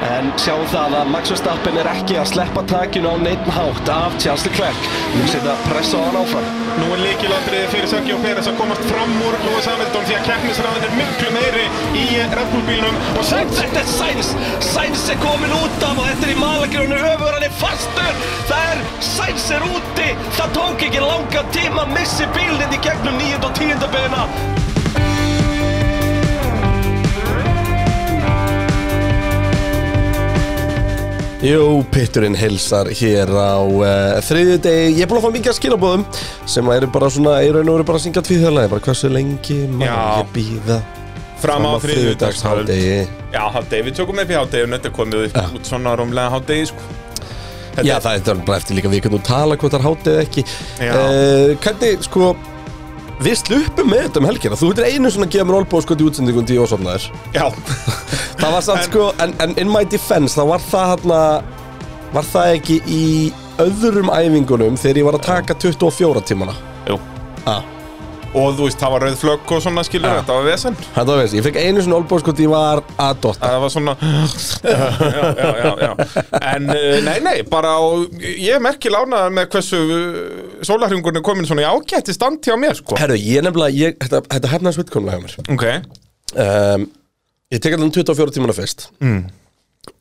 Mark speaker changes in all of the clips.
Speaker 1: En sjáum það að Max Verstappen er ekki að sleppa takinu á neittn hátt af Charles Leclerc. Nú setja pressa á hann áfram.
Speaker 2: Nú er líkilandriði fyrir Sergio Pérez að komast fram úr Lewis Hamilton því að keppnisræðin er miklu meiri í Red Bull bílnum og
Speaker 1: Og
Speaker 2: Sainz
Speaker 1: Þetta er Sainz! Sainz er komin út af og þetta er í malagrjónu höfur, hann er fastur! Það er, Sainz er úti! Það tók ekki langa tíma að missi bílinn í gegnum 9. og 10. beina.
Speaker 3: Jú, pitturinn hilsar hér á uh, þriðju degi. Ég er búin að fá mikið að skilabóðum sem eru bara svona, í raun og veru bara að syngja tvíðhjóðlega, bara hversu lengi má
Speaker 2: Já.
Speaker 3: ég býða
Speaker 2: fram á þriðjudagshald.
Speaker 3: þriðjudagshádegi.
Speaker 2: Já, hádegi, við tökum upp í hádeginu, þetta komið upp út svona rómlega hádegi sko. Þetta
Speaker 3: Já, það er bara eftir líka við kannum tala hvort það er hátið eða ekki.
Speaker 2: Já.
Speaker 3: Uh, hvernig, sko, við sluppum með þetta um helgina. Þú veitir einu svona að gefa mér olbóð sko í útsendingun til Jósofnaður.
Speaker 2: Já,
Speaker 3: Það var samt
Speaker 2: En-
Speaker 3: sko, en, en in my defense, þá var það hérna, var það ekki í öðrum æfingunum þegar ég var að taka 24 tímana.
Speaker 2: jú.
Speaker 3: Ah.
Speaker 2: Og þú veist, það var rauð flögg og svona skilur,
Speaker 3: Já.
Speaker 2: þetta var vesen.
Speaker 3: Þetta var veist, ég fekk einu svona olbóð sko því ég var að dotta
Speaker 2: Það var svona, já, já, já, já. En eh, nei, nei, bara, og ég er merkil ánað með hversu eh, sólarhringurinn er komin svona í ágætti stand hjá mér sko.
Speaker 3: Herru, ég nefnilega, ég, þetta, þetta hefnaðis vittkomlega hjá mér
Speaker 2: Ok,
Speaker 3: um, Ég tek allan 24 tímana fyrst mm.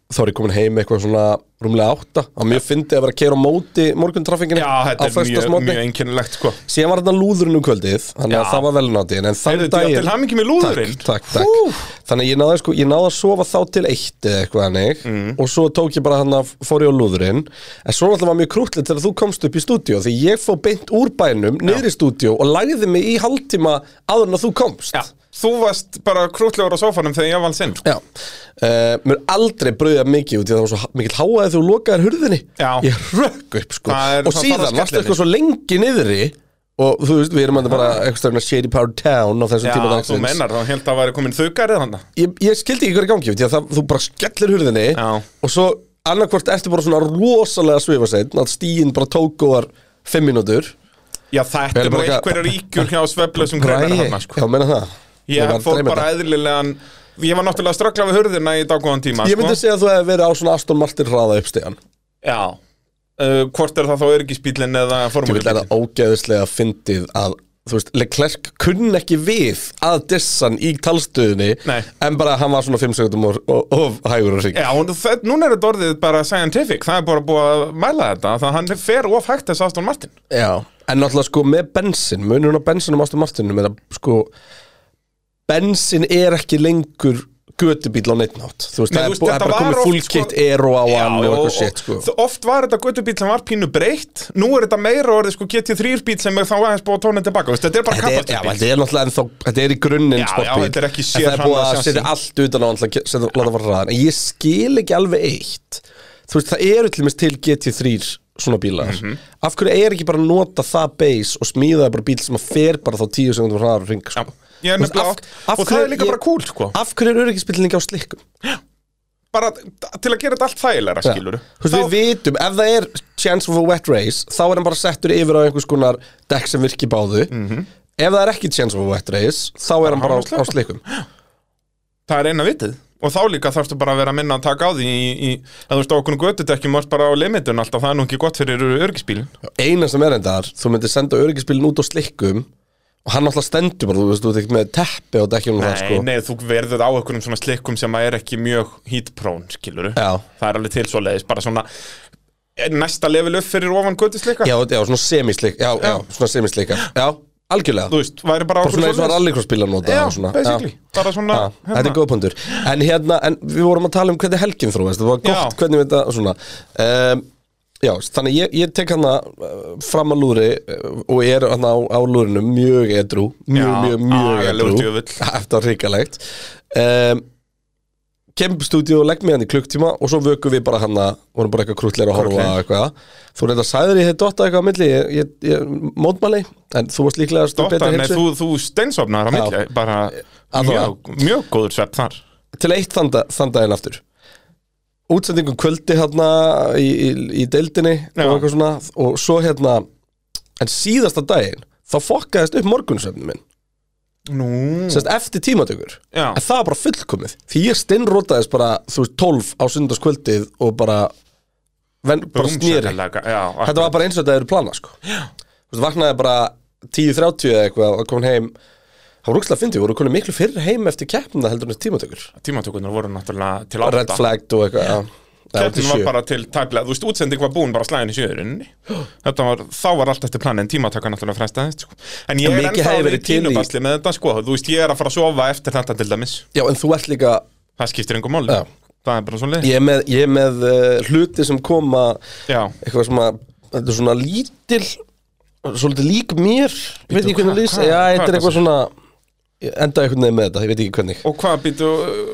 Speaker 3: Þá er ég komin heim eitthvað svona rúmlega átta Það mjög fyndi að vera að keira á móti morguntraffinginu
Speaker 2: já, þetta er mjög, mjög einkennilegt sko.
Speaker 3: Síðan var þetta lúðurinn um kvöldið Þannig að
Speaker 2: Já.
Speaker 3: það var velnáttið En þann
Speaker 2: Heyrðu, til-
Speaker 3: daginn
Speaker 2: til hamingi með lúðurinn.
Speaker 3: Takk, takk, takk. Þannig að ég náði, sko, ég náði að sofa þá til eitt eða eitthvað hannig
Speaker 2: Mm.
Speaker 3: Og svo tók ég bara hann að fór ég á lúðurinn En svo alltaf var mjög krútlegt þegar þú komst upp í stúdíó Því ég fó beint úr bænum, niður í stúdíó Og lagði mig í hálftíma áður en að þú komst
Speaker 2: Já, þú varst bara krútlegur á sófanum þegar ég valð sinn sko.
Speaker 3: Já, uh, mér er aldrei brauðið mikið út í það var svo ha- mikill háaði þú lokaðir hurðinni
Speaker 2: Já.
Speaker 3: Ég rökk upp sko
Speaker 2: Það er-
Speaker 3: Og
Speaker 2: það
Speaker 3: síðan
Speaker 2: þarf að skella
Speaker 3: varstu
Speaker 2: henni.
Speaker 3: eitthvað svo lengi niðri Og þú veist, við erum að bara eitthvað stafna Shady Power Town á þessum
Speaker 2: Já,
Speaker 3: tíma
Speaker 2: þú
Speaker 3: dagsins
Speaker 2: mennar, þá held að væri komin þugarið hann
Speaker 3: ég, ég skildi ekki hverju gangi, því að það, þú bara skellir hurðinni
Speaker 2: Já.
Speaker 3: Og svo annarkvort ertu bara svona rosalega svifaseinn Að stíin bara tók og var fimm mínútur
Speaker 2: Já, þetta
Speaker 3: Vel
Speaker 2: er nú
Speaker 3: bara ekki-
Speaker 2: einhverjar ríkjur hjá sveflausum greinar
Speaker 3: Græi,
Speaker 2: hann
Speaker 3: já,
Speaker 2: sko.
Speaker 3: menna það
Speaker 2: Ég
Speaker 3: var að
Speaker 2: fór
Speaker 3: dreyma
Speaker 2: bara
Speaker 3: þetta.
Speaker 2: eðlilegan Ég var náttúrulega að ströggla við hurðina í daggóðan tíma
Speaker 3: Ég myndi
Speaker 2: sko.
Speaker 3: segja að þú hefði verið á svona Aston Martin hraða uppstegan
Speaker 2: Já uh, Hvort er það þá örgisbílinn eða
Speaker 3: Ég vil
Speaker 2: formúlubílinn
Speaker 3: það ógeðislega fyndið að þú veist, Leclerc kunn ekki við að dissan í talstöðinni
Speaker 2: Nei.
Speaker 3: en bara hann var svona 5 sekundum og, og, og hægur og sík
Speaker 2: Já, og það, núna er þetta orðið bara scientific Það er bara búið að mæla þetta Það hann fer of hægt þess Aston Martin
Speaker 3: en náttúrulega sko með bensin munur hún á bensinum ástum martinum eða sko bensin er ekki lengur götubíl á neitt nátt þú veist,
Speaker 2: Nei, þú
Speaker 3: það er,
Speaker 2: veist,
Speaker 3: bú, það er
Speaker 2: þetta
Speaker 3: bara
Speaker 2: var
Speaker 3: komið
Speaker 2: oft,
Speaker 3: fullkitt
Speaker 2: sko-
Speaker 3: ero á
Speaker 2: Já,
Speaker 3: hann og
Speaker 2: og-
Speaker 3: eitthvað
Speaker 2: og-
Speaker 3: shit sko
Speaker 2: þ- Oft var þetta göttubíl sem var pínu breytt Nú er þetta meira orðið sko GT3 bíl sem er þá aðeins búið að tóna tilbaka veist, Þetta er bara
Speaker 3: Þetta er, já,
Speaker 2: kappastur
Speaker 3: þetta er náttúrulega ennþá, þetta er í grunninn
Speaker 2: Já, já,
Speaker 3: sportbíl
Speaker 2: þetta er ekki
Speaker 3: En það er búið
Speaker 2: sérhannað
Speaker 3: að setja allt utan á hann til að ge- setja- láta fara hraðan En ég skil ekki alveg eitt Þú veist, það eru til dæmis til GT3 svona bílar
Speaker 2: Mhm.
Speaker 3: Af hverju er ekki bara að nota það base og smíða bara bíl sem að fer bara þá 10 sekundum hraðar og ring sko.
Speaker 2: Ég er
Speaker 3: Þú veist,
Speaker 2: nefnilega
Speaker 3: af-
Speaker 2: oft Og
Speaker 3: af
Speaker 2: það er
Speaker 3: hverju
Speaker 2: líka
Speaker 3: ég-
Speaker 2: bara cool sko
Speaker 3: Af hverju eru öryggisbílinn ekki á slikkum?
Speaker 2: Bara t- til að gera þetta allt þægilega skilur
Speaker 3: Þú veist, við vitum, ef það er chance of a wet race þá er hann bara settur yfir á einhvers konar dekk sem virki báðu
Speaker 2: Mhm.
Speaker 3: Ef það er ekki chance of a wet race þá er hann bara á,
Speaker 2: hann á
Speaker 3: á slikkum
Speaker 2: Það er eina vitið Og þá líka þarfstu bara að vera að minna að taka á því í, í, að þú veist á okkur göttudekkjum varst bara á limitun alltaf, það er nú ekki gott fyrir örgisbílin
Speaker 3: eina sem er endar, þú myndir senda öryggisbílinn út á slikkum og hann alltaf stendur bara, þú veist, þú veist, með teppi og dekkjum og
Speaker 2: Nei,
Speaker 3: það, sko.
Speaker 2: nei, þú verður á einhverjum svona slikkum sem að er ekki mjög hítprón, skilur
Speaker 3: Já.
Speaker 2: Það er alveg til svoleiðis, bara svona eh, næsta level upp fyrir ofan göttuslikka
Speaker 3: Já, já, svona semislik, já, já, svona semislikar, já, algjörlega.
Speaker 2: þú veist, væri bara
Speaker 3: bara svona eins og
Speaker 2: svoleiðis.
Speaker 3: rallycrossbílar nota
Speaker 2: Já,
Speaker 3: og svona,
Speaker 2: basically, bara svona
Speaker 3: Já,
Speaker 2: hérna.
Speaker 3: þetta er góð punktur En hérna, en við vorum að tala um hvernig helgin þróast Það var gott
Speaker 2: Já.
Speaker 3: hvernig við þetta svona um, Já, þannig ég, ég tek hana uh, fram að lúri uh, og er hana á, á lúrinu mjög edrú Mjög,
Speaker 2: Já,
Speaker 3: mjög, mjög
Speaker 2: agalegur
Speaker 3: edrú
Speaker 2: djöfull.
Speaker 3: Þetta var hrikalegt um, Kemp stúdíu og legg mig hann í klukktíma og svo vökum við bara hana vorum bara eitthvað krútleir að horfa á
Speaker 2: Krúttlegir.
Speaker 3: eitthvað Þú reynda sæður ég hefði dotta eitthvað á milli ég, ég, ég, mótmæli, en þú varst líklega
Speaker 2: Dottar, nei, þú, þú steinsofnar á milli, bara
Speaker 3: Allavega.
Speaker 2: mjög, mjög góður svepp þar.
Speaker 3: til eitt þann, da- þann daginn aftur útsendingum kvöldi hérna í, í, í deildinni
Speaker 2: Já.
Speaker 3: og eitthvað svona og svo hérna en síðasta daginn þá fokkaðist upp morgunsöfnum minn
Speaker 2: Nú,
Speaker 3: Sest, eftir tímatökur
Speaker 2: Mm. Já.
Speaker 3: en það var bara fullkomið því ég stinnrótaðist bara þú veist 12 á sundarskvöldið og bara, ven, bara snýri
Speaker 2: Brúmsakalega, já,
Speaker 3: þetta var bara eins og þetta eru plana sko. Þú veist, vaknaði bara 10.30 eða eitthvað og kom heim það var rúkslega fyndið, voru konum miklu fyrr heim eftir keppna heldur en eftir tímatökur
Speaker 2: tímatökunar voru náttúrulega til
Speaker 3: red
Speaker 2: átta
Speaker 3: flagged og eitthvað já. Já, til
Speaker 2: Keppnin var
Speaker 3: sjö.
Speaker 2: bara til tæplega, þú veist, útsending var búin bara slæðin í sjöðurinni Þetta var, þá var allt eftir planin, tímataka náttúrulega frestaðist sko. En ég
Speaker 3: En
Speaker 2: er
Speaker 3: mikið
Speaker 2: ennþá
Speaker 3: hefði
Speaker 2: alveg í
Speaker 3: verið til í-
Speaker 2: tínubasli með þetta sko Þú veist, ég er að fara að sofa eftir þetta til dæmis
Speaker 3: já, en þú ert líka
Speaker 2: Það skiptir engum máli
Speaker 3: Já.
Speaker 2: Það er bara svona leið
Speaker 3: ég er með, ég er með uh, hluti sem koma
Speaker 2: Já,
Speaker 3: eitthvað sem að þetta er svona lítil svolítið lík mér, ég veit
Speaker 2: Bíddu,
Speaker 3: ekki hvernig
Speaker 2: hvað-
Speaker 3: lýs
Speaker 2: hvað-
Speaker 3: já,
Speaker 2: hvað er
Speaker 3: þetta er
Speaker 2: það
Speaker 3: eitthvað svona ég enda einhvern veginn með þetta, ég veit ekki hvernig
Speaker 2: og hvað býtu,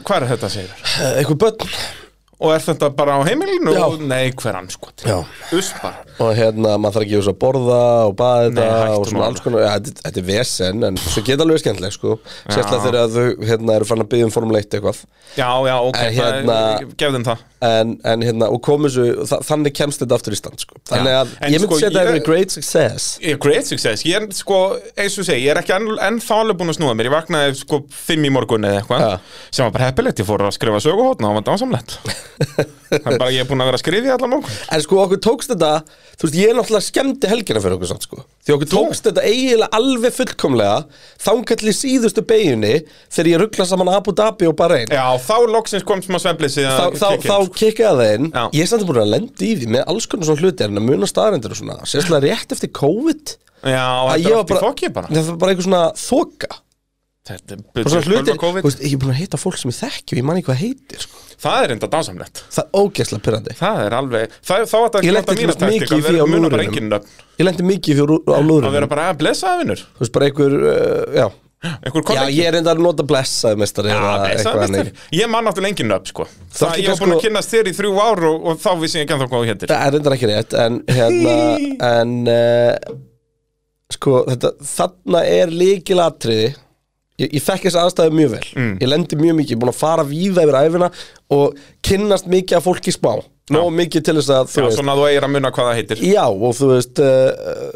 Speaker 2: hvað er þetta segir?
Speaker 3: Eh, eitthvað börn,
Speaker 2: Og er þetta bara á heimilinu?
Speaker 3: Já.
Speaker 2: Nei, hver sko, anskot
Speaker 3: já,
Speaker 2: Uspar
Speaker 3: og hérna maður þarf að gefa svo að borða og baða þetta
Speaker 2: Nei, hættu
Speaker 3: og
Speaker 2: nú
Speaker 3: svona alls
Speaker 2: alveg.
Speaker 3: konar, já, þetta, þetta er vesen en svo geta alveg skemmtileg, sko sérstaklega þegar að þau, hérna, eru farin að byggja um formuleitt eitthvað
Speaker 2: Já, já, ok,
Speaker 3: En
Speaker 2: hérna...
Speaker 3: hérna-
Speaker 2: gefðum það
Speaker 3: en, en hérna, og komið svo þa þannig kemst þetta aftur í stand, sko þannig
Speaker 2: Já.
Speaker 3: að,
Speaker 2: En
Speaker 3: ég myndi
Speaker 2: sko,
Speaker 3: segja þetta
Speaker 2: ég-
Speaker 3: er great success
Speaker 2: Ég er great success, ég er sko, eins og ég segi, ég er ekki enn, ennþá alveg búin að snúa mér Ég vaknaði sko fimm í morgun eða eitthvað
Speaker 3: Ja.
Speaker 2: Sem var bara heppilegt, ég fór að skrifa söguhóttna og var dásamlegt Það er bara ég er búin að vera að skrifa í allan morgun
Speaker 3: En sko okkur tókst þetta Þú veist, ég er náttúrulega skemmti helgina fyrir okkur samt sko Því okkur tókst þetta eiginlega alveg fullkomlega Þangalli síðustu beigjunni Þegar ég ruggla saman Abu Dhabi og Bahrein
Speaker 2: Já, þá loksins kom smá sveflis í
Speaker 3: Þá,
Speaker 2: að
Speaker 3: þá,
Speaker 2: kikki
Speaker 3: þá kikkaði það inn
Speaker 2: Já.
Speaker 3: Ég er samt búin að lenda í því með alls konar svona hluti En að muna staðarindir og svona Sérstaklega rétt eftir COVID
Speaker 2: Já,
Speaker 3: að
Speaker 2: þetta
Speaker 3: ég
Speaker 2: er
Speaker 3: var
Speaker 2: allt í fokki bara
Speaker 3: Það var bara einhver svona þoka
Speaker 2: Þetta er
Speaker 3: Og svona
Speaker 2: byrjuð
Speaker 3: hlutir,
Speaker 2: bölva
Speaker 3: þú
Speaker 2: COVID
Speaker 3: veist, ég er búin að heita fólk sem ég þekki Og ég man ekki hvað heitir sko.
Speaker 2: Það er enda dásamlegt
Speaker 3: Það er ógeðslega pyrrandi
Speaker 2: Það er alveg, það, þá ætti að
Speaker 3: Ég
Speaker 2: nota
Speaker 3: lenti til
Speaker 2: mína
Speaker 3: dæmis mikið
Speaker 2: taktik
Speaker 3: í
Speaker 2: að
Speaker 3: því á
Speaker 2: vera muna bara
Speaker 3: lúðrinum.
Speaker 2: enginn nöfn
Speaker 3: Ég lendi mikið fyrir á
Speaker 2: Að
Speaker 3: lúðurinn
Speaker 2: vera bara að blessa það vinnur
Speaker 3: Þú veist, bara einhver, uh, já
Speaker 2: Einhver
Speaker 3: Já,
Speaker 2: kollegi
Speaker 3: ég er enda að nota blessaði mestari
Speaker 2: Já, blessaður meistari. Ég man náttúrulega engin nöfn sko Það
Speaker 3: ekki
Speaker 2: ég var búin
Speaker 3: sko-
Speaker 2: að kynnast þér í þrjú ár og, og þá vissi ég ekki ennþá hvað þú hétir
Speaker 3: Það er enda ekki rétt En hérna En uh, Sko þetta Þarna er líkilatriði Ég, ég þekk þess aðstæði mjög vel
Speaker 2: Mm.
Speaker 3: Ég lendi mjög mikið, ég er búin að fara víða yfir æfina Og kynnast mikið af fólki smá Nó mikið til þess að þú
Speaker 2: Já,
Speaker 3: veist
Speaker 2: svona að þú eigir að muna hvað það heitir
Speaker 3: Já, og þú veist uh,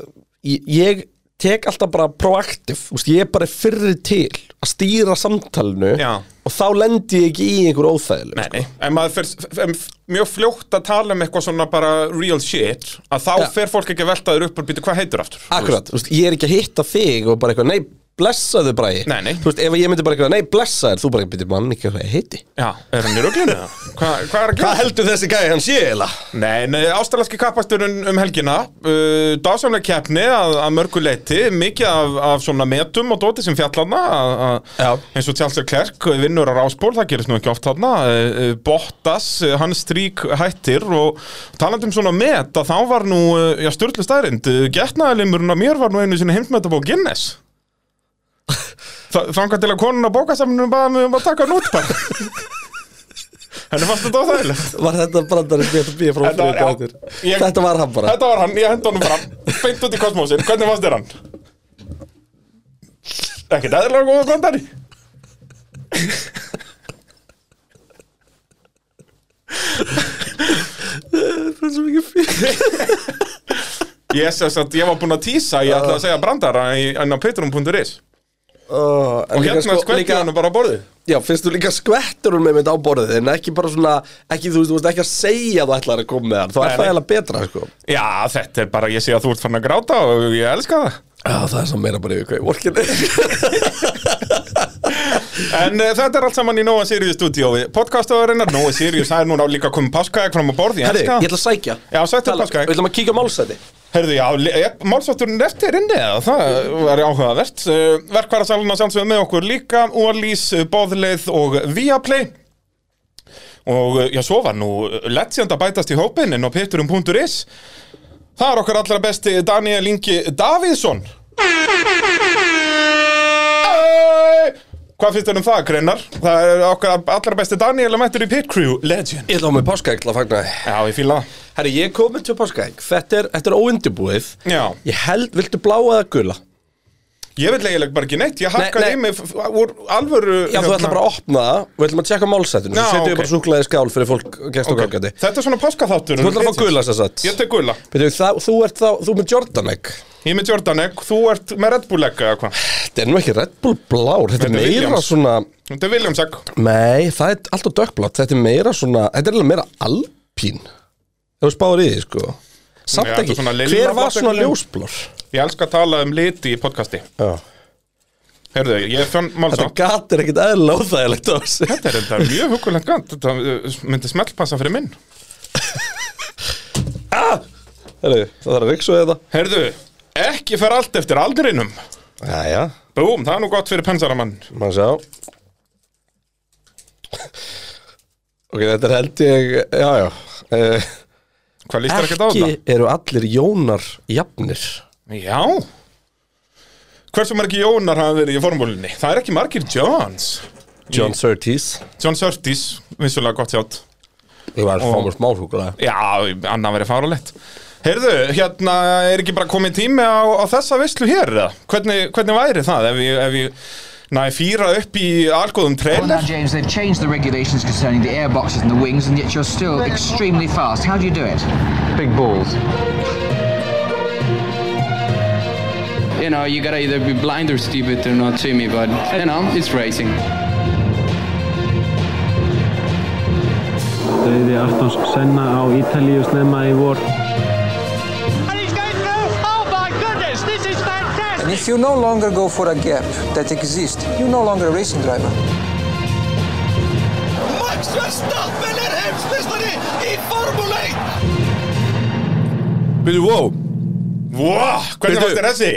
Speaker 3: ég, ég tek alltaf bara proaktiv veist, Ég er bara fyrri til Að stýra samtalinu
Speaker 2: Já.
Speaker 3: Og þá lendi ég ekki í einhver óþægileg
Speaker 2: Nei, nei, en maður fer en mjög fljótt að tala um eitthvað svona bara real shit að þá
Speaker 3: Já.
Speaker 2: fer fólk ekki að velta þér upp og býta hvað heitur aftur
Speaker 3: Akkurat, þú veist, ég er ekki að hitta þig og bara eitthvað, nei, blessaðu bara ég
Speaker 2: Nei, nei.
Speaker 3: Þú veist, ef ég myndi bara eitthvað, nei, blessaðu, þú bara eitthvað, býttu mann ekki hvað ég heiti
Speaker 2: Já, er hann í ruglinu? Hvað hva er að gera?
Speaker 3: Hvað heldur þessi gæði hans ég eða?
Speaker 2: Nei, nei, ástralanski kappasturinn um helgina uh, Dásamlega keppni að, að mörgu leiti Mikið af, af svona metum og dóti sem fjallanna
Speaker 3: Já.
Speaker 2: Eins og Tjálsir Klerk, vinnur á rásból Það gerist nú ekki oft þarna uh, uh, Bottas, uh, hans strík hættir Og talandi um svona met að Þá var nú, uh, já, styrlu stærind uh, Getnaðalimurinn á mér var nú einu sinni heimsmetabók Guinness Þa- Þangað til að konun á bókasamninu Baða mig um að taka hann út bara Henni fannst þetta óþægilegt
Speaker 3: Var þetta brandari sem ég ætti að býja frá
Speaker 2: Þetta var-
Speaker 3: fyrir
Speaker 2: já,
Speaker 3: þetta eftir?
Speaker 2: ég-
Speaker 3: Þetta var hann bara
Speaker 2: Þetta var hann, ég henda honum fram Beint út í kosmósin, hvernig fannst þér hann? Ekkert eðlilega góða brandari
Speaker 3: Þetta er svo mikið fyrir
Speaker 2: Ég sess að ég var búinn að tísa Ég ætlaði að segja brandara í- inn á patreon.is
Speaker 3: Og
Speaker 2: Og hérna sko,
Speaker 3: líka,
Speaker 2: hann bara á borðið
Speaker 3: Já, finnst þú líka skvetturinn með mynd á borðið En ekki bara svona, ekki, þú veist, þú veist ekki að segja að þú ætlar að koma með hann Þá
Speaker 2: Nei,
Speaker 3: er það
Speaker 2: nei.
Speaker 3: eiginlega betra, sko
Speaker 2: Já, þetta er bara, ég sé að þú ert fann að gráta og ég elska það
Speaker 3: Já, það er svo meira bara yfir hvað ég vorkin
Speaker 2: En uh, þetta er allt saman í Nóa Sirius stúdíói Podcastaðurinnar, Nóa Sirius, það er núna líka komið páskaæk fram á borð, ég
Speaker 3: Herri,
Speaker 2: elska
Speaker 3: ég
Speaker 2: það
Speaker 3: ætla að sækja
Speaker 2: Já, sættu
Speaker 3: Tala-
Speaker 2: páskaegg.
Speaker 3: Við ætlum að kíkja á málsæti
Speaker 2: Herðu, já, le- eh, málsátturinn eftir inni eða það var áhugavert Eh, Verkværasaluna sjálfsögum með okkur líka Ólís, Bóðleið og Viaplay Og eh, já, svo var nú Legend að bætast í hópinn en á peturum.is Það er okkar allra besti Daniel Ingi Davíðsson Hey! Hvað finnst þér um það, Greinar? Það er okkar allra besti Daniel að mættur í Pit Crew Legend
Speaker 3: Ég ætla á mig páskaegg til að fagna því
Speaker 2: Já, ég fíla það
Speaker 3: Herri, ég er komin til páskaegg Þetta er, þetta er óundibúið
Speaker 2: Já,
Speaker 3: Ég held, viltu bláa eða gula?
Speaker 2: Ég vil eiginlega bara ekki neitt, ég hakkaði
Speaker 3: nei.
Speaker 2: í mig f- f- úr alvöru hérna.
Speaker 3: Já, þú ætla bara að opna það og við ætlum að tjekka málsættinu
Speaker 2: Já,
Speaker 3: Svo setjum
Speaker 2: ok.
Speaker 3: við bara súklaði skál fyrir fólk gæst og gangandi
Speaker 2: Þetta er svona páskaþáttur
Speaker 3: Þú ætla að fá gula sér satt
Speaker 2: Ég tek gula
Speaker 3: Beidu, það, Þú ert þá, þú ert með Jordan egg
Speaker 2: Ég er með Jordan Egg, þú ert með Red Bull Egg eða hvað
Speaker 3: Þetta er nú ekki Red Bull blár Þetta er
Speaker 2: Þetta er
Speaker 3: meira
Speaker 2: Williams.
Speaker 3: svona
Speaker 2: Þetta er Williams Egg
Speaker 3: Nei, það er alltaf dökkblátt Þetta er meira svona, þetta er alveg meira alpín Ef þú spáður í því, sko Samt
Speaker 2: Já,
Speaker 3: ekki,
Speaker 2: svona lilla blár
Speaker 3: hver var svona
Speaker 2: einhvern veginn.
Speaker 3: ljósblár?
Speaker 2: Ég elska að tala um liti í podcasti
Speaker 3: Já.
Speaker 2: Herðu, ég fann
Speaker 3: Þetta
Speaker 2: málsátt
Speaker 3: gat er ekkit eðla óþægilegt á þessu
Speaker 2: Þetta er þetta mjög hugulegt gant Þetta uh, myndi smellpassa fyrir minn
Speaker 3: Heru, Það þarf að viksu eða
Speaker 2: Herðu, ekki fer allt eftir aldrinum
Speaker 3: Jæja,
Speaker 2: Búm, það er nú gott fyrir pensaramann
Speaker 3: maður sjá Ok, þetta er held ég, já, já uh,
Speaker 2: Hvað líst þér ekkert á
Speaker 3: Ekki
Speaker 2: þetta?
Speaker 3: eru allir jónar jafnir
Speaker 2: Já Hversu margi Jónar hafa verið í formúlinni? Það er ekki margir Johns
Speaker 3: John Surtees
Speaker 2: John Surtees, vissulega gott sjátt
Speaker 3: Ég var að fá mér smá húkulega
Speaker 2: Já, annað verið farulegt Heyrðu, hérna er ekki bara komið tími á, á þessa veislu hér eða? Hvernig, hvernig væri það ef ég, ef ég næ fýra upp í algóðum
Speaker 4: Well, now,
Speaker 2: trailer?
Speaker 4: James, they've changed the regulations concerning the air boxes and the wings, and yet you're still extremely fast. How do you do it? Big balls.
Speaker 5: you know, you gotta either be blind or stupid to not see me, but you know, it's racing.
Speaker 6: Dauði Artons Senna á Ítalíu snemma í vor.
Speaker 7: And he's going through. Oh my goodness, this is fantastic.
Speaker 8: If you no longer go for a gap that exists, you're no longer a racing driver.
Speaker 1: Max Verstappen er heimsmestari í Formule 1
Speaker 3: Byrju, wow
Speaker 2: Vá, hvernig
Speaker 3: Bíddu.
Speaker 2: fannst þér þessi?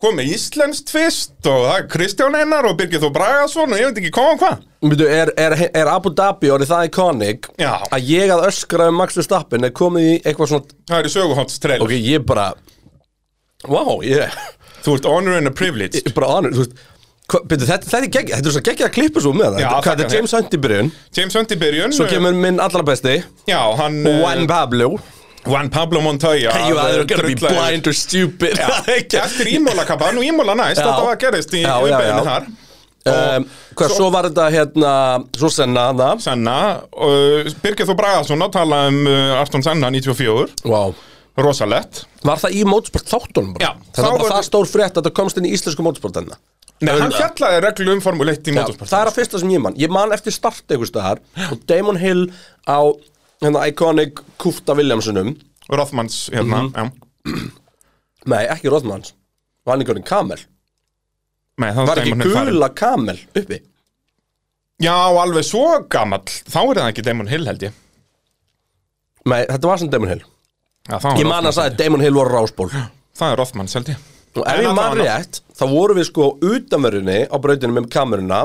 Speaker 2: Komið íslenskt fyrst og það er Kristján Einar og Birgir Þó Bragason og ég veit ekki hvað og hvað
Speaker 3: Byrju, er, er, er Abu Dhabi orðið það iconic
Speaker 2: Já.
Speaker 3: að ég að öskra um Max Verstappen er komið í eitthvað svona
Speaker 2: Það er í söguhótts trailer
Speaker 3: Ok, ég bara Wow, ég
Speaker 2: Þú ert honor and a privilege
Speaker 3: Ég bara anur, þú veist hva- Byrju, þetta, þetta er gegg, þetta er svo geggja að klippa svo með það
Speaker 2: Já,
Speaker 3: Hvað, Þetta
Speaker 2: þakka
Speaker 3: er James Hunt í byrjun
Speaker 2: James Hunt í byrjun eh,
Speaker 3: Svo kemur minn allra besti
Speaker 2: Já, hann
Speaker 3: Juan Pablo
Speaker 2: eh, Juan Eh, Pablo Montoya eh,
Speaker 3: You either gonna be
Speaker 2: drullaður.
Speaker 3: blind or stupid Það er ekki-
Speaker 2: Eftir ímólakabban og ímóla næst
Speaker 3: Já.
Speaker 2: Þetta var að gerist í
Speaker 3: Já, já,
Speaker 2: umbeginni
Speaker 3: já.
Speaker 2: þar
Speaker 3: um, Hvað,
Speaker 2: svo-
Speaker 3: svo var þetta hérna Svo senna hana
Speaker 2: Senna, uh, Birgir Þó Bragason að tala um uh, Arton Senna 94
Speaker 3: Wow
Speaker 2: Rosalett
Speaker 3: Var það í mótsport þáttunum bara?
Speaker 2: Já,
Speaker 3: Það
Speaker 2: þá
Speaker 3: var bara
Speaker 2: var-
Speaker 3: það stór frétt að það komst inn í íslensku mótsport hennar
Speaker 2: Nei, hann fjallaði reglu um Formule 1 í
Speaker 3: Já,
Speaker 2: motorsport
Speaker 3: það er að fyrsta sem ég man Ég man eftir start einhvers staðar og Damon Hill á hérna, iconic Kúfta Williamsonum
Speaker 2: Rothmans, hérna,
Speaker 3: Mhm.
Speaker 2: já
Speaker 3: Nei, ekki Rothmans og hann einhverjum Kamel
Speaker 2: Nei, það
Speaker 3: Var ekki
Speaker 2: Damon Hill farinn.
Speaker 3: gula Kamel uppi
Speaker 2: Já, alveg svo gamall Þá er það ekki Damon Hill held ég
Speaker 3: Nei, þetta var sem Damon Hill
Speaker 2: Já, það var
Speaker 3: Ég man
Speaker 2: Rothmans.
Speaker 3: að sagði að Damon Hill var ráspól
Speaker 2: Það er Rothmans held ég
Speaker 3: Og
Speaker 2: En
Speaker 3: ef ég
Speaker 2: allavega
Speaker 3: man
Speaker 2: hann-
Speaker 3: rétt, þá vorum við sko utanverðinni á brautinu með kameruna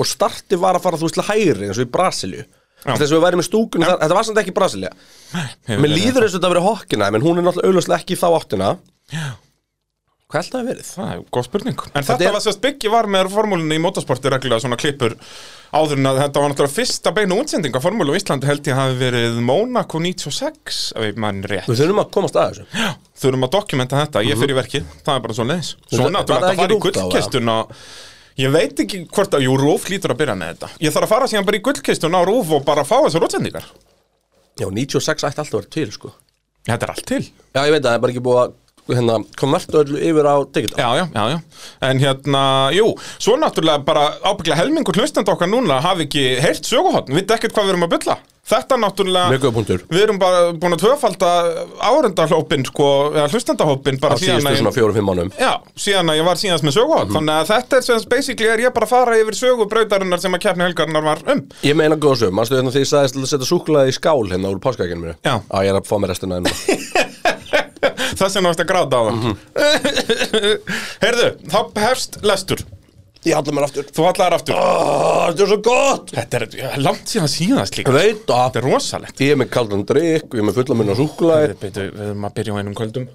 Speaker 3: og starti var að fara þú veist til hægri eins og í Brasilju þess að við væri með stúkunni þar, þetta var samt ekki Brasilja Mér líður eins og þetta að vera hokkina menn hún er náttúrulega auðvitað ekki í þá áttina Hvað held það að verið?
Speaker 2: Það er góð spurning En þetta
Speaker 3: er-
Speaker 2: var sérst byggi var með formúlinni í motorsporti reglulega svona klippur áður en að þetta var náttúrulega fyrsta beinu útsending á formúlu á Íslandi held ég hafi verið Monaco 96 ef ég mann rétt
Speaker 3: Við þurfum að komast að þessu
Speaker 2: Já, þurfum að dokumenta þetta, ég fyrir verkið það er bara svo leiðis Svo
Speaker 3: Var
Speaker 2: náttúrulega
Speaker 3: það
Speaker 2: þetta fara í
Speaker 3: ekki rútt á,
Speaker 2: gullkistuna Ég veit ekki hvort að, jú, Rúf lítur að byrja með þetta Ég þarf að fara síðan bara í gullkistuna á Rúf og bara fá þessar útsendingar
Speaker 3: Já, 96 ætti alltaf að vera til sko
Speaker 2: Þetta er allt til
Speaker 3: Já, ég veit að það er bara ekki búið að hérna, konvertu öllu yfir á digital
Speaker 2: Já, já, já, já. En hérna, jú, svo náttúrulega bara ábygglega helmingur hlustandi okkar núna hafi ekki heyrt söguhotn, við ekkert hvað við erum að bylla. Þetta náttúrulega...
Speaker 3: Mjög góð punktur.
Speaker 2: Við erum bara búin að tvöfalda árendahópin, sko, eða hlustandahópin
Speaker 3: á
Speaker 2: bara síðan
Speaker 3: síðustu
Speaker 2: að...
Speaker 3: svona Mhm. fjórum fimm mánum
Speaker 2: Já, síðan að ég var síðast með söguhotn. Þannig að þetta er sem sagt, basically er ég bara að fara yfir sögubrautarinnar sem að keppni helgarinnar var um.
Speaker 3: Ég meina góða sögum, mannstu hérna því ég sagðist að setja súklaði í skál hérna úr páskakinu mér
Speaker 2: Já.
Speaker 3: ég er að fá mér restina hérna. enn
Speaker 2: Það sem náttúrulega gráta á það.
Speaker 3: Mhm.
Speaker 2: Heyrðu, þá hefst lestur.
Speaker 3: Ég hallar mér aftur
Speaker 2: Þú hallar aftur.
Speaker 3: oh, Þetta er svo gott
Speaker 2: Þetta er já, langt síðan síðast líka.
Speaker 3: Veit að
Speaker 2: Þetta er rosalegt.
Speaker 3: Ég er með kaldan drikk, ég er með fulla munna súkulæði
Speaker 2: Við, við, við erum að byrja á einum kvöldum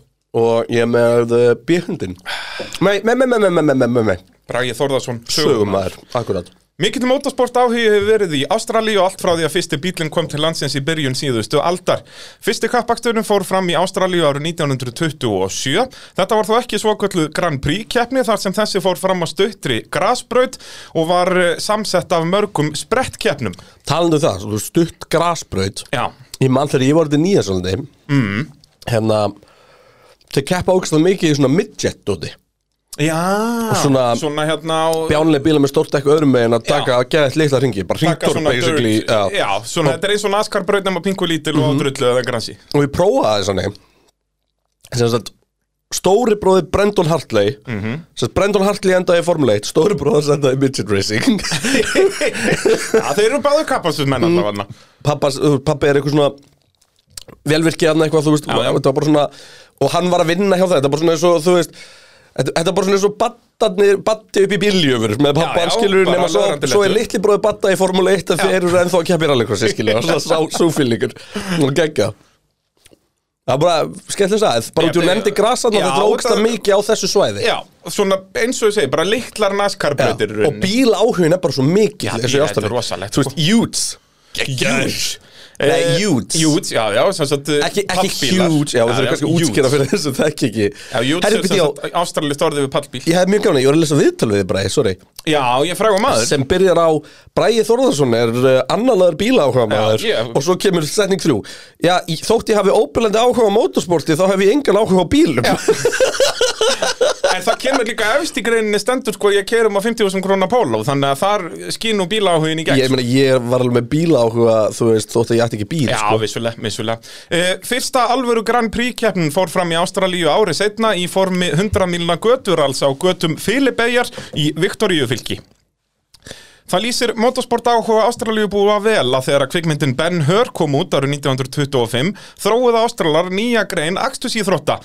Speaker 3: og ég er með uh, bíhundin Nei, nei, nei, nei, nei, nei, nei, nei, nei
Speaker 2: Bragi Þórðarsson, sögum
Speaker 3: Sögumæður, akkurat
Speaker 2: Mikill motorsport áhugi hefur verið í Ástralíu og allt frá því að fyrsti bílinn kom til landsins í byrjun síðustu aldar. Fyrsti kappaksturinn fór fram í Ástralíu árið 1927. Þetta var þó ekki svokvöldu Grand Prix keppni þar sem þessi fór fram á stuttri grasbraut og var eh, samsett af mörgum sprettkeppnum.
Speaker 3: Talandi um það, svo stutt grasbraut
Speaker 2: Já,
Speaker 3: Ég mann þegar ég var þetta nýja svolítið mm. Hérna Þeir keppa ógstlega mikið í svona midget dóti
Speaker 2: Já.
Speaker 3: svona-
Speaker 2: svona hérna á...
Speaker 3: Bjánileg bíla með stórt eitthvað öðrum megin að taka að geða eitt litla hringi Bara
Speaker 2: taka
Speaker 3: hringtur
Speaker 2: svona
Speaker 3: basically
Speaker 2: dirt, já, svona, þetta er eins og Mhm. NASCAR braut nema pingu lítil og drullu eða gransi
Speaker 3: og ég prófaði þannig sem sagt stóri bróði Brendon Hartley mm -hmm. sem sagt Brendon Hartley endaði í Formule 1 stóri bróði endaði í Midget Racing
Speaker 2: Já, þeir eru báðu kappastuð menn
Speaker 3: Mm.
Speaker 2: allavega
Speaker 3: pappas, pappi er eitthvað svona velvirkið hann eitthvað þú veist
Speaker 2: Já, já.
Speaker 3: og, þetta var bara svona, og hann var að vinna hjá það þetta var bara svona eins og þú veist þetta þetta var bara svona eins og battarnir batti upp í bíljöfur með
Speaker 2: Já, já,
Speaker 3: pappa hann skilur
Speaker 2: bara
Speaker 3: nema svo,
Speaker 2: löðrandi
Speaker 3: svo er
Speaker 2: léttur.
Speaker 3: litli bróði batta í Formule 1 að þeir eru ennþá að keppir alveg hvað skilur og svo súfílingur og gegga Það er bara skemmtileg að
Speaker 2: Já,
Speaker 3: bara út í hún
Speaker 2: þetta-
Speaker 3: nefndi grasan og
Speaker 2: Já,
Speaker 3: þetta ógst að
Speaker 2: þetta-
Speaker 3: mikið á þessu svæði
Speaker 2: Já, svona eins og ég segi, bara litlar NASCAR
Speaker 3: Já,
Speaker 2: brautir
Speaker 3: og bíl áhugin er bara svo mikið
Speaker 2: Já, bíla-
Speaker 3: þessu í
Speaker 2: þetta er
Speaker 3: Ástralíu.
Speaker 2: rosalegt, sko.
Speaker 3: Þú veist, Utes
Speaker 2: Júts
Speaker 3: Nei, Utes
Speaker 2: Júts, Eh, já, já, sem sagt eh,
Speaker 3: ekki, ekki
Speaker 2: pallbílar.
Speaker 3: huge, já, það er kannski
Speaker 2: Utes.
Speaker 3: útskýra fyrir þessu þekk ekki
Speaker 2: Já, Júts
Speaker 3: Herri,
Speaker 2: er sem
Speaker 3: byrja, já,
Speaker 2: sagt ástralist orðið við pallbíl
Speaker 3: ég hef mjög gafna, ég var að lesa viðtal við þig Bræði, sorry,
Speaker 2: Já, ég frægum maður
Speaker 3: sem byrjar á Bræði Þórðarsson er uh, annarlegar bíla áhuga maður
Speaker 2: Já, ég-
Speaker 3: og svo kemur setning þrjú já, í- þótt ég hafi óbyrlandi áhuga á motorsporti þá hef ég engan áhuga á bílum
Speaker 2: En það kemur líka efst í greininni stendur sko ég kerum á 50.000 krónar póló Þannig að þar skínu bíláhugin í gegn
Speaker 3: ég meina, ég var alveg með bíla áhuga þú veist, þótt að ég ætti ekki bíl sko.
Speaker 2: Já, vissulega, vissulega. Uh, fyrsta alvöru Grand Prix keppnin fór fram í Ástralíu ári setna í formi 100 milna götur alls á götum Filipejar í Viktoríu fylki. Það lýsir motorsport áhuga Ástralíu búa vel að þegar að kvikmyndin Ben Hur kom út árið 1925 þróið Ástralar nýja grein akstus í þrótta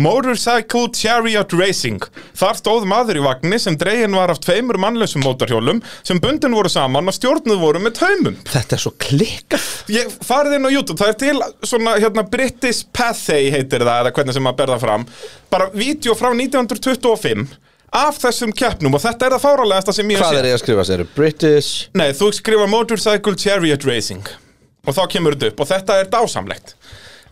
Speaker 2: Motorcycle Chariot Racing Þar stóð maður í vagni sem dregin var af tveimur mannlausum mótorhjólum sem bundin voru saman og stjórnuð voru með taumum
Speaker 3: þetta er svo klikkað
Speaker 2: Ég farið inn á YouTube, það er til svona hérna British Pathé heitir það eða hvernig sem maður berða fram bara vídeo frá 1925 af þessum keppnum og þetta er það fáralegasta sem ég
Speaker 3: hvað er ég að skrifa sér, British
Speaker 2: Nei, þú skrifa Motorcycle Chariot Racing og þá kemur þetta upp og þetta er dásamlegt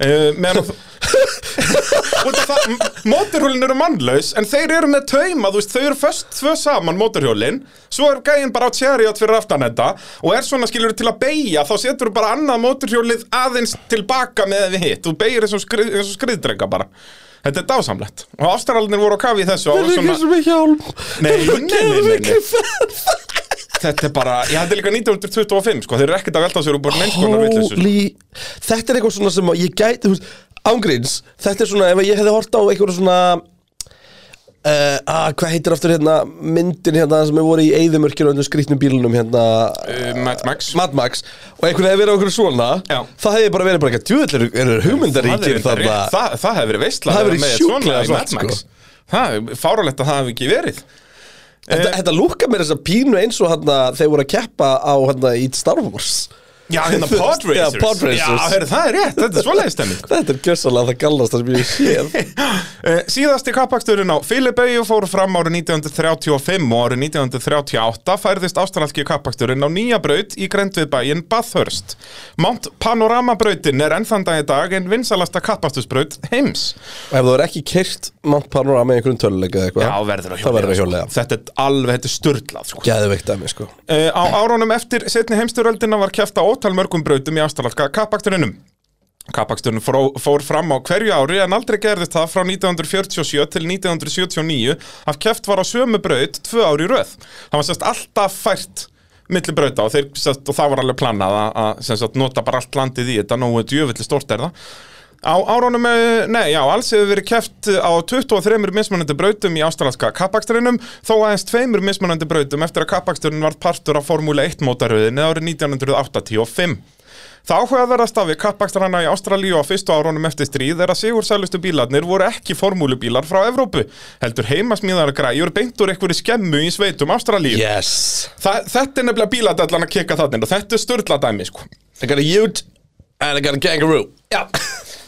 Speaker 2: Uh, meðan Út af það, m- mótorhjólin eru mannlaus en þeir eru með tauma, þú veist, þau eru föst tvö saman mótorhjólin, svo er gæinn bara á chariot fyrir aftan þetta og er svona skilur til að beigja, þá setur þú bara annað mótorhjólið aðeins tilbaka með við hitt, þú beigir eins og, skrið, eins og skriðdrega bara þetta er dásamlegt og ástralinir voru á kafi í þessu og svona,
Speaker 3: með hjálm
Speaker 2: Nei,
Speaker 3: Þetta
Speaker 2: nei,
Speaker 3: er
Speaker 2: nei, nei, nei.
Speaker 3: geðveikri ferð.
Speaker 2: þetta er bara ég hætti líka 1925, sko, þeir eru ekkert að velta sér úr bara neinskonar vill þessu,
Speaker 3: Holy, þetta er eitthvað svona sem að ég gæti þú veist, ángríns, þetta er svona ef ég hefði hort á eitthvað svona Uh, ah, hvað heitir aftur hérna myndin hérna sem er voru í eyðumörkjur og undir skrýtnum bílunum hérna
Speaker 2: uh, Mad Max
Speaker 3: Mad Max og einhvern veginn hefði verið okkur svona
Speaker 2: Já.
Speaker 3: það hefði ég bara verið bara ekki djúðallir eru
Speaker 2: það,
Speaker 3: hugmyndaríkir
Speaker 2: er
Speaker 3: þarna
Speaker 2: reyndar rétt. það, það hefur verið sko. veistla
Speaker 3: Það hefur verið
Speaker 2: svona
Speaker 3: sjúklega svart,
Speaker 2: í Mad Max. Það er fáralegt að það hefur ekki verið
Speaker 3: þetta, þetta lúka mér þess að pínu eins og hérna þeir voru að keppa á hérna í Star Wars
Speaker 2: Já, hérna
Speaker 3: Þú veist,
Speaker 2: Podracers
Speaker 3: já, Pod Racers.
Speaker 2: Já, heyrðu, það er rétt, þetta er svoleiði stemming
Speaker 3: þetta er gjössalega það gallast það sem ég séð
Speaker 2: Eh, Síðasti kappaksturinn á Filipeyju fór fram árið 1935 og árið 1938 færðist ástralski kappaksturinn á nýja braut í grennd við bæinn Bathurst. Mount Panorama brautin er ennþann dag í dag en vinsalasta kappakstursbraut heims.
Speaker 3: Og ef þú er ekki kert Mount Panorama með einhverjum töluleik eða eitthvað
Speaker 2: Já, verður að
Speaker 3: Það verður að
Speaker 2: hjólega.
Speaker 3: hjólega
Speaker 2: sko. Þetta er alveg, þetta er störtlað, sko.
Speaker 3: Gæðveikt af mér sko
Speaker 2: Uh, á árunum eftir setni heimsturöldina var kæft á ótal mörgum brautum í ástralska kappaksturninum. Kappaksturinn fró, fór fram á hverju ári en aldrei gerðist það frá 1947 til 1979 að kæft var á sömu braut tvö ári í röð. Það var sérst alltaf fært milli brauta og, þeir, sérst, og það var alveg planað að, að sem sagt, nota bara allt landið í þetta, nógu djöfulli stórt er það. Á árunum, eh, nei, já, alls hefur verið keft á 23 mismunandi brautum í ástralanska kappaksturinnum, þó aðeins tveimur mismunandi brautum eftir að kappaksturinn var partur af Formúli 1 mótaröðinni árið 1985. Það áhugaverðast af við kappakstrana í Ástralíu á fyrstu árunum eftir stríð er að sigursælustu bílarnir voru ekki formúlubílar frá Evrópu, heldur heimasmíðara græjur beint úr einhverju skemmu í sveitum Ástralíu.
Speaker 3: Yes
Speaker 2: Það, þetta er nefnilega bíladallan að kika þarna inn og þetta er störla dæmi, sko.
Speaker 3: I got a ute and I got a kangaroo
Speaker 2: Já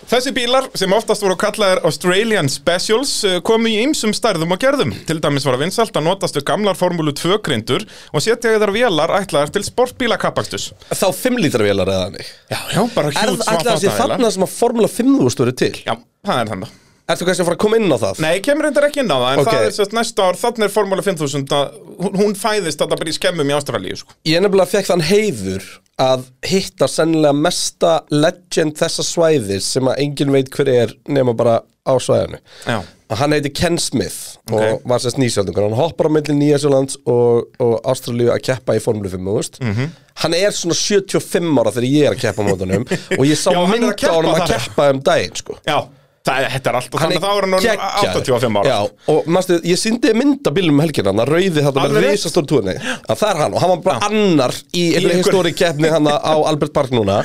Speaker 2: Þessi bílar sem oftast voru kallaðir Australian Specials eh, komu í ymsum stærðum og gerðum. Til dæmis var að vinsalt að notast við gamlar Formúlu 2 grindur og setja þar vélar ætlaðar til sportbíla kappakstus.
Speaker 3: Þá 5 lítra vélar eða hannig
Speaker 2: Já, já, bara
Speaker 3: Er
Speaker 2: hjút
Speaker 3: það alltaf þessi þarna sem að Formula 5 þú störu til?
Speaker 2: Já, það er þannig.
Speaker 3: Ertu kannski að fara að koma inn á það?
Speaker 2: Nei, kemur reyndar ekki inn á það, en
Speaker 3: Ok.
Speaker 2: það er sérst næsta ár, þannig er Formúla 5000, að, hún- hún fæðist þetta bara í skemmum í Ástralíu, sko.
Speaker 3: Ég nefnilega fekk þann heiður að hitta sennilega mesta legend þessa svæðis sem að enginn veit hver er nema bara á svæðinu.
Speaker 2: Já.
Speaker 3: Og Hann heiti Ken Smith og
Speaker 2: Ok.
Speaker 3: var sérst nýsjöldungur. Hann hoppar á milli Nýjasjölands og, og Ástralíu að keppa í Formule 5, þú veist.
Speaker 2: Mhm.
Speaker 3: Hann er svona 75 ára þegar ég er að keppa á mótunum og ég sá
Speaker 2: Já, hann er að
Speaker 3: mynd á
Speaker 2: keppa
Speaker 3: honum að
Speaker 2: þar.
Speaker 3: keppa um daginn, sko.
Speaker 2: Já, það, þetta er alltaf þannig, þá er hann orðinn
Speaker 3: geggjaður.
Speaker 2: 85 ára.
Speaker 3: Já, og mástu, ég síndi myndabílum um helgina hann að rauði þetta
Speaker 2: Alveg
Speaker 3: með
Speaker 2: rétt.
Speaker 3: risastór túrni að það er hann og hann var bara annar í einhverju
Speaker 2: einhver-
Speaker 3: históri keppni hann á Albert Park núna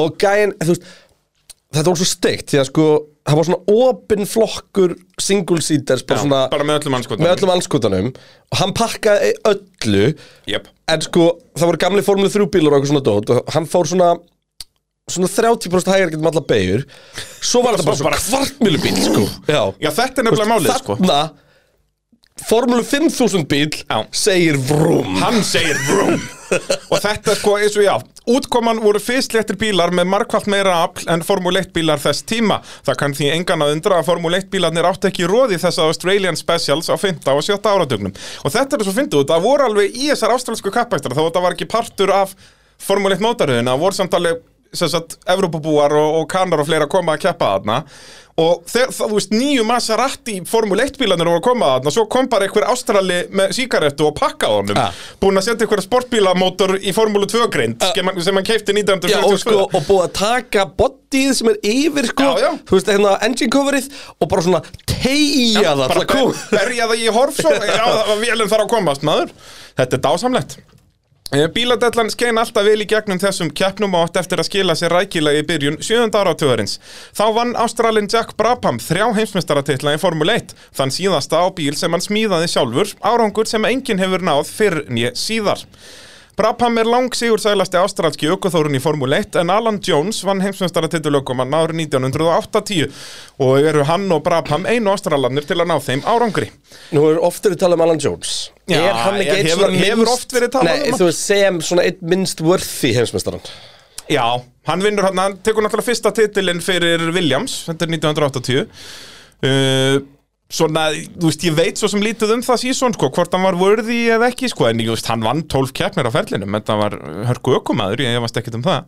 Speaker 3: og gæin, þú veist þetta var svo steikt því að sko það var svona opinn flokkur single seaters bara
Speaker 2: Já,
Speaker 3: svona
Speaker 2: bara með öllum andskotanum.
Speaker 3: með öllum andskotanum og hann pakkaði öllu
Speaker 2: Jep.
Speaker 3: en sko það voru gamli formule 3 bílar og eitthvað svona dót og hann fór svona svona 30% hægir getum alla beigur svo var þetta bara
Speaker 2: svo
Speaker 3: svona
Speaker 2: bara-
Speaker 3: kvartmjölu bíl sko já
Speaker 2: Já, þetta er nefnilega málið, sko.
Speaker 3: Þarna Formule 5000 bíl
Speaker 2: Já.
Speaker 3: segir vrúm
Speaker 2: Hann segir vroom Og þetta sko eins og já Útkoman voru fyrstléttir bílar með markvallt meira afl en Formule 1 bílar þess tíma Það kann því engan að undra að Formule 1 bílarnir átt ekki róði þess að Australian Specials á 5. og 7. áratugnum Og þetta er svo fyndið út að voru alveg í þessar ástralsku kappækstra þá þetta var ekki partur af Formule 1 mótaröðina voru samt alveg sem sagt, Evrópabúar og, og kanar og fleira að koma að keppa þarna og þegar, það, þú veist, nýju Maserati Formule 1 bílanir voru að koma þarna svo kom bara einhver ástrali með síkarettu og pakkaði honum,
Speaker 3: Ah.
Speaker 2: búin að setja einhver sportbílamótor í Formule 2 grind
Speaker 3: Ah.
Speaker 2: sem, hann- sem hann keipti
Speaker 3: Já, og, sko,
Speaker 2: 1942
Speaker 3: og búið að taka bodyð sem er yfir sko,
Speaker 2: Já, já.
Speaker 3: þú veist, hérna engine coverið og bara svona teygja það til
Speaker 2: bara
Speaker 3: að koma
Speaker 2: ber- berja það í horfsó já, það var vélum þar að komast, maður þetta er dásamlegt Eh, Bíladellan skein alltaf vel í gegnum þessum keppnum og átt eftir að skila sér rækilega í byrjun 7. áratöðurins. Þá vann Ástralin Jack Brabham þrjá heimsmestaratitla í Formule 1, þann síðasta á bíl sem hann smíðaði sjálfur, árangur sem enginn hefur náð fyrr nýja síðar. Brabham er lang sigursælasti ástralski aukoþórun í Formule 1 en Alan Jones vann heimsmestaratitulaukumann árið 1980 og eru hann og Brabham einu ástralarnir til að ná þeim árangri.
Speaker 3: Nú er oft verið talað um Alan Jones
Speaker 2: Já,
Speaker 3: Er hann ekki
Speaker 2: ég-
Speaker 3: einn
Speaker 2: hefur-
Speaker 3: svona
Speaker 2: hefur
Speaker 3: minnst-
Speaker 2: oft verið talað um
Speaker 3: Nei,
Speaker 2: hann?
Speaker 3: þú veist, sem svona einn minnst worthy heimsmeistaran
Speaker 2: Já, hann vinnur hann, hann tekur náttúrulega fyrsta titilinn fyrir Williams, þetta er 1980 uh, Svona, þú veist, ég veit svo sem lítið um það síðan, sko, hvort hann var vörði eða ekki, sko, en ég veist, hann vann 12 keppnir á ferlinum, en það var hörku ökumæður, ég varst ekkit um það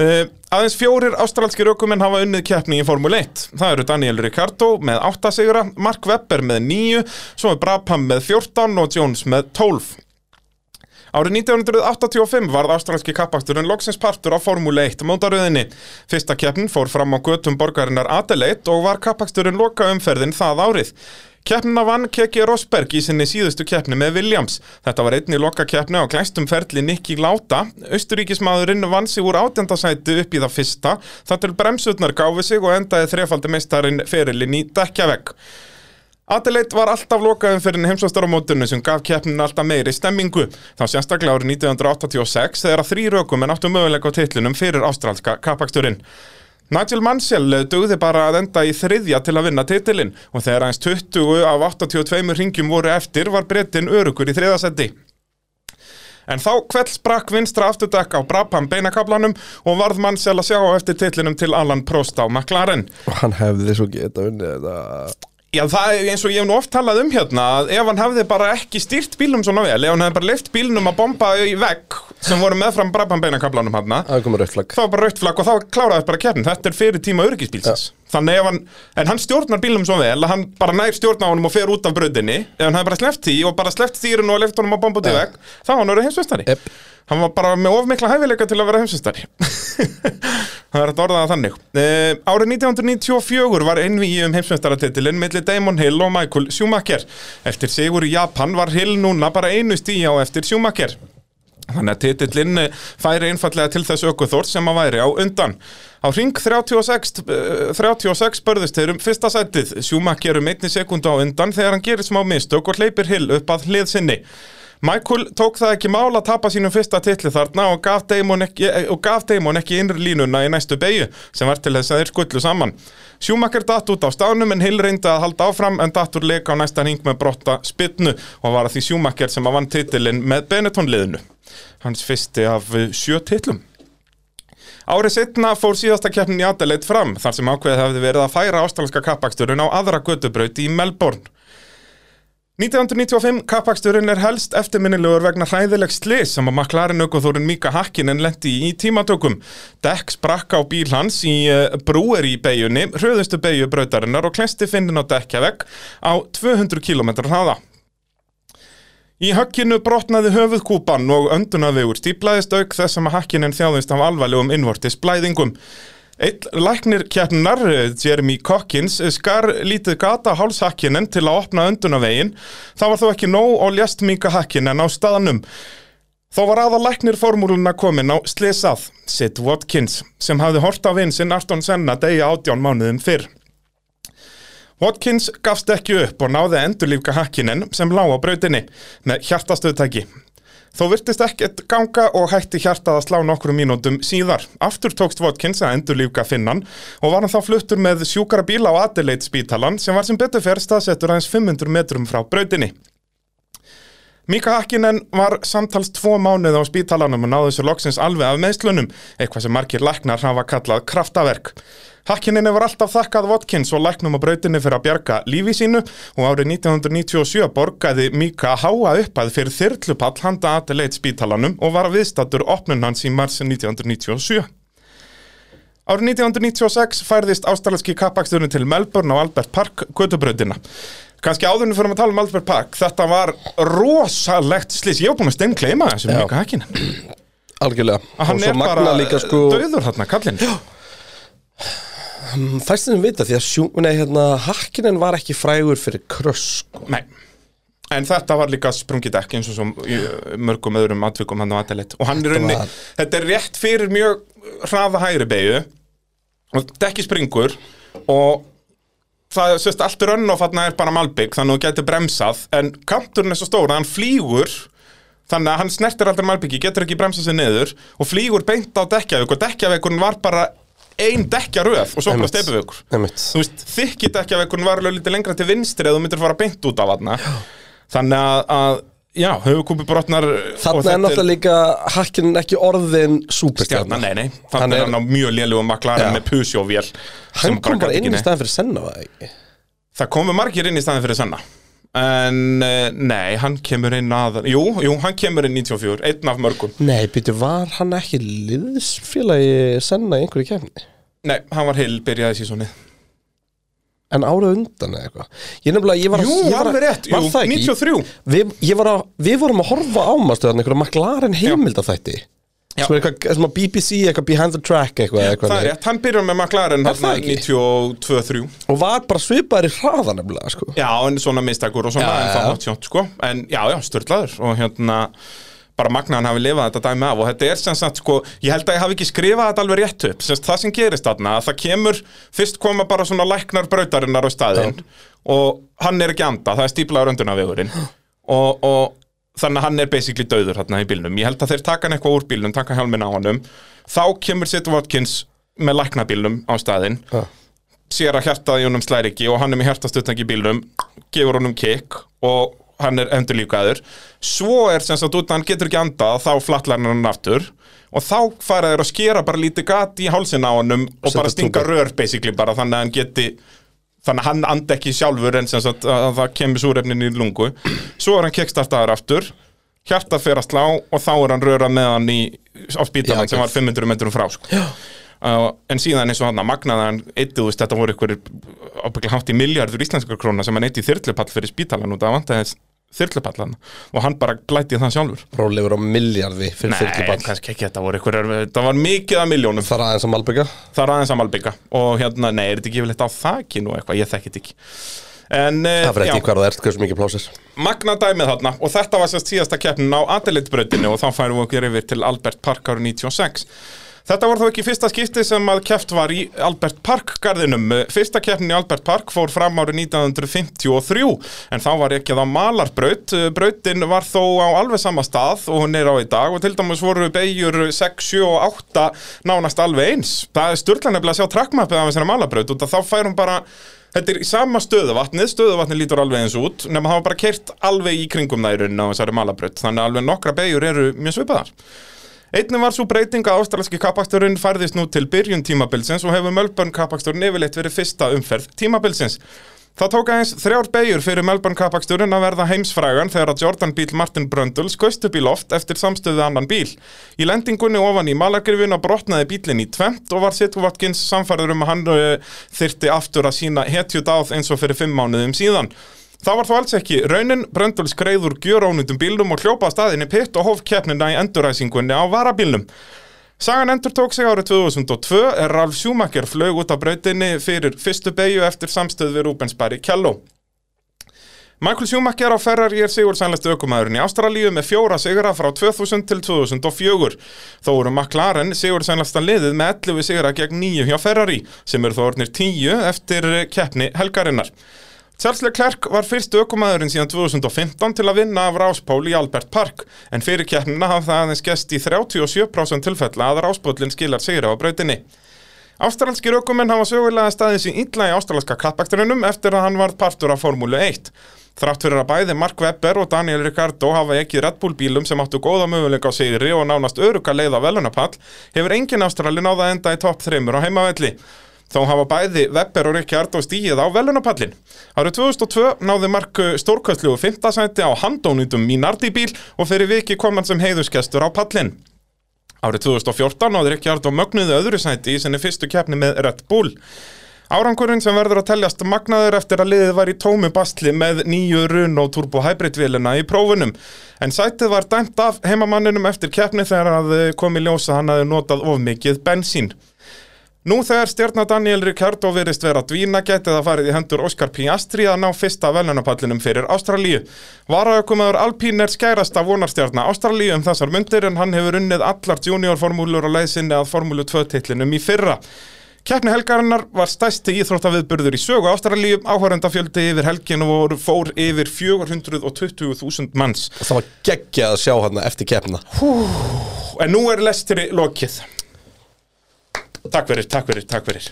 Speaker 2: uh, Aðeins fjórir ástralskir ökumenn hafa unnið keppni í Formule 1 Það eru Daniel Ricardo með 8 sigura, Mark Webber með 9 Svo er Brabham með 14 og Jones með 12 Árið 1985 varð ástralski kappaksturinn loksins partur á Formule 1 mótaröðinni. Fyrsta keppnin fór fram á götum borgarinnar Adelaide og var kappaksturinn loka umferðin það árið. Keppnina vann Keki Rosberg í sinni síðustu keppni með Williams. Þetta var einni loka keppni á glæstum ferli Nicky Lauda. Östuríkismadurinn vann sig úr átjandasæti upp í það fyrsta. Þar til bremsutnar gáfi sig og endaði þrefaldi meistarinn ferilinn í dekkjavegg. Adelaide var alltaf lokaðum fyrir heimsvastaramótinu sem gaf keppninu alltaf meiri stemmingu. Þá sérstaklega árið 1986 þegar að þrý rökum en áttu möguleika á titlinum fyrir ástralska kappaksturinn. Nigel Mansell dögði bara að enda í þriðja til að vinna titilinn og þegar aðeins 20 af 82 ringjum voru eftir var breytin örugur í þriðasetti. En þá kveld sprakk vinstra afturdekk á Brabham beinakablanum og varð Mansell að sjá á eftir titlinum til Alan Prost á McLaren.
Speaker 3: Og hann hefði svo geta unnið þetta
Speaker 2: Já, það er eins og ég hef nú oft talað um hérna að ef hann hefði bara ekki stýrt bílnum svona vel, ef hann hefði bara leift bílnum að bomba í vegg sem voru meðfram brabambeinakablanum hann,
Speaker 3: Það komið rauðflag
Speaker 2: hérna, þá var bara rautt flagg og þá kláraði bara keppnin, þetta er fyrir tíma öryggisbílsins. Þannig ef hann, en hann stjórnar bílnum svo vel að hann bara nær stjórn á honum og fer út af bröðinni, ef hann hefði bara sleppt því og bara sleppt þýrinu og leift honum að bomba út í
Speaker 3: Já.
Speaker 2: vegg, þá var hann verið heimsveistari.
Speaker 3: Jep.
Speaker 2: Hann var bara með ofmikla hæfileika til að vera heimsistari Það er hægt að orða það þannig uh, Árið 1994 var einvíi um heimsmyndstaratítilinn milli Damon Hill og Michael Schumacher Eftir sigur í Japan var Hill núna bara einu stíja á eftir Schumacher Þannig að titillinn eh, færi einfallega til þess ökuþór sem að væri á undan. Á ring 36, eh, 36 börðust þeir um fyrsta sætið. Schumacher um einni sekundu á undan þegar hann gerir smá mistök og hleypir hill upp að hlið sinni. Michael tók það ekki mál að tapa sínum fyrsta titli þarna og gaf Damon ekki, eh, og gaf Damon ekki innri línuna í næstu beigju sem var til þess að þeir skullu saman. Schumacher datt út á stánum en Hill reyndi að halda áfram en datt úr leik á næsta hing með brotta spytnu og var að því Schumacher sem að vann titilinn með Benetton liðinu. Hans fyrsti af eh, sjö titlum. Árið setna fór síðasta keppnin í Adelaide fram þar sem ákveðið hefði verið að færa ástralanska kappaksturinn á aðra gödubraut í Melbourne. 1995 kappaksturinn er helst eftirminnilegur vegna hræðileg slis sem að McLaren aukoþórun Mika Hakkinen lendi í tímatökum. Dekk sprakk á bíl hans í eh, brúer í beigjunni, hröðustu beigju brautarinnar og klesti finnin á dekkjavegg á 200 km hraða. Í högginu brotnaði höfuðkúpan og öndunavegur stíplaðist auk þess sem að hakkinin þjáðist af alvarlegum innvortis blæðingum. Eitt læknir kjarnar, eh, Jeremy Cockins, eh, skar lítið gata á hálshakkinen til að opna öndunavegin. Það var þó ekki nóg og ljast mika hakkinen á staðanum. Þó var aða læknir formúluna komin á slesað, Sid Watkins, sem hafði hort á vinn sinn Arton Senna degi átján mánuðum fyrr. Watkins gafst ekki upp og náði að endurlífka hakkinen sem lá á brautinni með hjartastöðtæki. Þó virtist ekkert ganga og hætti hjartað að slá nokkru mínútum síðar. Aftur tókst Watkins að endurlífka finnan og var hann þá fluttur með sjúkara bíla á Adelaide spítalan sem var sem betur fer staðsettur aðeins 500 metrum frá brautinni. Mika Hakkinen var samtals tvo mánuð á spítalanum og náði sér loksins alveg af meðslunum, eitthvað sem margir læknar hafa kallað kraftaverk. Hakkinen hefur alltaf þakkað Watkins og læknum á brautinni fyrir að bjarga lífi sínu og árið 1997 borgaði Mika háa uppað fyrir þyrlupall handa aðeileit spítalanum og var viðstattur opnun hans í mars 1997. Árið 1996 færðist ástralenski kappaksturinn til Melbourne á Albert Park götubrautina. Kanski áðurinn fyrir að tala um Albert Park, þetta var rosalegt slís. Ég var búin að steingleima þessu
Speaker 3: Já.
Speaker 2: mika hakinn.
Speaker 3: algjörlega
Speaker 2: Hann
Speaker 3: og svo
Speaker 2: er
Speaker 3: magna
Speaker 2: bara
Speaker 3: líka sko
Speaker 2: döður þarna, kallinn.
Speaker 3: fæstin við vita því að sjú, nei, hérna, hakkinin var ekki frægur fyrir kröss sko.
Speaker 2: Nei. En þetta var líka sprungið ekki eins og svo í uh, mörgum öðrum atvikum hann á Adelaide. Og hann er raunni,
Speaker 3: var-
Speaker 2: þetta er rétt fyrir mjög hraða hægri beigju og dekki springur og það er sérst allt rönn og þarna er bara malbygg þannig að þú getur bremsað en kanturinn er svo stór að hann flýgur þannig að hann snertir aldrei malbyggi, getur ekki bremsað sér niður og flýgur beint á dekkjavöku og dekkjavökun var bara ein dekkjaröð og svo bara
Speaker 3: Einmitt.
Speaker 2: steipavökur
Speaker 3: Einmitt.
Speaker 2: þú veist, þykki dekkjavekun var alveg lítið lengra til vinstri eða þú myndir fara beint út af hann þannig að, að já, höfukúpi brotnar og
Speaker 3: þarna
Speaker 2: þetta
Speaker 3: er náttúrulega líka hakkinin ekki orðin
Speaker 2: stjarnan,
Speaker 3: súperstjarnan
Speaker 2: nei, nei, þannig er hann á mjög lélugum
Speaker 3: Já.
Speaker 2: McLaren með pusjóvél
Speaker 3: hann kom bara inn í staðan fyrir senna var það ekki?
Speaker 2: það komu margir inn í staðin fyrir sanna en eh, nei, hann kemur inn að jú, jú, hann kemur inn 94, einn af mörgum
Speaker 3: nei, býtu, var hann ekki liðsfélagi senna í einhverju kefni?
Speaker 2: nei, hann var heil, byrjaði sísonið
Speaker 3: en árið undan eða eitthvað ég nefnilega, ég var
Speaker 2: jú,
Speaker 3: ég var,
Speaker 2: alveg rétt, jú,
Speaker 3: var það ekki?
Speaker 2: 93
Speaker 3: Við, ég var að, við vorum að horfa á ámastuðan einhverju McLaren heimildatætti
Speaker 2: Já.
Speaker 3: sem er eitthvað, sem að BBC, eitthvað behind the track eitthvað, eitthvað
Speaker 2: það er rétt, hann byrjar með McLaren
Speaker 3: Er það
Speaker 2: þarna
Speaker 3: ekki?
Speaker 2: 92-3
Speaker 3: og var bara svipaður í hraða nefnilega sko.
Speaker 2: Já, en svona mistakur og svona
Speaker 3: Já,
Speaker 2: en
Speaker 3: já,
Speaker 2: það
Speaker 3: já.
Speaker 2: mátt sjótt, sko En já, já, störtlaður og hérna bara magnaðan hafi lifað þetta dæmi af og þetta er sem sagt sko, ég held að ég hafi ekki skrifað þetta alveg rétt upp, sem sagt, það sem gerist þarna að það kemur, fyrst koma bara svona læknar brautarinnar á staðinn og hann er ekki að anda, það er stíplaður öndunavegurinn og, og þannig að hann er basically döður þarna í bílnum ég held að þeir taka hann eitthvað úr bílnum, taka helmin á hannum þá kemur Sid Watkins með læknabílnum á staðinn sér að hjartaði honum slæri ekki og hann er með hjartastutnæki í bílnum gefur honum kick og hann er endur líkaður svo er sem sagt út að hann getur ekki andað þá flattlar hann hann aftur og þá fara þeir að skera bara lítið gat í hálsin á honum og
Speaker 3: Setja
Speaker 2: bara stinga
Speaker 3: tungu.
Speaker 2: rör basically bara þannig að hann geti þannig að hann andi ekki sjálfur en sem sagt að að það kemur súrefnin í lungu svo er hann kickstartaður aftur hjartað fer að slá og þá er hann röra með hann í, á spítalann
Speaker 3: Já,
Speaker 2: sem
Speaker 3: ok.
Speaker 2: var 500 metrum frá sko. uh, en síðan eins og hann að magnaði hann eitthi, veist, þetta voru ykkur ábygglega hátt í miljardur íslenskar króna sem hann eitti í þyrlupall fyrir spítalann og það vantaði þyrlupallan og hann bara glætið það sjálfur
Speaker 3: rólegur á miljardi fyrir
Speaker 2: Nei,
Speaker 3: fyrkjuball
Speaker 2: kannski ekki, þetta voru ykkur það var mikið að miljónum
Speaker 3: þar aðeins að Malbygga
Speaker 2: það er aðeins að malbygga og hérna, nei, er þetta ekki yfirleitt á þakinu og eitthvað, ég þekki þetta ekki en, eh,
Speaker 3: það fyrir
Speaker 2: já,
Speaker 3: ekki hvað það ert, hversu mikið plásir
Speaker 2: magna dæmið þarna og þetta var sérst síðasta keppnin á Adelaide-brautinu og þá færum við okkur yfir til Albert Park árið 96 Þetta var þá ekki fyrsta skipti sem að keft var í Albert Park garðinum. Fyrsta keppnin í Albert Park fór fram árið 1953 en þá var ekki það malarbraut. Brautin var þó á alveg sama stað og hún er á í dag og til dæmis voru beigjur 6, 7 og 8 nánast alveg eins. Það er sturglanefnilega að sjá trakkmappið af þessari malarbraut og þá fær hún bara Þetta er í sama stöðuvatnið, stöðuvatnið lítur alveg eins út, nema það var bara kert alveg í kringum nærun á þessari malabraut, þannig að alveg nokkra beigjur eru mjög svipaðar. Einnig var svo breyting að ástralalski kappaksturinn færðist nú til byrjun tímabilsins og hefur Melbourne kappaksturinn yfirleitt verið fyrsta umferð tímabilsins. Það tók aðeins þrjár beigjur fyrir Melbourne kappaksturinn að verða heimsfrægan þegar að Jordan bíl Martin Brundle skaustu bíl oft eftir samstöðu annan bíl. Í lendingunni ofan í malagrifin og brotnaði bílinn í tvent og var Situ Watkins samfærður um að hann uh, þyrti aftur að sína hetjut áð eins og fyrir fimm mánuðum síðan. Það var þó alls ekki raunin, Bröndul skreið úr gjörónutum bílnum og hljópaði staðinni pitt og hóf keppnina í enduræsingunni á varabílnum. Sagan endur tók sig árið 2002 er Ralf Schumacher flög út af brautinni fyrir fyrstu beigju eftir samstöð við Rúbensberg í Kjalló. Michael Schumacher á Ferrari er sigursænlæstu aukumæðurinn í Ástralíu með fjóra sigra frá 2000 til 2004. Þó eru McLaren sigursænlæstan liðið með 11 sigra gegn 9 hjá Ferrari sem eru þó orðnir 10 eftir keppni helgarinnar. Charles Leclerc var fyrst aukumæðurinn síðan 2015 til að vinna af ráspól í Albert Park en fyrir keppnina hafði það aðeins gest í 37% tilfella að ráspólinn skilar sigra á brautinni. Ástralskir aukumenn hafa sögulega staðið sér illa í ástralska kappaksturinnum eftir að hann varð partur af Formúlu 1. Þrátt fyrir að bæði Mark Webber og Daniel Ricardo hafa ekki Red Bull bílum sem áttu góða möguleika á sigri og nánast öruka leið á velunapall, hefur engin Ástrali náða enda í topp 3 á heimavelli. Þó hafa bæði Webber og Ricardo stíið á velunapallin. Árið 2002 náði Mark stórkastlu og 5. sæti á handónutum Minardi bíl og fyrir viki kom hann sem heiðuskestur á pallin. Árið 2014 náði Ríkjard og mögnuði öðru sæti í sinni fyrstu keppni með Red Bull. Árangurinn sem verður að teljast magnaður eftir að liðið var í tómi bastli með nýju run og turbo hybrid vilina í prófunum. En sætið var dæmt af heimamanninum eftir keppni þegar að eh, komi ljósa hann hafði notað of mikið bensín. Nú þegar stjarnar Daniel Ricciardo virðist vera að dvína getið að farið í hendur Óskar Piastri að ná fyrsta velunapallinum fyrir Ástralíu. Varaðakumaður Alpín er skærasta vonarstjarnar Ástralíu um þessar mundir en hann hefur unnið allar juniorformúlur og leiðsinni að formúlu 2-titlinum í fyrra. Keppni helgarinnar var stæsti íþróttaviðburður í sögu Ástralíu, áhörendafjöldi yfir helgin og voru- fór yfir 420.000 manns.
Speaker 3: Og það var geggjað að sjá hann eftir keppna
Speaker 2: En nú er lestri lokið Takk fyrir, takk fyrir, takk fyrir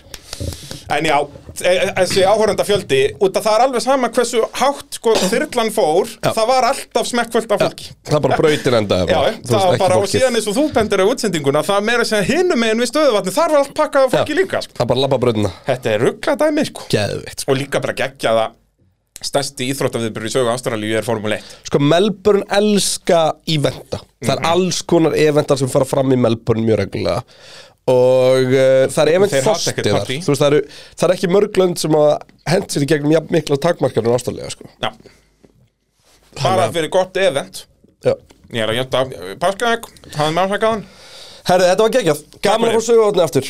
Speaker 2: En já, e- e- þessi áhörenda fjöldi Út að það er alveg sama hversu hátt sko, þyrlan fór Það var alltaf smekkfullt af fólki
Speaker 3: Það bara brautin endaði
Speaker 2: Já,
Speaker 3: bara, þú
Speaker 2: það
Speaker 3: veist,
Speaker 2: var
Speaker 3: ekki
Speaker 2: bara, og
Speaker 3: fólkið.
Speaker 2: síðan eins og þú bendir á útsendinguna Það er meira sem hinum meginn við stöðuvatni Þar var allt pakkað af fólki
Speaker 3: Já.
Speaker 2: líka sko.
Speaker 3: Það bara labba brautina
Speaker 2: Þetta er ruggla dæmi sko.
Speaker 3: Geðveikt sko.
Speaker 2: Og líka bara geggjaða Stærsti íþróttaviðbyrður í sögu Ástralíu er Formule 1
Speaker 3: sko Melbourne elska íventa Það
Speaker 2: Mhm.
Speaker 3: er alls konar eventar sem fara fram í Melbourne mjög reglulega Og uh, það er event
Speaker 2: Þeir hata ekkert
Speaker 3: fostiðar
Speaker 2: partí.
Speaker 3: Þú veist það eru, það eru ekki mörglönd sem að hent sér í gegnum jafn mikla takmarkar en ástæðlega sko
Speaker 2: Já Bara fyrir gott event
Speaker 3: Já.
Speaker 2: Ég er að hjötta Páskaðeg, hafði með ásakaðan
Speaker 3: Herri þetta var geggjað, gaman að
Speaker 2: fyrir.
Speaker 3: fá sögurotni aftur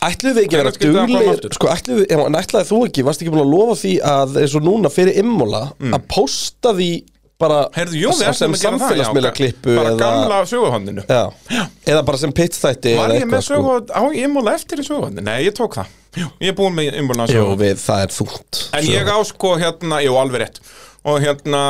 Speaker 3: Ætluðu við ekki að
Speaker 2: Hvenær skyldi
Speaker 3: vera
Speaker 2: hann koma
Speaker 3: duglegir
Speaker 2: aftur?
Speaker 3: Sko ætluðu við, en ætlaði þú ekki, varst ekki búin að lofa því að eins og núna fyrir immola Að pósta því bara
Speaker 2: Mm. Heyrðu, jú, við
Speaker 3: sem-
Speaker 2: ætlum
Speaker 3: sem
Speaker 2: að gera það
Speaker 3: samfélagsmiðla klippu
Speaker 2: Bara gamla söguhóndinu
Speaker 3: Já. eða bara sem pitstætti
Speaker 2: Var
Speaker 3: eða
Speaker 2: ég með
Speaker 3: eitthvað, sko.
Speaker 2: söguhónd, á ég múla eftir í söguhóndinu? Nei, ég tók það Jú, Ég er búin með umbúlna
Speaker 3: Jú,
Speaker 2: söguhónd
Speaker 3: við, það er þungt
Speaker 2: En
Speaker 3: Svo-
Speaker 2: ég á sko hérna, jú, alveg rétt Og hérna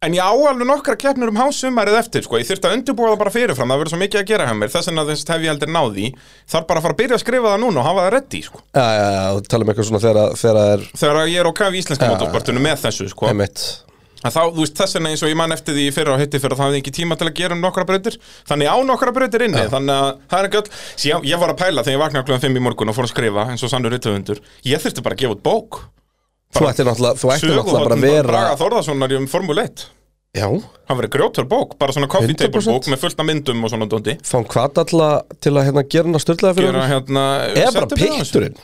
Speaker 2: En ég á alveg nokkra keppnir um hásumarið eftir sko. Ég þyrfti að undirbúa það bara fyrirfram Það verður svo mikið að gera hjá mér Þess vegna þess hef ég heldur náði Þarf bara að fara að byrja að skrifa það núna og hafa það reddi sko.
Speaker 3: Já, já, já, þú tala um eitthvað svona þegar, að- þegar það er
Speaker 2: Þegar ég er á kaf í íslenska ja. með þessu sko.
Speaker 3: einmitt
Speaker 2: að þá, þú veist, þess vegna eins og ég man eftir því í fyrra og hitti fyrra, það hafði ekki tíma til að gera um nokkra brautir þannig á nokkra brautir inni, þannig að það er ekki öll, síðan ég var að pæla þegar ég vaknaði klukkan 5 í morgun og fór að skrifa eins og sannur rithöfundur, ég þurfti bara að gefa út bók
Speaker 3: Þú ættir náttúrulega, þú ættir náttúrulega bara að
Speaker 2: Söguhorn
Speaker 3: vera
Speaker 2: Braga Þórðarssonar um Formule 1
Speaker 3: Já,
Speaker 2: hann verið grjótur bók, bara svona coffee table
Speaker 3: 100%.
Speaker 2: bók með fullt af myndum og svona dóndi
Speaker 3: fá hann hvað alltaf til að hérna gera hann að styrlaða fyrir
Speaker 2: gera
Speaker 3: okkur?
Speaker 2: hérna,
Speaker 3: Eða bara
Speaker 2: setja upp í þessu.
Speaker 3: pitturinn,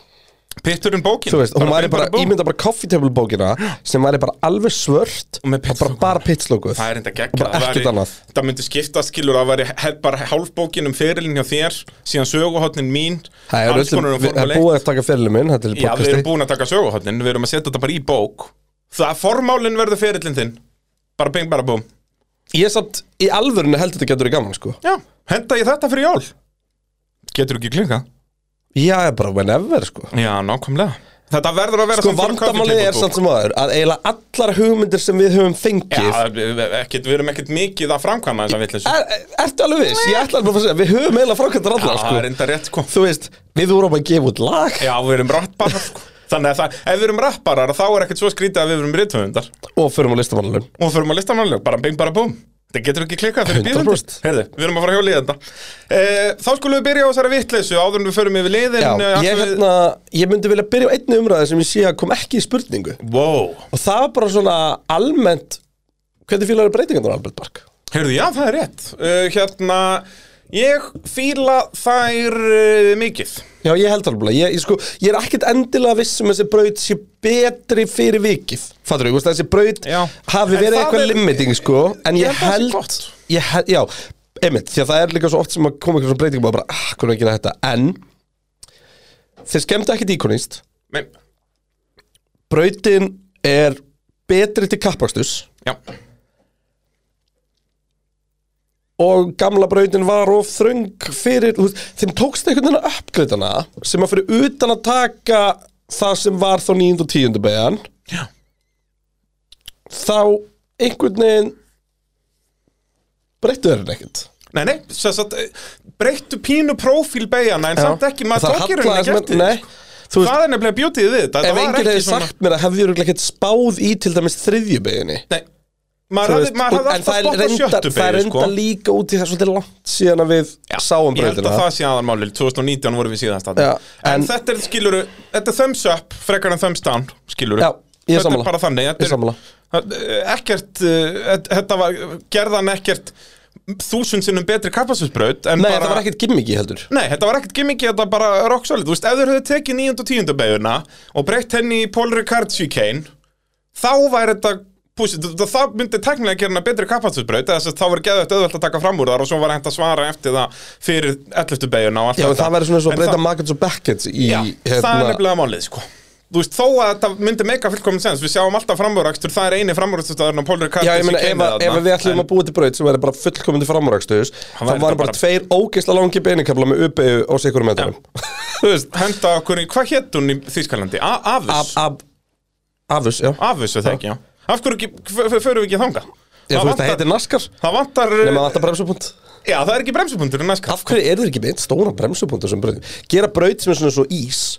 Speaker 2: pitturinn bókin
Speaker 3: þú veist, hún væri bara,
Speaker 2: bók.
Speaker 3: ímynda bara coffee table bókina sem væri bara alveg svört
Speaker 2: Og með
Speaker 3: bara
Speaker 2: pitslókun.
Speaker 3: bara pitslókuð
Speaker 2: Það er enda
Speaker 3: Bara
Speaker 2: geggjað Það
Speaker 3: ekkert
Speaker 2: væri-
Speaker 3: annað.
Speaker 2: Það myndi skipta skilur að væri he- bara hálfbókin um fyrirlin hjá þér síðan söguhotnin mín
Speaker 3: Það er
Speaker 2: alls
Speaker 3: öllum,
Speaker 2: konar um
Speaker 3: við- það er
Speaker 2: formule
Speaker 3: búið
Speaker 2: 1
Speaker 3: að taka fyrirlið minn, þetta er í
Speaker 2: Já, við erum
Speaker 3: podcasti
Speaker 2: búin að taka söguhotnin Við erum að setja þetta bara í bók Það formálinn verður fyrirlin þinn Bara bing, bara búm
Speaker 3: Ég samt, í alvörinu heldur þetta getur í gaman, sko
Speaker 2: Já, henda ég þetta fyrir jól getur ekki klinga
Speaker 3: Já, bara whenever, sko
Speaker 2: Já, nákvæmlega Þetta verður að vera
Speaker 3: Sko,
Speaker 2: samt svona
Speaker 3: vandamálið
Speaker 2: coffee
Speaker 3: er
Speaker 2: table
Speaker 3: samt
Speaker 2: book.
Speaker 3: sem aður að eiginlega allar hugmyndir sem við höfum fengið
Speaker 2: Já, ekkit, við erum ekkert mikið að framkvæma þessa vitleysu
Speaker 3: er, er, Ertu alveg viss? Ég ætla bara að segja, við höfum eiginlega frákvæmdur
Speaker 2: Já,
Speaker 3: allar,
Speaker 2: það er
Speaker 3: sko
Speaker 2: enda rétt, sko
Speaker 3: Þú veist, við vorum að gefa út lag
Speaker 2: Já, við erum rapparar sko. Þannig að það, ef við erum rapparar þá er ekkert svo skrítið að við erum rithöfundar
Speaker 3: og förum á listamannalun
Speaker 2: og förum að listamannlög, bara bing bara búm Það getur ekki klikkað fyrir
Speaker 3: 100%.
Speaker 2: bíðundir Herðu, við erum að fara að hjóla í þetta e, Þá skulum við byrja á þessari vittleysu áður en við förum yfir liðin
Speaker 3: Já,
Speaker 2: eh,
Speaker 3: ég,
Speaker 2: ætlum við-
Speaker 3: hérna, ég myndi vilja byrja á einni umræði sem ég sé að kom ekki í spurningu
Speaker 2: Wow
Speaker 3: og það var bara svona almennt hvernig fílar er breytingarnar á Albert Park?
Speaker 2: Herðu, já, það er rétt e, Hérna, ég fíla þær e, mikið
Speaker 3: Já, ég held alveg, ég, ég, sko, ég er ekkert endilega viss um að þessi braut sé betri fyrir vikið, fattur þú, þessi braut
Speaker 2: Já.
Speaker 3: hafi
Speaker 2: En
Speaker 3: verið
Speaker 2: það
Speaker 3: eitthvað
Speaker 2: er-
Speaker 3: limiting, sko, en
Speaker 2: Ég
Speaker 3: ég,
Speaker 2: held það sé
Speaker 3: held,
Speaker 2: gott.
Speaker 3: ég held, já, einmitt, því að það er líka svo oft sem að koma eitthvað svona breytingum og bara, ah, hvernig er ekki þetta, en þeir skemmta ekkert íkonist,
Speaker 2: Men,
Speaker 3: brautin er betri til kappakstus
Speaker 2: Já,
Speaker 3: og gamla brautin var of þröng fyrir, þú veist, þeim tókst einhvern veginn að uppgreitana sem að fyrir utan að taka það sem var þá 9. og 10. beigjan
Speaker 2: Já.
Speaker 3: þá einhvern veginn breyttu þeirinn ekkert
Speaker 2: nei, nei, sem sagt, eh, breyttu pínu prófíl beigana en samt ekki, maður
Speaker 3: Það
Speaker 2: tók í rauninni
Speaker 3: hallaði
Speaker 2: gert
Speaker 3: sem-
Speaker 2: í
Speaker 3: Nei,
Speaker 2: því, sko.
Speaker 3: þú veist,
Speaker 2: Það er nefnilega bjótið við þetta
Speaker 3: ef
Speaker 2: þetta var
Speaker 3: enginn
Speaker 2: ekki
Speaker 3: hefði
Speaker 2: svona-
Speaker 3: sagt mér að hefði ég örugglega ekkert spáð í til dæmis þriðju beiginni
Speaker 2: Nei, maður hafði, maður hafði alltaf
Speaker 3: það er
Speaker 2: spott á
Speaker 3: reynda,
Speaker 2: sjöttu
Speaker 3: það
Speaker 2: beigir,
Speaker 3: er reynda
Speaker 2: sko.
Speaker 3: líka út í það svolítið langt síðan að við sáum
Speaker 2: Ég held
Speaker 3: brautina
Speaker 2: að það sé aðalmálið, 2019 vorum við síðast að
Speaker 3: Já,
Speaker 2: En
Speaker 3: en-
Speaker 2: þetta er, skiluru, þetta er thumbs up, frekar en thumbs down, skiluru
Speaker 3: Já, ég er
Speaker 2: Þetta
Speaker 3: sammála.
Speaker 2: er bara þannig,
Speaker 3: Ég er
Speaker 2: þetta
Speaker 3: sammála.
Speaker 2: er ekkert, uh, þetta- þetta var, gerðan ekkert þúsund sinnum betri kapastusbraut
Speaker 3: Nei, það var ekkert gimmiki heldur
Speaker 2: Nei, þetta var ekkert gimmicky, þetta var bara rock solid Þú veist, ef þau höfðu tekið 9. og 10. beiguna og breytt henni í Paul Ricard chicane þá væri þetta púsið, það, það myndi teknilega gera hana betri kapastusbraut eða þess að þá var geðvægt auðvelt að taka fram úr þar og svo var hægt að svara eftir það fyrir 11. beiguna og allt
Speaker 3: Já, en
Speaker 2: þetta
Speaker 3: það væri svona
Speaker 2: En
Speaker 3: svo að breyta
Speaker 2: það-
Speaker 3: Markets og Beckett í hérna-
Speaker 2: Já, það er nefnilega málið, sko Þú veist, þó að þetta myndi meika fullkomin sens Við sjáum alltaf framúrækstur, það er eini framúrækstur Paul Ricard
Speaker 3: Já, ég meina, ef,
Speaker 2: chicane
Speaker 3: að- ef
Speaker 2: þarna,
Speaker 3: að við ætlum að búa til braut sem væri bara fullkomandi framúrækstuðus þá
Speaker 2: væri
Speaker 3: var
Speaker 2: þetta
Speaker 3: bara,
Speaker 2: bara-
Speaker 3: tveir ógeisla langi beinikabla með uppeyju á sikurum metrum Þú veist,
Speaker 2: en Henda okkur í, hvað hétt hún í Þýskalandi? A- Avis?
Speaker 3: af, af, afus, já
Speaker 2: Af þessu það ekki, já Af hverju ekki, f- f- förum við ekki þangað?
Speaker 3: Já, þú veist, það heitir naskar
Speaker 2: Það vantar,
Speaker 3: Nefnum að þetta bremsupunkt
Speaker 2: já það er ekki bremsupunktur en næskar
Speaker 3: Af hverju eru þeir ekki beint stóra bremsupunkt á þessum brautum? Gera braut sem er svona svo ís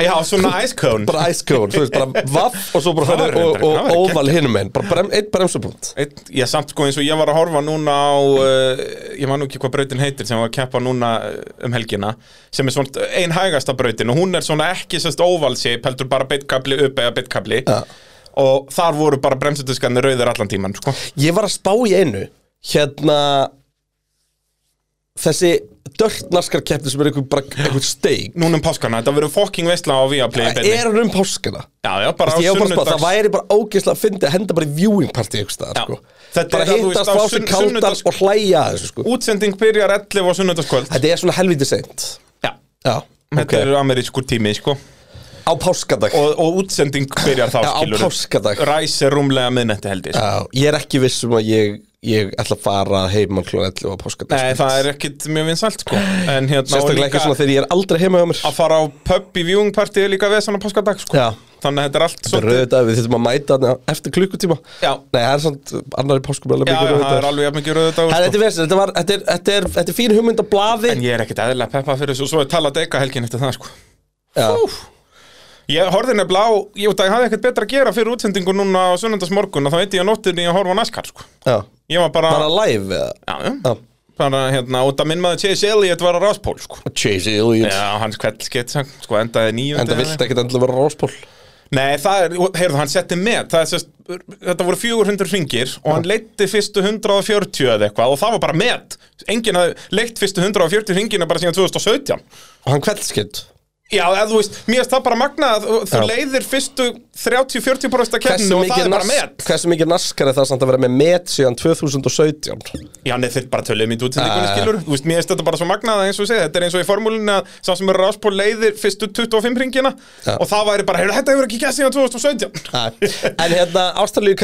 Speaker 2: Já, svona ice cone
Speaker 3: Bara ice cone, þú veist, bara vaff og svo bara
Speaker 2: Það væri
Speaker 3: og,
Speaker 2: reyndar- það
Speaker 3: og,
Speaker 2: væri
Speaker 3: og óval hinum einn Bara brem, eitt bremsupunkt
Speaker 2: Eitt, Já, samt sko eins og ég var að horfa núna á uh, Ég man nú ekki hvað brautin heitir sem var að keppa núna uh, um helgina sem er svona ein hægasta brautin og hún er svona ekki sérst óvalsi heldur bara beitkabli upp eða beitkabli
Speaker 3: Já.
Speaker 2: og þar voru bara bremsutuskarnir rauðir allan tíman sko.
Speaker 3: Ég var að spá í einu Hérna Þessi dörrt naskarkeppni sem er einhver, bara, einhver steik
Speaker 2: Núna um páskana, þetta verður fokking veistla á Viaplay í
Speaker 3: Það
Speaker 2: beinni.
Speaker 3: er hann um páskana
Speaker 2: Já, já, bara á
Speaker 3: Ég var bara að spá,
Speaker 2: sunnudags
Speaker 3: það væri bara ógeðslega að fyndi að henda bara í viewing party einhvers staðar,
Speaker 2: Já.
Speaker 3: sko.
Speaker 2: Þetta er
Speaker 3: Bara
Speaker 2: að þú
Speaker 3: hittast
Speaker 2: veist, á
Speaker 3: á sig
Speaker 2: sunn-
Speaker 3: kaldar
Speaker 2: sunnudags-
Speaker 3: og hlæja að þessu sko
Speaker 2: Útsending byrjar 11 á sunnudagskvöld
Speaker 3: Þetta er svona helviti seint
Speaker 2: Já,
Speaker 3: Já,
Speaker 2: þetta
Speaker 3: ok.
Speaker 2: okay. eru amerískur tími sko.
Speaker 3: Á páskadag
Speaker 2: og, og útsending byrjar þá
Speaker 3: Já, á
Speaker 2: skilurðu.
Speaker 3: páskadag.
Speaker 2: Ræs er rúmlega miðnætti held ég sko.
Speaker 3: Já, ég er ekki viss um að ég, ég ætla að fara heima klón 11 á páskadag
Speaker 2: Nei,
Speaker 3: sko.
Speaker 2: það er ekkit mjög vinsælt sko. En hérna og
Speaker 3: Sérstaklega
Speaker 2: líka
Speaker 3: ekki svona þegar ég er aldrei heima hjá mér
Speaker 2: Að fara á pub í viewingpartið er líka vesan á páskadag sko.
Speaker 3: Já.
Speaker 2: Þannig að þetta er allt
Speaker 3: Þetta er
Speaker 2: svolítið-
Speaker 3: rauðið að við þurfum að mæta þarna eftir klukkutíma
Speaker 2: Já.
Speaker 3: Nei, það er svona annar í páskum
Speaker 2: Já, já, það er alveg jafn mikið rauðið
Speaker 3: Það er
Speaker 2: dagur
Speaker 3: þetta
Speaker 2: sko.
Speaker 3: vesinn, þetta, var- þetta, er- þetta, er- þetta er fín hugmynd á blaði
Speaker 2: En ég er ekkit eðlilega peppað fyrir þessu Og svo er talað eitthvað helgin eftir það sko.
Speaker 3: Já.
Speaker 2: Ég horfði nefnilega á Ég, út að ég hafði ekkert betra að gera fyrir útsendingu núna á sunnundasmorgun Og þá veit ég að nóttinni að horfa á næskar sko.
Speaker 3: Já.
Speaker 2: Ég var bara,
Speaker 3: Bara live eða
Speaker 2: já, já.
Speaker 3: Já.
Speaker 2: bara hérna, út að minn maður Chase Elliot var á ráspól sko.
Speaker 3: Chase Elliot
Speaker 2: Já, hans kveldskeitt sko, endaði nýjum
Speaker 3: Enda vilt ekkert endilega vera ráspól
Speaker 2: Nei, það er, heyrðu, hann setti með það er, sest, Þetta voru 400 ringir og hann leitti fyrstu 140 eða eitthvað og það var bara með Enginn hafði leitt fyrstu 140 ringina bara síðan 2017
Speaker 3: Og hann kveldskitt
Speaker 2: Já, eða, þú veist, mér finnst það bara magna að þú- þú
Speaker 3: Já.
Speaker 2: leiðir fyrstu 30-40% af
Speaker 3: Hversu
Speaker 2: keppninu og það
Speaker 3: mikið
Speaker 2: er bara
Speaker 3: nas-
Speaker 2: met
Speaker 3: Hversu mikið naskar er það samt að vera með met síðan 2017
Speaker 2: Já, neð þeir bara töluðum í útsendingunni
Speaker 3: Ah.
Speaker 2: skilur Þú veist, mér finnst þetta bara svo magnað að eins og ég segi Þetta er eins og í formúlinni að sá sem eru ráspól leiðir fyrstu 25 ringina
Speaker 3: Já.
Speaker 2: Og það væri bara, heyrðu, þetta hefur ekki gæst síðan 2017
Speaker 3: Ha, En hérna, Ástralíu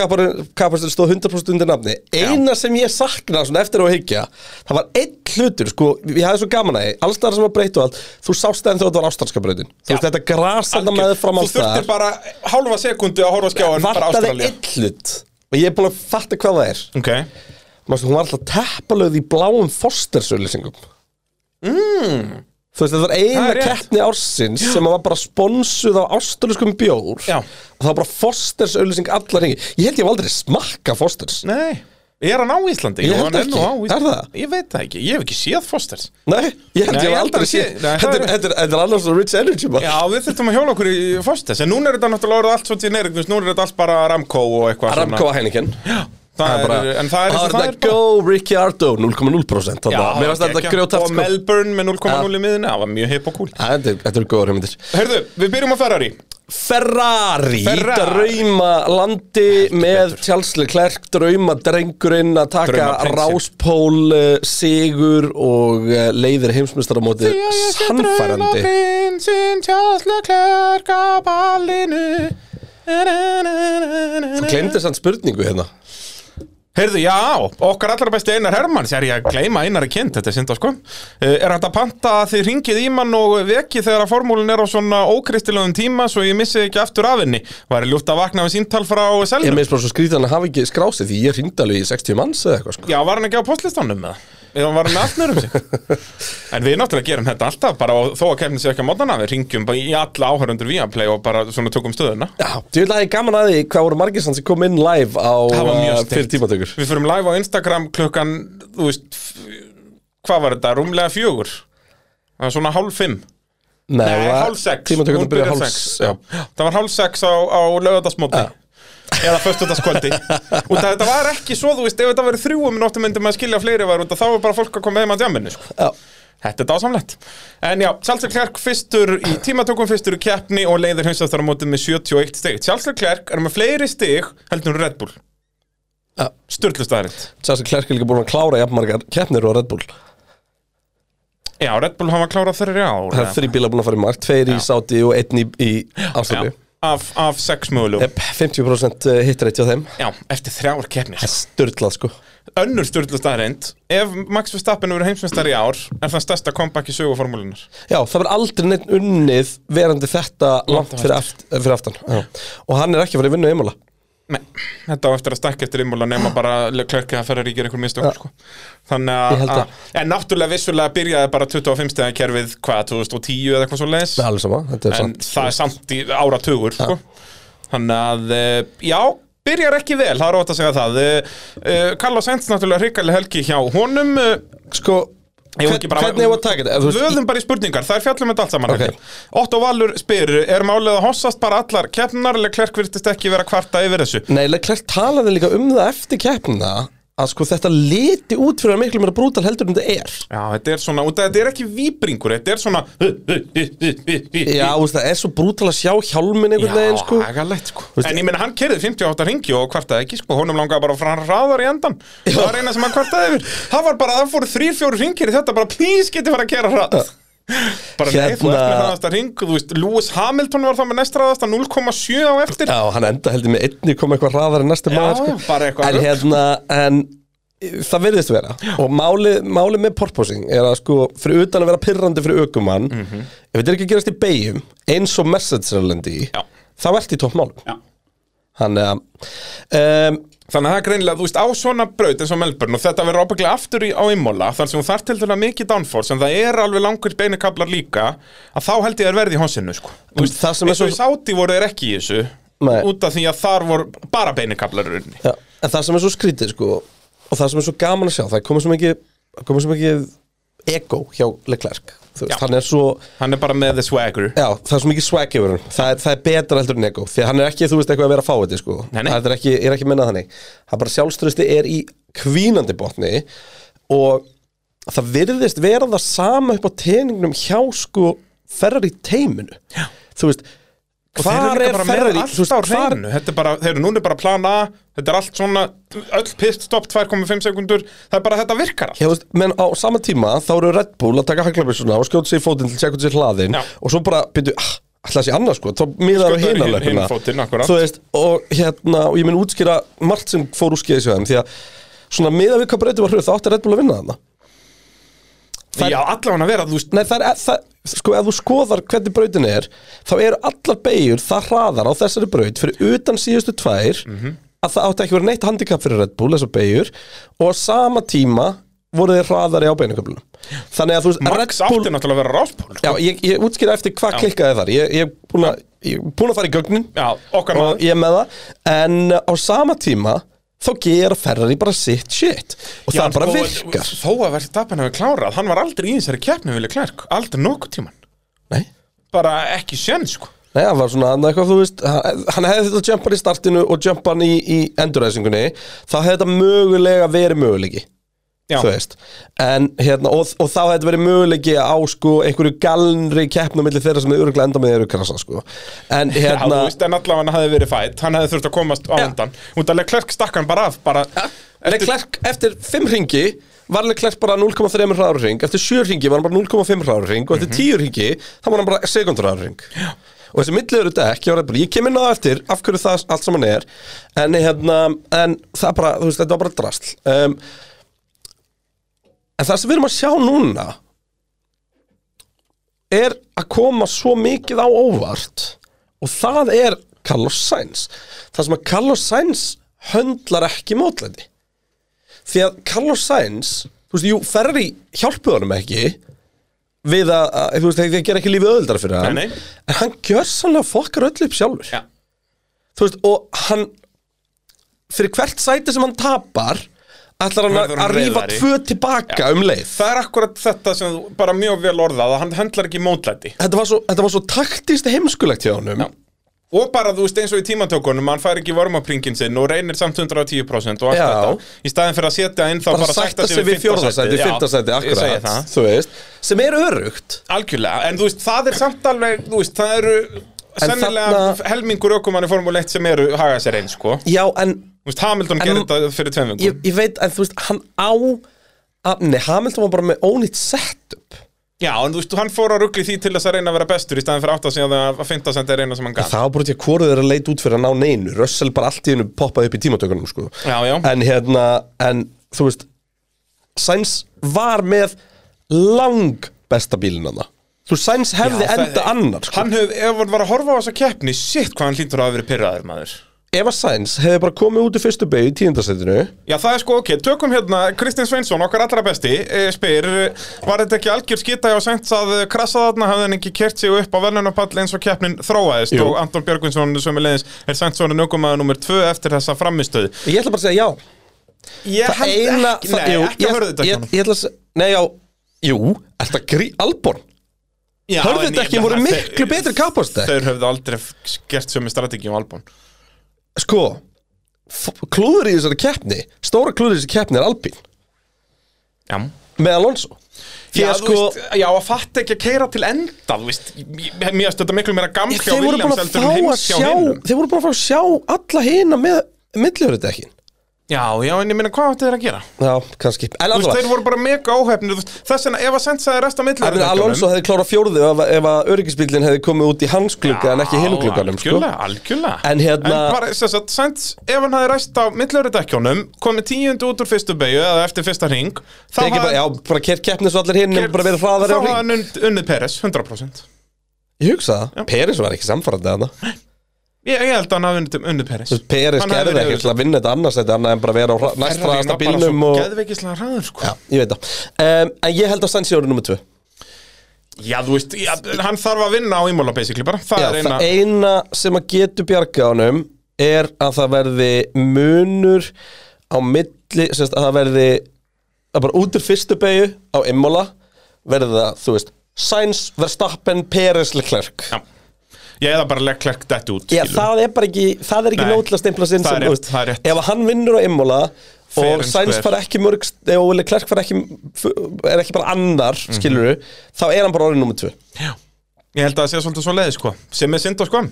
Speaker 3: kapastur stóð 100% undir nafni Eina sem ég sakna svona eftir á að hyggja Það var einn hlutur, sko, ég hafði svo gaman að Alls þar sem var breytt og allt Þú sást það en þú þetta var ástralska breytin Þú veist, þetta grasanda með fram
Speaker 2: Þú
Speaker 3: alls
Speaker 2: þurftir
Speaker 3: þar
Speaker 2: bara hálfa sekundu að horfa á skjáin bara
Speaker 3: Vartaði
Speaker 2: Ástralía
Speaker 3: einn hlut Og ég er búin að fatta hvað það er
Speaker 2: Ok,
Speaker 3: Mastu, Hún var alltaf teppalöð í bláum fostersöðlýsingum mm. Þú veist, þetta
Speaker 2: Mm.
Speaker 3: var
Speaker 2: Það er
Speaker 3: eina
Speaker 2: rétt.
Speaker 3: keppni ársins sem var bara sponsuð á ástraluskum bjór
Speaker 2: Já.
Speaker 3: og það var bara Fosters auðlýsing allar hengi. Ég held ég var aldrei smakka Fosters
Speaker 2: nei Er hann á Íslandi?
Speaker 3: Ég
Speaker 2: Jú,
Speaker 3: held
Speaker 2: hann er
Speaker 3: ekki.
Speaker 2: nú á Íslandi.
Speaker 3: Er það?
Speaker 2: Ég veit það ekki, ég hef ekki séð Fosters
Speaker 3: Nei, ég held
Speaker 2: Nei,
Speaker 3: ég
Speaker 2: ég
Speaker 3: var
Speaker 2: held að
Speaker 3: aldrei
Speaker 2: sé-
Speaker 3: séð
Speaker 2: Nei, það
Speaker 3: Þetta
Speaker 2: er-
Speaker 3: er- þetta er- þetta er annars svona Rich Energy bara
Speaker 2: Já, við þurftum að hjóla okkur í Fosters En núna er þetta náttúrulega orðið allt svo generic, þú veist, Nú er þetta allt bara Ramco og eitthvað svona.
Speaker 3: Aramco að Heineken Já,
Speaker 2: það er, En það er eins og það er
Speaker 3: Go Ricciardo 0,0% þarna. Mér varst þetta
Speaker 2: geggjað.
Speaker 3: grjótart
Speaker 2: Og
Speaker 3: sko.
Speaker 2: Melbourne með 0,0 í miðinu, það var mjög hip og cool
Speaker 3: Já, Þetta er- þetta eru góður heimildir
Speaker 2: Herðu, við byrjum á Ferrari
Speaker 3: Ferrari,
Speaker 2: Ferrari.
Speaker 3: drauma landi með Charles Leclerc drauma drengurinn að taka
Speaker 2: Draumaprinsinn.
Speaker 3: ráspól eh, sigur og eh, leiðir heimsmyndstaramóti sannfærandi
Speaker 2: Prinsinn Tjáðslu Klerk á ballinu
Speaker 3: Þú glemdi sann spurningu hérna
Speaker 2: Heyrðu, já, okkar allra besti Einar Hermann sér ég að gleyma Einar er kynnt, þetta er synda sko Eh, Er hægt að panta að þið ringið í mann og veki þegar að formúlin er á svona ókristilegum tíma svo ég missi ekki aftur af henni Væri ljúft að vakna við síntal frá
Speaker 3: Ég
Speaker 2: selnum
Speaker 3: meðist bara svo skrítið hann að hafa ekki skrásið því ég hringdi alveg í 60 manns eða eitthvað sko
Speaker 2: Já, var hann ekki á postlistanum með það? Eða var hann með allt nörum sig? en við náttúrulega gerum þetta alltaf bara og þó að kemni sér ekki á mótana við ringjum bara í alla áhörundur Viaplay og bara svona tökum stöðuna
Speaker 3: Já, þú vil aðeins gaman að því hvað voru margir sann sem kom inn live á
Speaker 2: Það var mjög
Speaker 3: eh,
Speaker 2: steikt.
Speaker 3: fyrir tímatökur
Speaker 2: Við fyrum live á Instagram klukkan, þú veist, f- hvað var þetta, rúmlega fjögur? Það var svona hálf fimm
Speaker 3: Nei,
Speaker 2: Nei,
Speaker 3: var-
Speaker 2: hálf sex
Speaker 3: Tímatökurnar
Speaker 2: Hún
Speaker 3: byrja
Speaker 2: byrjar
Speaker 3: hálf
Speaker 2: sex.
Speaker 3: já.
Speaker 2: Það var hálf sex á, á lögadagsmóti Eða föstudagskvöldi Og það, þetta var ekki svo, þú veist, ef þetta verið þrjúum Nóttum myndi maður skilja fleiri var út að Þá var bara fólk að koma heim að djamminu sko.
Speaker 3: Já.
Speaker 2: Þetta er dásamlegt En já, Charles Leclerc fyrstur í tímatökum fyrstur í keppni Og leiðir hinsastar á mótið með 71 stig Charles Leclerc er með fleiri stig heldur en Red Bull
Speaker 3: Já.
Speaker 2: Sturlustarind
Speaker 3: Charles Leclerc er líka búin að klára jafnmargar keppnir og Red Bull
Speaker 2: Já, Red Bull hafa klárað þrjá
Speaker 3: Það er þrý bíla búin að fara í mark, tveir í Saudi og einn í, í Ástralíu
Speaker 2: Af, af sex mögulegum
Speaker 3: Jep, eh, 50% hitrætti á þeim
Speaker 2: Já, eftir þrjár keppnir
Speaker 3: Sturlað sko
Speaker 2: önnur stjórnlega staðreind ef Max Verstappen verður heimsmeistari í ár er það stærsta comeback í söguformúlunar
Speaker 3: Já, það verður aldrei neitt unnið verandi þetta langt fyrir, aft, fyrir aftan Já. Og hann er ekki fyrir að vinna einmála
Speaker 2: Nei, þetta á eftir að stækka eftir ymmúla nema bara klökkið að ferra ríkir einhver mistök sko. þannig
Speaker 3: Ég
Speaker 2: að,
Speaker 3: held að-
Speaker 2: að en náttúrulega vissulega byrjaði bara 25 stegar kerfið hvað 2010 eða eitthvað svo leis
Speaker 3: Það er alveg sama, þetta er
Speaker 2: en
Speaker 3: sant
Speaker 2: það er samt í áratugur sko. þannig að eh, já byrjar ekki vel, það er ótt að segja það Eh, eh, Carlos Sainz náttúrulega hrikalega helgi hjá honum eh,
Speaker 3: Sko,
Speaker 2: Eigum
Speaker 3: hvern,
Speaker 2: ekki bara-
Speaker 3: hvernig hefur að taka þetta? Ef þú veist-
Speaker 2: Vöðum bara í spurningar, það er fjallum þetta allt saman
Speaker 3: Ok.
Speaker 2: okay. Otto Valur spyr, er málið að hossast bara allar keppnar Leclerc virtist ekki vera kvarta yfir þessu
Speaker 3: Nei, Leclerc talaði líka um það eftir keppnina að sko þetta liti út fyrir að miklu meira brútal heldur en þetta er
Speaker 2: Já, þetta er svona, út af þetta er ekki víbringur Þetta er svona
Speaker 3: Já,
Speaker 2: Já,
Speaker 3: þú veist, það er svo brútal að sjá hjálmin einhvern veginn sko
Speaker 2: agalegt sko
Speaker 3: Veistu-
Speaker 2: En ég meina, hann kerði 58 ringi og kvartaði ekki sko Honum langaði bara að fara hann ráðar í endan Það var eina sem hann kvartaði yfir Það var bara, það fóru þrír, fjóru ringir í þetta Bara please geti fara að kera ráð Bara nei, þú
Speaker 3: Hérna-
Speaker 2: ert með hraðasta ring Þú veist, Lewis Hamilton var það með næst hraðasta 0,7 á eftir
Speaker 3: Já, hann enda heldur með einni kom eitthvað hraðar en næstu
Speaker 2: Já,
Speaker 3: maður sko.
Speaker 2: já, bara eitthvað
Speaker 3: En
Speaker 2: rugl.
Speaker 3: hérna, en e, það verðist vera Og málið máli með porposing er að sko Fyrir utan að vera pirrandi fyrir ökumann
Speaker 2: Mhm.
Speaker 3: Ef þetta er ekki að gerast í beigjum Eins og messagerlendi
Speaker 2: Já.
Speaker 3: Þá ert í toppmálum
Speaker 2: Já.
Speaker 3: Þannig að um,
Speaker 2: Þannig að það er greinilega, þú veist, á svona braut eins og Melbourne og þetta verður ábygglega aftur í, á Imola þar sem hún þarf til dæla mikið downforce en það er alveg langur beinukablar líka að þá held ég að verði í honsinu, sko Þú
Speaker 3: En
Speaker 2: veist,
Speaker 3: það sem er
Speaker 2: eins og
Speaker 3: svo-
Speaker 2: í Sáti voru þeir ekki í þessu
Speaker 3: Nei.
Speaker 2: út af því að þar voru bara beinukablar í rauninni
Speaker 3: já, En það sem er svo skrítið sko Og það sem er svo gaman að sjá Það er komið svo mikið, komið svo mikið Ego hjá Leclerc Þú
Speaker 2: Já.
Speaker 3: veist, hann er svo
Speaker 2: Hann er bara með the swagger
Speaker 3: Já, það er svo mikið swag yfir hann það, er- það er betra heldur en ego Því að hann er ekki, þú veist, eitthvað að vera að fá þetta sko.
Speaker 2: Nei, nei.
Speaker 3: Það er ekki, er ekki minnað þannig Það er bara sjálfströsti er í kvínandi botni Og það virðist vera það sama upp á teningnum hjá sko Ferrari teiminu Já. þú veist
Speaker 2: Og þeir eru líka
Speaker 3: hvar er
Speaker 2: bara með
Speaker 3: Ferrari
Speaker 2: allt á hreinu Þetta er bara, þeir eru núna er bara plan A Þetta er allt svona, öll pit stop 2,5 sekundur Það er bara þetta virkar allt
Speaker 3: Já, þú veist, menn á sama tíma þá eru Red Bull að taka haglabissuna og skjóta sig í fótinn til að tjekka sér hlaðin
Speaker 2: Já.
Speaker 3: og svo bara byrju, ah, alltaf sé annars sko, þá miðar á
Speaker 2: Skjóta
Speaker 3: hina
Speaker 2: hinn-
Speaker 3: löpuna.
Speaker 2: hinn fótinn, akkurat.
Speaker 3: Þú veist, og hérna, og ég mun útskýra margt sem fór úr skeiðis hjá þeim því að svona miða við hvað breytið var hrjóð þá átti Red Bull að vinna þarna. Það-
Speaker 2: Já, allavega að vera, þú veist
Speaker 3: Nei, það er, það, sko, ef þú skoðar hvernig brautin er, þá eru allar beigur það hraðar á þessari braut fyrir utan síðustu tvær
Speaker 2: Mhm.
Speaker 3: að það átti ekki verið neitt handikap fyrir Red Bull, þessar beigur og á sama tíma voru þeir hraðari á beinuköflunum. Þannig að þú veist,
Speaker 2: Max átti náttúrulega að vera sko. ráspól
Speaker 3: Já, ég, ég útskýra eftir hvað klikkaði þar Ég ég er búin að- ég er búin að fara í gögnin
Speaker 2: Já, okkar
Speaker 3: og
Speaker 2: maður
Speaker 3: ég er með það En uh, á sama tíma þá gera Ferrari bara sitt shit og
Speaker 2: Já,
Speaker 3: það bara
Speaker 2: sko,
Speaker 3: virkar
Speaker 2: Þó að verði tapin hafi klárað, hann var aldrei í þessari keppni vilja klærk, aldrei nokkuð tíman
Speaker 3: Nei
Speaker 2: Bara ekki sén, sko
Speaker 3: Nei, hann var svona annað eitthvað, þú veist, hann hann hefði þetta jumpan í startinu og jumpan í, í enduræsingunni, þá hefði þetta mögulega verið möguleiki,
Speaker 2: Já,
Speaker 3: þú veist. En hérna, og, og þá hefði þetta verið möguleiki á, sko, einhverju galnri keppnum milli þeirra sem er örgulega enda með eru krasa, sko. En
Speaker 2: Já, þú
Speaker 3: hérna,
Speaker 2: veist, en allavega hann hafi verið fætt, hann hafi þurft að komast á
Speaker 3: Já.
Speaker 2: undan Út að Leclerc stakk hann bara af, bara eftir-
Speaker 3: Leclerc, eftir 5 ringi, var Leclerc bara 0,3 hraður ring, eftir 7 ringi var hann bara 0,5 hraður ring og eftir 10 ringi, þá var hann bara sekundur hraður ring. Já. Og þessi milliður dekk, ég var eitthvað, ég kem inn á það eftir af hverju það allt saman er, en, hérna, en það bara, þú veist, þetta var bara drasl. Um, en það sem við erum að sjá núna er að koma svo mikið á óvart og það er Carlos Sainz. Það sem að Carlos Sainz höndlar ekki mótlæti því að Carlos Sainz þú veist, jú, Ferrari hjálpuð honum ekki við að, að þú veist, þeir þeir gera ekki lífið öðuldar fyrir hann
Speaker 2: Nei, nei.
Speaker 3: en hann gjör sannlega fokkar öll upp sjálfur
Speaker 2: Já.
Speaker 3: þú veist, og hann fyrir hvert sæti sem hann tapar ætlar hann að,
Speaker 2: Verður hann
Speaker 3: að rífa
Speaker 2: reiðari.
Speaker 3: tvö tilbaka um leið
Speaker 2: Það er akkurat þetta sem þú, bara mjög vel orðað að hann höndlar ekki mótlæti
Speaker 3: þetta var svo, þetta var svo taktist heimskulegt hjá honum
Speaker 2: og bara þú veist eins og í tímatökunum hann fær ekki varmapringin sinn og reynir samt 110% og allt
Speaker 3: Já.
Speaker 2: þetta í staðin fyrir að setja inn þá bara,
Speaker 3: bara sætta sig við fjórðasæti,
Speaker 2: Já,
Speaker 3: fymtasæti,
Speaker 2: ég segi
Speaker 3: akkurat
Speaker 2: það.
Speaker 3: þú veist, sem er örugt
Speaker 2: algjörlega, en þú veist það er samt alveg þú veist það eru sennilega
Speaker 3: þarna-
Speaker 2: helmingur ökumann í formule 1 sem eru haga sér eins sko
Speaker 3: já, en
Speaker 2: Þú veist, Hamilton
Speaker 3: En-
Speaker 2: gerði þetta fyrir tveim
Speaker 3: ég,
Speaker 2: vingum
Speaker 3: ég veit að þú veist, hann á að, nei, Hamilton var bara með ónýtt setup
Speaker 2: Já, en þú veist, hann fór á rugli því til þess að reyna að vera bestur í staðin fyrir átt að segja það að fynda sem þetta er eina sem hann gaf
Speaker 3: það var bara til að hvora þeirra leit út fyrir að ná neinu Russell bara allt í hennu poppaði upp í tímatökunum sko.
Speaker 2: Já, já.
Speaker 3: en hérna, en þú veist Sainz var með lang besta bílinn hann þú veist, Sainz hefði
Speaker 2: Já, það-
Speaker 3: enda annar sko.
Speaker 2: Hann hefði, ef hann var að horfa á þessa keppni, shit hvað hann hlýtur að hafa verið pyrraður maður
Speaker 3: ef að Sainz hefði bara komið út í fyrstu beig í tíundasettinu
Speaker 2: Já, það er sko, ok, tökum hérna Kristinn Sveinsson, okkar allra besti, eh, spyr eh, Var þetta ekki algjör skita hjá Sainz að eh, krassa þarna, hafði hann ekki kert sig upp á verðlunapall eins og keppnin þróaðist
Speaker 3: Jú.
Speaker 2: og Anton Björgvinsson sem er leiðis er Sveinssonin aukumæða nummer 2 eftir þessa framistöð
Speaker 3: ég ætla bara að segja já
Speaker 2: Ég
Speaker 3: það eina
Speaker 2: ekki,
Speaker 3: það-
Speaker 2: nei,
Speaker 3: jú,
Speaker 2: ekki
Speaker 3: ég-
Speaker 2: að hörðu þetta
Speaker 3: ég, ég ætla að se- Nei, já, jú, er þetta grí, Alborn
Speaker 2: Já,
Speaker 3: hörðu
Speaker 2: en
Speaker 3: þetta
Speaker 2: ég
Speaker 3: ekki
Speaker 2: meina,
Speaker 3: voru
Speaker 2: þeir-
Speaker 3: miklu betri kapastek.
Speaker 2: Þeir höfðu aldrei f- gert sömu strategíum albún
Speaker 3: Sko, f- klúður í þessari keppni Stóra klúður í þessari keppni er Alpín
Speaker 2: Já
Speaker 3: Með Alonso Því
Speaker 2: Já,
Speaker 3: að
Speaker 2: þú
Speaker 3: sko,
Speaker 2: veist, já, að fatta ekki að keira til enda, þú veist, mér mér finnst þetta miklu meira gamla hjá
Speaker 3: þeir voru búin
Speaker 2: Williams
Speaker 3: að fá
Speaker 2: heldur en
Speaker 3: að
Speaker 2: heims hjá
Speaker 3: sjá
Speaker 2: hinnum.
Speaker 3: Þeir voru búin að fá að sjá alla hina með millihörðudekkin
Speaker 2: Já, já, en ég minna, hvað áttu þeir að gera?
Speaker 3: Já, kannski
Speaker 2: Þú veist, þeir
Speaker 3: En allavega,
Speaker 2: voru bara mega óhefnir Þess vegna, ef að senda það rest á milli
Speaker 3: en Alonso hefði klárað fjórðu ef, ef að öryggisbílinn hefði komið út í hans glugga en ekki hinn glugganum sko.
Speaker 2: Algjörlega, algjörlega
Speaker 3: En hérna-
Speaker 2: En bara, sem sagt, sent, ef hann hefði rest á millurudekjónum Komið tíundu út úr fyrstu beigju eða eftir fyrsta ring Þá
Speaker 3: Tekið bara, já, bara kert keppni svo allir hinn bara verið hraðari á
Speaker 2: Þá
Speaker 3: ring
Speaker 2: hafði hann und- unnið Peres, 100%
Speaker 3: Ég hugsa það, Peris var ekki samfærandi að það
Speaker 2: Ég, ég held að hann hafði unnið, unnið Peres
Speaker 3: Peris gerði ekki til að vinna þetta annars þetta annað en bara vera á hra- næst hraðasta bílnum og...
Speaker 2: Geðveikislega hraður, sko
Speaker 3: Já, ég veit það um, En ég held að Sainz sé orðið nummer 2
Speaker 2: Já, þú veist, já, hann þarf að vinna á ímóla, basically, bara Það
Speaker 3: Já,
Speaker 2: er eina
Speaker 3: það eina sem að getur bjarga honum er að það verði munur á milli sérst, að það verði að bara út úr fyrstu beigju á Immola verði það, þú veist Sainz, Verstappen, Peres, Leclerc
Speaker 2: Já. Ég eða bara Leclerc dætt út
Speaker 3: Já,
Speaker 2: skilur.
Speaker 3: það er bara ekki, það er ekki
Speaker 2: Nei.
Speaker 3: nótilega stimpla sinn
Speaker 2: Það
Speaker 3: sem,
Speaker 2: er rétt,
Speaker 3: þú veist,
Speaker 2: það er rétt.
Speaker 3: ef að hann vinnur á Immola
Speaker 2: Fair
Speaker 3: og
Speaker 2: and
Speaker 3: Sainz
Speaker 2: square.
Speaker 3: fara ekki mörg st- og Willi
Speaker 2: Mhm.
Speaker 3: Klerk fara ekki, f- er ekki bara annar, mm skilur þá er hann bara orðin nummer 2
Speaker 2: Ég held að það sé svolítið svo leiði sko Sem er synd og sko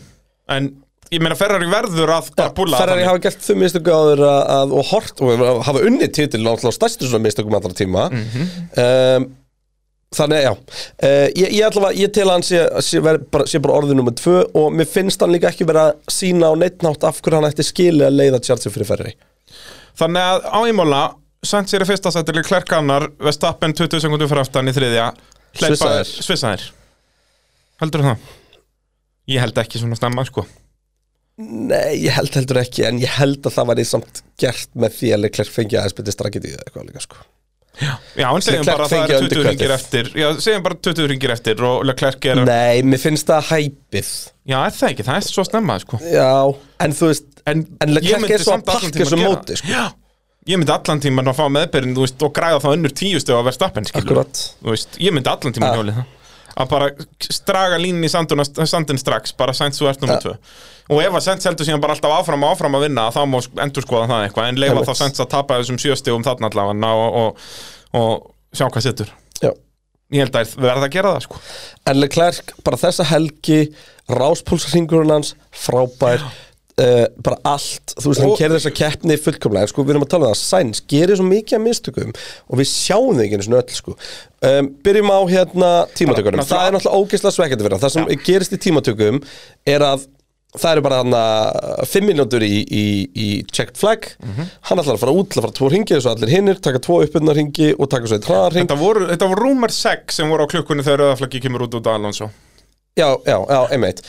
Speaker 2: En ég meina Ferrari verður að bara búla
Speaker 3: Ferrari hafa gert þau mistökum áður að, að, og hort og hafa unnið titil náttúrulega á stærstu svona mistökum allra tíma
Speaker 2: Mhm.
Speaker 3: um, Þannig, já uh, ég, ég, ætla, að- ég tel að hann sé, sé, veri, bara, sé bara orðið nummer tvö og mér finnst hann líka ekki vera að sína á neitt nátt af hverju hann ætti skilið að leiða Chelsea fyrir Ferrari
Speaker 2: Þannig að á ímóla Sænt sér í fyrsta sættili Klerkannar Vestappen 20 sekundum fyrir aftan í þriðja Hleypa-
Speaker 3: Svissaðir.
Speaker 2: Svissaðir Heldur það? Ég held ekki svona stemma sko
Speaker 3: Nei, ég held heldur ekki en ég held að það væri samt gert með því að Leclerc fengi aðeins betið strakkið í það eitthvað líka sko
Speaker 2: Já, en segjum
Speaker 3: Leclerc
Speaker 2: bara að það
Speaker 3: fengi
Speaker 2: er 20 ringir
Speaker 3: undercutið.
Speaker 2: eftir Já, segjum bara 20 ringir eftir og Leclerc er
Speaker 3: Nei, mér finnst það hæpið
Speaker 2: Já, er það ekki, það er svo snemma sko
Speaker 3: Já, en þú veist En, en
Speaker 2: ég
Speaker 3: Leclerc
Speaker 2: myndi
Speaker 3: er svo að
Speaker 2: samt allan
Speaker 3: pakka
Speaker 2: tímann
Speaker 3: þessu
Speaker 2: gera
Speaker 3: móti
Speaker 2: það.
Speaker 3: sko.
Speaker 2: Já, ég myndi allan tíman að fá meðbyrðin veist, og græða þá önnur tíustu að versta appen
Speaker 3: Akkurat
Speaker 2: veist, Ég myndi allan tíman
Speaker 3: Ah.
Speaker 2: hjólið það Að bara straga línni í sanduna, sandin strax Bara sænt svo
Speaker 3: Ah.
Speaker 2: ert nummer tvö Og ef að sænt seldu síðan bara alltaf áfram og áfram að vinna Þá má endur skoða það eitthvað En leifa
Speaker 3: Einmitt.
Speaker 2: þá sænt að tapa þessum sjöstegum þarna allavega og, og, og sjá hvað setur
Speaker 3: Já.
Speaker 2: Ég held að verða að gera það sko
Speaker 3: En Leclerc, bara þessa helgi Ráspólsringurinn hans, frábær Uh, bara allt, þú veist, hann
Speaker 2: Og-
Speaker 3: kerði þessa keppni fullkomlega, en sko, við erum að tala um það Sainz gerir svo mikið að mistökum og við sjáum þau ekki einu svona öll, sko um, byrjum á hérna tímatökunum
Speaker 2: Náttúrulega-
Speaker 3: það er náttúrulega ógeðslega svekkjandi fyrir hann það sem gerist í tímatökum er að það eru bara hann að fimm minútur í, í, í checked flag hann ætlar að fara út, ætlar að fara tvo ringi eins og allir hinnir, taka tvo uppbyrnar ringi og taka svo eitt hraðar ring
Speaker 2: Þetta voru, þetta voru rúmar 6 sem voru á klukkunni þegar rauðaflaggi kemur út út að Alonso
Speaker 3: Já, já, já, einmitt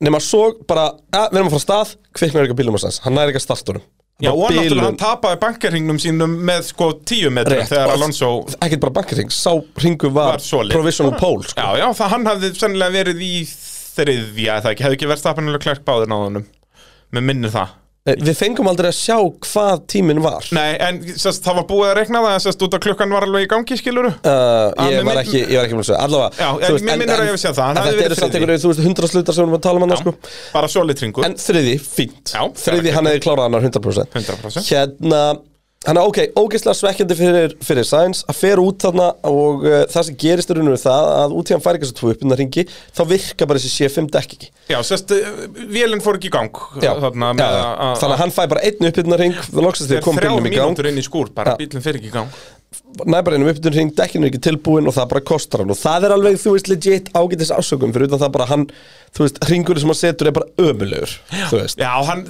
Speaker 3: Nefn að svo bara, að, við erum að fara af stað Kviknar ekki á bílum hans hans, hann næri ekki að startunum
Speaker 2: Já, og náttúrulega hann tapaði bankarhingnum sínum með sko 10 metrum þegar Alonso
Speaker 3: Ekkert bara bankarring, sá ringu var,
Speaker 2: var svolít
Speaker 3: Provisional pole, sko
Speaker 2: Já, já, það hann hafði sennilega verið í þriðja, eða ekki, hefði ekki verið stafanilega klærk báðir náðunum Mér minnir það
Speaker 3: Eh, Við fengum aldrei að sjá hvað tíminn var
Speaker 2: Nei, en sest, það var búið að reikna það, en sest út að klukkan var alveg í gangi, skiluru
Speaker 3: Uh,
Speaker 2: Ah,
Speaker 3: ég,
Speaker 2: mér
Speaker 3: var
Speaker 2: minn-
Speaker 3: ekki, ég var ekki búin að segja Allavega
Speaker 2: Já,
Speaker 3: þú
Speaker 2: en mér
Speaker 3: en-
Speaker 2: minnir að
Speaker 3: en-
Speaker 2: ég hafi séð það, hann
Speaker 3: en
Speaker 2: hafði
Speaker 3: Þetta
Speaker 2: verið
Speaker 3: eru samt
Speaker 2: þriðji.
Speaker 3: einhverju, þú veist, hundra slutar sem við erum að tala um hann sko.
Speaker 2: Bara svolítringur
Speaker 3: En þriði, fínt
Speaker 2: Já, það
Speaker 3: Þriði,
Speaker 2: er
Speaker 3: hann
Speaker 2: ekki-
Speaker 3: hefði klárað hann 100%
Speaker 2: 100%.
Speaker 3: Hérna, hann er ok, ógeðslega svekkjandi fyrir, fyrir Sainz að fer út þarna og uh, það sem gerist er unnur það að út í hann fær ekki þessu tvo uppinna ringi þá virka bara þessi C5 dekk ekki
Speaker 2: Já, sérst, vélinn fór ekki í gang
Speaker 3: Já,
Speaker 2: Þarna
Speaker 3: já,
Speaker 2: með
Speaker 3: já. þannig að hann fær bara einn uppinna ring þá loksast
Speaker 2: Þeir
Speaker 3: þegar kom
Speaker 2: þrjá
Speaker 3: bílnum í gang
Speaker 2: mínútur inn í skúr, bara
Speaker 3: Já.
Speaker 2: bílinn fyrir ekki í gang
Speaker 3: næ bara einum uppinna ring, dekkinu er ekki tilbúin og það bara kostar hann og það er alveg, þú veist, legit ágætis ásökum fyrir utan það bara hann, þú veist, ringurinn sem hann setur er bara ömulegur, þú veist
Speaker 2: Já, hann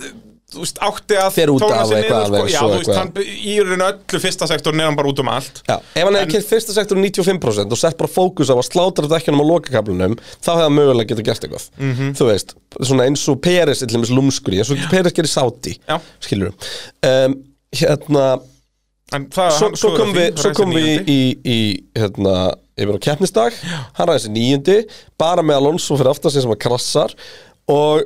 Speaker 2: þú veist, átti að
Speaker 3: Fer út
Speaker 2: tóna
Speaker 3: af
Speaker 2: sig
Speaker 3: eitthvað
Speaker 2: niður, sko.
Speaker 3: alveg,
Speaker 2: Já,
Speaker 3: svo
Speaker 2: þú veist,
Speaker 3: eitthvað.
Speaker 2: hann í raun öllu fyrsta sektorin er hann bara út um allt
Speaker 3: Já, ef hann hefði
Speaker 2: En-
Speaker 3: kert fyrsta sektor 95% og sett bara fókus á að slátra dekkunum á lokakablinum þá hefði hann mögulega getað gert eitthvað
Speaker 2: Mhm.
Speaker 3: þú veist, svona eins og Peres til dæmis lúmskur í, eins og Peres gerir sáti
Speaker 2: Já.
Speaker 3: skilur um, hérna,
Speaker 2: En það,
Speaker 3: svo,
Speaker 2: hann
Speaker 3: svo
Speaker 2: klúðrar
Speaker 3: kom
Speaker 2: því,
Speaker 3: við svo
Speaker 2: ræsir
Speaker 3: kom við
Speaker 2: níundi.
Speaker 3: í, í hérna, yfir á keppnisdag hann ræði sér níundi, bara með Alonso fyrir aftan sig sem að krassar og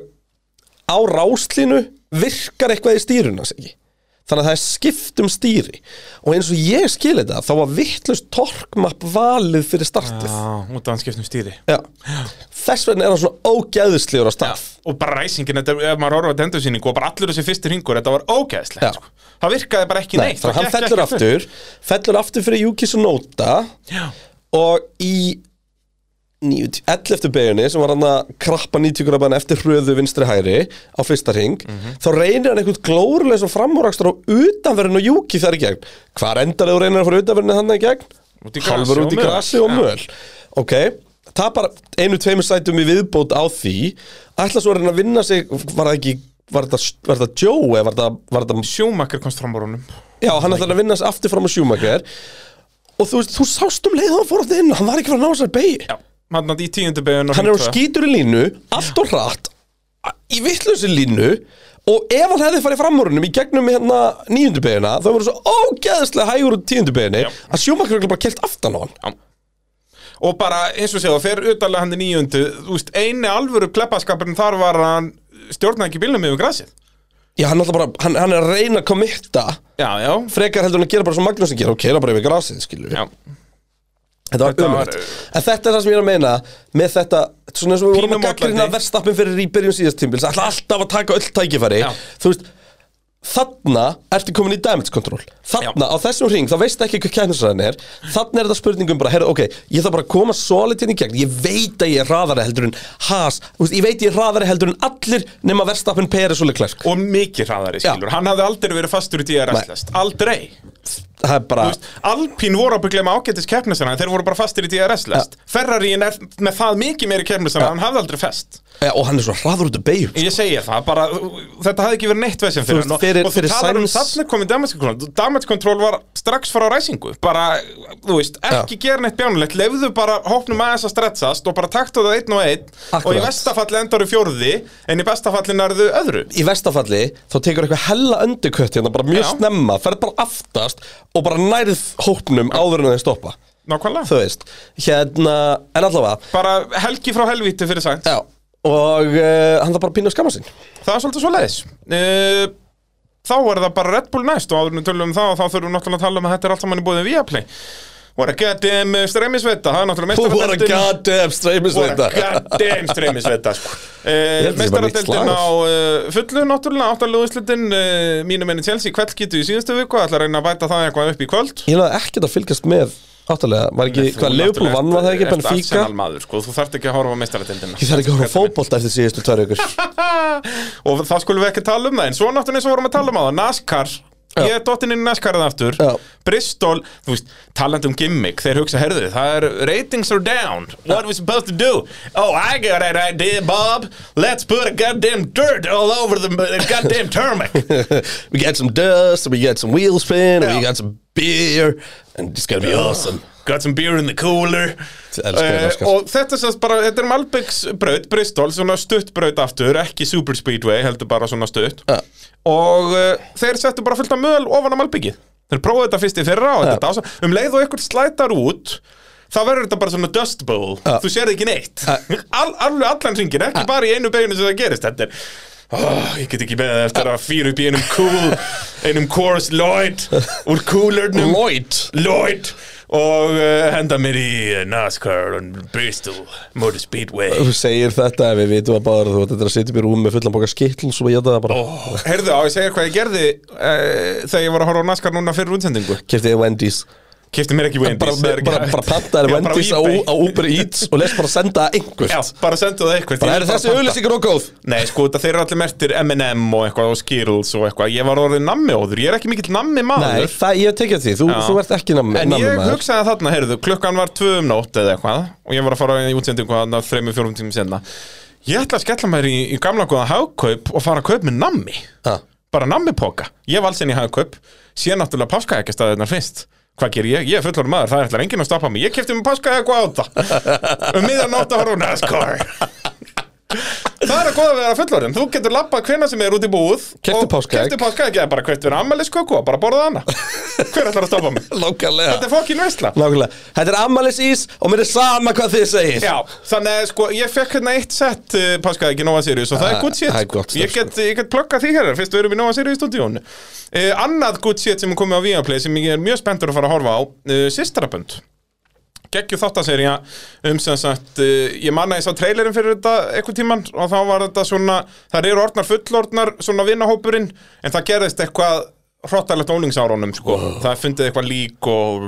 Speaker 3: á ráslínu virkar eitthvað í stýruna sig ekki Þannig að það er skipt um stýri og eins og ég skil þetta þá var vittlust torkmapp valið fyrir startið.
Speaker 2: Já, út af hans skiptum stýri
Speaker 3: Já. Þess vegna er hann svona ógæðislegur á stað.
Speaker 2: Og bara ræsingin, þetta, ef maður horfa á þetta endursýningu og bara allur þessi fyrsti hringur, þetta var ógeðslegt
Speaker 3: Já.
Speaker 2: sko. Það virkaði bara ekki neitt
Speaker 3: þannig að hann
Speaker 2: það gekk
Speaker 3: fellur
Speaker 2: ekki upp.
Speaker 3: aftur, fellur aftur fyrir Yuki Sunoda
Speaker 2: Já.
Speaker 3: og í 90 11. beginni sem var hann að krappa 90 grafana eftir hröðu vinstri hæri á fyrsta ring,
Speaker 2: Mhm.
Speaker 3: þá reynir hann einhvern glórulega svo framúrakstur á utanverðin og Yuki þar í gegn. Hvar endar þú reynir að fara utanverðin þannig í gegn?
Speaker 2: Út í grasi
Speaker 3: Halvur
Speaker 2: og
Speaker 3: út í
Speaker 2: möl.
Speaker 3: grasi og
Speaker 2: Já.
Speaker 3: möl. Ok, tapar einu tveimur sætum í viðbót á því, ætla svo að reyna að vinna sig, var það ekki, var þetta, var þetta Joe eða var þetta, var þetta
Speaker 2: Schumacher komst fram á honum
Speaker 3: Já, hann ætlaði að vinna sig aftur fram á Schumacher Og þú veist, þú sást um leið og hann fór aftur inn Hann var ekki fyrir að ná sér beigi
Speaker 2: Já, hann er í tíundu beðun
Speaker 3: Hann er á skítur í línu, allt og hratt a- Í vittlösi línu Og ef hann hefði farið framúrunum í gegnum hérna nýjundu beigina Það voru svo ógeðslega hægur úr tíundu beiginni
Speaker 2: Já.
Speaker 3: Að Schumacher var bara kelt aftan á hann
Speaker 2: Og bara, eins og séð, það fer utanlega hann í níundu Þú veist, eini alvöru kleppaskapurinn þar var að hann stjórnaði ekki bílnum yfir grasið
Speaker 3: Já, hann, náttúrulega bara, hann, hann er að reyna að kommitta
Speaker 2: Já, já,
Speaker 3: Frekar heldur hann að gera bara svo Magnúsin gera Og keira bara yfir grasið, skilur við
Speaker 2: já.
Speaker 3: Þetta var
Speaker 2: Þetta var-
Speaker 3: umrætt En þetta er það sem ég er að meina Með þetta, svona eins og við vorum að
Speaker 2: Pínum
Speaker 3: gaggrina
Speaker 2: mótlæti.
Speaker 3: verstappin fyrir í byrjun síðast tímbil Það ætla alltaf að taka öll tækifæri
Speaker 2: Já.
Speaker 3: Þú veist, þarna ertu komin í damage control Þarna, á þessum ring, þá veistu ekki hvað kæmisræðin er Þarna er þetta spurningum bara, herru, ok Ég þarf bara að koma solid hérna í gegn Ég veit að ég er hraðari heldur en Haas Þú veist, Ég veit ég er hraðari heldur en allir Nema verstappin Peres og Leclerc
Speaker 2: og mikið hraðari
Speaker 3: Já.
Speaker 2: skilur hann hafði aldrei verið fastur í
Speaker 3: Nei.
Speaker 2: DRS-lest aldrei
Speaker 3: Það er bara,
Speaker 2: Þú veist, Alpín voru ábygglega með ágætis keppnisana en þeir voru bara fastir í DRS-lest Ferrarín er með það mikið meiri keppnisana
Speaker 3: Já.
Speaker 2: hann hafði aldrei fest
Speaker 3: ja, eh, og hann er svo hraður út af beigjum
Speaker 2: Ég segja það, bara uh, þetta hafði ekki verið neitt vesinn
Speaker 3: Þú
Speaker 2: fyrir
Speaker 3: veist,
Speaker 2: hann og,
Speaker 3: fyrir-
Speaker 2: og þú
Speaker 3: fyrir
Speaker 2: talar um
Speaker 3: Sainz-
Speaker 2: þarna komið damage control damage control var strax fara á ræsingu bara, þú veist, ekki gera neitt bjánulegt lefðu bara hópnum aðeins að stretsast og bara taktu það einn og einn og í
Speaker 3: Akkurat.
Speaker 2: vestafalli endaru fjórði en í bestafalli nærðu öðru
Speaker 3: Í vestafalli, þá tekur eitthvað hella undirkött hérna, bara mjög
Speaker 2: Já.
Speaker 3: snemma, ferð bara aftast og bara nærð hópnum áður en þeir stoppa
Speaker 2: Nákvæmlega
Speaker 3: Þú veist, hérna, en allavega
Speaker 2: Bara helgi frá helvíti fyrir sænt
Speaker 3: Já, og uh, hann þarf bara að pínu að skamma sín
Speaker 2: Það er svolítið svo leiðis Þá er það bara Red Bull næst og áður en við tölum um það og þá þurfum við náttúrulega að tala um að þetta er allt saman í bóðin Viaplay What a goddamn eh, streymisveita Það er náttúrulega
Speaker 3: What a
Speaker 2: meistaradeildin-
Speaker 3: goddamn streymisveita
Speaker 2: What a goddamn streymisveita sko. uh,
Speaker 3: held að sé bara nýtt
Speaker 2: Meistaradeildin
Speaker 3: slag.
Speaker 2: á uh, fullu náttúrulega áttalúðislitin uh, mínum enni Chelsea kveld getur í síðustu viku ætla að reyna að bæta það eitthvað upp í kvöld
Speaker 3: Ég náði ekkert að fylgjast með áttalega Var ekki, hvað, Leopold vann var það ekki,
Speaker 2: Eftir
Speaker 3: Benfica
Speaker 2: Arsenal maður, sko, þú þarft ekki að horfa á meistaradildina
Speaker 3: Ég þarf ekki að horfa á fótbolta eftir síðustu tvær ykkur
Speaker 2: og það skulum við ekki tala um það en svo náttúrulega eins og vorum að tala um það, NASCAR ég er dottinn inn í NASCARið aftur
Speaker 3: Já.
Speaker 2: Bristol, þú veist, talandi um gimmick þeir hugsa, herðu, það er ratings are down what are we supposed to do oh, I got an idea, Bob let's put a goddamn dirt all over the goddamn tarmac
Speaker 3: We get some dust, we get some wheel spin
Speaker 2: Já.
Speaker 3: We get some beer And it's gonna be awesome
Speaker 2: got some beer in the cooler
Speaker 3: Elskar,
Speaker 2: Eh,
Speaker 3: elskar.
Speaker 2: og þetta sést bara, þetta er Malbyggs braut, Bristol, svona stutt braut aftur ekki super speedway, heldur bara svona stutt
Speaker 3: Ja.
Speaker 2: og uh, þeir settu bara fullt af möl ofan á Malbyggið þeir prófaðu þetta fyrst í fyrra og þetta dása um leið og ykkur slætar út þá verður þetta bara svona dust bowl
Speaker 3: Ja.
Speaker 2: þú sér ekki neitt All, alveg allan ringin, ekki bara í einu beginu sem það gerist þetta er Oh, ég get ekki beðið eftir að fýra upp í einum cool einum Coors Lloyd úr coolernum
Speaker 3: Lloyd
Speaker 2: Lloyd og uh, henda mér í eh, NASCAR og Bristol Motor Speedway
Speaker 3: Þú segir þetta ef við vitum að báður þú átt eftir að sitja upp í rúm með fullan boka skitl Svo ég það bara oh.
Speaker 2: Herðu á, ég segja hvað ég gerði uh, þegar ég var að horfa á NASCAR núna fyrir útsendingu
Speaker 3: Keftiði Wendy's
Speaker 2: Kifti mér ekki Wendy's
Speaker 3: Bara,
Speaker 2: það er ekki
Speaker 3: bara,
Speaker 2: hægt.
Speaker 3: bara pantaði
Speaker 2: Já, bara
Speaker 3: Wendy's á,
Speaker 2: eBay.
Speaker 3: á Uber Eats Og les bara senda það einhvert
Speaker 2: Já, bara sendu það eitthvað
Speaker 3: Bara eru þessi auðlýsingar og góð
Speaker 2: Nei, sko, þetta þeir eru allir mertir M&M og eitthvað og Skittles og eitthvað Ég var orðið nammi óður, ég er ekki mikill nammi
Speaker 3: Nei,
Speaker 2: maður
Speaker 3: það, ég tekja því, þú,
Speaker 2: Já.
Speaker 3: þú ert ekki nammi
Speaker 2: En
Speaker 3: nammi
Speaker 2: ég
Speaker 3: maður.
Speaker 2: hugsaði þarna, heyrðu, klukkan var tvö um nótt eða eitthvað og ég var að fara í útsendingu þarna þreimur, fjórum tímum senna Ég ætla að skella mér í, í gamla góða hagkaup og fara að kaup með nammi
Speaker 3: Ha.
Speaker 2: bara nammipoka, ég vals inn í hagkaup sé náttúrulega páskaækjastæðunar fyrst hvað ger ég? Ég er fullor maður, það er ætlar enginn að stoppa mig ég kefti með páskaækku átta um miðanótt að horfa á NASCAR það er að goða við að vera fullorinn þú getur labbað hvena sem er út í búð
Speaker 3: Keyptu páskaegg.
Speaker 2: kefti páskaæk, ég er bara kveitt við ammælisköku og bara borðað hana hver ætlar að stoppa mig?
Speaker 3: Nákvæmlega
Speaker 2: þetta er fokkin veistla
Speaker 3: Nákvæmlega Þetta er ammalis ís og mér er sama hvað þið segir
Speaker 2: Já, þannig að sko, ég fekk hérna eitt sett uh, Paskaði ekki Nova Sirius og það
Speaker 3: Ah,
Speaker 2: er good shit
Speaker 3: það er
Speaker 2: sko.
Speaker 3: gott
Speaker 2: Ég
Speaker 3: stöf,
Speaker 2: get, ég get pluggað því hérna, fyrst við erum í Nova Sirius stúdíónu uh, Annað good shit sem er komið á Viaplay sem ég er mjög spenntur að fara að horfa á uh, Sistrabönd Gekkju þáttaserja um sem sagt uh, Ég manna ég sá trailerinn fyrir þetta eitthvað tíman og þá var þetta svona Það eru orðnar fullorðnar svona vinahópurinn en það gerðist eitthvað hrottalegt ólingsárónum sko Það er fundið eitthvað lík og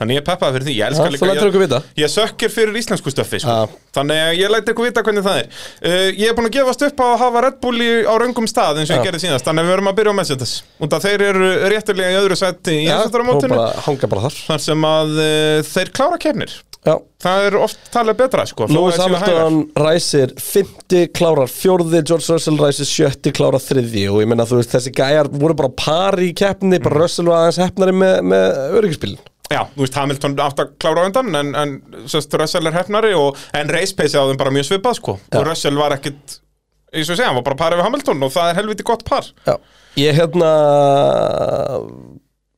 Speaker 2: Þannig ég peppaði fyrir því, ég elska
Speaker 3: Já,
Speaker 2: líka
Speaker 3: þú lætur
Speaker 2: ég-
Speaker 3: okkur vita.
Speaker 2: Ég sökkir fyrir íslensku stöffi sko.
Speaker 3: Já.
Speaker 2: Þannig að ég læti ykkur vita hvernig það er uh, Ég er búin að gefast upp á að hafa Red Bull í, á raungum stað eins og
Speaker 3: Já.
Speaker 2: ég gerði síðast Þannig að við verum að byrja á Mercedes Út að þeir eru réttilega í öðru seti í
Speaker 3: og
Speaker 2: heimsættaramótinu
Speaker 3: bara hanga bara þar
Speaker 2: Þar sem að uh, þeir klára kefnir
Speaker 3: Já
Speaker 2: Það er oft talað betra sko þó
Speaker 3: Lewis
Speaker 2: að séu hægar.
Speaker 3: Hamilton ræsir 50, klárar fjórði George Russell ræsir sjötti, klárar þriðji og ég meina þú veist þessi gæjar voru bara par í keppni,
Speaker 2: Mm.
Speaker 3: bara Russell var aðeins hefnari með, með öryggispilin
Speaker 2: Já, þú veist Hamilton átt að klára á undan En, en sérst, Russell er hefnari og, En race pace á þeim bara mjög svipað sko Og Russell var ekkit eins og ég segja, hann var bara parið við Hamilton og það er helviti gott par
Speaker 3: Já Ég hérna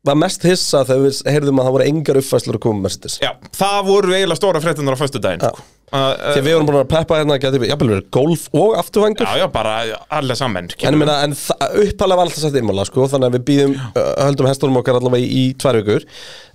Speaker 3: var mest hissa þegar við heyrðum að það voru engar uppfæslur að koma með Mercedes
Speaker 2: Já, það voru eiginlega stóra fréttunar á föstudaginn sko. uh, uh,
Speaker 3: Þegar við vorum búin að peppa hérna, gæti jafnvel verið golf og afturvængur
Speaker 2: Já, já, bara alla saman
Speaker 3: En, ég meina, en þa- upphaflega var alltaf sett innmála sko, þannig að við býðum, uh, höldum hestunum okkar allavega í, í tvær vikur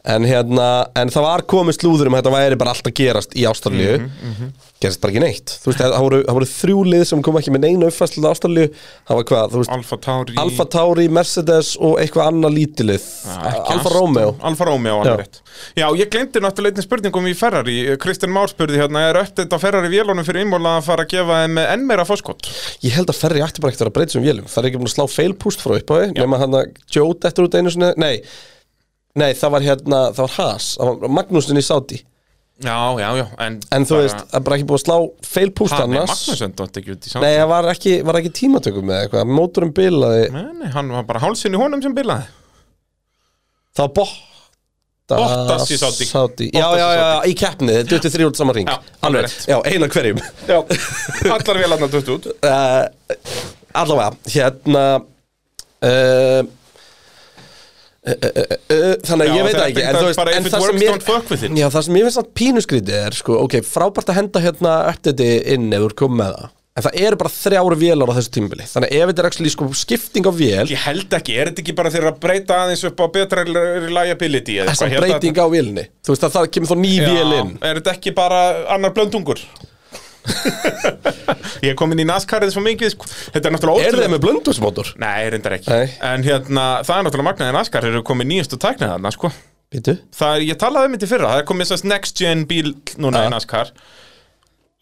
Speaker 3: en, hérna, en það var komið slúður um að þetta væri bara allt að gerast í Ástralíu
Speaker 2: Mhm,
Speaker 3: gerist bara ekki neitt þú veist, það það voru, það voru þrjú lið sem kom ekki með neina uppfæslu til Ástralíu, það var hvað, þú veist
Speaker 2: Alfa Tauri
Speaker 3: Alfa Tauri, Mercedes og eitthvað annað lítilið
Speaker 2: Ekki
Speaker 3: Alfa
Speaker 2: Aston.
Speaker 3: Romeo
Speaker 2: Alfa Romeo,
Speaker 3: Já.
Speaker 2: alveg rétt Já, ég glemdi náttúrulega einnig spurningum í Ferrari Kristján Már spurði hérna, er öftið á Ferrari vélunum fyrir innmóla að fara að gefa þeim enn meira foskott?
Speaker 3: Ég held að Ferri ætti bara ekkert að vera að breyta sem vélum Það er ekki búin að slá feilpúst frá upphafi Nefna hann að Joe dettur út einu sinni Nei, nei það var hérna, það var Haas það var Magnúsin í Saudi
Speaker 2: Já, já, já En,
Speaker 3: En þú veist, það er bara ekki búin að slá feilpúst
Speaker 2: Hann er
Speaker 3: annars
Speaker 2: Magnússon, þetta ekki út í
Speaker 3: Nei,
Speaker 2: samt
Speaker 3: það var ekki, var ekki tímatökum með eitthvað Mótorum bilaði,
Speaker 2: Nei, nei, hann var bara hálsinn í honum sem bilaði
Speaker 3: það var Bottas
Speaker 2: Bottas í Saudi.
Speaker 3: Já,
Speaker 2: Bottas í
Speaker 3: já, já,
Speaker 2: Saudi.
Speaker 3: í keppni, þetta er 23 út saman ring
Speaker 2: Já, alveg
Speaker 3: Alveg,
Speaker 2: rétt.
Speaker 3: já, eina hverjum
Speaker 2: Já, allar vélarnar dött út
Speaker 3: uh, allavega hérna uh, Uh, uh, uh, þannig
Speaker 2: Já,
Speaker 3: að ég veit
Speaker 2: þetta
Speaker 3: það ekki
Speaker 2: er
Speaker 3: en, þú
Speaker 2: bara
Speaker 3: veist,
Speaker 2: bara
Speaker 3: en
Speaker 2: if it
Speaker 3: það, sem
Speaker 2: works, don't fuck with
Speaker 3: mér,
Speaker 2: it.
Speaker 3: já, það sem ég finnst að pínusgrítið er sko, ok, frábært að henda hérna update inn ef þú er komið með það en það eru bara þrjára vélar á þessu tímbili þannig að ef þetta er actually, sko, skipting á vél
Speaker 2: Ég held ekki, er þetta ekki bara þeirra að breyta aðeins upp á betra reliability eða
Speaker 3: þess
Speaker 2: eitthvað
Speaker 3: að
Speaker 2: Ég held að-
Speaker 3: breyting á vélni þú veist að það kemur þá ný vél
Speaker 2: Já,
Speaker 3: inn
Speaker 2: er þetta ekki bara annar blöndungur? ég er komin í naskarið svo mikið sko. Þetta er náttúrulega
Speaker 3: er
Speaker 2: ótrúlega
Speaker 3: þeir með blöndusmótor?
Speaker 2: Nei, reyndar ekki
Speaker 3: Nei.
Speaker 2: En hérna, það er náttúrulega magnaðið naskar eru komið nýjastu tæknið þarna, sko
Speaker 3: Býtu?
Speaker 2: Það er, ég talaði um þetta í fyrra, það er komið sérst next gen bíl núna
Speaker 3: Ja.
Speaker 2: í naskar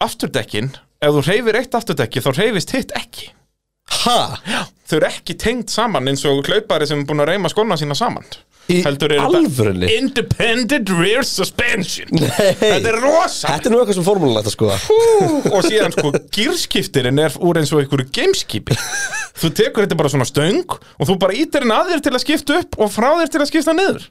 Speaker 2: Afturdekkin, ef þú reyfir eitt afturdekki þá reyfist hitt ekki
Speaker 3: ha?
Speaker 2: Þau eru ekki tengd saman eins og hlaupari sem er búin að reyma skóna sína saman
Speaker 3: Í
Speaker 2: eru
Speaker 3: alvörunni?
Speaker 2: þetta Independent rear suspension Þetta
Speaker 3: Nei,
Speaker 2: er rosa
Speaker 3: þetta er nú eitthvað sem formúlulega þetta sko
Speaker 2: og síðan sko gýrskiptirinn er úr eins og einhverju gameskipi þú tekur þetta bara svona stöng og þú bara ítir henni að þér til að skipta upp og frá þér til að skipta niður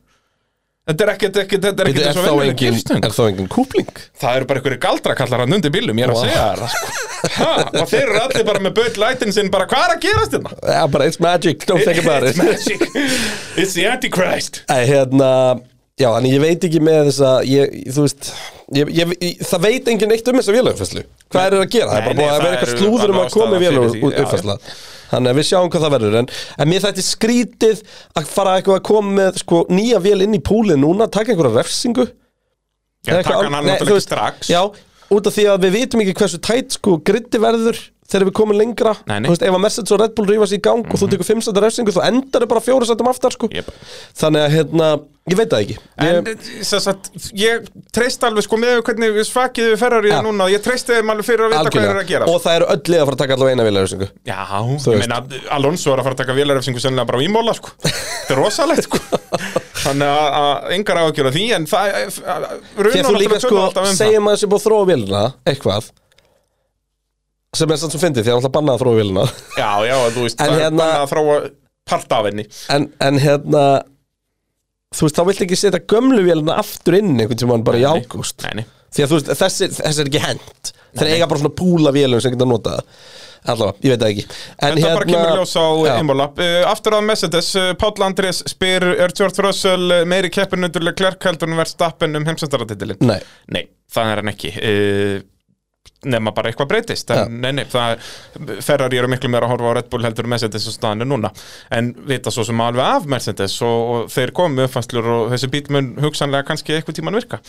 Speaker 2: þetta er ekkert, ekkert, þetta er
Speaker 3: Býtu,
Speaker 2: ekkert
Speaker 3: er
Speaker 2: eins og
Speaker 3: þá
Speaker 2: venjuleg
Speaker 3: engin,
Speaker 2: gýrstöng
Speaker 3: er þá engin kúpling?
Speaker 2: það eru bara einhverju galdrakallar hann undir bílum ég er að
Speaker 3: Vá.
Speaker 2: segja það sko. ha, og þeir eru allir bara með böll lætin sinn bara hvað er að gerast þetta?
Speaker 3: Yeah, but it's magic, don't think about it
Speaker 2: magic it's the antichrist
Speaker 3: Æ, hérna, Já, þannig ég veit ekki með þessa ég, Þú veist ég, ég, ég, Það veit enginn eitt um þessa vélugfæslu Hvað er það að gera? það er
Speaker 2: Nei,
Speaker 3: bara búið
Speaker 2: nei,
Speaker 3: að
Speaker 2: það
Speaker 3: vera eitthvað
Speaker 2: eru
Speaker 3: slúður um
Speaker 2: alveg
Speaker 3: að koma í
Speaker 2: ástæða fyrir því, já,
Speaker 3: vélugfæsla Þannig að við sjáum hvað það verður En, en mér þætti skrítið að fara eitthvað að koma með sko, nýja vél inn í púlið núna Taka einhverja refsingu
Speaker 2: ég taka hann
Speaker 3: Nei, þú
Speaker 2: náttúrulega ekki
Speaker 3: veist,
Speaker 2: strax
Speaker 3: Já, út af því að við vitum ekki hversu tætt sko gritti verður þegar við komum lengra
Speaker 2: Nei, nei.
Speaker 3: Þú veist, ef að Mercedes og Red Bull rýfast í gang og þú tekur 5 sættar refsingu þú endar bara 4 sættum aftar sko
Speaker 2: Jep.
Speaker 3: þannig að hérna, ég veit það ekki
Speaker 2: En
Speaker 3: ég,
Speaker 2: þess að ég treyst alveg sko með hvernig við svakið við ferrar í það
Speaker 3: Ja.
Speaker 2: núna ég treysti þeim alveg fyrir að vita hvað þeir eru að gera sko.
Speaker 3: og það eru öll lið að fara að taka allavega eina vilja refsingu
Speaker 2: Já,
Speaker 3: veist.
Speaker 2: ég meina Alonso er að fara að taka vélarefsingu sennilega bara á ímóla sko Þetta er rosalegt sko Þannig að, að engar áhugjur af því en það eh,
Speaker 3: því
Speaker 2: runar
Speaker 3: að þú líka sko,
Speaker 2: segjum...
Speaker 3: segjum að þessi búið að þróa vélina eitthvað sem er sann sem fyndið því að hann alltaf bannað að þróa vélina
Speaker 2: Já, já, þú veist,
Speaker 3: En
Speaker 2: það er
Speaker 3: hérna-
Speaker 2: bara að þróa part af henni
Speaker 3: en, en hérna þú veist, þá vilt ekki setja gömlu vélina aftur inn einhvern tímann bara í ágúst
Speaker 2: Nei, nei.
Speaker 3: Því að þú veist, þessi, þessi er ekki hend Þeir eiga bara svona púla vélum sem geta notað það Allavega, ég veit það ekki En hérna-
Speaker 2: Þetta bara kemur í ljós á
Speaker 3: Já.
Speaker 2: Imbola uh, Aftur að Mercedes, uh, Páll Andrés spyr Er George Russell uh, meiri keppin undir Leclerc heldur en verð stappen um heimsendaratítilin?
Speaker 3: Nei.
Speaker 2: Nei, það er hann ekki uh, Nefna bara eitthvað breytist en, Nei, nei, það Ferrari eru miklu meira að horfa á Red Bull heldur en Mercedes og staðan er núna En vita svo sem alveg af Mercedes og, og þeir komu uppfæslur og þessi bíl mun hugsanlega kannski eitthvað tíman virka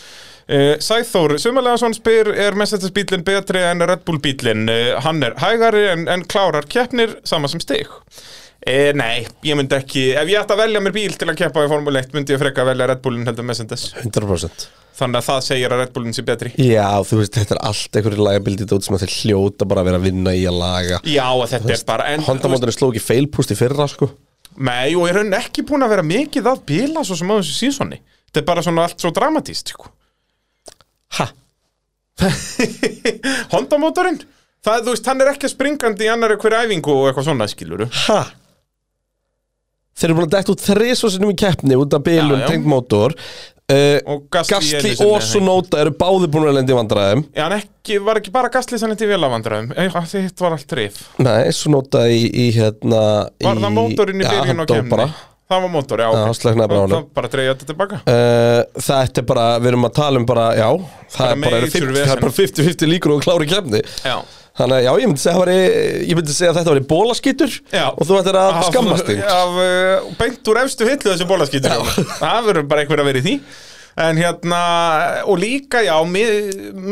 Speaker 2: Uh, Sæþór, Sumalega spyr er Mercedes bílinn betri en Red Bull bílinn uh, hann er hægari en, en klárar keppnir sama sem stig uh, Nei, ég myndi ekki, ef ég ætti að velja mér bíl til að keppa í Formule 1 myndi ég freka að velja Red Bullinn heldur en Mercedes
Speaker 3: 100%
Speaker 2: þannig að það segir að Red Bullinn sé betri
Speaker 3: Já, þú veist, þetta er allt einhverju lagabildið út sem að þeir hljóta bara að vera að vinna í að laga
Speaker 2: Já, og þetta er bara en, þú veist,
Speaker 3: Hondamóndinu sló ekki feilpúst í fyrra, sko
Speaker 2: Nei, og er hann ekki búin að vera mikið að bíla svo sem á þessu sísoni Þetta er bara svona allt svo dramatíst sko.
Speaker 3: Ha?
Speaker 2: Honda mótorinn Það, þú veist, hann er ekki springandi í annari hver æfingu og eitthvað svona skiluru
Speaker 3: Ha? Þeir eru búin að dætt út þrisvarsinum í keppni út af bilum,
Speaker 2: Já, já.
Speaker 3: tengd mótor uh,
Speaker 2: Og Gasly
Speaker 3: Gastli
Speaker 2: einu sinni,
Speaker 3: og Sunóta eru báði búin að lenda í vandræðum
Speaker 2: Já, hann ekki, var ekki bara gastlið sem þetta í vélavandræðum Þetta var allt rif
Speaker 3: Nei, Sunóta í, í hérna
Speaker 2: Var það mótorinn í byrjun á
Speaker 3: Já, hann dó
Speaker 2: kemni?
Speaker 3: bara
Speaker 2: Það var mótor, já,
Speaker 3: Já, hann slöknaði bara á
Speaker 2: bara
Speaker 3: honum.
Speaker 2: Það bara dreigja þetta tilbaka
Speaker 3: Uh, þetta er bara, við erum að tala um bara, já, það
Speaker 2: Bara
Speaker 3: er bara eru
Speaker 2: major
Speaker 3: 50
Speaker 2: vesen.
Speaker 3: það er bara 50-50 líkur og klári kemni
Speaker 2: Já
Speaker 3: Þannig að já, ég myndi segja, að það væri, ég myndi segja að þetta var í bólaskítur
Speaker 2: Já.
Speaker 3: og þú ættir að
Speaker 2: Af-
Speaker 3: skammast þig
Speaker 2: af, uh, beint úr efstu hillu þessu bólaskítur það verður bara einhver að vera í því en hérna, og líka já mi-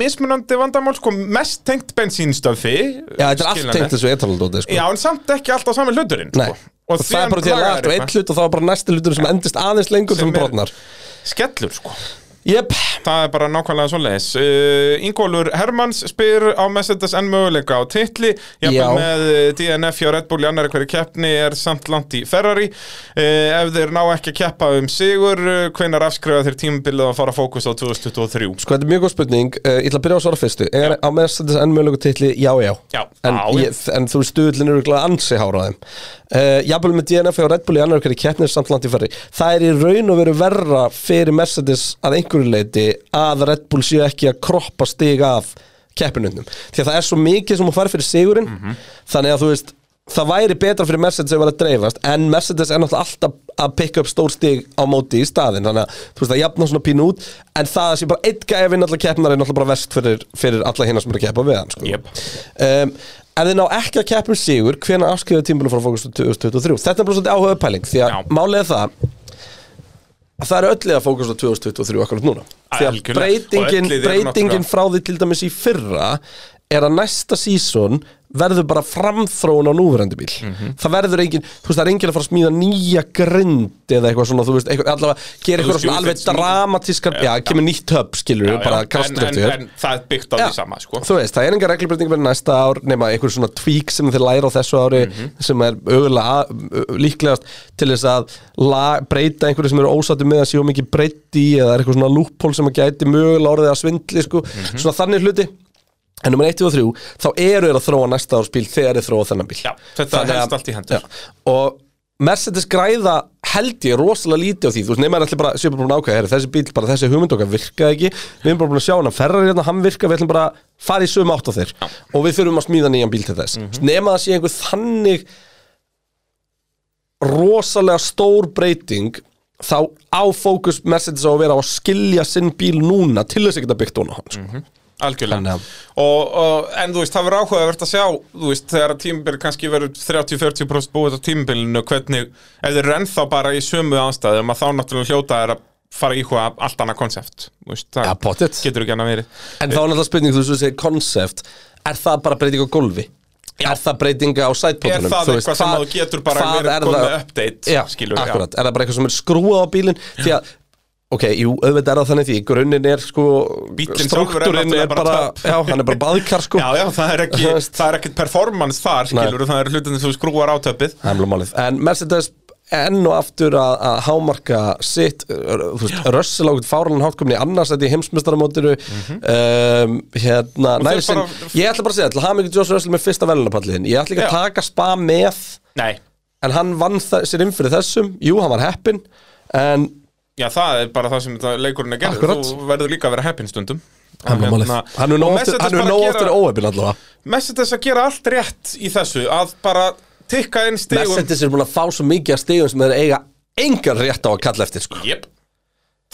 Speaker 2: mismunandi vandamál sko, mest tengt bensínstöfi
Speaker 3: Já, þetta er allt
Speaker 2: skiljanlegt.
Speaker 3: tengt þessu etanaldóti sko.
Speaker 2: já, en samt ekki alltaf sami hluturinn
Speaker 3: Nei,
Speaker 2: sko. og,
Speaker 3: það er bara til að laga alltaf einn hlut og það er bara næsti hlutur sem endist aðeins lengur
Speaker 2: Sem
Speaker 3: sem
Speaker 2: er-
Speaker 3: brotnar
Speaker 2: skellur sko
Speaker 3: Jep,
Speaker 2: Það er bara nákvæmlega svo leiðis uh, Ingólfur Hermanns spyr á Mercedes enn möguleika á titli
Speaker 3: Já.
Speaker 2: Jafnvel með uh, DNF hjá Red Bull í annari hverju keppni er samt langt í Ferrari uh, Ef þeir ná ekki að keppa um sigur uh, Hvenær afskrifa þeir tímabilið að fara að fókus á 2023
Speaker 3: sko þetta er mjög góð spurning uh, Ég ætla að byrja á svara fyrstu Er á Mercedes enn mögulegu titli? Já, já
Speaker 2: Já, já,
Speaker 3: En,
Speaker 2: já.
Speaker 3: Ég, en þú veist, stuðlinn eru glæð ansi hára á þeim uh, Jafnvel með DNF og Red Bull í annar hverju keppnir samt langt í ferri Það er í raun og veru verra fyrir Mercedes að einhverju leiti að Red Bull séu ekki að kroppa stiga af keppinundum Því að það er svo mikið sem hún fari fyrir sigurinn Þannig að þú veist Það væri betra fyrir Mercedes ef það var að dreifast En Mercedes er náttúrulega alltaf að pikka upp stór stig á móti í staðinn Þannig að þú veist það jafna svona pínu út En það að sé bara einn gæja vinna allar keppnar Er náttúrulega bara vest fyrir, fyrir alla hinna sem eru að keppa við hann sko.
Speaker 2: Jep.
Speaker 3: um, Ef þið ná ekki að keppa um sigur Hvena afskriðu tímbilum frá fókus 2023 Þetta er bara svolítið áhuga pæling Því að
Speaker 2: Já.
Speaker 3: málið er það að Það eru öll lið að fókus á 2023 akkurat núna Því að
Speaker 2: Algjörlega.
Speaker 3: breytingin,
Speaker 2: Og öll lið eru náttúrulega-
Speaker 3: breytingin frá því til dæmis í fyrra er að næsta sísón verður bara framþróun á núverandi bíl
Speaker 2: Mhm.
Speaker 3: það verður engin, þú veist það er engin að fara að smíða nýja grind eða eitthvað svona, þú veist, eitthvað, allavega
Speaker 2: Þú
Speaker 3: gera eitthvað
Speaker 2: veist, jú,
Speaker 3: svona alveg
Speaker 2: þetta er smíð-
Speaker 3: dramatískar, já, kemur nýtt höpp skilur við, bara
Speaker 2: en, en, en það
Speaker 3: kraftur
Speaker 2: er byggt á því sama sko.
Speaker 3: Þú veist, það er engar reglubreitingar fyrir næsta ár nema einhver svona tweak sem þeir læra á þessu ári
Speaker 2: Mhm.
Speaker 3: sem er auðvitað líklegast til þess að la, breyta einhverju sem eru ósattu með að séu mikið breytt í eða er eitthvað svona loophole sem að gæti mögulega orðið að svindli sko,
Speaker 2: Mhm.
Speaker 3: svona þannig hluti En nummer 1 og 3, þá eru þeir að þróa næsta árs bíl þegar þeir þróa þennan bíl
Speaker 2: Já, þetta
Speaker 3: Þannig að-
Speaker 2: helst allt í hendur.
Speaker 3: Já. Og Mercedes græða held ég rosalega lítið á því, þú veist, nema er allir bara séu bara búin að ákveða, herri, þessi bíl, bara þessi hugmynd okkar virkaði ekki, við erum bara búin að sjá hann að ferrar hérna, hann virka, við ætlum bara að fara í sömu átt á þeir og við þurfum að smíða nýjan bíl til
Speaker 2: Mhm.
Speaker 3: þess nema það sé einhver þannig rosalega stór breyting þá á fókus Mercedes á að vera á að skilja sinn bíl núna til þess að geta byggt hún á hann
Speaker 2: Mhm.
Speaker 3: sko.
Speaker 2: Algjörlega
Speaker 3: Þannig
Speaker 2: og,
Speaker 3: að-
Speaker 2: og, En þú veist, það verður áhugavert að sjá Þú veist, þegar að tímabil kannski verður 30-40% búið á tímabilinu Hvernig, ef þeir eru ennþá bara í sömu anstæðum að Þá náttúrulega hljóta er að fara að íhuga allt annað konsept Þú veist, það
Speaker 3: Ja, pottet.
Speaker 2: getur ekki annað verið
Speaker 3: En þá er náttúrulega spurning, þú veist, þú segir concept Er það bara breyting á gólfi? Er það breyting á
Speaker 2: Er
Speaker 3: sætbótunum?
Speaker 2: það eitthvað sem þú getur bara verið komið með update,
Speaker 3: Já,
Speaker 2: skilur, já.
Speaker 3: akkurat, er það bara eitthvað sem er skrúað á bílinn? Því að, ok, jú, auðvitað er það þannig því Grunninn er sko
Speaker 2: Bíllinn sjálfur er
Speaker 3: Struktúrin
Speaker 2: náttúrulega
Speaker 3: er
Speaker 2: bara
Speaker 3: bara,
Speaker 2: töff.
Speaker 3: já, hann er bara baðkar sko
Speaker 2: Já, já, það er ekki,
Speaker 3: Þú veist.
Speaker 2: það er ekkit performance þar
Speaker 3: Nei.
Speaker 2: Skilur, það er hlutin sem þú skrúar á töpið
Speaker 3: Það er alveg málið En Mercedes enn og aftur að, að hámarka sitt r- þú veist, Russell ákveð fáralan hátkomin í annars þetta í heimsmyndstaramótinu
Speaker 2: Mhm.
Speaker 3: um, hérna,
Speaker 2: þeir
Speaker 3: næri sinn
Speaker 2: bara-
Speaker 3: ég ætla bara að segja, ætla hafa mikið Joss Russell með fyrsta velunapalliðin ég ætla ekki
Speaker 2: Já.
Speaker 3: að taka spa með
Speaker 2: Nei,
Speaker 3: en hann vann það, sér inn fyrir þessum jú, hann var heppin en
Speaker 2: já, það er bara það sem það leikurinn er gerð
Speaker 3: Akkurat.
Speaker 2: Þú verður líka að vera heppin stundum
Speaker 3: hann
Speaker 2: Og
Speaker 3: var málið
Speaker 2: hérna-
Speaker 3: hann er nóg
Speaker 2: og
Speaker 3: oftur,
Speaker 2: Mercedes
Speaker 3: hann er
Speaker 2: bara
Speaker 3: nóg
Speaker 2: gera-
Speaker 3: oftur óheppin allavega
Speaker 2: Mercedes að gera allt rétt í þessu að bara tikka inn stigum
Speaker 3: Mercedes er búin að fá svo mikið af stegum sem þeir eiga engan rétt á að kalla eftir sko.
Speaker 2: yep.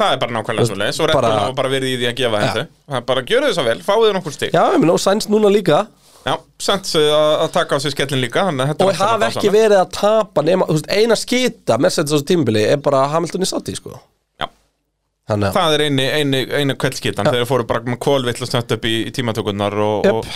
Speaker 2: það er bara nákvæmlega
Speaker 3: Þú
Speaker 2: svo
Speaker 3: veist,
Speaker 2: leiðis og Red Bull
Speaker 3: bara-
Speaker 2: hafa bara verið í því að gefa henni það er bara að gjöra þess að vel, fáið þau nokkur stig
Speaker 3: já, ég minn, og Sainz núna líka
Speaker 2: já, sent að að taka á sig skellin líka þannig að þetta
Speaker 3: og
Speaker 2: er alltaf
Speaker 3: hafa
Speaker 2: bara
Speaker 3: ekki
Speaker 2: saman.
Speaker 3: verið að tapa nema, þú veist, eina skita Mercedes á þessu tímbili er bara Hamilton í sátti sko.
Speaker 2: Já.
Speaker 3: þannig að
Speaker 2: það er eini, eini, eini kveldskitan þegar fóru bara með kólvill og snött upp í, í tímatökurnar og,
Speaker 3: Jep.
Speaker 2: og,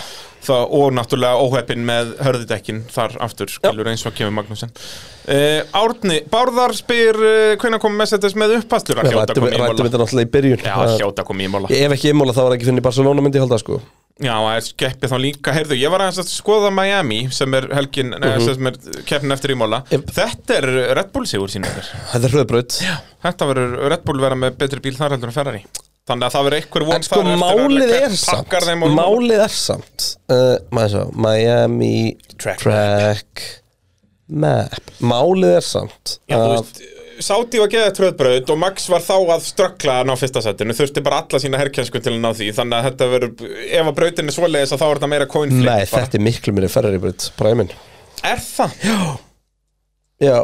Speaker 2: það, og náttúrulega óheppin með hörðidekkin þar aftur skilur eins og kemur Magnúsen uh, Árni, Bárðar spyr uh, hvenær kom Mercedes með uppastur að
Speaker 3: við
Speaker 2: hljóta
Speaker 3: rættum
Speaker 2: kom í
Speaker 3: rættum
Speaker 2: mála
Speaker 3: þetta náttúrulega í byrjun
Speaker 2: Já,
Speaker 3: Það-
Speaker 2: hljóta kom í mála
Speaker 3: Ég- ef ekki ymmóla þá var ekki finnir Barcelona myndi ég halda sko.
Speaker 2: Já, það er skeppið þá líka, heyrðu, ég var aðeins að skoða Miami sem er helgin, mm
Speaker 3: Mhm.
Speaker 2: sem er keppin eftir ímála
Speaker 3: Yep.
Speaker 2: Þetta er Red Bull sigur sínir
Speaker 3: þetta er hröðbraut
Speaker 2: Þetta verður Red Bull vera með betri bíl þar heldur en Ferrari Þannig að það verður einhver von
Speaker 3: en sko
Speaker 2: þar eftir að
Speaker 3: málið
Speaker 2: Leclerc
Speaker 3: er samt
Speaker 2: pakkar þeim og-
Speaker 3: málið er samt uh, maður svo, Miami track, map málið er samt
Speaker 2: Já, þú
Speaker 3: að-
Speaker 2: veist, Sáti var geðið tröðbraut og Max var þá að ströggla að ná fyrsta setinu Þurfti bara alla sína herkjensku til að ná því Þannig að þetta verður, ef að brautin er svoleiðis að þá er þetta meira coin flip
Speaker 3: nei,
Speaker 2: bara.
Speaker 3: þetta er miklu minni Ferrari braut præmin
Speaker 2: Er það?
Speaker 3: já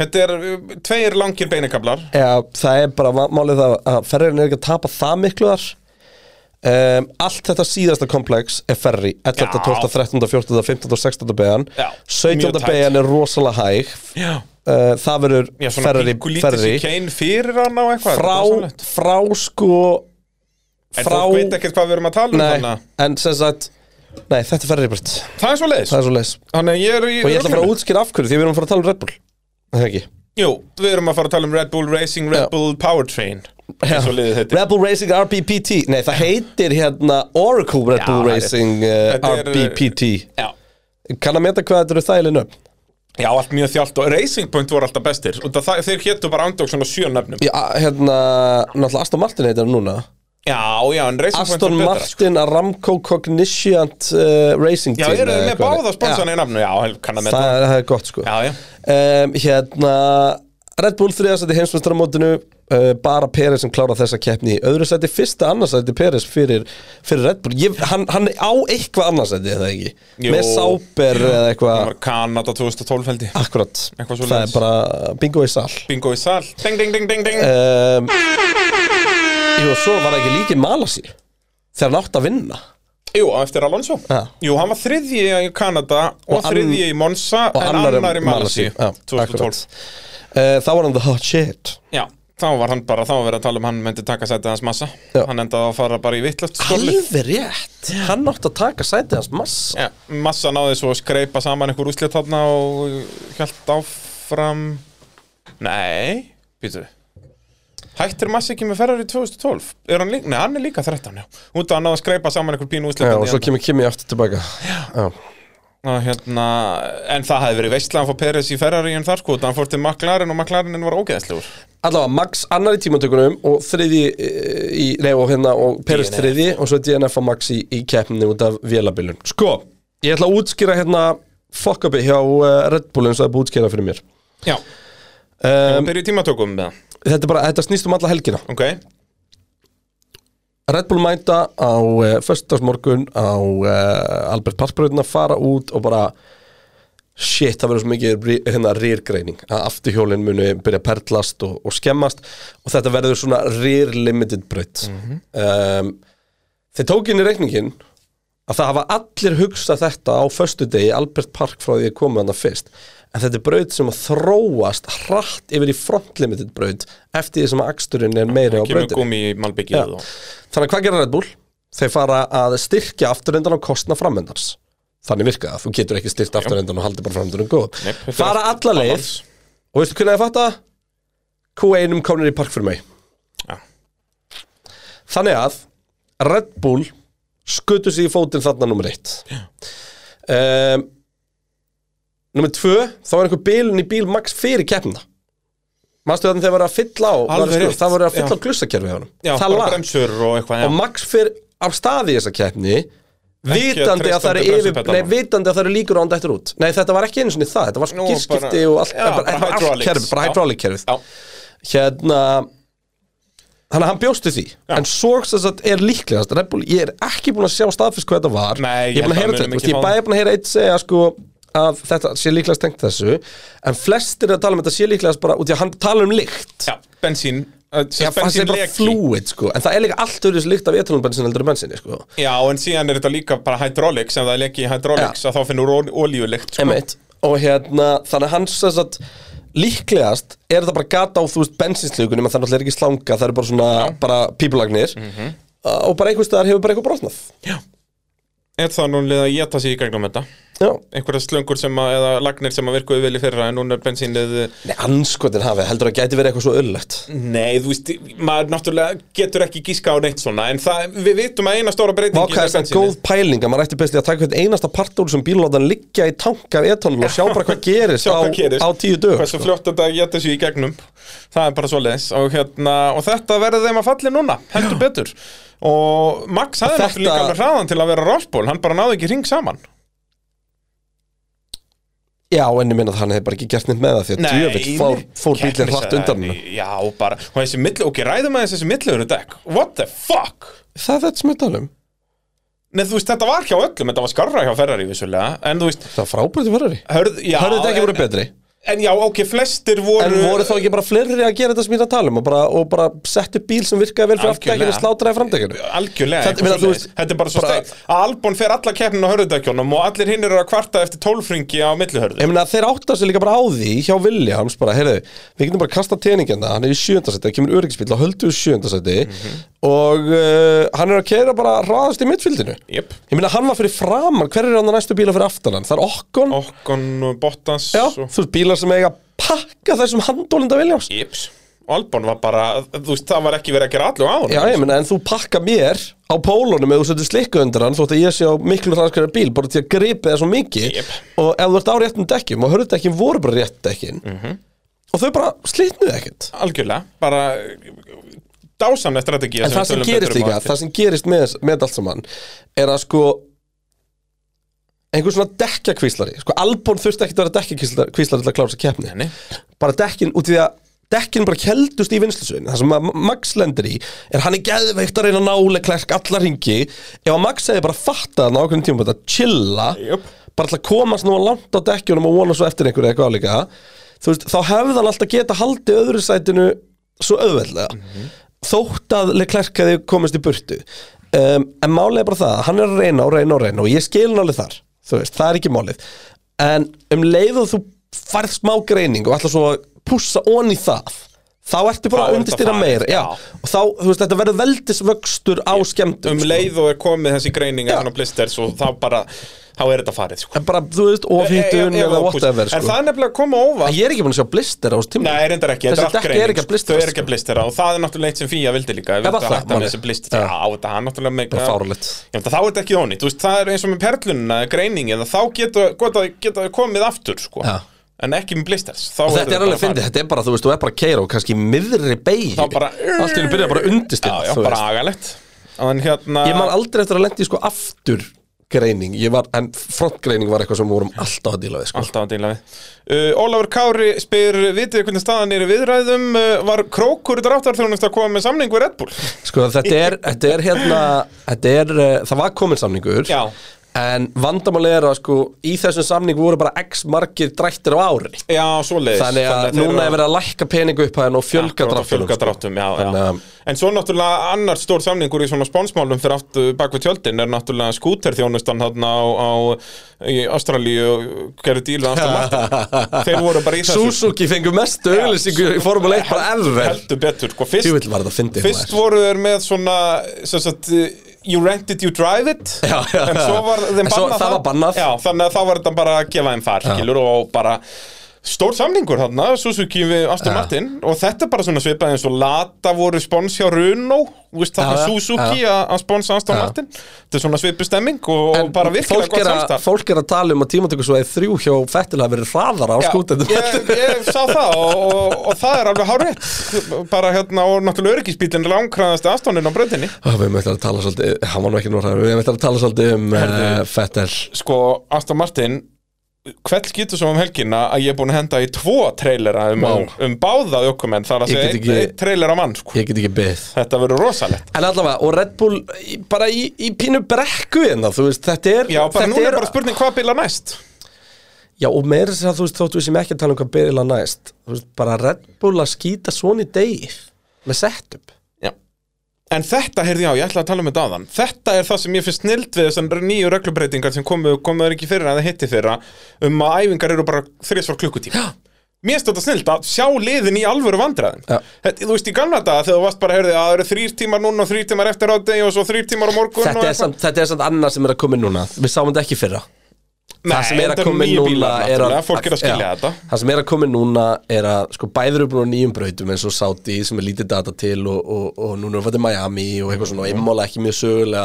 Speaker 2: Þetta er uh, tveir langir beinakablar
Speaker 3: Já, það er bara ma- málið það að Ferrarinn er ekki að tapa það miklu þar Um, allt þetta síðasta komplex er ferri 11,
Speaker 2: Já.
Speaker 3: 12, 13, 14, 15 og 16 beigjan
Speaker 2: Já,
Speaker 3: 17
Speaker 2: mjög tætt.
Speaker 3: beigjan er rosalega hæg
Speaker 2: Já.
Speaker 3: uh, það verður
Speaker 2: Já, svona
Speaker 3: ferri,
Speaker 2: píkulítið
Speaker 3: ferri.
Speaker 2: sér kein fyrir hann á eitthvað
Speaker 3: frá,
Speaker 2: þetta er dásamlegt.
Speaker 3: frá sko
Speaker 2: En fólk veit ekkert hvað við erum að tala um
Speaker 3: nei,
Speaker 2: þannig að-
Speaker 3: en sem sagt nei, þetta er ferri burt,
Speaker 2: Það er svo leiðis
Speaker 3: það er svo leis
Speaker 2: Þannig að ég er í
Speaker 3: og ég ætla að fara
Speaker 2: ruglinu.
Speaker 3: að útskýra af hverju því við erum að fara að tala um Red Bull Er það ekki
Speaker 2: Jú, við erum að fara að tala um Red Bull Racing, Red
Speaker 3: Já.
Speaker 2: Bull Powertrain eins og liðið heitir.
Speaker 3: Rebel Racing RPPT Nei, það heitir hérna Oracle Red
Speaker 2: Já,
Speaker 3: Bull
Speaker 2: það er-
Speaker 3: Racing uh,
Speaker 2: Þetta er- eh,
Speaker 3: RPPT
Speaker 2: Já.
Speaker 3: Kann að meta hvað þetta eru þægileg nöfn
Speaker 2: Já, allt mjög þjált og Racing Point voru alltaf bestir og það, þeir héttu bara andjók svona sjö nefnum Já,
Speaker 3: Já, hérna, náttúrulega Aston Martin heitir hann núna
Speaker 2: já, en Racing
Speaker 3: Aston
Speaker 2: Point var betra sko.
Speaker 3: Martin Aramco Cogniscient uh, Racing
Speaker 2: Já,
Speaker 3: Team
Speaker 2: eru
Speaker 3: eða
Speaker 2: þið með
Speaker 3: eitthvað.
Speaker 2: báða sponsorna í nafnu? Já, hel- kann að
Speaker 3: Já,
Speaker 2: með það
Speaker 3: það, það er gott sko
Speaker 2: Já, já,
Speaker 3: um, Hérna, Red Bull 3 sæti heimsmyndstaramótinu uh, bara Peres sem klára þessa keppni í öðru sæti fyrsta annarsæti Peres fyrir, fyrir Red Bull Ég, hann, hann á eitthvað annarsæti, eða ekki
Speaker 2: Jú.
Speaker 3: með Sáber eða
Speaker 2: Það
Speaker 3: eitthvað
Speaker 2: var Kanada 2012 held ég
Speaker 3: Akkurat,
Speaker 2: Eitthvað
Speaker 3: það
Speaker 2: svoleiðis.
Speaker 3: er bara bingo í sal
Speaker 2: Bingo í sal Ding, ding, ding, ding, ding
Speaker 3: um, Jú, svo var það ekki líki Malasi þegar hann átt að vinna
Speaker 2: Jú, á eftir Alonso
Speaker 3: Já.
Speaker 2: Jú, hann var þriðji í Kanada og,
Speaker 3: Og ann-
Speaker 2: þriðji í Monza
Speaker 3: og
Speaker 2: en
Speaker 3: annar í
Speaker 2: annar í Malasíu
Speaker 3: Malasíu. Já,
Speaker 2: 2012
Speaker 3: akkurat. uh, Þá var hann the hot shit
Speaker 2: Já, þá var hann bara, þá var verið að tala um hann myndi taka sætið hans massa
Speaker 3: Já.
Speaker 2: Hann endaði að fara bara í vittlöft stórlið
Speaker 3: Alveg rétt, hann átt að taka sæti hans massa
Speaker 2: Já, massa náði svo að skreipa saman einhver úslit þarna og hjælt áfram Nei, býtu Hættir Massa ekki með Ferrari 2012? Er hann líka? Nei, hann er líka 13, já Út af að hann náði að skreipa saman einhver pínu úslit
Speaker 3: Já, og svo kemur Kimi aftur tilbaka Já.
Speaker 2: hérna, En það hefði verið veistlega að fá Peres í Ferrari en þar sko Þannig hann fór til McLaren og McLaren var ógeðslegur
Speaker 3: Allavega, Max annar í tímatökunum og þriði eh, í, nei, og hérna, og Peres
Speaker 2: DNF.
Speaker 3: þriði og svo DNF og Max í, í keppni út af vélabilun Sko, ég ætla að útskýra hérna fuck upi hjá uh, Red Bull eins og það er búið að útskýra fyrir mér
Speaker 2: Já, um,
Speaker 3: um,
Speaker 2: byrja í tímatökum með það
Speaker 3: Þetta er bara, þetta snýst um alla helgina
Speaker 2: Ok,
Speaker 3: Red Bull mæta á uh, föstudagsmorgun á uh, Albert Passbröðin að fara út og bara shit, það verður svo mikið re- hérna, rýrgreining að afturhjólinn muni byrja að perlast og, og skemmast og þetta verður svona rýr limited brödd um, þeir tók inn í reikningin að það hafa allir hugsað þetta á föstudegi í Albert Park frá því að koma þarna fyrst en þetta er braut sem að þróast hratt yfir í front limited braut eftir því sem að aksturinn er meiri á
Speaker 2: kemur
Speaker 3: brautinni
Speaker 2: gumi í
Speaker 3: Já.
Speaker 2: Malbyggið og
Speaker 3: Þannig að hvað gerir Red Bull? Þeir fara að styrkja afturrendan og kostna framöndans Þannig virka það, þú getur ekki styrkt afturrendan og haldi bara framöndunum góð
Speaker 2: Nei, þetta er
Speaker 3: Fara
Speaker 2: allt
Speaker 3: alla leið
Speaker 2: annars.
Speaker 3: Og veistu hvernig að fatta? Q1 komnir í park fyrir mig
Speaker 2: Já.
Speaker 3: Þannig að Red Bull skutu sig í fótinn þarna nummer eitt um, Nummer tvö þá var einhver bilun í bíl Max fyrir keppna Manstu þannig þegar var að fylla á var
Speaker 2: Alveg
Speaker 3: að skrú-
Speaker 2: rétt.
Speaker 3: Það voru að fylla
Speaker 2: Já.
Speaker 3: á glussakerfi á honum
Speaker 2: Já,
Speaker 3: Það
Speaker 2: bara
Speaker 3: lag
Speaker 2: bremsur og eitthvað já.
Speaker 3: og Max fyrir af staði í þessa keppni vitandi
Speaker 2: treysta
Speaker 3: að það eru
Speaker 2: undir
Speaker 3: yfir, nei,
Speaker 2: bremsupedalana.
Speaker 3: vitandi að það eru líkur á hann dættur út nei þetta var ekki einu sinni það, þetta var
Speaker 2: Nú,
Speaker 3: skýrskipti
Speaker 2: bara-
Speaker 3: og allt,
Speaker 2: já,
Speaker 3: bara,
Speaker 2: bara
Speaker 3: bara allt
Speaker 2: hydraulics,
Speaker 3: kerfið, bara
Speaker 2: já.
Speaker 3: hydraulic kerfið
Speaker 2: Já.
Speaker 3: hérna þannig að hann bjósti því en svo sem sagt, er líklegast Red Bull, ég er ekki búin að sjá staðfist hvað þetta var
Speaker 2: Nei,
Speaker 3: ég er búin
Speaker 2: held að
Speaker 3: að heyra
Speaker 2: við
Speaker 3: þetta,
Speaker 2: munum
Speaker 3: þú veist,
Speaker 2: ekki
Speaker 3: ég
Speaker 2: fá
Speaker 3: bæði búin að heyra eitt segja sko að þetta sé líklegast tengt þessu en flestir að tala um þetta sé líklegast bara út í að hann tala um lykt
Speaker 2: Já, bensín uh, sem
Speaker 3: Já, það sé bara
Speaker 2: bensínleki.
Speaker 3: fluid sko En það er líka allt öðru lykt af etanolbensin heldur en bensinni sko
Speaker 2: Já, en síðan er þetta líka bara hydraulics sem það er leki í hydraulics að þá finnur olíulikt sko.
Speaker 3: Einmitt. Og hérna, þannig að hans sem sagt Líklegast er það bara gata á þú veist bensinslugunum en það er náttúrulega ekki slanga það eru bara svona, bara pípulagnir og bara einhvers staðar hefur bara eitthvað brotnað
Speaker 2: Er það núna að geta sig í gegnum þetta?
Speaker 3: Já,
Speaker 2: Einhverja slöngur sem að, eða lagnir sem að virkuðu vel í fyrra en núna er bensínið
Speaker 3: Nei, anskotin hafið, heldur að gæti verið eitthvað svo öllögt
Speaker 2: Nei, þú veist, maður náttúrulega getur ekki gíska á neitt svona en það, við vitum að eina stóra breytingi
Speaker 3: Vákaðist að góð pæling að maður ætti bestið að taka hvern einasta partúr sem bílóðan liggja í tankar etanol og sjá bara hvað gerist,
Speaker 2: Sjá hvað
Speaker 3: á,
Speaker 2: gerist.
Speaker 3: á tíu sko. dög
Speaker 2: Hversu fljótt þetta geta sig í gegnum Það er bara svoleiðis og, hérna, og þetta verður þeim að falli núna Heldur betur Og Max hafði
Speaker 3: Og
Speaker 2: þetta... líka
Speaker 3: þetta-
Speaker 2: alveg hraðan til að vera rásból Hann bara náði ekki hring saman
Speaker 3: Já, en ég minna að hann hefði bara ekki gert neitt með það því að djöfitt fór, fór
Speaker 2: Keppnis-
Speaker 3: bílinn hratt undan hann
Speaker 2: Já, bara, og þessi milli, ok, ræðum aðeins þessi milliður dekk What the fuck?
Speaker 3: Það er þetta sem ég tala um
Speaker 2: Nei, þú veist, þetta var hjá öllum, þetta var skarra hjá Ferrari vissulega En þú veist,
Speaker 3: Það var frábært í Ferrari
Speaker 2: hörð, já
Speaker 3: Hörðu þetta ekki
Speaker 2: en-
Speaker 3: voru betri
Speaker 2: En já, ok, flestir voru
Speaker 3: En voru þá ekki bara fleiri að gera þetta sem ég er að tala um og bara, og bara settu bíl sem virkaði vel fyrir aftækinu
Speaker 2: Algjörlega.
Speaker 3: og slátraði framdækinu
Speaker 2: Algjörlega,
Speaker 3: Þetta-
Speaker 2: eitthvað
Speaker 3: meina, þú
Speaker 2: svoleiðis.
Speaker 3: veist,
Speaker 2: þetta er bara svo
Speaker 3: bara-
Speaker 2: steikt að Albon fer alla keppnin á hörðudækjónum og allir hinn eru að kvarta eftir tólfringi á millihörðu
Speaker 3: Ég meina þeir áttar sig líka bara á því hjá Williams bara, heyrðu, við getum bara kasta teiningina hann er í sjöndasæti, það kemur öryggisbíl og höldu sjöndasæti mm og uh, hann er að keira bara hraðast í mittfildinu
Speaker 2: Jep.
Speaker 3: Ég meina hann var fyrir framann, hver er hann að næstu bíla fyrir aftan hann? Það er Okkon,
Speaker 2: Okkon, Bottas
Speaker 3: já,
Speaker 2: og
Speaker 3: þú veist bílar sem eiga að pakka þessum handólinda Williams
Speaker 2: Jips Og Albon var bara, þú veist, það var ekki verið að gera allu á hann
Speaker 3: Já, ég meina, en þú pakka mér á pólunum eða þú setur slikku undir hann þótt að ég sé á miklu hraðskæra bíl bara til að gripa það svo mikið
Speaker 2: Jep.
Speaker 3: og ef þú ert á réttum dekkjum og hörðdekkin voru bara rétt dekkin og þau bara slitnuðu ekkert
Speaker 2: Algjörlega, bara dásamlega strategía
Speaker 3: En það sem gerist
Speaker 2: um
Speaker 3: líka, það sem gerist með, með allt saman er að sko einhver svona dekkjakvíslari sko Albon þurfti ekkert að vera dekkjakvíslari til að klára þess að keppni
Speaker 2: Nei, nei.
Speaker 3: bara dekkin út í því að dekkin bara keldust í vinslusun það sem að Max lendir í er hann er geðveikt að reyna að nále klerk alla ringi ef að Max hefði bara fattað hann á okkurinn tíma að chilla
Speaker 2: Jöp.
Speaker 3: bara til að komast nú langt á dekkjunum og vona svo eftir einhverju eitthvað álíka þú veist, þá hefði hann alltaf geta haldið öðru sætinu svo auðveldlega þótt að Leclerc hefði komist í burtu um, en málið er bara það, að hann er að reyna og reyna og reyna og ég skil hann alveg þar þú veist, það er ekki málið en um leið og þú færð smá greining og ætlar svo að pússa onni það þá ertu
Speaker 2: Þá
Speaker 3: bara að
Speaker 2: er
Speaker 3: undistýra
Speaker 2: þetta farið,
Speaker 3: meir já.
Speaker 2: já.
Speaker 3: og þá, þú veist, þetta verður veldisvöxtur á skemmtum
Speaker 2: Um
Speaker 3: sko.
Speaker 2: leið og er komið þessi greining
Speaker 3: Já.
Speaker 2: að hann á blisters og þá bara, þá er þetta farið sko. E-
Speaker 3: En bara, þú veist, ofhýttun
Speaker 2: Ef- ef- ef-
Speaker 3: eða
Speaker 2: ef-
Speaker 3: whatever
Speaker 2: eh, En
Speaker 3: sko.
Speaker 2: það er nefnilega að koma
Speaker 3: En
Speaker 2: óvart
Speaker 3: ég er ekki búin að sjá blister á þessu tíma
Speaker 2: Nei, reyndar ekki, þetta
Speaker 3: Þessi
Speaker 2: er allt
Speaker 3: dekk
Speaker 2: greining sko.
Speaker 3: er ekki að blistera,
Speaker 2: Þau er ekki að blistera og það er náttúrulega eitt sem Fía vildi líka Við
Speaker 3: var
Speaker 2: vildi
Speaker 3: það
Speaker 2: hætta með
Speaker 3: málið?
Speaker 2: þessi
Speaker 3: Já.
Speaker 2: blistera Já, þetta hann náttúrulega með
Speaker 3: Bara fáránlegt.
Speaker 2: Já, en þá er þetta ekki ónýtt, þú veist, það er eins og með perlunina greiningin, þá geta, geta, geta þau komið aftur, sko
Speaker 3: Já.
Speaker 2: En ekki með blisters þá
Speaker 3: Og þetta er
Speaker 2: bara
Speaker 3: alveg fyndið, þetta er bara, þú veist, þú er bara að keira og kannski í miðri beigir
Speaker 2: Þá bara-
Speaker 3: Allt í henni byrja bara
Speaker 2: Já,
Speaker 3: undistinn
Speaker 2: já, bara agalegt En hérna
Speaker 3: Ég man aldrei eftir að lendi sko aftur greining Ég var, en frontgreining var eitthvað sem við vorum alltaf að díla við sko
Speaker 2: Alltaf að díla við uh, Ólafur Kári spyr, vitið þið hvernig staðan er í viðræðum uh, Var Krókur dráttarþjónust að koma með samning við Red Bull?
Speaker 3: Sko þetta er, þetta er hérna, þetta er, uh, það var komin samningur
Speaker 2: Já.
Speaker 3: En vandamáli er að sko, í þessum samning voru bara x margir drættir á ári
Speaker 2: Já, svoleiðis
Speaker 3: Þannig að
Speaker 2: þeir
Speaker 3: núna
Speaker 2: eru-
Speaker 3: er verið að lækka peningu upp og fjölga sko.
Speaker 2: Akkurat,
Speaker 3: dráttum
Speaker 2: fjölga dráttum, já,
Speaker 3: Þannig að-
Speaker 2: já. En svo náttúrulega annar stór samningur í svona spánsmálum fyrir aftur bak við tjöldin er náttúrulega skúter þjónustan þarna á, á í Ástralíu og gerðu díl við Aston Martin Þeir voru bara í þessu
Speaker 3: Suzuki fengur mestu
Speaker 2: Já.
Speaker 3: auðlýsingu í Formule 1 bara ever
Speaker 2: Heldur betur, sko, fyrst,
Speaker 3: Djúvill var þetta fyndið,
Speaker 2: fyrst
Speaker 3: maður.
Speaker 2: voru þeir með svona sem sagt, uh, you rent it, you drive it
Speaker 3: Já, já,
Speaker 2: En
Speaker 3: já.
Speaker 2: svo var þeim
Speaker 3: En svo-
Speaker 2: bannað
Speaker 3: það var bannað.
Speaker 2: Já, þannig að þá var þetta bara að gefa þeim þar, skilur, og bara Stór samningur þarna, Suzuki við Aston
Speaker 3: Já.
Speaker 2: Martin og þetta er bara svona svipað eins og Lata voru spons hjá Renault þú veist það
Speaker 3: Já, já,
Speaker 2: Suzuki að að sponsa Aston Martin þetta er svona svipu stemming og, og
Speaker 3: En
Speaker 2: bara virkilega
Speaker 3: fólk
Speaker 2: gott
Speaker 3: er, að,
Speaker 2: samstarf
Speaker 3: fólk er að tala um að tímatöku svo eða þrjú hjá Fettil hafi verið hraðara á
Speaker 2: Já,
Speaker 3: skútendum
Speaker 2: ég, ég sá það og, og, og það er alveg hárétt bara hérna og náttúrulega öryggisbílinn er langkraðast aðstónin á bröndinni
Speaker 3: Ah, Við möttum að tala svolítið, hann var nú ekki nú hraður Við möttum að tala svolítið um uh, Fettil
Speaker 2: sko Aston Martin hvell getur svo um helgina að ég er búin að henda í tvo trailera um,
Speaker 3: Vá.
Speaker 2: um, um báða ökumenn þar að
Speaker 3: Ég
Speaker 2: segja
Speaker 3: get
Speaker 2: ekki...
Speaker 3: ekki-
Speaker 2: einn trailer á mann sko.
Speaker 3: Ég get ekki byggð
Speaker 2: þetta verður rosalegt
Speaker 3: En allavega, og Red Bull í, bara í, í pínu brekku hérna, þú veist, þetta er
Speaker 2: Já, bara
Speaker 3: þetta
Speaker 2: núna er bara spurning hvað bíla næst
Speaker 3: Já, og meira sér að þú veist, þóttu við sem ekki að tala um hvað byrjila næst Þú veist, bara Red Bull að skýta svona í degi Með setup
Speaker 2: Já. En þetta, heyrði já, ég ætla að tala um þetta áðan Þetta er það sem ég finnst snild við þessar nýju reglubreitingar sem komu, komu þær ekki fyrir að það hitti fyrra um að æfingar eru bara þriðsvar klukkutíma Mér finnst þetta snild að sjá liðin í alvöru vandræðin
Speaker 3: Já.
Speaker 2: þetta, Þú veist, í gamla daga þegar þú varst bara heyrði að það eru þrýr tímar núna og þrýr tímar eftir ádegi og svo þrýr tímar á morgun og
Speaker 3: þetta er,
Speaker 2: eitthvað.
Speaker 3: samt, þetta er samt annað sem er að koma inn núna Við sáum þetta ekki í fyrra
Speaker 2: Nei,
Speaker 3: það sem er
Speaker 2: þetta
Speaker 3: að
Speaker 2: eru
Speaker 3: koma inn
Speaker 2: nýju
Speaker 3: núna
Speaker 2: bílar,
Speaker 3: er að,
Speaker 2: náttúrulega, fólk er að skilja
Speaker 3: já,
Speaker 2: þetta.
Speaker 3: það sem er að koma inn núna er að sko bæður upp á nýjum brautum eins og Saudi sem er lítið data til og, og, og núna er að fæta Miami og eitthvað
Speaker 2: Mhm.
Speaker 3: svona immála ekki mjög sögulega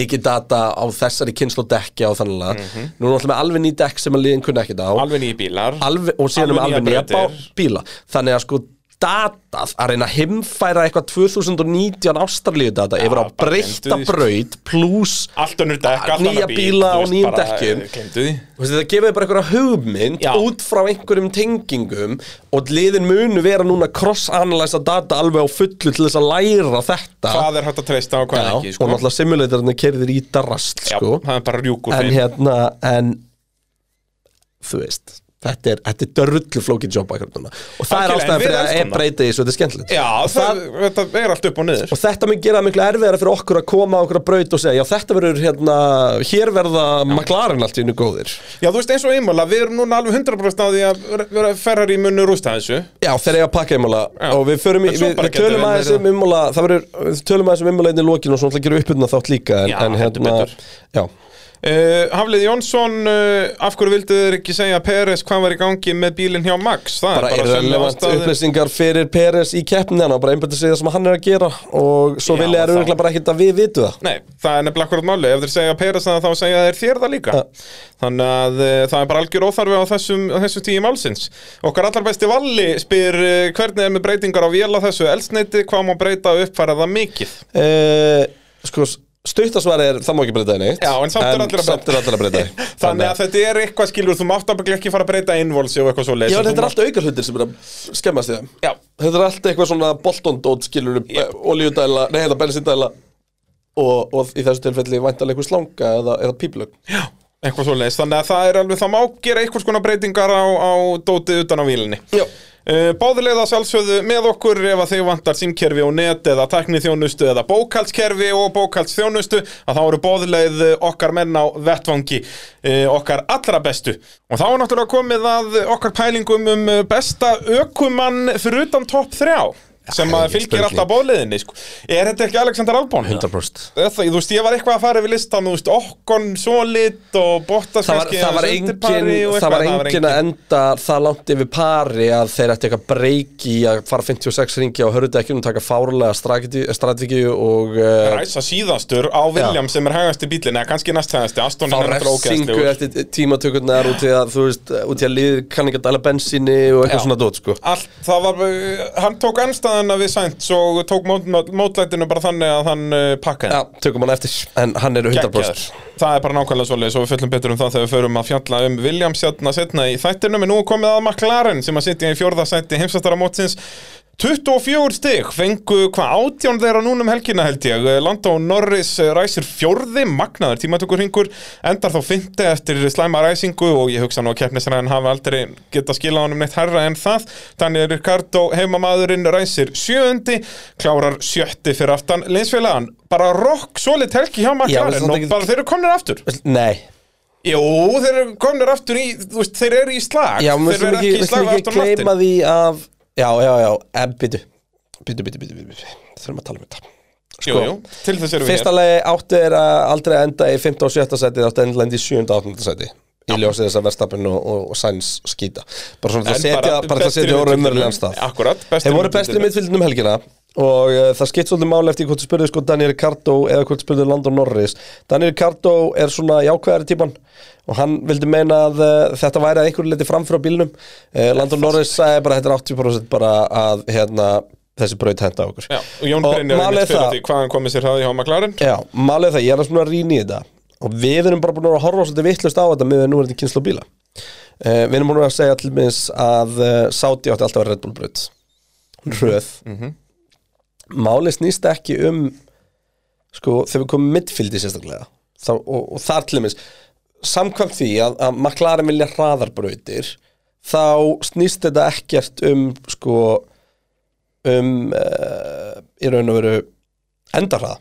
Speaker 3: mikið data á þessari kynslu dekja og þannig mm
Speaker 2: Mhm.
Speaker 3: -hmm. núna er alltaf með alveg ný dekk sem að liðin kunna ekkert á
Speaker 2: Alveg nýju bílar
Speaker 3: alveg, og síðan
Speaker 2: Alveg
Speaker 3: alveg um
Speaker 2: nýjar
Speaker 3: alveg nýja
Speaker 2: brautir.
Speaker 3: bá- bíla þannig að sko datað að reyna að himfæra eitthvað 2019 ástralíu data yfir á
Speaker 2: bara
Speaker 3: breytta
Speaker 2: gleymdu því, sko.
Speaker 3: braut pluss
Speaker 2: Allt önnur dekk, allt
Speaker 3: Nýja
Speaker 2: annar bíl,
Speaker 3: bíla
Speaker 2: þú
Speaker 3: á
Speaker 2: veist,
Speaker 3: nýjum
Speaker 2: bara,
Speaker 3: dekkjum.
Speaker 2: eh, gleymdu því.
Speaker 3: Þú veist, þetta gefur þér bara einhverja hugmynd
Speaker 2: Já.
Speaker 3: út frá einhverjum tengingum og liðin munu vera núna cross-analysa data alveg á fullu til þess að læra þetta
Speaker 2: Hvað er hægt að treysta og hvað
Speaker 3: Já,
Speaker 2: ekki sko?
Speaker 3: og náttúrulega simulatorinn kerðir í darrast
Speaker 2: Já,
Speaker 3: sko.
Speaker 2: það er bara rjúkur
Speaker 3: en
Speaker 2: fyrir
Speaker 3: hérna en þú veist Þetta er, þetta er dörrullu flókið jobb akkurat núna og það
Speaker 2: Algjörlega,
Speaker 3: er ástæðan
Speaker 2: en við
Speaker 3: fyrir að
Speaker 2: elskum
Speaker 3: ég
Speaker 2: það.
Speaker 3: breyti þessu, þetta er skemmtilegt
Speaker 2: Já,
Speaker 3: Og
Speaker 2: það, þetta er allt upp og niður
Speaker 3: og þetta mun gera það miklu erfiðara fyrir okkur að koma á okkur að braut og segja, já þetta verður hérna hér verða McLaren allt í innu góðir
Speaker 2: Já, þú veist eins og einmála, við erum núna alveg 100% á því að vera Ferrari munur rústa þessu
Speaker 3: Já, þeir eiga að pakka einmála
Speaker 2: Já.
Speaker 3: og við förum í,
Speaker 2: En svo
Speaker 3: við,
Speaker 2: bara
Speaker 3: við
Speaker 2: getum
Speaker 3: tölum
Speaker 2: við
Speaker 3: aðeins
Speaker 2: meira.
Speaker 3: um einmála það verður, við tölum aðeins um einmála einn í lokin og svona alltaf gerum uppbyrna þátt líka en,
Speaker 2: Já,
Speaker 3: en
Speaker 2: heldur
Speaker 3: hérna,
Speaker 2: betur.
Speaker 3: já
Speaker 2: uh, Haflið Jónsson, uh, af hverju vildu þér ekki segja Peres hvað var í gangi með bílinn hjá Max? Það
Speaker 3: bara
Speaker 2: er bara
Speaker 3: irrelevant
Speaker 2: ástæður.
Speaker 3: upplýsingar fyrir Peres í keppni hann og bara einbætti segja það sem hann er að gera og svo
Speaker 2: Já,
Speaker 3: vilja er
Speaker 2: það-
Speaker 3: örgulega bara ekkert að við vitu það
Speaker 2: Nei, það er nefnilega akkurat máli, ef þeir segja Peres það þá segja þeir þér það líka Þannig að uh, það er bara algjör óþarfi á þessum, á þessum tíu málsins Okkar allar besti valli spyr uh, hvernig er með breytingar á vél á þessu elsneiti, hvað má breyta og uppfæra það mikið
Speaker 3: uh, sko, stuttasvar er það má ekki breyta henni
Speaker 2: Já, en samt er allir að
Speaker 3: samt er allir að breyta því.
Speaker 2: Þannig að þetta er eitthvað skilur, þú mátt ábygglega ekki fara að breyta einvolsi og eitthvað svo
Speaker 3: Já, en þetta er allt aukar hlutir sem er að skemmast í það
Speaker 2: Já.
Speaker 3: Þetta er allt eitthvað svona boltondót skilur
Speaker 2: Já.
Speaker 3: Oljudæla, nei, þetta bensindæla og, og í þessu tilfelli væntalega einhver slanga eða, eða píplögg
Speaker 2: Eitthvað svo þannig að það er alveg, það má gera einhvers konar breytingar á, á dótið utan á vílinni
Speaker 3: Já.
Speaker 2: Eh, Báðilega sjálfsögðu með okkur ef að þau vantar símkerfi og net eða tækniþjónustu eða bókaldskerfi og bókaldsþjónustu að þá eru bóðilegð okkar menn á vettvangi eh, okkar allra bestu og þá er náttúrulega komið að okkar pælingum um eh, besta ökumann fyrir utan topp 3 sem að
Speaker 3: ég
Speaker 2: fylgir
Speaker 3: spurning.
Speaker 2: alltaf bóðliðinni sko. er þetta ekki Alexander Albon?
Speaker 3: 100%
Speaker 2: Það, þú veist, ég var eitthvað að fara yfir listan, þú veist, Okkon, Solit og Bottas
Speaker 3: Það var, það, var
Speaker 2: aðeins
Speaker 3: engin,
Speaker 2: undir pari og
Speaker 3: það
Speaker 2: eitthvað,
Speaker 3: var engin að enda það langt yfir pari að þeir ætti eitthvað breyki að fara 56 ringi á hörðudekkjunum taka fárlega strategíu og uh,
Speaker 2: Ræsa síðastur á William sem er hægast í bílinn, eða kannski næst hægast í Aston
Speaker 3: fá
Speaker 2: er náttúrulega
Speaker 3: refsingu
Speaker 2: ógeðslegur.
Speaker 3: eftir tímatökurnar út í að þú veist, út í að liður kann ekki að dæla bensíni og eitthvað
Speaker 2: Já.
Speaker 3: svona dót sko
Speaker 2: Allt, það var, uh, hann tók anstæðina við Sainz og tók mót- mótlætinu bara þannig að hann uh, pakkaði
Speaker 3: Já, tökum hann eftir, en hann er 100%
Speaker 2: Geggjaður. Það er bara nákvæmlega svolítið og við fyllum betur um það þegar við förum að fjalla um Williams hérna setna í þættinum en nú er komið að McLaren sem að sitja í fjórðasætti heimsastara mótsins 24 stig, fengu hvað átján þeirra núna um helgina held ég Lando Norris eh, ræsir fjórði magnaður tímatökur hringur, endar þá fymti eftir slæma ræsingu og ég hugsa nú að keppnisræðin hafa aldrei geta skilað honum neitt herra en það Daniel Ricardo heimamaðurinn ræsir sjöundi, klárar sjötti fyrir aftan linsfélagan, bara rokk solid helgi hjá
Speaker 3: Já,
Speaker 2: McLaren
Speaker 3: þetta
Speaker 2: og
Speaker 3: er ekki-
Speaker 2: bara þeir eru komnir aftur
Speaker 3: Nei,
Speaker 2: Jú, þeir eru komnir aftur í, þú veist, þeir eru í slag
Speaker 3: já, við
Speaker 2: Þeir
Speaker 3: slum
Speaker 2: eru ekki
Speaker 3: ekki,
Speaker 2: í
Speaker 3: við
Speaker 2: slag
Speaker 3: slum
Speaker 2: við
Speaker 3: ekki
Speaker 2: Aston Martin
Speaker 3: gleyma því af Já, já, já, en byttu Byttu, byttu, byttu, byttu Þurfum að tala um þetta
Speaker 2: Jú, jú, til þess erum við
Speaker 3: Fyrsta
Speaker 2: hér
Speaker 3: lagi áttu er að aldrei að enda í 15 og 7. seti Það áttu að enda í 7. og 8. seti Í ljósið þess að verðstapin og, og, og sæns skýta Bara svona til að
Speaker 2: En
Speaker 3: setja, bara til að
Speaker 2: bestir í
Speaker 3: setja á
Speaker 2: miðfylgdinum.
Speaker 3: raunverulegan stað
Speaker 2: Akkurat, bestir
Speaker 3: Þeir
Speaker 2: í
Speaker 3: voru bestir í
Speaker 2: miðfylgdinum.
Speaker 3: mittfylgdunum helgina og uh, það skipt svolítið máli eftir hvort þú spurði sko Daniel Ricardo eða hvort þú spurði Landon Norris Daniel Ricardo er svona jákvæðari típan og hann vildi meina að uh, þetta væri að einhverju liti framfyrir á bílnum uh, Landon Norris sagði bara þetta er 80% bara að hérna, þessi braut henda okkur
Speaker 2: Já, og Jón Brynjar er
Speaker 3: málið
Speaker 2: mitt fyrir því hvaðan komið sér það hjá McLaren
Speaker 3: Já, málið er það, ég er að svona rýna í þetta og við erum bara búin að horfa svolítið vittlust á þetta með við núverðin kynslu bíla uh, Við erum búin að segja til minns að uh, Saudi átti alltaf að vera Red Bull braut Hún er hröð Málið snýst ekki um sko, þegar við komum midfildi sérstaklega þá, og, og þar til minns samkvæmt því að, að McLaren vilja hraðarbrautir þá snýst þetta ekkert um sko um uh, í raun og veru endarhraða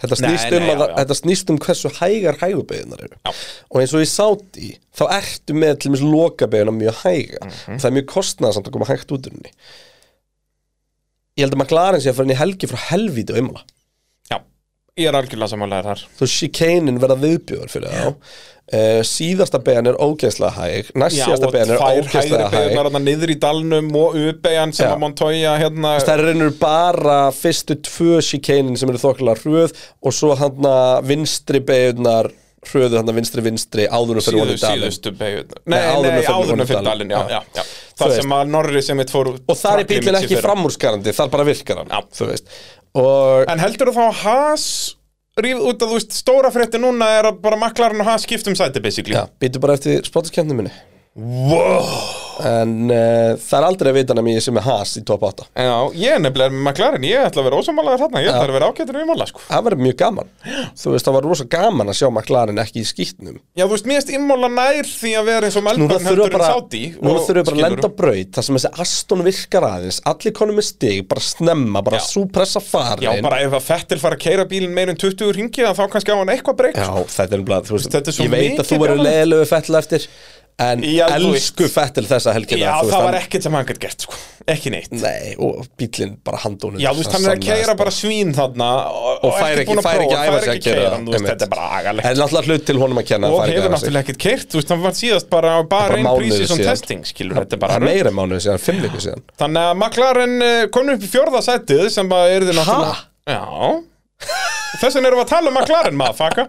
Speaker 3: Þetta snýst,
Speaker 2: Nei,
Speaker 3: um
Speaker 2: nei,
Speaker 3: að,
Speaker 2: já, já.
Speaker 3: þetta snýst um hversu hægar hægubeginar eru og eins og ég sátt í þá ertu með til mér lokabegina mjög hæga
Speaker 2: Mhm.
Speaker 3: það er mjög kostnaðsamt að koma hægt út úr henni Ég held að McLaren sé að fara henni helgi frá helvíti og einmála
Speaker 2: Já, ég er algjörlega samanlega þar
Speaker 3: þú veist, chicanein verða viðbjöður fyrir þá uh, síðasta began er ógeðslega hæg næst
Speaker 2: Já,
Speaker 3: síðasta
Speaker 2: og
Speaker 3: began er
Speaker 2: tvær hægri
Speaker 3: ógeðslega hæg
Speaker 2: beigurnar þarna niður í dalnum og uppeigjan sem
Speaker 3: Já.
Speaker 2: að Montoya hérna
Speaker 3: það er reynur bara fyrstu tvö chicanein sem eru þokkilega hröð og svo hann vinstri begunar hröðu hann vinstri vinstri áður og fyrir
Speaker 2: síðu,
Speaker 3: vonið dalinn
Speaker 2: síðustu beigurnar
Speaker 3: Nei,
Speaker 2: Nei,
Speaker 3: áður en
Speaker 2: nei,
Speaker 3: við förum
Speaker 2: áður
Speaker 3: ofan í
Speaker 2: en fyrir
Speaker 3: dalinn.
Speaker 2: dalinn, já,
Speaker 3: Já.
Speaker 2: já, já Það
Speaker 3: veist.
Speaker 2: sem að Norri sem mitt fór
Speaker 3: og þar er
Speaker 2: track
Speaker 3: bílinn
Speaker 2: limits í
Speaker 3: ekki
Speaker 2: fyrra.
Speaker 3: framúrskarandi það er bara virkar hann,
Speaker 2: Já.
Speaker 3: þú veist og
Speaker 2: En heldur þú þá að Haas ríf út að þú veist, stóra frétti núna er að bara maklarinn og Haas skiptum sæti um basically
Speaker 3: já, býtu bara eftir spottskjöndinu minni
Speaker 2: Wow
Speaker 3: en uh, það er aldrei að vita nema ég sem er has í top 8
Speaker 2: Já, ég er nefnilega með McLaren, ég ætla að vera ósamálaður þarna, ég ætla að vera ágættur í mála, sko.
Speaker 3: það verður mjög gaman þú veist það var rosa gaman að sjá McLaren ekki í skýtnum
Speaker 2: Já, þú veist, mér erst immála nær því að vera eins og
Speaker 3: núna
Speaker 2: Melbourne
Speaker 3: þurfa
Speaker 2: heldur en
Speaker 3: bara,
Speaker 2: Saudi.
Speaker 3: núna
Speaker 2: og-
Speaker 3: þurfa bara að
Speaker 2: skilurðu.
Speaker 3: lenda á braut það sem þessi Aston virkar aðeins allir konum með stig, bara snemma bara
Speaker 2: Já.
Speaker 3: súpressa farin
Speaker 2: Já, bara ef að Fettil fara að keira bílinn meir en 20 ringi þá kannski á hann eitthvað breyk
Speaker 3: Já, þetta er bara, þú veist,
Speaker 2: Þetta er svo
Speaker 3: ég veit að þú
Speaker 2: mikið
Speaker 3: verður
Speaker 2: brjálað.
Speaker 3: leiðilegu fettil eftir en
Speaker 2: Já, þú
Speaker 3: elsku
Speaker 2: veist.
Speaker 3: fettil þessa helgina
Speaker 2: Já,
Speaker 3: þú
Speaker 2: það var
Speaker 3: hann-
Speaker 2: ekkert sem hann gætt gert, sko Ekki neitt
Speaker 3: Nei, og bílinn bara handónum
Speaker 2: Já, þú veist, hann er að keira bara svín þarna og,
Speaker 3: og fær ekki,
Speaker 2: búinn
Speaker 3: fær ekki
Speaker 2: prófa,
Speaker 3: æfa
Speaker 2: fær
Speaker 3: sig að
Speaker 2: ekki
Speaker 3: gera
Speaker 2: keyra hann, þú veist,
Speaker 3: einmitt.
Speaker 2: Þetta er bara agalegt
Speaker 3: En náttúrulega hlut til honum að kenna
Speaker 2: Og hefur náttúrulega ekkert keirt, þú veist, hann var síðast bara bara einn
Speaker 3: mánuður
Speaker 2: prísis og
Speaker 3: síðan.
Speaker 2: testing, skilur, þetta er bara
Speaker 3: bara meira en mánuði síðan, fimm viku síðan
Speaker 2: Þannig að McLaren eh, kom upp í fjórða sætið sem bara er þið náttúrulega Já Þess vegna erum við að tala um McLaren, maður, faka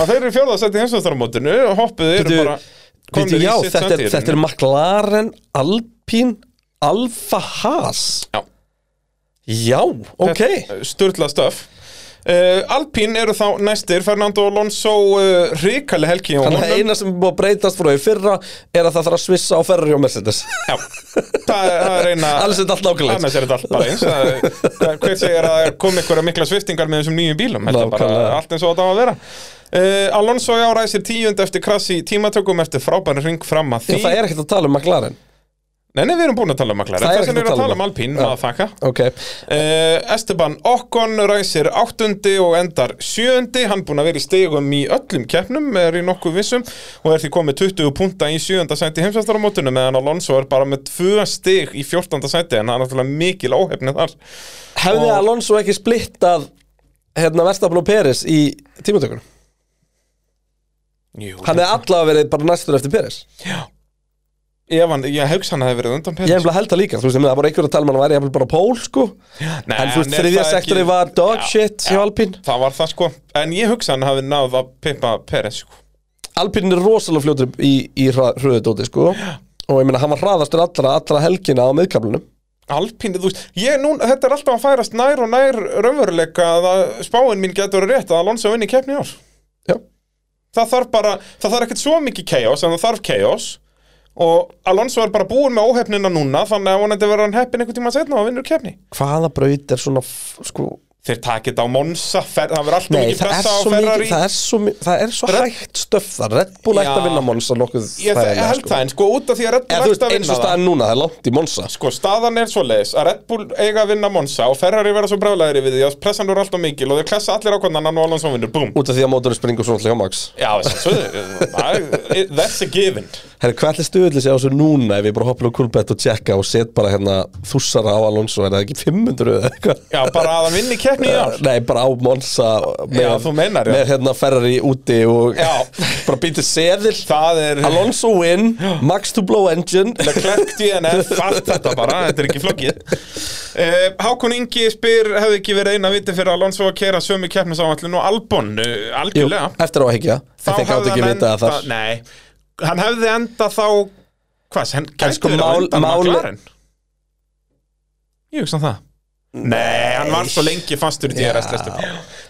Speaker 2: að þeir eru í fjórða sætið heimsvæðstaramótinu og hoppuðu eru
Speaker 3: Bíddu,
Speaker 2: bara
Speaker 3: Býtu,
Speaker 2: komnir í
Speaker 3: já,
Speaker 2: sitt
Speaker 3: þetta,
Speaker 2: sæti í
Speaker 3: er- þetta er
Speaker 2: rauninni.
Speaker 3: McLaren Alpine Alfa Haas
Speaker 2: Já.
Speaker 3: Já, ok
Speaker 2: Sturla Eh, stöf Uh, Alpín eru þá næstir Fernando Alonso uh, ríkali helgi og
Speaker 3: Þannig að eina sem er búið að breytast frá því fyrra er að það þarf að svissa á Ferrari og Mercedes
Speaker 2: Já, það er, það er eina
Speaker 3: Alls er þetta allt nákvæmlega eins.
Speaker 2: Annars er þetta allt bara eins Það er- það- Hver segir að það kom einhverja mikla sviftingar með þessum nýju bílum Þetta er bara
Speaker 3: Nákvæmlega.
Speaker 2: allt eins og það á að vera uh, Alonso já ræsir tíund eftir krassi í tímatökum eftir frábæri ring fram að
Speaker 3: Já,
Speaker 2: því
Speaker 3: það er ekkert að tala um McLaren
Speaker 2: Nei, nei, við erum búin að tala um maklæri
Speaker 3: Það er
Speaker 2: Þess vegna
Speaker 3: ekkert
Speaker 2: erum við að tala um Alpín,
Speaker 3: Já.
Speaker 2: maður þakka
Speaker 3: Ok,
Speaker 2: Uh, Esteban Okkon ræsir áttundi og endar sjöundi hann búin að vera í stegum í öllum keppnum er í nokkuð vissum og er því komið 20 punta í sjöunda sæti heimsvæstaramótinu meðan Alonso er bara með tvö steg í 14. sæti en það er náttúrulega mikil óhefni þar
Speaker 3: hefði
Speaker 2: Og-
Speaker 3: Alonso ekki splittað hérna Verstappen og Peres í tímatökunum
Speaker 2: Jú, hérna.
Speaker 3: Hann hefði allavega verið bara næstur eftir Peres
Speaker 2: ef hann, ég haugs hann að hefði verið undan
Speaker 3: Ég
Speaker 2: Peres
Speaker 3: hef bara held það líka, þú veist, ég meina, það voru einhverju að tala um að hann væri jafnvel bara pól, sko
Speaker 2: Nei,
Speaker 3: En þú veist,
Speaker 2: hann er
Speaker 3: þriðja
Speaker 2: það ekki-
Speaker 3: sektori var dog
Speaker 2: Já,
Speaker 3: shit hjá Alpín
Speaker 2: það var það sko, en ég hugsa hann hafi náð að pimpa Peres sko.
Speaker 3: Alpín er rosalega fljótur í, í hröðudóti, sko Og ég meina, hann var hraðastur allra, allra helgina á miðkablunum
Speaker 2: Alpínu, þú veist, ég núna, þetta er alltaf að færast nær og nær raunveruleika að að spáin mín getur verið rétt að Alonso vinni keppni í ár.
Speaker 3: Já.
Speaker 2: Það þarf bara, það þarf ekkert svo mikið chaos en það þarf chaos og Alonso er bara búin með óhefnina núna þannig að vonandi verður hann heppin einhvern tíma setna og vinnur keppni.
Speaker 3: Hvaða braut er svona, f- sko
Speaker 2: Þeir takit á Monza, fer, það verður alltaf
Speaker 3: Nei,
Speaker 2: mikið
Speaker 3: það er
Speaker 2: pressa á
Speaker 3: svo mikið,
Speaker 2: Ferrari.
Speaker 3: það er svo, mi- það er svo
Speaker 2: Red-
Speaker 3: hægt stöfða Red Bull ætti að
Speaker 2: Já.
Speaker 3: vinna Monsa nokkuð
Speaker 2: Ég það,
Speaker 3: þægilega,
Speaker 2: held
Speaker 3: sko.
Speaker 2: það en sko út af því að Red Bull
Speaker 3: Eða, þú
Speaker 2: ætti
Speaker 3: veist,
Speaker 2: að
Speaker 3: eins
Speaker 2: vinna
Speaker 3: og
Speaker 2: það.
Speaker 3: staðan núna, það er langt í Monsa
Speaker 2: Sko, staðan er svoleiðis að Red Bull eiga að vinna Monza og Ferrari verða svo bráðlegri við því að pressan verður alltaf mikil og þeir klessa allir á hvernig annan og Alonso vinnur, búm.
Speaker 3: Út af því að mótorinn springur svona alltaf hjá Max
Speaker 2: Já, sjálfsögðu, það er- that's a given
Speaker 3: Herri, hvað ætli stuðlis ég á þessu núna ef ég bara hoppar á kulbett og tjekka og set bara hérna þússara á Alonso, er það ekki 500 eða eitthvað? Eh,
Speaker 2: Já, bara að hann vinni keppni í ár
Speaker 3: Nei, bara á Monsa með,
Speaker 2: Já, þú meinar, já.
Speaker 3: með hérna Ferrari úti og
Speaker 2: Já.
Speaker 3: bara býtið seðil
Speaker 2: Það er
Speaker 3: Alonso win, Max to blow engine
Speaker 2: Leclerc DNF, fatt þetta bara, þetta er ekki flókið uh, Hákon Ingi spyr hefði ekki verið eina viti fyrir Alonso að kera sömu keppnisáallin og Albon uh,
Speaker 3: Jú,
Speaker 2: algjörlega
Speaker 3: eftir á að hekja
Speaker 2: Þá
Speaker 3: Þetta gátt
Speaker 2: hefði
Speaker 3: ekki
Speaker 2: hann
Speaker 3: vita að
Speaker 2: enda-
Speaker 3: það
Speaker 2: Nei, hann hefði enda þá Hvað, hann
Speaker 3: En
Speaker 2: gæti
Speaker 3: sko,
Speaker 2: sko, verið
Speaker 3: mál-
Speaker 2: að enda
Speaker 3: mál-
Speaker 2: McLaren Ég hugsa um það Nei, hann var svo lengi fastur í DRS-lestum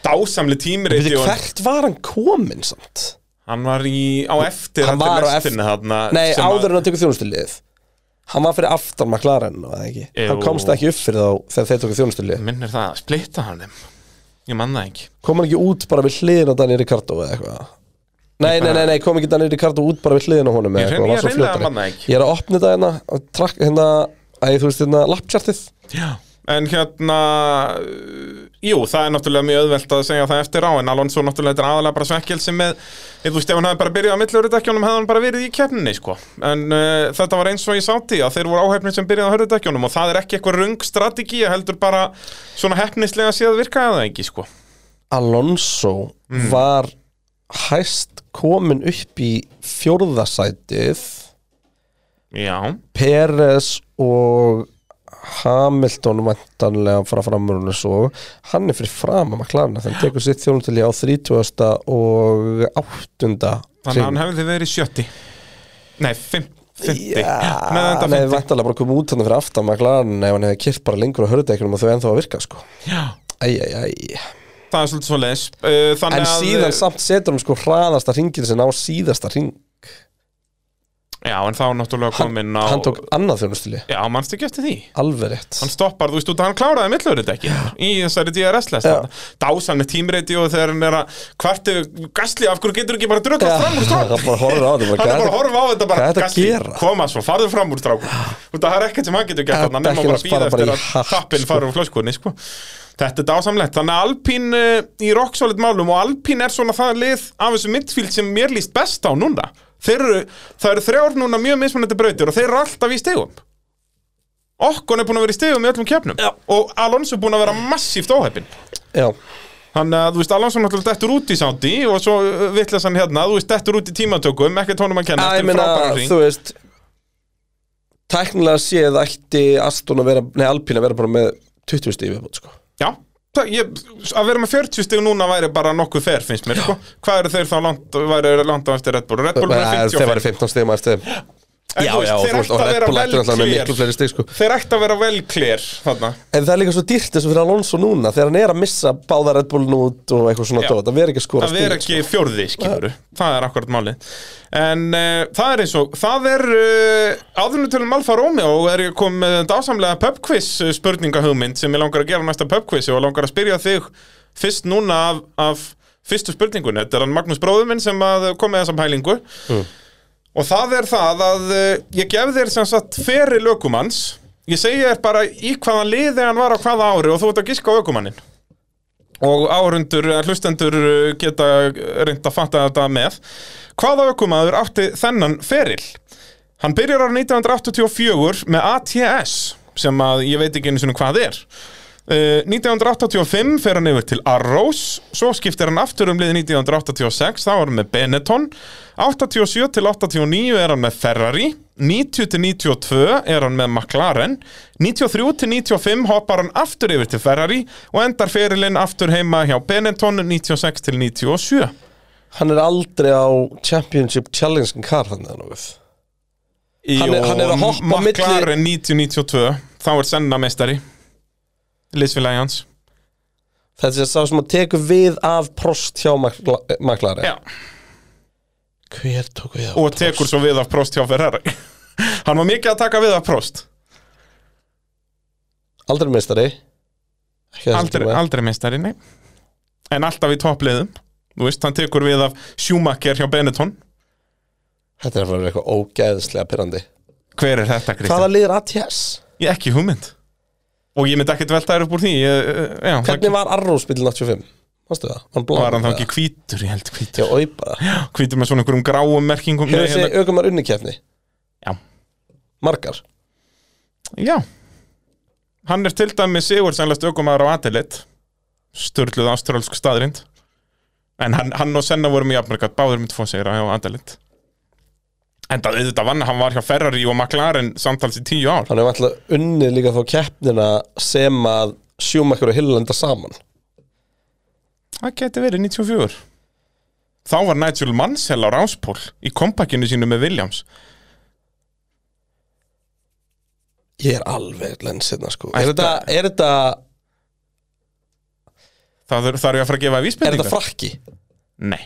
Speaker 2: Dásamli tímuriti
Speaker 3: Býtið, hvert var hann kominn samt?
Speaker 2: Hann var í, á eftir
Speaker 3: Hann var á
Speaker 2: lestinni þarna
Speaker 3: Nei,
Speaker 2: sem að-
Speaker 3: áður en að tekur þjónustulið Hann var fyrir aftan McLaren og það ekki
Speaker 2: Jú.
Speaker 3: Hann komst ekki upp fyrir þá þegar þeir tóku þjónustulið
Speaker 2: Minnir það að splitta hann þeim Ég mann það ekki
Speaker 3: Kom hann ekki út bara við hliðin á Daniel Ricardo eða eitthvað Nei, nei, nei, nei, kom ekki Daniel Ricardo út bara við hliðin á honum
Speaker 2: Ég
Speaker 3: eða
Speaker 2: hrein- ég
Speaker 3: eitthvað, var svo
Speaker 2: hreinlega
Speaker 3: fljótari.
Speaker 2: man það ekki.
Speaker 3: Ég er að opna þetta hérna að trakk hérna Æ, þú veist hérna, lapptjartið
Speaker 2: Já. En hérna uh, Jú, það er náttúrulega mjög auðvelt að segja það eftir á En Alonso náttúrulega þetta er aðalega bara svekkelsi með Ef þú veist, ef hann hefði bara byrjað að millurudekjunum Hefði hann bara verið í keppninni, sko En uh, þetta var eins og ég sátti að þeir voru áhefnir sem byrjaði á hörðudekjunum Og það er ekki eitthvað rung strategía Heldur bara svona hefnislega séð virkaði það ekki, sko
Speaker 3: Alonso
Speaker 2: Mm.
Speaker 3: var hæst komin upp í fjórðasætið
Speaker 2: Já,
Speaker 3: Peres og Hamilton vantanlega fara framurinn og svo hann er fyrir fram að McLaren þannig tekur sitt þjónum til ég á 30. og 8.
Speaker 2: þannig að hann hefði verið sjötti Nei, fimm, fimmti Með
Speaker 3: Já,
Speaker 2: enda
Speaker 3: nei,
Speaker 2: fimmti
Speaker 3: vantanlega bara komið út hann fyrir aftan McLaren ef hann hefði kilt bara lengur á hörðdeikunum og þau ennþá að virka sko
Speaker 2: Já.
Speaker 3: Æ, æ, æ.
Speaker 2: Það er svolítið Uh, svo leis
Speaker 3: En síðan samt setur hann sko hraðasta ringin sem á síðasta ring
Speaker 2: Já, en þá náttúrulega kominn á
Speaker 3: Hann tók annað þjónustili
Speaker 2: Já, mannst ekki eftir því
Speaker 3: Alveg rétt
Speaker 2: hann stoppar, þú veist, út að hann kláraði millurindekkin í þessari DRS-lest
Speaker 3: Já.
Speaker 2: dásan með tímreiti og þegar hann er að kvartu, gasli, af hverju getur ekki bara druggað
Speaker 3: Já,
Speaker 2: fram úr
Speaker 3: hann
Speaker 2: strákur
Speaker 3: er bara að horfa á
Speaker 2: hann er bara að horfa á þetta
Speaker 3: þetta, bara, hvað er- hvað
Speaker 2: bara,
Speaker 3: er þetta að
Speaker 2: Gasly,
Speaker 3: gera?
Speaker 2: koma svo, farðu fram úr strákur út að það er ekkert sem hann getur
Speaker 3: Já,
Speaker 2: gert hann nema
Speaker 3: bekkir
Speaker 2: bara
Speaker 3: hans
Speaker 2: að býða
Speaker 3: fara bara
Speaker 2: eftir
Speaker 3: í
Speaker 2: að
Speaker 3: hatt,
Speaker 2: tappin
Speaker 3: sko.
Speaker 2: fara úr flöskunni sko. þetta er dásamlegt, þannig að Alpín uh, í rocksolid málum og Alpín er svona það lið af þessu midfield sem mér líst best á núna Þeir eru, það eru þrjár núna mjög mismunandi brautir og þeir eru alltaf í stegum Okkon er búin að vera í stegum í öllum keppnum
Speaker 3: Já.
Speaker 2: og Alonso er búin að vera massíft óheppin
Speaker 3: Já,
Speaker 2: Þannig að þú veist, Alonso náttúrulega dettur út í sándi og svo vitlas hann hérna, þú veist, dettur út í tímatökum, ekkert honum að kenna,
Speaker 3: Æ, ég
Speaker 2: eftir
Speaker 3: meina,
Speaker 2: frábæran hring.
Speaker 3: þú veist Tæknilega séð ætti Aston að vera, nei Alpín að vera bara með 20 stífi viðbútt, sko
Speaker 2: Já, það, ég, að vera með 40 stig núna væri bara nokkuð fer, finnst mér, sko. Hvað eru þeir þá langt, væri langt á eftir Red Bull? Red Bull er
Speaker 3: Nei,
Speaker 2: 55.
Speaker 3: Þeir væri 15 stífum að stífum
Speaker 2: En
Speaker 3: Já,
Speaker 2: þú veist,
Speaker 3: já, og
Speaker 2: þeir
Speaker 3: þú veist,
Speaker 2: ættu
Speaker 3: og
Speaker 2: að
Speaker 3: Red
Speaker 2: vera
Speaker 3: Bull ætti náttúrulega með
Speaker 2: velklér.
Speaker 3: miklu fleiri stíf, sko
Speaker 2: Þeir ætti að vera velklér, þarna.
Speaker 3: En það er líka svo dýrt eins og fyrir Alonso núna þegar hann er að missa báða Red Bullin út og eitthvað svona
Speaker 2: Já.
Speaker 3: dót, það verður ekki að skora
Speaker 2: að vera
Speaker 3: sko, stig,
Speaker 2: ekki fjórði skilur það er akkurat málið en uh, það er eins og það er uh, áðurnu til um Alfa Romeo og er ég kom með dásamlega pubquiz eh, spurningahugmynd sem ég langar að gera á næsta pubquiz og langar að spyrja þig fyrst núna af, af fyrstu spurningun þetta er hann Magnús bróður minn sem að kom með þessa pælingu og það er það að uh, ég gef þér sem sagt feri lökumanns ég segi þér bara í hvaða liði hann var á hvaða ári og þú ert að giska á ökumannin og áhundur, hlustendur uh, geta reynd að fatta þetta með hvaða ökumaður átti þennan feril hann byrjar ára 1984 með ATS sem að ég veit ekki einu sinni hvað er Uh, 1985 fer hann yfir til Arrows svo skiptir hann aftur um liði 1986 þá er hann með Benetton 87 til 89 er hann með Ferrari 90 til 92 er hann með McLaren 93 til 95 hoppar hann aftur yfir til Ferrari og endar ferilinn aftur heima hjá Benetton 96 til 97
Speaker 3: sko. Hann er aldrei á Championship Challenge kar þannig að nokkuð Hann er- hann er að
Speaker 2: Jó,
Speaker 3: hoppa milli-
Speaker 2: McLaren 90-92 þá er Senna meistari Lisville Lions
Speaker 3: Þetta er sá sem að teku við af prost hjá Makla- maklari
Speaker 2: Já.
Speaker 3: Hver tók við af
Speaker 2: og tekur svo við af Prost hjá Ferrari hann var mikið að taka við af Prost
Speaker 3: Aldrei meistari Ekki þessum
Speaker 2: aldrei,
Speaker 3: tíma.
Speaker 2: aldrei meistari, nei en alltaf í toppliðum þú veist, hann tekur við af Schumacher hjá Benetton
Speaker 3: Þetta er að vera eitthvað ógeðslega pyrrandi
Speaker 2: hver er þetta,
Speaker 3: Hvaða
Speaker 2: Kristján?
Speaker 3: liður ATS?
Speaker 2: Ég ekki hugmynd og ég myndi ekkert velta þér upp úr því ég, eh, já,
Speaker 3: Hvernig var Arrows bílinn 85? Vastu það? Hann blá
Speaker 2: var hann þá ekki hvítur, ég held hvítur
Speaker 3: Já, oipa
Speaker 2: hvítur með svona einhverjum gráum merkingum
Speaker 3: Hefur
Speaker 2: Nei, hérna-
Speaker 3: þessi aukumar unnikeppni?
Speaker 2: Já.
Speaker 3: Margar?
Speaker 2: Já Hann er til dæmis Sigur sannlega aukumæður á Adelaide Sturluð ástrálsk staðrind En hann, hann og Senna vorum í Afmörgat Báður með tvo sigra á Adelaide En það auðvitað vann Hann var hjá Ferrari og McLaren samtals í tíu ár
Speaker 3: Hann hefur alltaf unnið líka þá keppnina sem að Schumacher og Hill lenda saman
Speaker 2: Það geti verið 94 Þá var Nigel Mansell á Ráspól Í kompakinu sínu með Williams
Speaker 3: Ég er alveg lens hérna sko
Speaker 2: Ætla-
Speaker 3: Er þetta, er þetta,
Speaker 2: Það þarf þarf ég að fara að gefa
Speaker 3: er þetta
Speaker 2: vísbendingar
Speaker 3: frakki?
Speaker 2: Nei,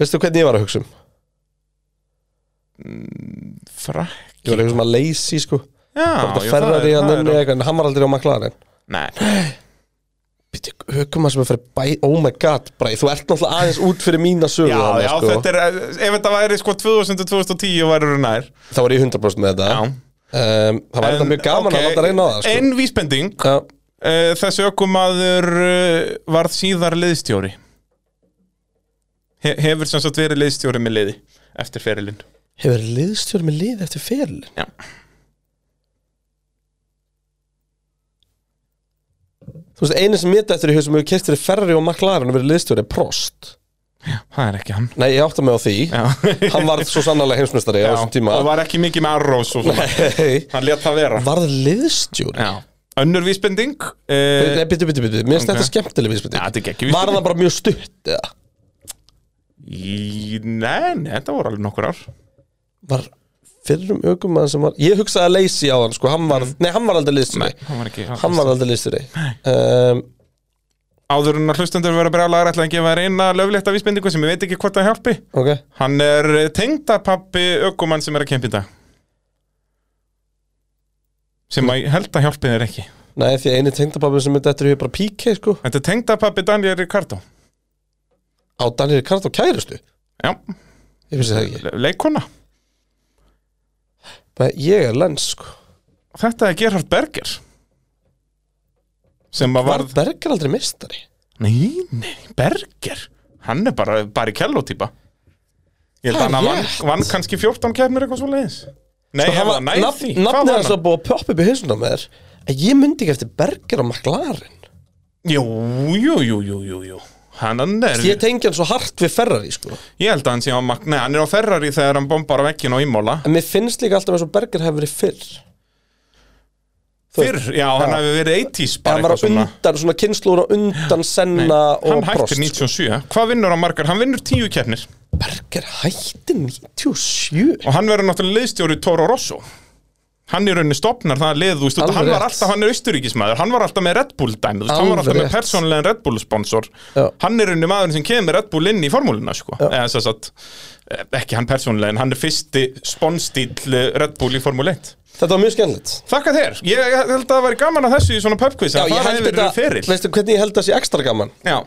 Speaker 3: Veistu hvernig ég var að hugsa um? Ég var að
Speaker 2: frakki
Speaker 3: hugsa um að leysi sko
Speaker 2: Já,
Speaker 3: Þetta
Speaker 2: jú, það
Speaker 3: ferrar í
Speaker 2: er-
Speaker 3: hann
Speaker 2: það er-
Speaker 3: unni eitthvað En hann var aldrei á McLaren
Speaker 2: Nei,
Speaker 3: Býtti, högum að sem er fyrir bæ Oh my god, bræ, þú ert náttúrulega aðeins út fyrir mína sögu
Speaker 2: já,
Speaker 3: þarna,
Speaker 2: já,
Speaker 3: sko.
Speaker 2: þetta er eh, Ef þetta væri sko 2000-2010 væri nær
Speaker 3: Þá var ég 100% með þetta
Speaker 2: Já.
Speaker 3: um, Það var þetta
Speaker 2: En,
Speaker 3: mjög gaman
Speaker 2: ok,
Speaker 3: að láta reyna á það sko.
Speaker 2: Ein vísbending,
Speaker 3: Já,
Speaker 2: uh, þessi ökumadur uh, varð síðar liðstjóri He, Hefur sem sagt verið liðstjóri með liði eftir ferilinn
Speaker 3: Hefur liðstjórn með lið eftir feril?
Speaker 2: Já.
Speaker 3: Þú veist, einu sem ég dættur í hug sem hefur kert fyrir Ferrari og McLaren og verið liðstjóri er Prost
Speaker 2: Það er ekki hann
Speaker 3: Nei, ég átta mig á því
Speaker 2: Já.
Speaker 3: Hann varð svo sannarlega heimsmyndstari á þessum tíma
Speaker 2: og var ekki mikið með Arrows og svona
Speaker 3: Nei,
Speaker 2: Hann let það vera
Speaker 3: varð liðstjóri?
Speaker 2: Já. Önnur vísbending
Speaker 3: Nei,
Speaker 2: uh,
Speaker 3: bitu, bitu, bitu, mér
Speaker 2: Ok.
Speaker 3: finnst þetta skemmtileg vísbending
Speaker 2: Já, þetta er geggjum
Speaker 3: Var
Speaker 2: vísbending.
Speaker 3: það bara mjög stutt eða?
Speaker 2: í, Nei, nei, þetta voru alveg nokkur ár
Speaker 3: Var fyrrum aukumann sem var Ég hugsaði að leysi á
Speaker 2: Mm.
Speaker 3: hann, sko, hann var Nei, hann var aldrei liðstjóri Ehm,
Speaker 2: Nei, hann var ekki
Speaker 3: Hann var aldrei liðstjóri um,
Speaker 2: áður en að hlustendur vera brjálagar ætla að gefa þér eina löflétta vísbendingu sem ég veit ekki hvort það hjálpi
Speaker 3: Ok
Speaker 2: Hann er tengdapappi ökumann sem er að kempa í dag sem að ég held að hjálpi þér ekki
Speaker 3: Nei, því eini tengdapappi sem myndi eftir hefur bara píki, sko
Speaker 2: Þetta er tengdapappi Daniel Ricardo
Speaker 3: Á Daniel Ricardo kærustu
Speaker 2: Já,
Speaker 3: Ég finnst það ekki
Speaker 2: le- leikona
Speaker 3: Bara, Ég er lens, sko
Speaker 2: Þetta er Gerhard Berger sem að
Speaker 3: Var
Speaker 2: varð
Speaker 3: Berger aldrei mistari?
Speaker 2: Nei, nei, Berger Hann er bara, bara í kello típa Ég held
Speaker 3: Það
Speaker 2: að
Speaker 3: er
Speaker 2: hann vann,
Speaker 3: rétt.
Speaker 2: vann kannski 14 kefnir eitthvað svo leiðis Nei,
Speaker 3: Það
Speaker 2: hann var
Speaker 3: Sko, var-
Speaker 2: næði
Speaker 3: nafn- Nafnið hans var búið að poppa upp í hinsuna með þér En ég myndi ekki eftir Berger og McLaren
Speaker 2: Jú, jú, jú, jú, jú, jú Hann hann er,
Speaker 3: Ég tengi hann svo hart við Ferrari, sko
Speaker 2: ég held að hann sé á Mac Nei, hann er á Ferrari þegar hann bombar á vekkinu á Ímóla
Speaker 3: En mér finnst líka alltaf eins og Berger hefur verið fyrr Þú veist,
Speaker 2: Fyrr, já, hann hefði verið 80s bara
Speaker 3: Hann var á
Speaker 2: eitthvað svona
Speaker 3: undan, svona kynnslóður á undan Senna
Speaker 2: Hann
Speaker 3: og
Speaker 2: hættir
Speaker 3: Prost
Speaker 2: 97 Hvað vinnur á margar? Hann vinnur 10 kefnir
Speaker 3: Berger hætti 97
Speaker 2: Og hann verður náttúrulega liðstjóri Toro Rosso Hann í rauninni stopnar það lið, þú veist,
Speaker 3: Alveg
Speaker 2: hann var
Speaker 3: rétt.
Speaker 2: alltaf, hann er austuríkismæður, hann var alltaf með Red Bull dæmi, þú veist, hann var
Speaker 3: Alveg
Speaker 2: alltaf með
Speaker 3: rétt.
Speaker 2: persónlegan Red Bull sponsor,
Speaker 3: Já.
Speaker 2: hann er í rauninni maðurinn sem kemur Red Bull inn í formúluna, sko, eða þess að, ekki hann persónlegin, hann er fyrsti sponsdýl Red Bull í formúl 1.
Speaker 3: Þetta var mjög skemmtilegt
Speaker 2: Þakka þér, ég, ég held að það væri gaman að þessu í svona pubquiz, að fara yfir feril.
Speaker 3: veistu hvernig ég held það sé ekstra gaman
Speaker 2: Já,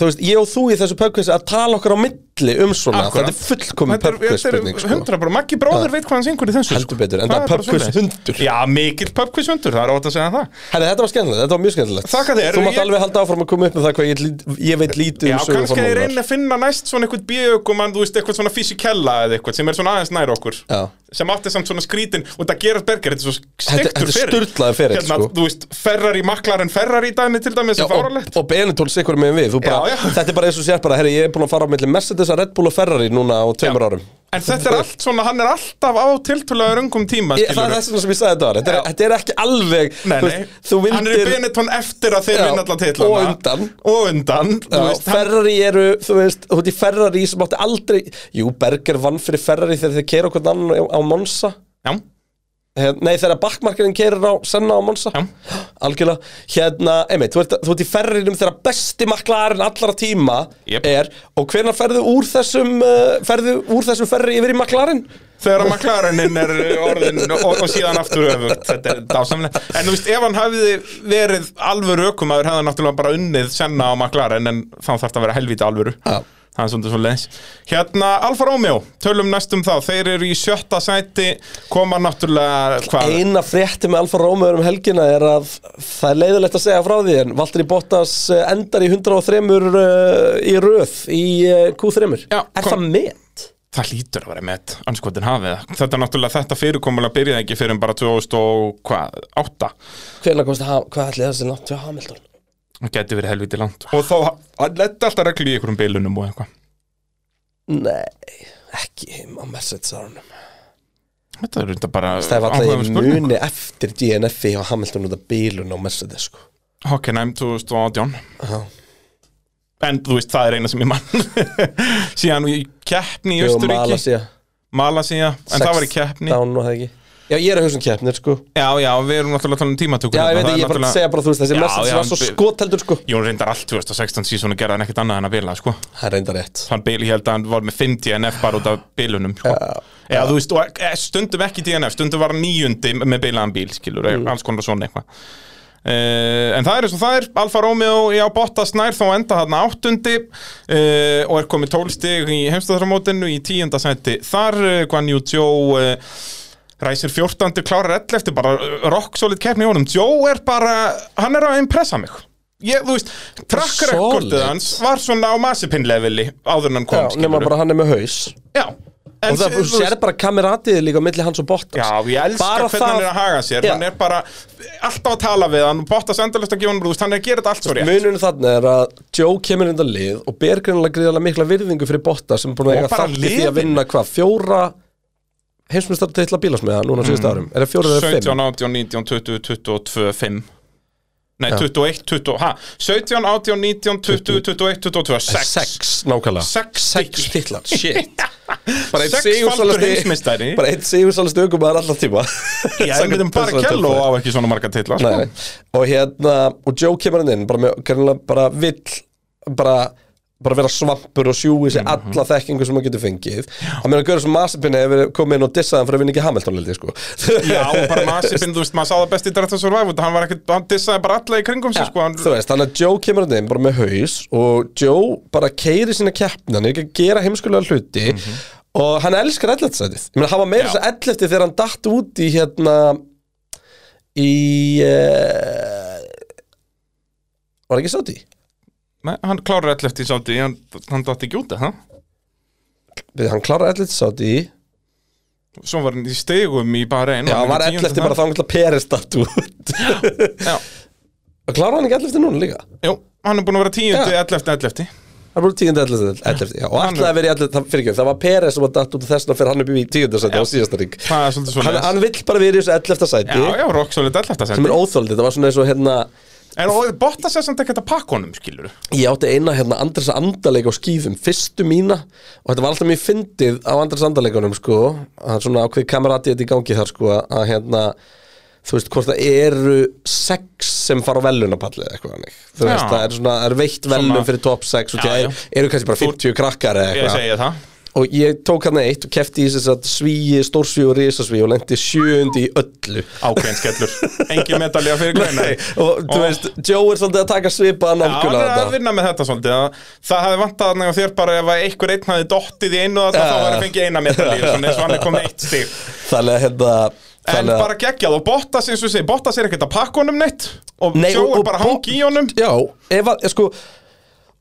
Speaker 3: Þú veist, ég og þú í þessu pubquiz að tala okkar á milli um svona
Speaker 2: Akkurat.
Speaker 3: Þetta er fullkomin
Speaker 2: Þetta er-
Speaker 3: pubquiz
Speaker 2: þetta er
Speaker 3: spurning sko.
Speaker 2: 100 bara, Maggi bróður veit hvað hann syngur í þessu, sko.
Speaker 3: Heldur betur, en það er
Speaker 2: bara
Speaker 3: pubquiz
Speaker 2: svoleiðis.
Speaker 3: hundur.
Speaker 2: Já, mikill pubquiz hundur, það er ótt að segja það
Speaker 3: Herri, þetta var skemmtilegt, þetta var mjög skemmtilegt
Speaker 2: Þakka þér.
Speaker 3: Þú mátt
Speaker 2: Ég-
Speaker 3: alveg halda áfram að koma upp með það hvað ég, lít- ég veit lítið
Speaker 2: Já,
Speaker 3: um sögu
Speaker 2: kannski að ég
Speaker 3: formúlunar.
Speaker 2: reyni að finna næst svona eitthvað bíögumann, þú veist, eitthvað svona fysikella eða eitthvað sem er svona aðeins nær okkur
Speaker 3: Já.
Speaker 2: sem átti samt svona skrítin og það gerast berger, þetta er svo
Speaker 3: Þetta- þetta
Speaker 2: stiktur
Speaker 3: er sturlaður ferill,
Speaker 2: hérna,
Speaker 3: sko.
Speaker 2: Þú veist, Ferrari maklar en Ferrari dæmi til dæmi sem
Speaker 3: Já, og,
Speaker 2: fáralegt
Speaker 3: og Benetton sikur með við Þú bara,
Speaker 2: Já, já.
Speaker 3: Þetta er bara eins og sér bara, herri, ég er búin að fara á milli Mercedes að Red Bull og Ferrari núna á tveimur árum
Speaker 2: En þetta er allt svona, hann er alltaf á tiltölulega röngum tíma,
Speaker 3: ég, Það er
Speaker 2: skilurðu.
Speaker 3: þess vegna sem ég sagði þetta var Þetta er,
Speaker 2: Já.
Speaker 3: þetta er ekki alveg
Speaker 2: Nei,
Speaker 3: þú
Speaker 2: nei,
Speaker 3: veist, Þú
Speaker 2: hann er í
Speaker 3: vildir
Speaker 2: Benetton eftir að þeir
Speaker 3: Já,
Speaker 2: vinna alla titlana
Speaker 3: og undan.
Speaker 2: Og undan, þú
Speaker 3: Já,
Speaker 2: veist, hann-
Speaker 3: Ferrari eru, þú veist, þú veist, í Ferrari sem átti aldrei Jú, Berger vann fyrir Ferrari þegar þeir keira okkur annan á, á Monza
Speaker 2: Já,
Speaker 3: Eh, Nei, þegar bakmarkarinn keirir á Senna á Monza
Speaker 2: Já.
Speaker 3: Algjörlega Hérna, einmitt, þú ert, þú ert í ferrinum þegar besti maklarinn allra tíma
Speaker 2: Jep.
Speaker 3: er Og hvenær ferðu úr þessum, uh, ferðu úr þessum ferri yfir í maklarinn?
Speaker 2: þegar McLareninn er eh, orðin og, og síðan aftur öfugt þetta er dásamlega, en þú veist, ef hann hafiði verið alvöru ökumæður hefði hann náttúrulega bara unnið senna á McLaren en þá þarf það að vera helvítið alvöru
Speaker 3: Já.
Speaker 2: það er svona svo leins hérna, Alfa Romeo, tölum næstum þá þeir eru í sjötta sæti koma náttúrulega, hvað
Speaker 3: Eina frétti með Alfa Romeo um helgina er að það er leiðilegt að segja frá því En Valtteri Bottas eh, endar í 103 uh, í röð í uh, Q3
Speaker 2: Já,
Speaker 3: Er
Speaker 2: kom-
Speaker 3: það met?
Speaker 2: það lítur að vera met, anskotin hafið það. þetta er náttúrulega, þetta fyrirkomulega byrjaði ekki fyrir en bara 2008
Speaker 3: Hvenær komst það, hvað ætli þessi langt til Hamilton?
Speaker 2: það geti verið helvítið langt og þá, hann letta alltaf reglu í einhverjum bilunum og eitthvað
Speaker 3: Nei, ekki á Mercedes-árunum
Speaker 2: Þetta er þetta bara
Speaker 3: Það er alltaf
Speaker 2: áhugaverð
Speaker 3: ég
Speaker 2: spurning.
Speaker 3: muni eftir DNF-i og Hamilton út af bílun á Mercedes sko.
Speaker 2: Hockenheim 2018 En þú veist, það er eina sem ég mann Síðan í keppni í
Speaker 3: Jú,
Speaker 2: Östuríki
Speaker 3: Malasía,
Speaker 2: Malasía, en það var í keppni
Speaker 3: Down og það ekki Já, ég er að hugsa um keppnir sko
Speaker 2: Já, já, við erum náttúrulega að tala um tímatökur
Speaker 3: Já, ég
Speaker 2: hérna,
Speaker 3: veit,
Speaker 2: það er
Speaker 3: ekki, ég bara
Speaker 2: náttúrulega-
Speaker 3: að segja bara þú veist Þessi
Speaker 2: Já,
Speaker 3: Mercedes
Speaker 2: já,
Speaker 3: var svo
Speaker 2: en-
Speaker 3: skoteldur sko
Speaker 2: Jón reyndar allt 2016 síðan og gerði hann ekkert annað en að bila sko.
Speaker 3: Það er reynda rétt
Speaker 2: Hann bili held að hann var með 5 DNF bara út af bilunum sko. Já, þú veist, og e, stundum ekki DNF Stundum var hann níundi með bilaðan bíl skilur, alls konar svona eitthvað Uh, en það er eins og það er Alfa Romeo já, Bottas nær þá enda þarna áttundi uh, og er komið tólstig í heimstöðarmótinu í tíunda seti þar, uh, Guan Yu Zhou uh, ræsir fjórtandi klárar ell eftir bara uh, rock solid keppni í honum Zhou er bara, hann er að impressa mig ég, þú veist, track
Speaker 3: Solid.
Speaker 2: recordið hans var svona á massipinn leveli áður en hann kom,
Speaker 3: Já, nema bara hann er með haus
Speaker 2: já, en
Speaker 3: Og það
Speaker 2: þú
Speaker 3: þú sér bara kameratiði líka á milli hans og Bottas
Speaker 2: Já, ég elska
Speaker 3: Bara
Speaker 2: hvernig
Speaker 3: það-
Speaker 2: hann er að haga sér
Speaker 3: Já.
Speaker 2: Hann er bara alltaf að tala við hann Bottas endalist að gefa hann brúst Hann er að gera þetta allt svo rétt
Speaker 3: Munurinn þarna er að Joe kemur inn að lið og ber greinlega gríðarlega mikla virðingu fyrir Botta sem er búin að
Speaker 2: Og
Speaker 3: eiga
Speaker 2: bara
Speaker 3: þátt í því að
Speaker 2: liðinu.
Speaker 3: vinna hvað, fjóra heimsmyndstart teitla bílasmiða núna á síðustu
Speaker 2: Mm.
Speaker 3: árum er það fjóra eða
Speaker 2: 17,
Speaker 3: fimm?
Speaker 2: 18, 19, 20, 22, 5 Nei, 21, 20, ha 17, 18, 19, 20, 21, 22, 6
Speaker 3: Sex, nákvæmlega
Speaker 2: 6
Speaker 3: Sex titlar, shit bara eitt
Speaker 2: Sexfaldur
Speaker 3: sigursælasti
Speaker 2: heimsmeistari
Speaker 3: bara eitt sigursælasti ökumæður alltaf tíma
Speaker 2: Já, við veitum bara Kjell og á ekki svona marga titla sko.
Speaker 3: Nei, og hérna, og Joe kemur hann inn bara, með, greinilega bara vill bara, bara vera svampur og sjúi sér
Speaker 2: Mhm.
Speaker 3: alla þekkingu sem hann getur fengið og meðan Görður sem Masipin hefur komið inn og dissaðan fyrir að vinna ekki Hamilton lildi sko.
Speaker 2: Já, og bara Masipin, þú veist, maður sá það best í Dretta Survival Hann var ekkert, hann dissaði bara alla í kringum sig sko, hann,
Speaker 3: Þú veist, þannig að Joe kemur hann inn bara með haus og Joe bara keiri sína keppnan ekki að gera heimskulega hluti og hann elskar 11. sætið ég meina, hann var meira
Speaker 2: Já.
Speaker 3: þess að 11. þegar hann datt út í hérna í uh, var ekki sátt í?
Speaker 2: Nei, hann klárar allir eftir sátti Hann, hann dætti ekki út það
Speaker 3: Við, hann klárar 11. sátt í
Speaker 2: Svo var hann í stegum í bara einu
Speaker 3: Já, hann var 11. bara þá hann ætla Peres datt út
Speaker 2: Já,
Speaker 3: og klárar hann ekki 11. núna líka
Speaker 2: jú, hann er búin að vera tíundi,
Speaker 3: Já.
Speaker 2: ellefti, ellefti
Speaker 3: hann var 10. 11. 11. Já, og
Speaker 2: Hann-
Speaker 3: ætlaði að vera í 11. það- fyrirgefðu, það var Peres sem var datt út og þess vegna fyrir hann upp í 10. sæti á síðasta ring
Speaker 2: Það er svolítið
Speaker 3: hann,
Speaker 2: svona
Speaker 3: hann vill bara vera í þessu 11. sæti
Speaker 2: Já, já, rock solid ellefta
Speaker 3: sem er
Speaker 2: sætti
Speaker 3: óþóldi, þetta var svona eins og hérna
Speaker 2: En og Bottas er samt ekkert að pakka honum, skilur
Speaker 3: ég átti eina hérna Andres Andaleik á skýðum fyrstu mína og þetta var alltaf mjög fyndið á Andres Andaleikunum sko, það er svona ákveð kamerati þetta í gangi þar sko að hérna þú veist hvort það eru sex sem fara á velunapallið eða eitthvað þannig. þú veist
Speaker 2: Já.
Speaker 3: það er svona, það er veitt velun fyrir top 6 og
Speaker 2: Já,
Speaker 3: það
Speaker 2: já.
Speaker 3: eru, eru kannski bara 50 krakkar eða
Speaker 2: Ég
Speaker 3: eitthvað
Speaker 2: segi það
Speaker 3: og ég tók hann eitt og kefti í þess að svíi, stórsvíi og risasvíi og lendi sjöundi í öllu
Speaker 2: Ákveðin skellur Engin medalja fyrir græna
Speaker 3: Nei, og þú veist, Joe er svolítið að taka svipaða
Speaker 2: Já, hann
Speaker 3: nálguna
Speaker 2: er að
Speaker 3: þetta
Speaker 2: vinna með þetta svolítið að Það hefði vantað hann og þér bara ef að einhver einn hafði dottið í einu þetta
Speaker 3: Já.
Speaker 2: þá var það fengið eina medalíu svona eins og hann er komið eitt stig
Speaker 3: Þannig að hérna
Speaker 2: En
Speaker 3: þannig að-
Speaker 2: bara geggjað og Bottas eins og ég segi Bottas er ekkert að pakka honum neitt og
Speaker 3: Nei,
Speaker 2: Joe
Speaker 3: og-
Speaker 2: er
Speaker 3: og
Speaker 2: bara
Speaker 3: Bo-
Speaker 2: hangi í honum
Speaker 3: Já, ef að, sko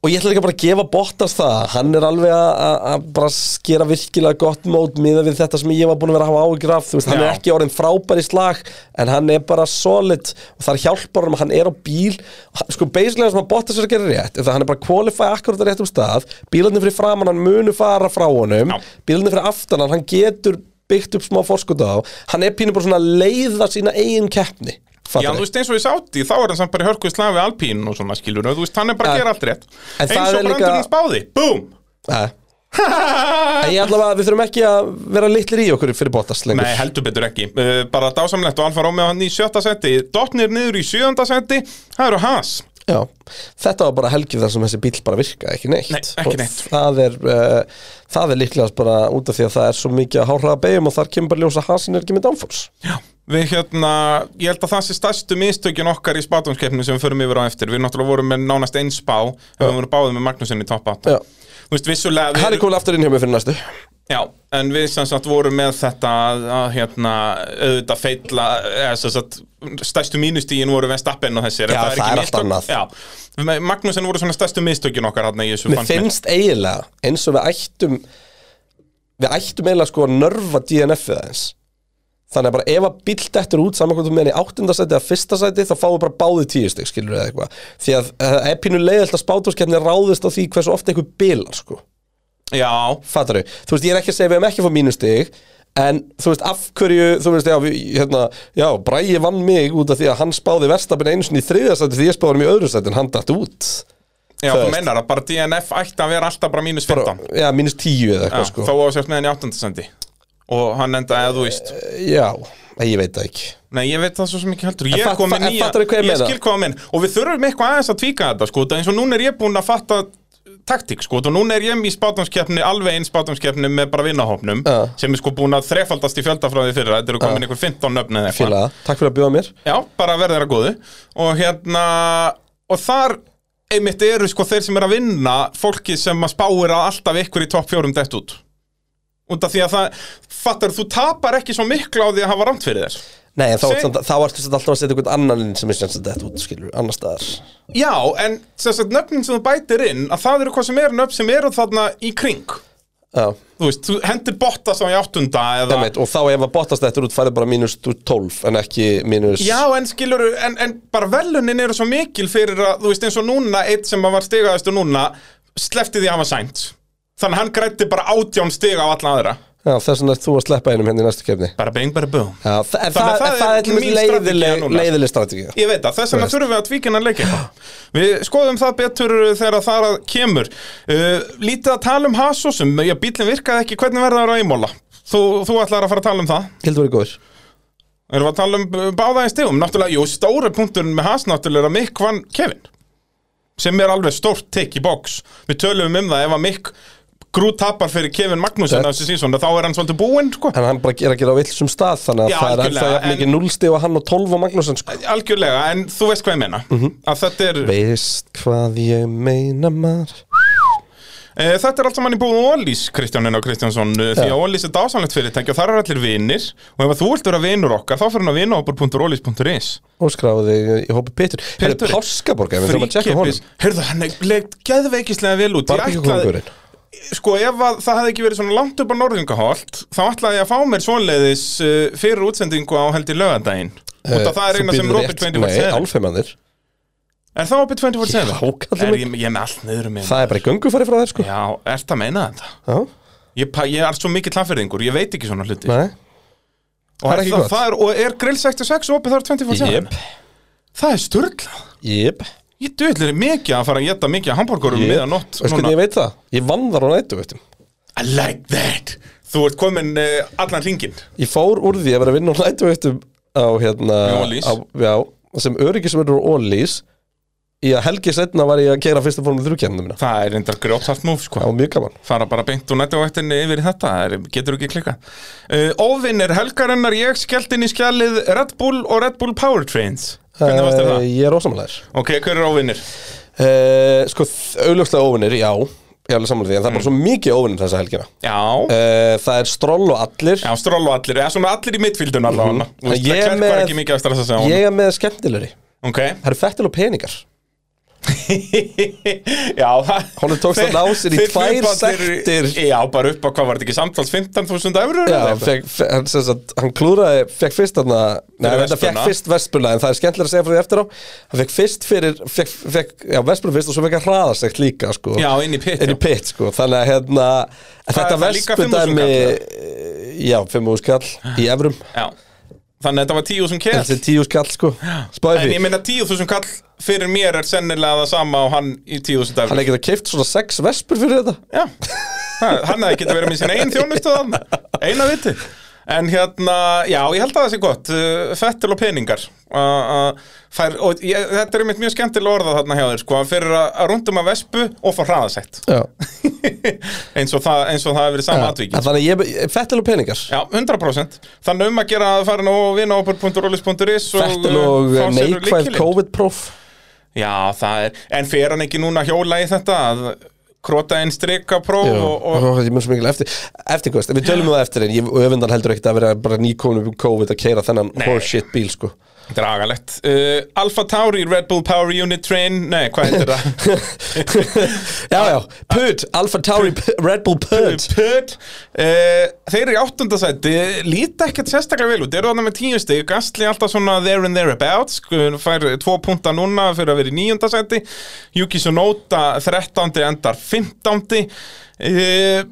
Speaker 3: Og ég ætla líka bara að gefa Bottas það Hann er alveg að- að að bara skera virkilega gott mót miða við þetta sem ég var búin að vera að hafa áhyggjur af Þú veist, hann
Speaker 2: Já.
Speaker 3: er ekki orðin frábær í slag En hann er bara solid Og það er hjálpar honum, hann er á bíl Hann- Sko, basically það sem að Bottas er að gera rétt er það að Hann er bara að qualify akkurat á réttum stað Bílarnir fyrir framan, hann munu fara frá honum
Speaker 2: Já.
Speaker 3: Bílarnir fyrir aftan, hann, hann getur byggt upp smá forskot á Hann er pínu bara svona að leiða sína eigin keppni
Speaker 2: Já,
Speaker 3: fattarðu?
Speaker 2: þú veist eins og ég sátti, þá er hann samt bara í hörku í slag við Alpín og svona skilur Þú veist, hann er bara að
Speaker 3: Já.
Speaker 2: gera allt rétt
Speaker 3: En
Speaker 2: Eins og
Speaker 3: það er
Speaker 2: bara
Speaker 3: líka-
Speaker 2: andurinn spáði, búm
Speaker 3: Nei. En ég allavega, við þurfum ekki að vera litlir í okkur fyrir Bottas lengur
Speaker 2: Nei, heldur betur ekki uh, Bara dásamlegt og Alfa Romeo hann í sjötta seti Dottnir niður í sjöunda seti Það eru Haas
Speaker 3: Já, þetta var bara helgið þar sem þessi bíl bara virkaði ekki neitt
Speaker 2: Nei, ekki
Speaker 3: Og
Speaker 2: neitt.
Speaker 3: það er, uh, það er líklegast bara út af því að það er svo mikið að hárraða beigjum og þar kemur bara ljósa hasin er ekki með downforce
Speaker 2: Já Við hérna, ég held að það sé stærstu mistökin okkar í spátumskeppni sem við förum yfir á eftir Við náttúrulega vorum með nánast eins spá Við vorum báðið með Magnúsinn í topp 8
Speaker 3: Já.
Speaker 2: Þú veist, vissulega við-
Speaker 3: Harry Kúl aftur inn hjá mig fyrir næstu
Speaker 2: Já, en við sem sagt vorum með þetta að, að hérna, auðvitað feilla eða sem sagt, stærstu mínustígin voru Vestappen og þessir en
Speaker 3: Já, það
Speaker 2: ekki
Speaker 3: er allt annað.
Speaker 2: Já, Með Magnúsin voru svona stærstu mistökin okkar hann í þessu
Speaker 3: Mér
Speaker 2: fannst mér.
Speaker 3: finnst eiginlega eins og við ættum við ættum eiginlega sko að nörfa DNF-ið aðeins Þannig að bara ef að bíl dettur út saman hvort þú meðan í áttundasæti eða fyrsta sæti þá fáum við bara báði tíustig, skilur við eitthvað Því að eh, það er pínu leiðilt að spátumskeppni ráðist á því hversu ofta einhver bilar sko
Speaker 2: Já,
Speaker 3: Fattar þau? Þú veist, ég er ekki að segja við hefum ekki að fá mínustig En þú veist, af hverju, þú veist, já, við, hérna, já, Bræi vann mig út af því að hann spáði verstapin einu sinni í þriðasæti því ég spáði hann í öðru sæti en hann datt út.
Speaker 2: já
Speaker 3: Þú
Speaker 2: þú
Speaker 3: veist.
Speaker 2: meinar að bara DNF ætti að vera alltaf bara mínus 15
Speaker 3: Já, mínus tíu eða eitthvað,
Speaker 2: Já,
Speaker 3: sko.
Speaker 2: Þó að sérst með henni áttandasendi Og hann endaði að þú veist
Speaker 3: Já, nei, ég veit það ekki.
Speaker 2: Nei, ég veit það svo sem ekki heldur
Speaker 3: En
Speaker 2: Ég
Speaker 3: fatt-
Speaker 2: kom með
Speaker 3: en
Speaker 2: nýja,
Speaker 3: fattarðu hvað ég meina?
Speaker 2: skil hvað að minn Og við þurfum eitthvað aðeins að tvíka þetta sko, það eins og núna er ég búinn að fatta taktík sko, og núna er ég í spátumskeppni alveg einn spátumskeppni með bara vinnahopnum
Speaker 3: Já.
Speaker 2: sem er sko búinn að þrefaldast í fjöldafræði fyrir þetta eru komin einhver 15 nöfn eða eitthvað
Speaker 3: Félaga, Ah. takk fyrir að bjóða mér.
Speaker 2: Já, bara verði þeirra góðu og hérna, og þar einmitt eru sko þeir sem er að vinna fólki sem að spáir að alltaf ykkur í topp fjórum dætt út út af því að það, fattar þú tapar ekki svo miklu á því að hafa rámt fyrir þér
Speaker 3: Nei, en þá,
Speaker 2: Seg-
Speaker 3: samt, þá ertu samt alltaf að setja einhvern annan inn sem er sem þetta út, skilur, annar staðar.
Speaker 2: Já, en sem sagt nöfnin sem þú bætir inn að það eru hvað sem er nöfn sem eru þarna í kring
Speaker 3: Já,
Speaker 2: þú veist, þú hendir botta svo í áttunda eða
Speaker 3: emeit, og þá ef að botast þetta út færði bara mínus 12 en ekki mínus...
Speaker 2: Já, en skilur, en, en bara velunin eru svo mikil fyrir að, þú veist, eins og núna, eitt sem að var stigaðist og núna, slefti því að hafa sænt. Þannig að hann grætti bara átján stiga á alla aðra.
Speaker 3: Já, þess vegna ert þú að sleppa einum henni í næstu kefni
Speaker 2: Bara beng, bara bú
Speaker 3: Já, það, en
Speaker 2: Þannig að
Speaker 3: það,
Speaker 2: það
Speaker 3: það, það
Speaker 2: er
Speaker 3: er til
Speaker 2: mín
Speaker 3: dæmis
Speaker 2: strategía
Speaker 3: leiðileg,
Speaker 2: núna.
Speaker 3: leiðileg strategía
Speaker 2: Ég veit það, þess vegna
Speaker 3: Þú veist.
Speaker 2: þurfum við að tvíkina leika eitthvað. Við skoðum það betur uh, þegar það að kemur uh, Lítið að tala um hasosum Já, bílinn virkaði ekki, hvernig verða það að ímóla? Þú, þú ætlar að fara að tala um það
Speaker 3: Hildur verið góður
Speaker 2: Erum við að tala um uh, báða einn stegum Náttúrulega, jú, stóru punkturinn með has náttúrulega er að Mick vann Kevin sem er alveg stórt tick í box Við tölum um það ef að Mick grú tapar fyrir Kevin Magnúsin
Speaker 3: Þetta-
Speaker 2: þessi sísón, þá er hann svolítið búinn sko.
Speaker 3: En hann bara er að gera á villsum stað Þannig að
Speaker 2: Já,
Speaker 3: það er
Speaker 2: algjörlega,
Speaker 3: alltaf jafn
Speaker 2: en-
Speaker 3: mikið núlstig og hann og 12 og Magnússon sko.
Speaker 2: Algjörlega, en þú veist hvað ég meina
Speaker 3: Mhm.
Speaker 2: að þetta er,
Speaker 3: Veist hvað ég meina maður
Speaker 2: e, þetta er allt saman í búin Ólís Kristjáninn og Kristjánsson eh, því að Ólís er dásanlegt fyrirtæki og þar er allir vinir og ef að þú vilt vera vinur okkar þá fyrir hann að vinahopur.ólís.is
Speaker 3: Og skráði í hópi Pétur Það er
Speaker 2: Pétur.
Speaker 3: páskaborgar, við þurfum að tjekka
Speaker 2: Fríkipis,
Speaker 3: honum
Speaker 2: heyrðu hann er legt geðveikislega vel út Ég ætlaði-
Speaker 3: Barbíkukongurinn
Speaker 2: sko ef að það hefði ekki verið svona langt upp á Norðingaholt þá ætlaði ég að fá mér svoleiðis uh, fyrir útsendingu á held í lögadaginn
Speaker 3: Eh,
Speaker 2: út af það er eina sem Robert 24
Speaker 3: Nei,
Speaker 2: segir
Speaker 3: alfeimannir
Speaker 2: Er það Robert 24
Speaker 3: Já,
Speaker 2: segir?
Speaker 3: kallum
Speaker 2: Er
Speaker 3: mig.
Speaker 2: ég, ég er með allt niður um mig
Speaker 3: Það er bara í göngu farið frá þér sko
Speaker 2: Já, ert að meina þetta?
Speaker 3: Já,
Speaker 2: Ég, pa- ég er svo mikið hlaffyrðingur, ég veit ekki svona hluti
Speaker 3: nei
Speaker 2: Og
Speaker 3: það
Speaker 2: er,
Speaker 3: er ekki
Speaker 2: það,
Speaker 3: gott.
Speaker 2: það er, og er grill 66 opið þar 24
Speaker 3: Jep,
Speaker 2: Það er sturglað
Speaker 3: jep
Speaker 2: Ég döðlir mikið að fara að geta mikið að hambúrgurum um
Speaker 3: Jep.
Speaker 2: miðanótt
Speaker 3: Veist hvernig ég veit það? Ég vann þar á nættu, veitum
Speaker 2: I like that Þú ert komin uh, allan ringin
Speaker 3: Ég fór úr því að vera að vinna á nættu, veitum Á hérna
Speaker 2: Í Olís.
Speaker 3: á, Já, sem öryggisverður á Ólís Í að helgi setna var ég að keira fyrsta formið þrjúkjæmna mína
Speaker 2: Það er reyndar grjótsalt múf sko
Speaker 3: Það var mjög gaman
Speaker 2: fara bara beint úr nættavaktinni yfir í þetta það er- getur ekki klikka uh, Óvinn er helgarinnar, ég skellt inn í skjalið Red Bull og Red Bull Powertrains hvernig varst þér
Speaker 3: Eh,
Speaker 2: það?
Speaker 3: Ég er ósamalæður
Speaker 2: Ok, hver er óvinnir?
Speaker 3: uh, Sko, þ- augljóslega óvinnir, já Ég er alveg samanlega því, en það er
Speaker 2: Mm.
Speaker 3: bara svo mikið óvinnir þessa helgina
Speaker 2: Já,
Speaker 3: uh, Það er stroll og allir
Speaker 2: já, stról og allir eða svona allir í mittfíldun allavega mm -hmm.
Speaker 3: Mhm. Ég
Speaker 2: Klerk var
Speaker 3: með-
Speaker 2: ekki mikið að stressa sig á hann
Speaker 3: Ég er með skemmtilegri
Speaker 2: Ok,
Speaker 3: Það eru fettil og peningar
Speaker 2: já það-
Speaker 3: Honum tókst að ná sér í
Speaker 2: Þeir-
Speaker 3: tvær
Speaker 2: þeir hlupa allir-
Speaker 3: sektir.
Speaker 2: Já, bara upp á hvað var þetta ekki samtals 15.000 eurur?
Speaker 3: Já, fekk, fe- hann, sem sagt, hann klúraði, fekk fyrst þarna Nei,
Speaker 2: Fyrir
Speaker 3: þetta fekk
Speaker 2: vespuna.
Speaker 3: fyrst vespuna, en það er skemmtilega að segja frá því eftir á Hann fekk fyrst fyrir, fekk, fekk, já, vespuna fyrst og svo fekk hann hraðasegt líka, sko
Speaker 2: Já, inn í pit,
Speaker 3: Inn í
Speaker 2: já.
Speaker 3: pit, sko, þannig að hérna Þetta
Speaker 2: það er líka
Speaker 3: vespudæmi
Speaker 2: 5.000
Speaker 3: Já, 5 skall í evrum
Speaker 2: Já. Þannig að þetta var 10.000 kell
Speaker 3: Þetta er 10 skall, sko Spáði
Speaker 2: En ég
Speaker 3: því,
Speaker 2: meina 10.000 kall fyrir mér er sennilega það sama og hann í 10.000
Speaker 3: hann
Speaker 2: dæfur
Speaker 3: er ekki að keift svona 6 vespur fyrir þetta
Speaker 2: Já, Ha, hann hefði getið verið með sín einn þjónustu þann Eina viti En hérna, já, ég held að það sé gott Uh, Fettil og peningar uh, uh, fær, Og ég, þetta er einmitt mjög skemmtilega orðað þarna hjá þér sko, Fyrir að, að rundum að vespu og fá hraðasett
Speaker 3: Já,
Speaker 2: eins, og það, eins og það hefur verið sama atvikið
Speaker 3: En þannig að ég, fettil og peningar
Speaker 2: Já, 100% Þannig um að gera að fara nú vinahopur.rollis.is
Speaker 3: Fettil
Speaker 2: uh,
Speaker 3: og eh,
Speaker 2: fá sér
Speaker 3: neikvæð
Speaker 2: lykilinn.
Speaker 3: COVID-próf
Speaker 2: Já, það er, en fer hann ekki núna að hjóla í þetta að krota einn strikapróf
Speaker 3: Já,
Speaker 2: og, og
Speaker 3: Ó, ég mun svo mikil eftir eftir hvað, við tölum um það eftir en ég öfundan heldur ekkert að vera bara nýkominu um COVID að keira þennan horseshit bíl sko
Speaker 2: dragalegt uh, Alfa Tauri, Red Bull Power Unit Train Nei, hvað heitir það?
Speaker 3: já já, PUD, Alfa Tauri P- Red Bull PUD
Speaker 2: Pöt uh, Þeir eru í áttundasæti, líta ekkert sérstaklega vel út Þeir eru þarna með tíu stig, Gastli alltaf svona there and thereabouts Sko, Fær tvo punta núna fyrir að vera í níundasæti Yuki Sonota 13. endar 15. Uh,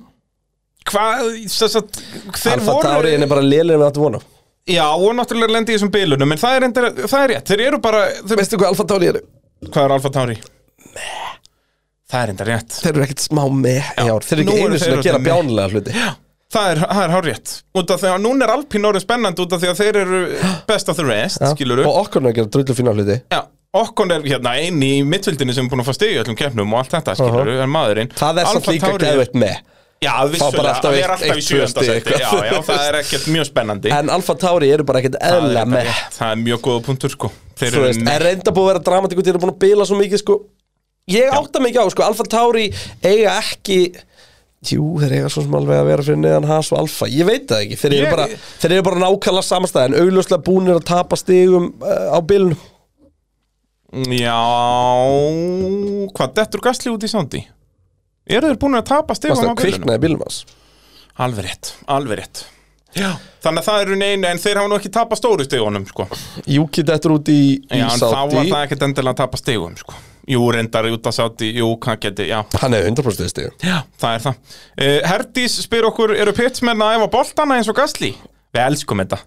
Speaker 2: Hvað, þess að þeir
Speaker 3: Alfa Tauri er bara lélir en við áttum vona
Speaker 2: Já, og náttúrulega lendi í þessum bilunum, en það er, endur, það er rétt, þeir eru bara, þeir,
Speaker 3: veistu hvað Alfa Tauri eru?
Speaker 2: hvað er Alfa Tauri? Það er enda rétt.
Speaker 3: þeir eru ekkert smá með já, þeir eru
Speaker 2: nú
Speaker 3: ekki
Speaker 2: eru
Speaker 3: einu
Speaker 2: þeir
Speaker 3: sinni að
Speaker 2: orðnir
Speaker 3: gera
Speaker 2: meh.
Speaker 3: bjánulega hluti
Speaker 2: Það er, það er hár rétt. Út af því að núna er Alpín orðið spennandi út af því að þeir eru best of the rest,
Speaker 3: Já.
Speaker 2: ja. skilur
Speaker 3: og okkur er að gera drullu fína hluti
Speaker 2: Já, okkon er hérna einn í mittfildinu sem er búin að fá stig í öllum keppnum og allt þetta, skilur en maðurinn.
Speaker 3: það er samt
Speaker 2: Alpha
Speaker 3: líka
Speaker 2: Tauri-
Speaker 3: geðveitt með
Speaker 2: Já,
Speaker 3: bara
Speaker 2: vissulega,
Speaker 3: alltaf
Speaker 2: það
Speaker 3: eitt-
Speaker 2: er alltaf
Speaker 3: eitt,
Speaker 2: í
Speaker 3: tvö
Speaker 2: sjöönda
Speaker 3: stig, sko.
Speaker 2: seti. Já,
Speaker 3: eitthvað.
Speaker 2: já, það er ekkert mjög spennandi.
Speaker 3: en Alfa Tauri eru bara ekkert
Speaker 2: það er
Speaker 3: eðla
Speaker 2: enda
Speaker 3: með
Speaker 2: rétt. Það er mjög góða punktur, sko. Þeir
Speaker 3: Þú
Speaker 2: eru
Speaker 3: veist,
Speaker 2: með-
Speaker 3: er reynda búið að vera dramatík og þeir eru búin að bila svo mikið sko Ég átta mikið á, sko, Alfa Tauri eiga ekki Jú, þeir eiga svo sem alveg að vera fyrir neðan Haas og Alfa Ég veit það ekki, þeir eru
Speaker 2: Ég-
Speaker 3: bara, þeir eru bara nákvæmlega samastæð En augljóslega búnir að tapa stigum uh, á bilunum
Speaker 2: Já, hvað dettur gasli út í sándi? Eru þeir búin að tapa
Speaker 3: Fast
Speaker 2: stegum á
Speaker 3: að
Speaker 2: bílunum?
Speaker 3: kviknaði bílum hans
Speaker 2: Alveg rétt, alveg rétt Já. Þannig að það eru neina, en þeir hafa nú ekki tapa stóru stegunum sko.
Speaker 3: Júki dettur út í,
Speaker 2: Já,
Speaker 3: í
Speaker 2: en þá var
Speaker 3: Saudi
Speaker 2: það ekkert endilega að tapa stegum sko. Jú, reyndar, út að sátt í, jú, hvað geti, já
Speaker 3: Hann er 100% stíð
Speaker 2: Já, það er það. Uh, Herdís spyr okkur, eru pitsmenn að æfa boltana eins og gasli? Við elskum þetta.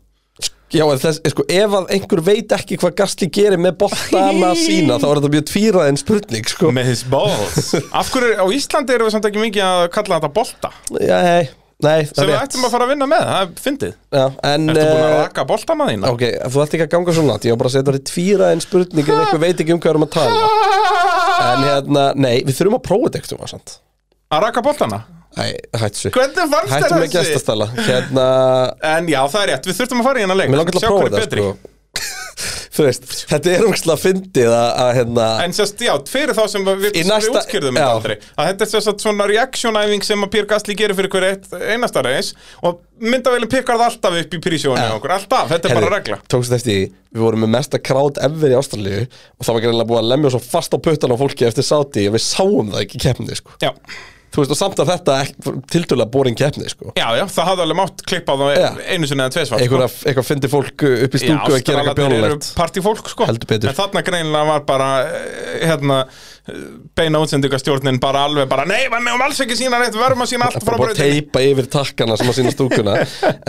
Speaker 3: Já, en þess, sko, ef að einhver veit ekki hvað Gastli gerir með boltana sína þá er þetta mjög tvíraðin spurning sko.
Speaker 2: Með his balls. Af hverju, er- á Íslandi erum við samt ekki mikið að kalla þetta bolta.
Speaker 3: Já, nei, nei, það
Speaker 2: Sem
Speaker 3: er
Speaker 2: við
Speaker 3: rétt
Speaker 2: ættum að fara að vinna með, það er fyndið.
Speaker 3: Já, En,
Speaker 2: Ertu búin að
Speaker 3: eh,
Speaker 2: raka boltana þína?
Speaker 3: ok, þú ætti ekki að ganga svona langt, ég var bara að segja þetta er tvíraðin spurning en einhver veit ekki um hvað við erum að tala En hérna, nei, við þurfum að prófa þetta eitthvað sant
Speaker 2: Að raka boltana?
Speaker 3: Nei, hættu svo
Speaker 2: Hvernig fannst þér
Speaker 3: Hættu með gestastala Hérna,
Speaker 2: En já, það er rétt, við þurftum að fara í hennar leik.
Speaker 3: mér langar til
Speaker 2: Sjá
Speaker 3: að
Speaker 2: hver er
Speaker 3: prófa þetta
Speaker 2: betri.
Speaker 3: sko. Þú veist, þetta er umslega fyndið að, að hérna
Speaker 2: En sérst, já, fyrir þá sem við, sem
Speaker 3: Í
Speaker 2: við
Speaker 3: næsta-
Speaker 2: útskýrðum þetta
Speaker 3: já.
Speaker 2: aldrei að þetta er sérst svona reaction-æfing sem að Pér Gasly gerir fyrir hver eitt, einasta reis og myndavælinn pikkar það alltaf upp í prísjónu
Speaker 3: Já.
Speaker 2: okkur, alltaf, þetta er
Speaker 3: Herri,
Speaker 2: bara regla
Speaker 3: Tókst eftir því, við vorum með mesta krát ever í Ástralíu og það var greinlega búið að lemja svo fast á puttan á fólki eftir sáti og við sáum það ekki í keppni sko.
Speaker 2: Já,
Speaker 3: Þú veist, og samt að þetta er tildulega boring keppni sko.
Speaker 2: já, já, það hafði alveg mátt klippa á það
Speaker 3: Já.
Speaker 2: einu sinni eða tveisvart
Speaker 3: Einhverja, eitthvað fyndi fólk uh, upp í
Speaker 2: Já,
Speaker 3: stúku að gera eitthvað
Speaker 2: Ástralarnir eru
Speaker 3: bjónulegt
Speaker 2: partífólk sko
Speaker 3: Heldur betur.
Speaker 2: En þarna greinilega var bara eh, hérna, eh, beina útsendingastjórnin bara alveg bara Nei, við megum alls ekki sína neitt, við verðum að sína allt frá
Speaker 3: bara búið að
Speaker 2: brautinni."
Speaker 3: teipa yfir takkana sem að sína stúkuna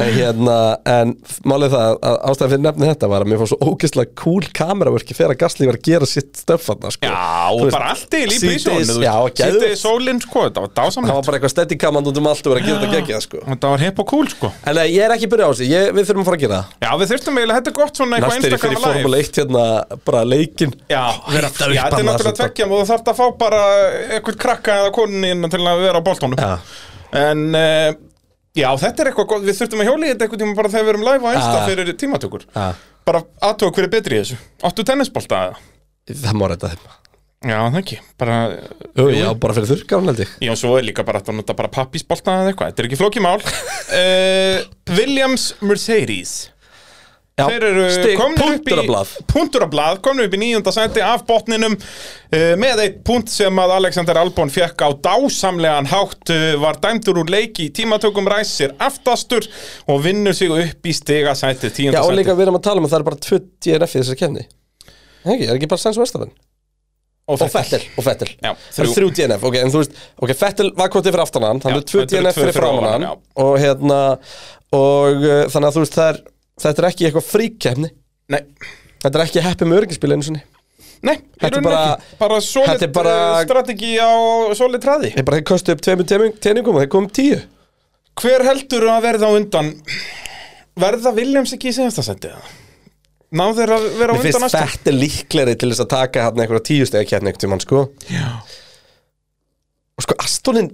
Speaker 3: en hérna, en málið það að ástæðan fyrir nefni þetta var að mér fór svo ógeðslega cool kameravörki fyrir að Gasly var að gera sitt stöffarna sko.
Speaker 2: Já,
Speaker 3: Þú
Speaker 2: og
Speaker 3: veist,
Speaker 2: bara allt í lípi í
Speaker 3: síðdegis-
Speaker 2: sjónu
Speaker 3: já, geðveikt.
Speaker 2: Sýttið í sólinn sko, þetta var
Speaker 3: það
Speaker 2: dásamlegt
Speaker 3: var bara eitthvað steadicamand út um allt og verið að gera þetta geggjað sko.
Speaker 2: Þetta var hip og cool sko
Speaker 3: En nei, ég er ekki byrjað á þessu, ég, við þurfum að fara að gera það
Speaker 2: Já, við þurftum eiginlega, þetta er gott svona eitthvað
Speaker 3: Næst er ég fyrir
Speaker 2: Instagram live
Speaker 3: Formule 1 hérna, bara leikin
Speaker 2: Já, vera,
Speaker 3: Hitta
Speaker 2: já, þetta
Speaker 3: upp
Speaker 2: er
Speaker 3: annað
Speaker 2: náttúrulega
Speaker 3: sem-
Speaker 2: tveggjum og þú þarft að fá bara eitthvað krakka eða konin til að vera á boltónum
Speaker 3: Já.
Speaker 2: En uh, já, þetta er eitthvað gott, við þurftum að hjóla í þetta eitthvað tíma bara þegar við erum live á einsta
Speaker 3: Já.
Speaker 2: fyrir tímatökur
Speaker 3: Já.
Speaker 2: Bara aðtók hver er betri í þessu Áttu tennisbolta eða?
Speaker 3: Það má reynda þeim
Speaker 2: Já, það ekki, bara
Speaker 3: Jú, já, bara fyrir þurrkarn held ég
Speaker 2: Já, og svo er líka bara hægt að nota bara pappisbolta eða eitthvað Þetta er ekki flókimál uh, Williams Mercedes
Speaker 3: já,
Speaker 2: Þeir eru
Speaker 3: stig,
Speaker 2: komnir upp í
Speaker 3: punkturblað
Speaker 2: Punturablað, komnir upp í nýjunda sæti af botninum eh, með eitt punt sem að Alexander Albon fekk á dásamlegan hátt eh, var dæmdur úr leiki tímatökum ræsir aftastur og vinnur sig upp í stiga sæti
Speaker 3: Já,
Speaker 2: tíunda
Speaker 3: og
Speaker 2: sæti
Speaker 3: líka við erum að tala um að það er bara 20 NF í þessari kefni Ekki, er ekki bara Sainz og Verstappen Og Fettel, og Fettel
Speaker 2: Já,
Speaker 3: Það
Speaker 2: þrjú.
Speaker 3: er þrjú DNF, ok, en þú veist Ok, Fettel var kvotið fyrir aftan hann Þannig
Speaker 2: Já,
Speaker 3: er tvö
Speaker 2: þetta eru
Speaker 3: DNF
Speaker 2: tvö
Speaker 3: fyrir
Speaker 2: fyrir
Speaker 3: framan
Speaker 2: ofan hann,
Speaker 3: hann Og hérna, og uh, þannig að þú veist það er, Þetta er ekki eitthvað fríkefni
Speaker 2: Nei,
Speaker 3: Þetta er ekki heppið með öryggispil einu sinni
Speaker 2: nei,
Speaker 3: Þetta er
Speaker 2: þetta er bara
Speaker 3: bara-
Speaker 2: ekki. bara
Speaker 3: þetta
Speaker 2: solid
Speaker 3: er bara-
Speaker 2: eh, strategi á solid træði
Speaker 3: Þeir bara kostu upp tveimur teiming- teningum og þeir komum tíu
Speaker 2: Hver heldur að verða á undan verða Williams ekki í síðasta sæti? Ná þeir að vera á
Speaker 3: Mér
Speaker 2: undan
Speaker 3: finnst
Speaker 2: næstu?
Speaker 3: þetta líkleri til þess að taka hann einhverja tíu stegi kérni einhvern tímann sko
Speaker 2: Já.
Speaker 3: Og sko Astonin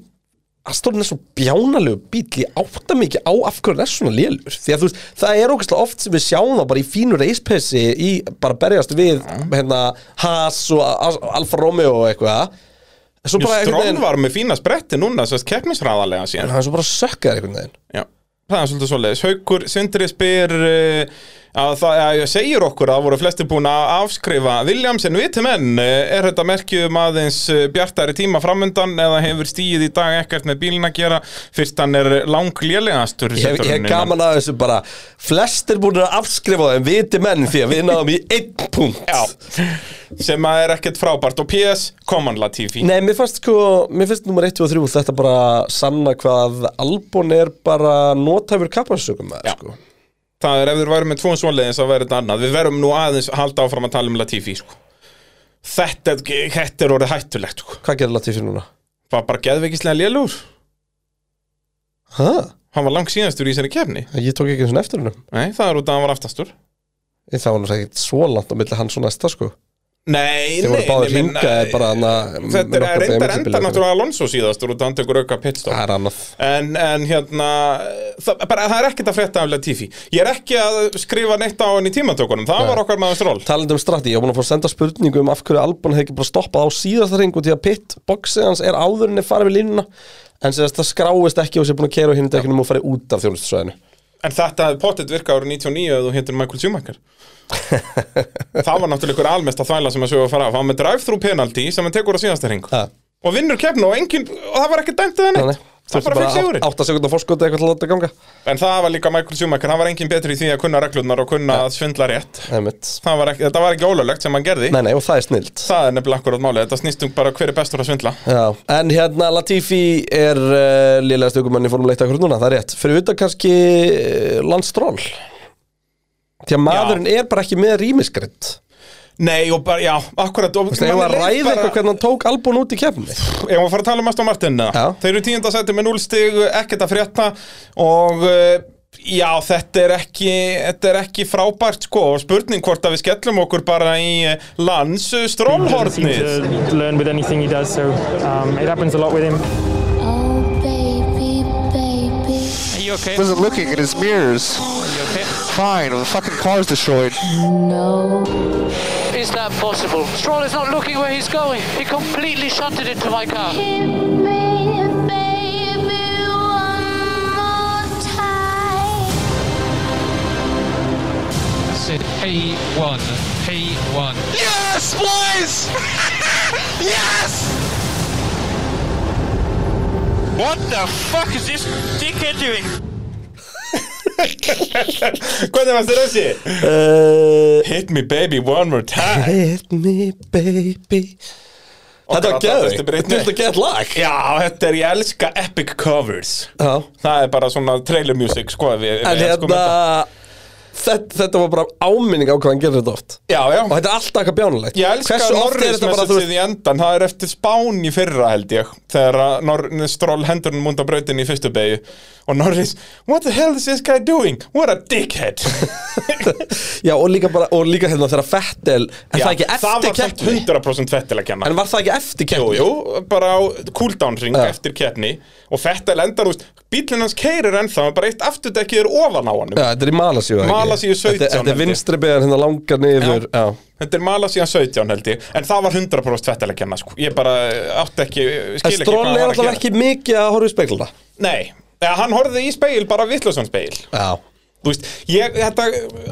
Speaker 3: Astonin er svo bjánalegu bíl Ég átta mikið á af hverju hann er svona lélur Því að þú veist, það er ógæslega oft sem við sjáum það bara í fínu reispessi Í bara berjast við hérna Haas og Al- Alfa Romeo og eitthvað En Svo bara einhvern
Speaker 2: Strón
Speaker 3: veginn
Speaker 2: var með fína spretti núna, sérst keppnisræðarlega síðan.
Speaker 3: Hann er svo bara sökkaður einhvern veginn
Speaker 2: Já. Það er svolítið svoleiðis. Haukur Sindri spyr uh, að það að segir okkur að það voru flesti búin að afskrifa Williams en viti menn, uh, er þetta merkjum aðeins eh, bjartari tíma framundan eða hefur stíið í dag ekkert með bílin að gera fyrst hann er langljölegastur
Speaker 3: Ég hef- ég hef gaman að þessu bara Flestir búin að afskrifa það en viti menn Því að við náðum í einn punkt
Speaker 2: Já, sem að er ekkert frábært og PS, Common Latifi
Speaker 3: Nei, mér fannst sko, mér finnst nummer 1 og 3 þetta bara sanna hvað Albon er bara notæfur kappansökum með,
Speaker 2: Já.
Speaker 3: sko.
Speaker 2: Það er ef þeir væru með tvo svoleiðis að vera þetta annað Við verum nú aðeins að halda áfram að tala um Latifi sko. þetta, er- þetta er orðið hættulegt sko.
Speaker 3: Hvað gerir Latifi núna?
Speaker 2: Var bara geðveikislega lélur
Speaker 3: Hæ?
Speaker 2: Hann var langt síðastur í þessari kefni
Speaker 3: Ég tók ekki eins og eftir hennum.
Speaker 2: Nei, það er út að hann var aftastur
Speaker 3: Ég þá hann ekkert svo langt á milli hans og næsta, sko.
Speaker 2: Nei,
Speaker 3: Þeir
Speaker 2: nei
Speaker 3: voru báðir
Speaker 2: nei, menn,
Speaker 3: hringaðir bara hann að...
Speaker 2: Þetta er reyndar enda náttúrulega Alonso síðastur út að hann tekur auka
Speaker 3: Það
Speaker 2: pitstop
Speaker 3: er annað.
Speaker 2: En, en hérna, það, bara, það er ekkert að frétta af Latifi Ég er ekki að skrifa neitt á hann í tímatökunum Það var okkar maður stról
Speaker 3: Talandi um strati, ég var búin að fá að senda spurningu um af hverju Albon hefði ekki bara stoppað á síðasta ringu því að pit boxið hans er áður en er farið við línuna en sem þess það skráist ekki og sé búin að keira á hinn dekkinum og farið út af þjónustusvæðinu
Speaker 2: En þetta hefði pottet virka árið 99 ef þú héttir Michael Schumacher Það var náttúrulega ykkur almest að þvæla sem að sögja að fara af Hann var með drive-thru penalty sem hann tekur á síðasta hring
Speaker 3: Ha.
Speaker 2: Og vinnur keppnu og, engin, og það var ekki dæmt eða neitt
Speaker 3: Þannig,
Speaker 2: Það er bara fyrir sigurinn.
Speaker 3: 8 sekundar fórskot eitthvað til að láta ganga
Speaker 2: En það var líka Michael Schumacher, hann var engin betri í því að kunna reglurnar og kunna að svindla rétt
Speaker 3: Það er mitt
Speaker 2: Það var ekki, Þetta var ekki ólöglegt sem hann gerði
Speaker 3: Nei, nei, og það er snilt
Speaker 2: Það er nefnilega akkurat málið, þetta snýst um bara hver er bestur að svindla
Speaker 3: Já, en hérna Latifi er uh, lélega stökumann í formuleita akkur núna, það er rétt. Fyrir utan kannski uh, landstról. Því að maðurinn er bara ekki með rýmiskritt.
Speaker 2: Nei og bara, já, akkurat og,
Speaker 3: Þú veist, ef
Speaker 2: manni
Speaker 3: að
Speaker 2: leið
Speaker 3: ræða
Speaker 2: bara-
Speaker 3: eitthvað hvernig hann tók albún út í kefni.
Speaker 2: Ef maður fara að tala um Aston Martin eða?
Speaker 3: Já.
Speaker 2: Þeir eru tíunda seti með 0 stig, ekkert að frétta og eh, já, þetta er ekki, þetta er ekki frábært sko og spurning hvort að við skellum okkur bara í eh, lands eh, strólhornið
Speaker 9: to learn with anything he does, so um, it happens a lot with him.
Speaker 10: Oh, baby, baby.
Speaker 7: Wasn't looking at his mirrors. Fine, the fucking car's destroyed.
Speaker 10: No.
Speaker 7: Is that possible? Stroll is not looking where he's going. He completely shunted into my car.
Speaker 10: Hit me, baby, one more time.
Speaker 7: Yes, boys! yes! What the fuck is this dickhead doing?
Speaker 2: Hvernig varst þér þessi?
Speaker 3: Uh,
Speaker 2: Hit me baby one more time
Speaker 3: hit me baby. Þetta var geðvikt, þetta er geðt lag.
Speaker 2: Já, þetta er, ég elska epic covers
Speaker 3: Já,
Speaker 2: Það er bara svona trailer music sko ef ég, ef
Speaker 3: en
Speaker 2: ég elskum
Speaker 3: hérna,
Speaker 2: þetta.
Speaker 3: þetta, þetta var bara áminning á hvað hann gerir þetta oft.
Speaker 2: Já, já
Speaker 3: Og þetta er alltaf eitthvað bjánulegt.
Speaker 2: Ég elska
Speaker 3: Hversu oft er
Speaker 2: Norris
Speaker 3: þetta bara, þú
Speaker 2: messagið
Speaker 3: veist,
Speaker 2: í endan Það er eftir spán í fyrra held ég Þegar að Nor- Stroll hendur hún múnd á brautinni í fyrstu beigju Og Norris What the hell is this guy doing? What a dickhead
Speaker 3: já, og líka bara, og líka hérna þegar Fettel, en
Speaker 2: Já,
Speaker 3: það er ekki
Speaker 2: það
Speaker 3: eftir
Speaker 2: var samt
Speaker 3: keppni.
Speaker 2: 100% fettil að kenna
Speaker 3: En var það ekki eftir
Speaker 2: Jú,
Speaker 3: keppni?
Speaker 2: jú, bara á cooldown ring
Speaker 3: Já.
Speaker 2: eftir keppni Og fettil endar, þú veist Bílinn hans keirir ennþá en Bara eitt afturdekkið er ofan á honum
Speaker 3: Já, þetta er í Malasíu ekki?
Speaker 2: Malasíu 17
Speaker 3: Þetta, þetta
Speaker 2: held
Speaker 3: er
Speaker 2: ég.
Speaker 3: vinstri beðan hérna langar niður Já,
Speaker 2: Þetta er mala síðan 17 held ég En það var 100% fettil að kenna sko. Ég bara eh, átti ekki Skil ekki
Speaker 3: En
Speaker 2: hvað
Speaker 3: Stroll
Speaker 2: hann
Speaker 3: er
Speaker 2: var að
Speaker 3: alltaf
Speaker 2: gera
Speaker 3: ekki mikið að horfa í spegluna
Speaker 2: Nei, eða, hann horfði í speil bara vittlösan speil
Speaker 3: Já
Speaker 2: Þú veist, ég, þetta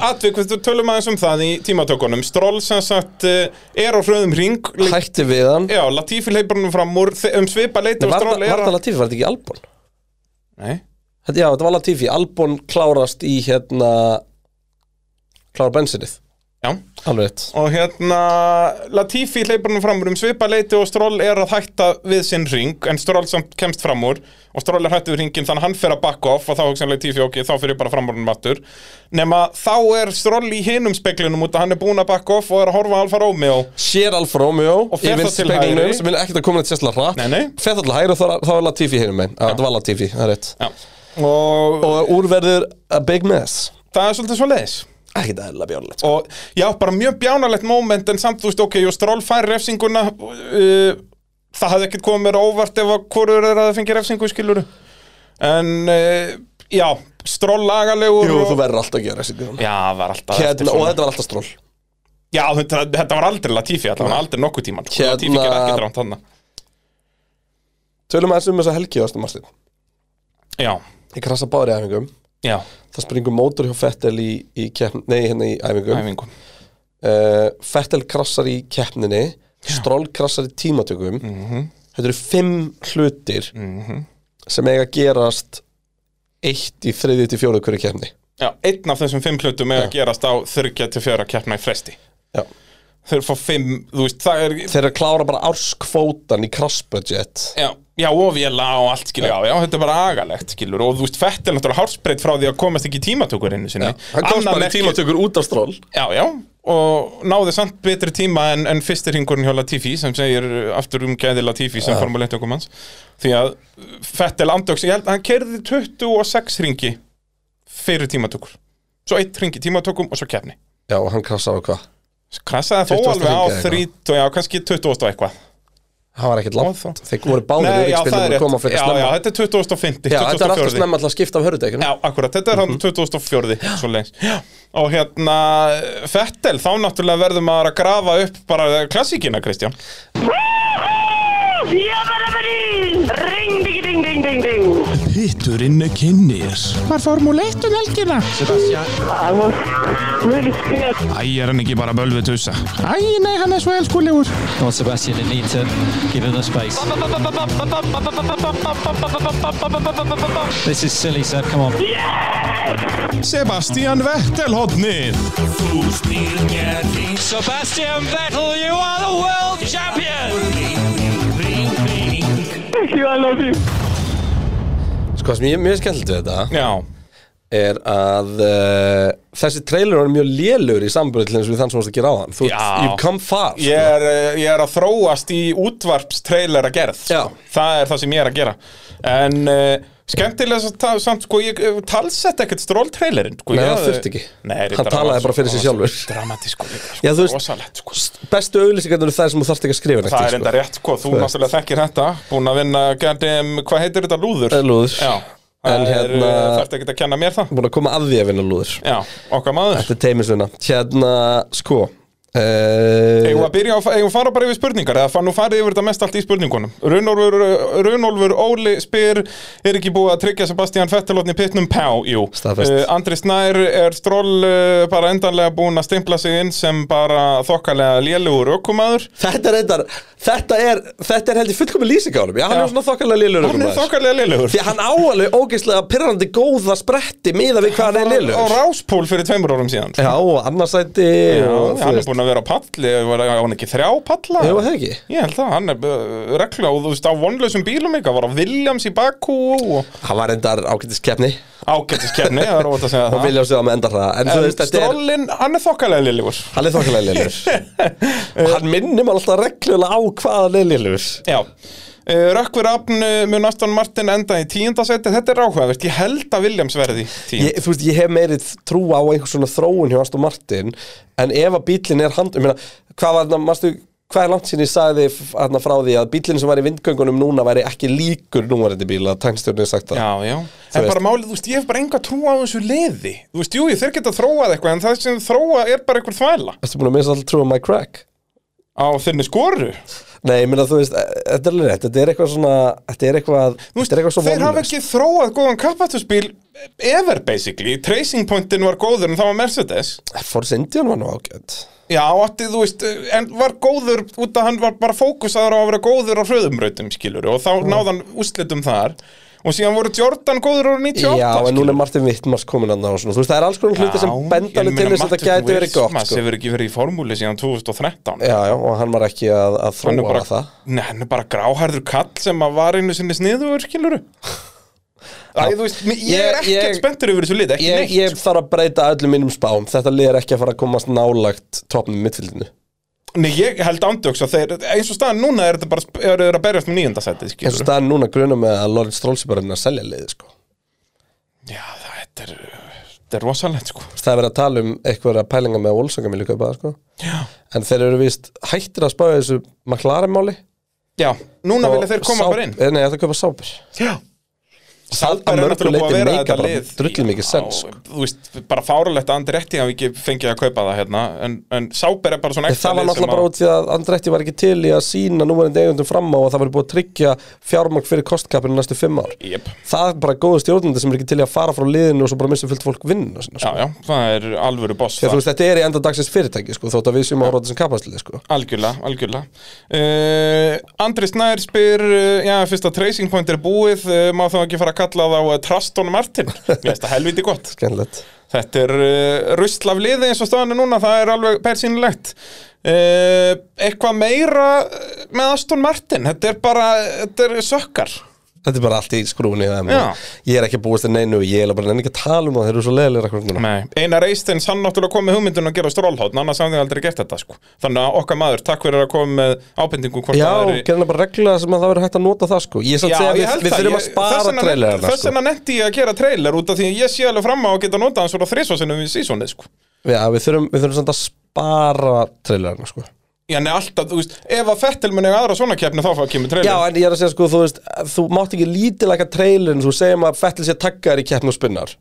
Speaker 2: atvik, við tölum aðeins um það í tímatökunum Stroll sem sagt eh, er á hröðum ring leik,
Speaker 3: Hætti við hann
Speaker 2: Já, Latifi leipur hann fram úr þe- um svipa leiti og
Speaker 3: Nei, var, var,
Speaker 2: Stroll er
Speaker 3: það
Speaker 2: að
Speaker 3: Latifi, var þetta ekki Albon?
Speaker 2: Nei,
Speaker 3: Þetta, já, þetta var Latifi, Albon klárast í hérna Klára bensinnið
Speaker 2: já
Speaker 3: Alveg rétt
Speaker 2: Og hérna, Latifi leipur hann fram úr um svipa leiti og Stroll er að hætta við sinn ring En Stroll sem kemst fram úr og Stroll er hættu við ringin þannig að hann fer að bakka off Og þá hugsa hann Latifi, ok, þá fyrir ég bara fram úr hann aftur Nema þá er Stroll í hinum speklinum út að hann er búin að bakka off og er að horfa á Alfa Romeo
Speaker 3: Sér Alfa Romeo
Speaker 2: Og fer
Speaker 3: í
Speaker 2: þá
Speaker 3: vinstri
Speaker 2: til
Speaker 3: speglinum,
Speaker 2: hægri.
Speaker 3: Sem er ekkert að koma neitt sérslega hratt
Speaker 2: Nei, nei.
Speaker 3: Fer þá til hægri og þá, þá er Latifi hinum einn Já, þetta var Latifi, það er rétt
Speaker 2: Já Og,
Speaker 3: Og úrverður a big mess
Speaker 2: það er svolítið svo leiðis
Speaker 3: Ekkert að hella bjánulegt
Speaker 2: og já, bara mjög bjánalegt moment en samt, þú veist, ok, og Stroll fær refsinguna uh, það hafði ekkert komið mér á óvart ef að hvorur er að það fengi refsingu, skilur en, uh, já, Stroll lagalegur
Speaker 3: Jú,
Speaker 2: og...
Speaker 3: þú verður alltaf að gera þessi
Speaker 2: Já, það var alltaf eftir
Speaker 3: Hérna, og
Speaker 2: svona.
Speaker 3: þetta var alltaf stról
Speaker 2: Já, þetta, þetta var aldrei Latifi, þetta var aldrei nokkuð tíman
Speaker 3: Hérna-
Speaker 2: Latifi gerði ekkert rámt hann
Speaker 3: Tölum aðeins um þessa helgi á Aston Martin
Speaker 2: Já,
Speaker 3: Ég krasa báður í æfingum
Speaker 2: já,
Speaker 3: Það springur mótor hjá Fettel í, í keppn Nei, hérna í æfingum Æfing.
Speaker 2: æfingu
Speaker 3: Fettel krasar Eh, í keppninni Stroll krasar í tímatökum Þetta eru fimm hlutir sem eiga að gerast eitt í þriðið til fjóruð hverju keppni
Speaker 2: Já, einn af þessum fimm hlutum er að gerast á 34 keppna í fresti
Speaker 3: Já.
Speaker 2: Þeir fá fimm, þú veist, það er
Speaker 3: Þeir klára bara árskvótan í crash budget
Speaker 2: Já, já, og vila og allt, skilur, já, já, þetta er bara agalegt, skilur, og þú veist, Fettel náttúrulega hársbreytt frá því að komast ekki í tímatökur einu sinni.
Speaker 3: Hann komst
Speaker 2: Annað
Speaker 3: bara í
Speaker 2: merki-
Speaker 3: tímatökur út af Stroll
Speaker 2: Já, já, og náði samt betri tíma en, en fyrsti hringurinn hjá Latifi, sem segir uh, aftur um gæði Latifi sem ja. formuleitt okkur manns, því að Fettel andöks, ég held að hann kerði 26 hringi fyrir tímatökur, svo eitt hringi tímatökum og svo keppni.
Speaker 3: Já, og hann krasar á hvað?
Speaker 2: Krasaði þó
Speaker 3: 20
Speaker 2: alveg á
Speaker 3: hringi eða
Speaker 2: 30, já, kannski 20 og eitthvað.
Speaker 3: Hann var ekkert
Speaker 2: Og þá-
Speaker 3: langt Þeir voru báðir
Speaker 2: Nei, já, það
Speaker 3: öryggsbílar
Speaker 2: er
Speaker 3: og koma
Speaker 2: rétt.
Speaker 3: frekar
Speaker 2: Já,
Speaker 3: snemma
Speaker 2: já, þetta er 2050,
Speaker 3: Já, þetta er alltaf
Speaker 2: 2040.
Speaker 3: snemma alltaf að skipta af hörðutekinu
Speaker 2: Já, akkurat, þetta er hann 2004 svo leins Og hérna, Fettel, þá náttúrulega verður maður að grafa upp bara klassíkina, Kristján
Speaker 7: Ring, ding, ding, ding, ding.
Speaker 2: Hitturinn kynnir Var Formule 1 um helgina? Sebastian Æ, er hann ekki bara bölvið tussa? Æ, nei, hann er svo elskulegur
Speaker 7: Come on, Sebastian and Nita, give him the space. This is silly, Seb. Come on.
Speaker 2: Sebastian Vettel hodnið
Speaker 7: Sebastian Vettel, you are the world champion.
Speaker 3: Sko, það sem ég er mjög skemmtilegt við þetta
Speaker 2: Já,
Speaker 3: er að uh, þessi trailer er mjög lélur í samburð til eins og við þann sem varst að gera á hann Þú,
Speaker 2: Já.
Speaker 3: You've come far sko.
Speaker 2: ég er, eh, ég er að þróast í útvarpstrailer að gerð
Speaker 3: Já.
Speaker 2: sko. Það er það sem ég er að gera En uh, skemmtilega sa- ta- samt, sko, ég eh, talsett ekkert stról-trailerinn sko,
Speaker 3: Nei,
Speaker 2: ég-
Speaker 3: það þurfti ekki.
Speaker 2: Nei,
Speaker 3: Hann
Speaker 2: reyndar var
Speaker 3: talaði bara fyrir sig
Speaker 2: það var
Speaker 3: sjálfur.
Speaker 2: svo Dramatískur líka, sko,
Speaker 3: Já, þú veist-
Speaker 2: rosalegt sko.
Speaker 3: Bestu auðlýsingarnir er það sem þú þarft ekki að skrifa neitt
Speaker 2: Það
Speaker 3: í,
Speaker 2: er enda rétt, sko, þú
Speaker 3: Þú veist.
Speaker 2: náttúrulega þekkir þetta Búin að vinna, goddamn, hvað heitir þetta, lúður?
Speaker 3: Eh, lúður.
Speaker 2: Já,
Speaker 3: En
Speaker 2: það er,
Speaker 3: hérna-
Speaker 2: eh, þarftu ekki að kenna mér það
Speaker 3: Búin að koma að því að vinna lúður
Speaker 2: Já, okkar maður
Speaker 3: Þetta er teimisvinna Hérna, sko
Speaker 2: Eigum við
Speaker 3: uh,
Speaker 2: að byrja á, eigum við að fara bara yfir spurningar eða fann nú farið yfir þetta mest allt í spurningunum Runolfur, Runolfur Óli spyr er ekki búið að tryggja Sebastian Fettelotni pittnum Pá, jú Eh,
Speaker 3: Staðfest.
Speaker 2: Andri Snær er stról uh, bara endanlega búin að stimpla sig inn sem bara þokkalega lélugur ökumaður
Speaker 3: Þetta er reyndar Þetta er, þetta er held ég fullkomin lýsing á honum Já, hann
Speaker 2: Já.
Speaker 3: er svona þokkalega lélur
Speaker 2: Hann er þokkalega lélugur
Speaker 3: Því að hann áalveg ógeðslega pirrandi góða spretti miða við hvað hann er
Speaker 2: Á
Speaker 3: lélur
Speaker 2: ráspól fyrir tveimur árum síðan
Speaker 3: Já, og annarsæti
Speaker 2: Já,
Speaker 3: og, þú
Speaker 2: hann er
Speaker 3: veist.
Speaker 2: búin að vera á palli, var var hann ekki þrjá palla?
Speaker 3: Jú, það ekki.
Speaker 2: Ég held það, hann er uh, regla og þú veist á vonlausum bílum eitthvað, var á Williams í Bakú og
Speaker 3: Hann var reyndar ágættis keppni
Speaker 2: ágættiskerni, það er óvægt að segja
Speaker 3: og
Speaker 2: það
Speaker 3: vilja á sig á með endar það En þú
Speaker 2: En
Speaker 3: veist, þetta er
Speaker 2: Strollin, hann er þokkalega liðlegur
Speaker 3: Hann er þokkalega lélur Hann minnir maður alltaf reglulega á hvaða lélur
Speaker 2: Já Uh, Rökkvi Rafn uh, mun Aston Martin enda í tíundasetti, þetta er áhugavert, ég held að Williams verði tíund.
Speaker 3: ég, þú veist, ég hef meiri trú á einhvers svona þróun hjá Aston Martin en ef að bílinn er hand ég meina, hvað var þarna, marstu, hvað er langt sinni ég sagði hérna frá því að bílinn sem var í vindgöngunum núna væri ekki líkur núvarandi bíl að tænstjörnum er sagt það
Speaker 2: Já, já,
Speaker 3: Þú
Speaker 2: en
Speaker 3: veist.
Speaker 2: bara málið, þú veist, ég hef bara enga trú á þessu liði, þú veist, jú, ég þeir geta þróað eitthvað, en það sem þróa er bara eitthvað þvæla
Speaker 3: Ertu búin að missa alltaf trú á Mike Crack?
Speaker 2: á þinni skoru.
Speaker 3: Nei, ég meina, þú veist, e- þetta er alveg rétt þetta er eitthvað svona, þetta er eitthvað
Speaker 2: Þú
Speaker 3: þetta er eitthvað svo
Speaker 2: þeir hafa
Speaker 3: vonlaust
Speaker 2: ekki þróað góðan kappatusbíl ever, basically, tracing pointin var góður en það var Mercedes.
Speaker 3: Force Indian var nú ágætt
Speaker 2: Já, átti, þú veist, en var góður út að hann var bara fókusaður á að vera góður á hröðumrautum, skilur, og þá
Speaker 3: Mm.
Speaker 2: náði hann úslitum þar og síðan voru Jordan góður ára 98,
Speaker 3: Já, en núna
Speaker 2: skilurðu.
Speaker 3: er Martin Wittmars komin að ná svona, þú veist, það er alls konar hluti sem
Speaker 2: Já,
Speaker 3: benda
Speaker 2: ég
Speaker 3: alveg til
Speaker 2: meina,
Speaker 3: þess að þetta
Speaker 2: Martin
Speaker 3: gæti verið gott
Speaker 2: Wilsmas
Speaker 3: sko.
Speaker 2: hefur ekki verið í formúli síðan 2013
Speaker 3: Já, já, og hann var ekki að, að
Speaker 2: hann er
Speaker 3: þróa
Speaker 2: bara,
Speaker 3: það
Speaker 2: Nei, hann er bara gráhærður kall sem að var einu sinni sniður, skilur Æ, þú veist, mér- ég er
Speaker 3: Ég-
Speaker 2: ekkert
Speaker 3: ég-
Speaker 2: spenntur yfir þessu lið, ekki
Speaker 3: ég,
Speaker 2: neitt
Speaker 3: ég þarf að breyta öllum mínum spám Þetta lið er ekki að fara að komast nálagt topnum mittfildinu
Speaker 2: Nei, ég held ándjóks að þeir, eins og staðan núna er þetta bara, sp- eru þeir að berjast um með nýjöndasætið,
Speaker 3: eins og
Speaker 2: skilur
Speaker 3: staðan núna gruna með að Lawrence Stroll sé bara að reyna að selja liðið sko.
Speaker 2: Já, það er, þetta er rosalegt, sko
Speaker 3: Það er verið að tala um einhverja pælinga með Olsanga mér líka bara sko. En þeir eru vist hættir að spája þessu McLaren máli
Speaker 2: Já, núna
Speaker 3: og
Speaker 2: vilja þeir koma
Speaker 3: Saab-
Speaker 2: bara inn
Speaker 3: eh, Nei, það köpa sápir
Speaker 2: Já
Speaker 3: að
Speaker 2: Saldar er
Speaker 3: mörgu
Speaker 2: náttúrulega búið að
Speaker 3: leyti
Speaker 2: vera
Speaker 3: meika
Speaker 2: þetta
Speaker 3: bara
Speaker 2: lið
Speaker 3: drullum mikið
Speaker 2: Já,
Speaker 3: sens, sko.
Speaker 2: Þú veist, bara fáralegt að Andri Retti hafi ekki fengið að kaupa það hérna En, en Sáber er bara svona ekta
Speaker 3: Það var
Speaker 2: lið sem
Speaker 3: náttúrulega bara út því að Andretti var ekki til í að sína núverandi eigundum fram á að það var búið að tryggja fjármagn fyrir kostkapinu næstu fimm ár
Speaker 2: Jep.
Speaker 3: Það er bara góðu stjórnandi sem er ekki til í að fara frá liðinu og svo bara missa fullt fólk vinnu sína, sko.
Speaker 2: Já, já, það er alvöru boss þar.
Speaker 3: Þegar þú veist, þetta er í enda dagsins fyrirtæki, sko, þótt að við séum að horfa á þetta sem kapastlið, sko.
Speaker 2: Algjörlega, algjörlega uh, Andri Snær spyr uh, Já, fyrst að Tracing Point er búið uh, Má þá ekki fara að kalla þá uh, Traston Martin Mér finnst það helviti gott
Speaker 3: Skennilegt.
Speaker 2: Þetta er uh, rusl af liði eins og staðan er núna Það er alveg persínlegt uh, Eitthvað meira uh, með Aston Martin Þetta er bara, þetta er sökkar
Speaker 3: Þetta er bara allt í skrúni, það er
Speaker 2: Já.
Speaker 3: mér. Ég er ekki að búast til neinu, ég er bara nefnir ekki að tala um það, þeir eru svo leiðilega akkur núna.
Speaker 2: Nei, Einar Eistins, hann náttúrulega kom með hugmyndun að gera strólhóttn, annars hafði hann aldrei gert þetta sko. Þannig að okkar maður, takk fyrir að koma með ábendingu hvort
Speaker 3: Já,
Speaker 2: það
Speaker 3: og
Speaker 2: er
Speaker 3: gerðina bara regla sem að það verður hægt að nota það, sko. Ég er samt að segja að við, við þurfum að spara trailerina,
Speaker 2: Þess
Speaker 3: sko.
Speaker 2: vegna nefndi ég að gera trailer út af því að ég sé alveg fram á að geta notað hann svona þrisvarsinnum í sísónið sko.
Speaker 3: Já, við þurfum, við þurfum samt að spara trailerina, sko.
Speaker 2: Já, nei, alltaf, þú veist, ef að Fettel mun eiga aðra svona keppni þá fá að kemur trailer
Speaker 3: Já, en ég er að segja, sko, þú veist, þú mátt ekki lítilega trailerin, þú segjum að Fettil sé taggaður í keppn og spinnar.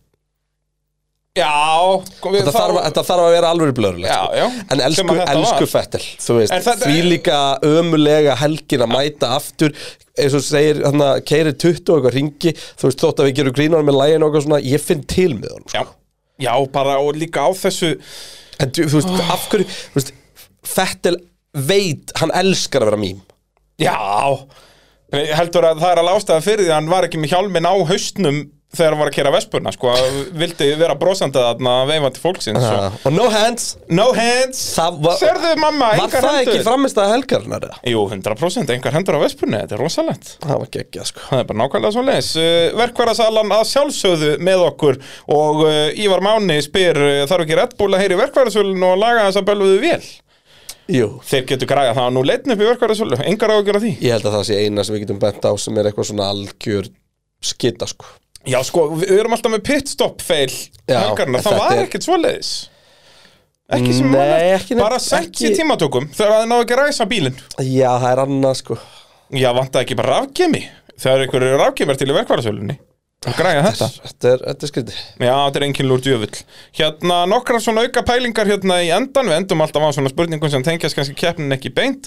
Speaker 2: Já, við,
Speaker 3: Þetta, þarf, þetta þarf að vera alveg blörulegt
Speaker 2: Já, já.
Speaker 3: sko. En
Speaker 2: Sem
Speaker 3: elsku,
Speaker 2: að þetta
Speaker 3: elsku
Speaker 2: var.
Speaker 3: Fettel Þú veist,
Speaker 2: En þetta-
Speaker 3: því líka ömulega helgin að mæta aftur eins og segir, hann að keiri 20 og eitthvað ringi, þú veist, þótt að við gerum grínar með lægin og eitthvað svona, ég finn til með honum sko.
Speaker 2: já, já, bara og líka á þessu
Speaker 3: En þú þú veist, af hverju þú veist, Fettel veit, hann elskar að vera mím
Speaker 2: Já Heldur að það er að lástaða fyrir því að hann var ekki með hjálmin á haustnum þegar hann var að kera vespurna sko, að vildi vera brosandi þarna veifandi fólksins
Speaker 3: Ha,
Speaker 2: og
Speaker 3: sko. Og no hands
Speaker 2: No hands
Speaker 3: Það var-
Speaker 2: Sérðu mamma,
Speaker 3: Var
Speaker 2: engar
Speaker 3: það
Speaker 2: hendur
Speaker 3: ekki framist að helgarinnar? eða?
Speaker 2: Jú, 100% engar hendur á vespunni, þetta er rosalegt
Speaker 3: Það var geggjað sko
Speaker 2: Það er bara nákvæmlega svo leis Verkværasalan að sjálfsögðu með okkur og uh, Ívar Máni spyr uh, þarf ekki Red Bull að heyri verkværasölun og laga þess að bölvuðu vel
Speaker 3: Jú
Speaker 2: Þeir getur græða það nú leitin upp í verkværasölu engar á að gera því
Speaker 3: Ég held að það sé eina sem við getum bent á sem er eitthvað svona algjör skita sko
Speaker 2: Já sko, við við erum alltaf með pitstop fail
Speaker 3: Já,
Speaker 2: helgarna,
Speaker 3: en
Speaker 2: það
Speaker 3: þetta
Speaker 2: var
Speaker 3: er-
Speaker 2: ekkert svo leiðis Ekki sem
Speaker 3: Nei,
Speaker 2: man eftir.
Speaker 3: ekki neitt-
Speaker 2: bara sett í
Speaker 3: ekki-
Speaker 2: tímatökum þegar það náðu ekki að ræsa bílinn
Speaker 3: Já, það er annað sko
Speaker 2: Já, vantaði ekki bara rafgemi Þegar einhverju eru rafgemar til í verkvarðasölunni og græja þetta
Speaker 3: Ah, Þetta er, þetta er skriti
Speaker 2: Já, þetta er engin lúr djöfull Hérna, nokkrar svona auka pælingar hérna í endan Við endum alltaf á svona spurningum sem tengjast kannski keppnin ekki beint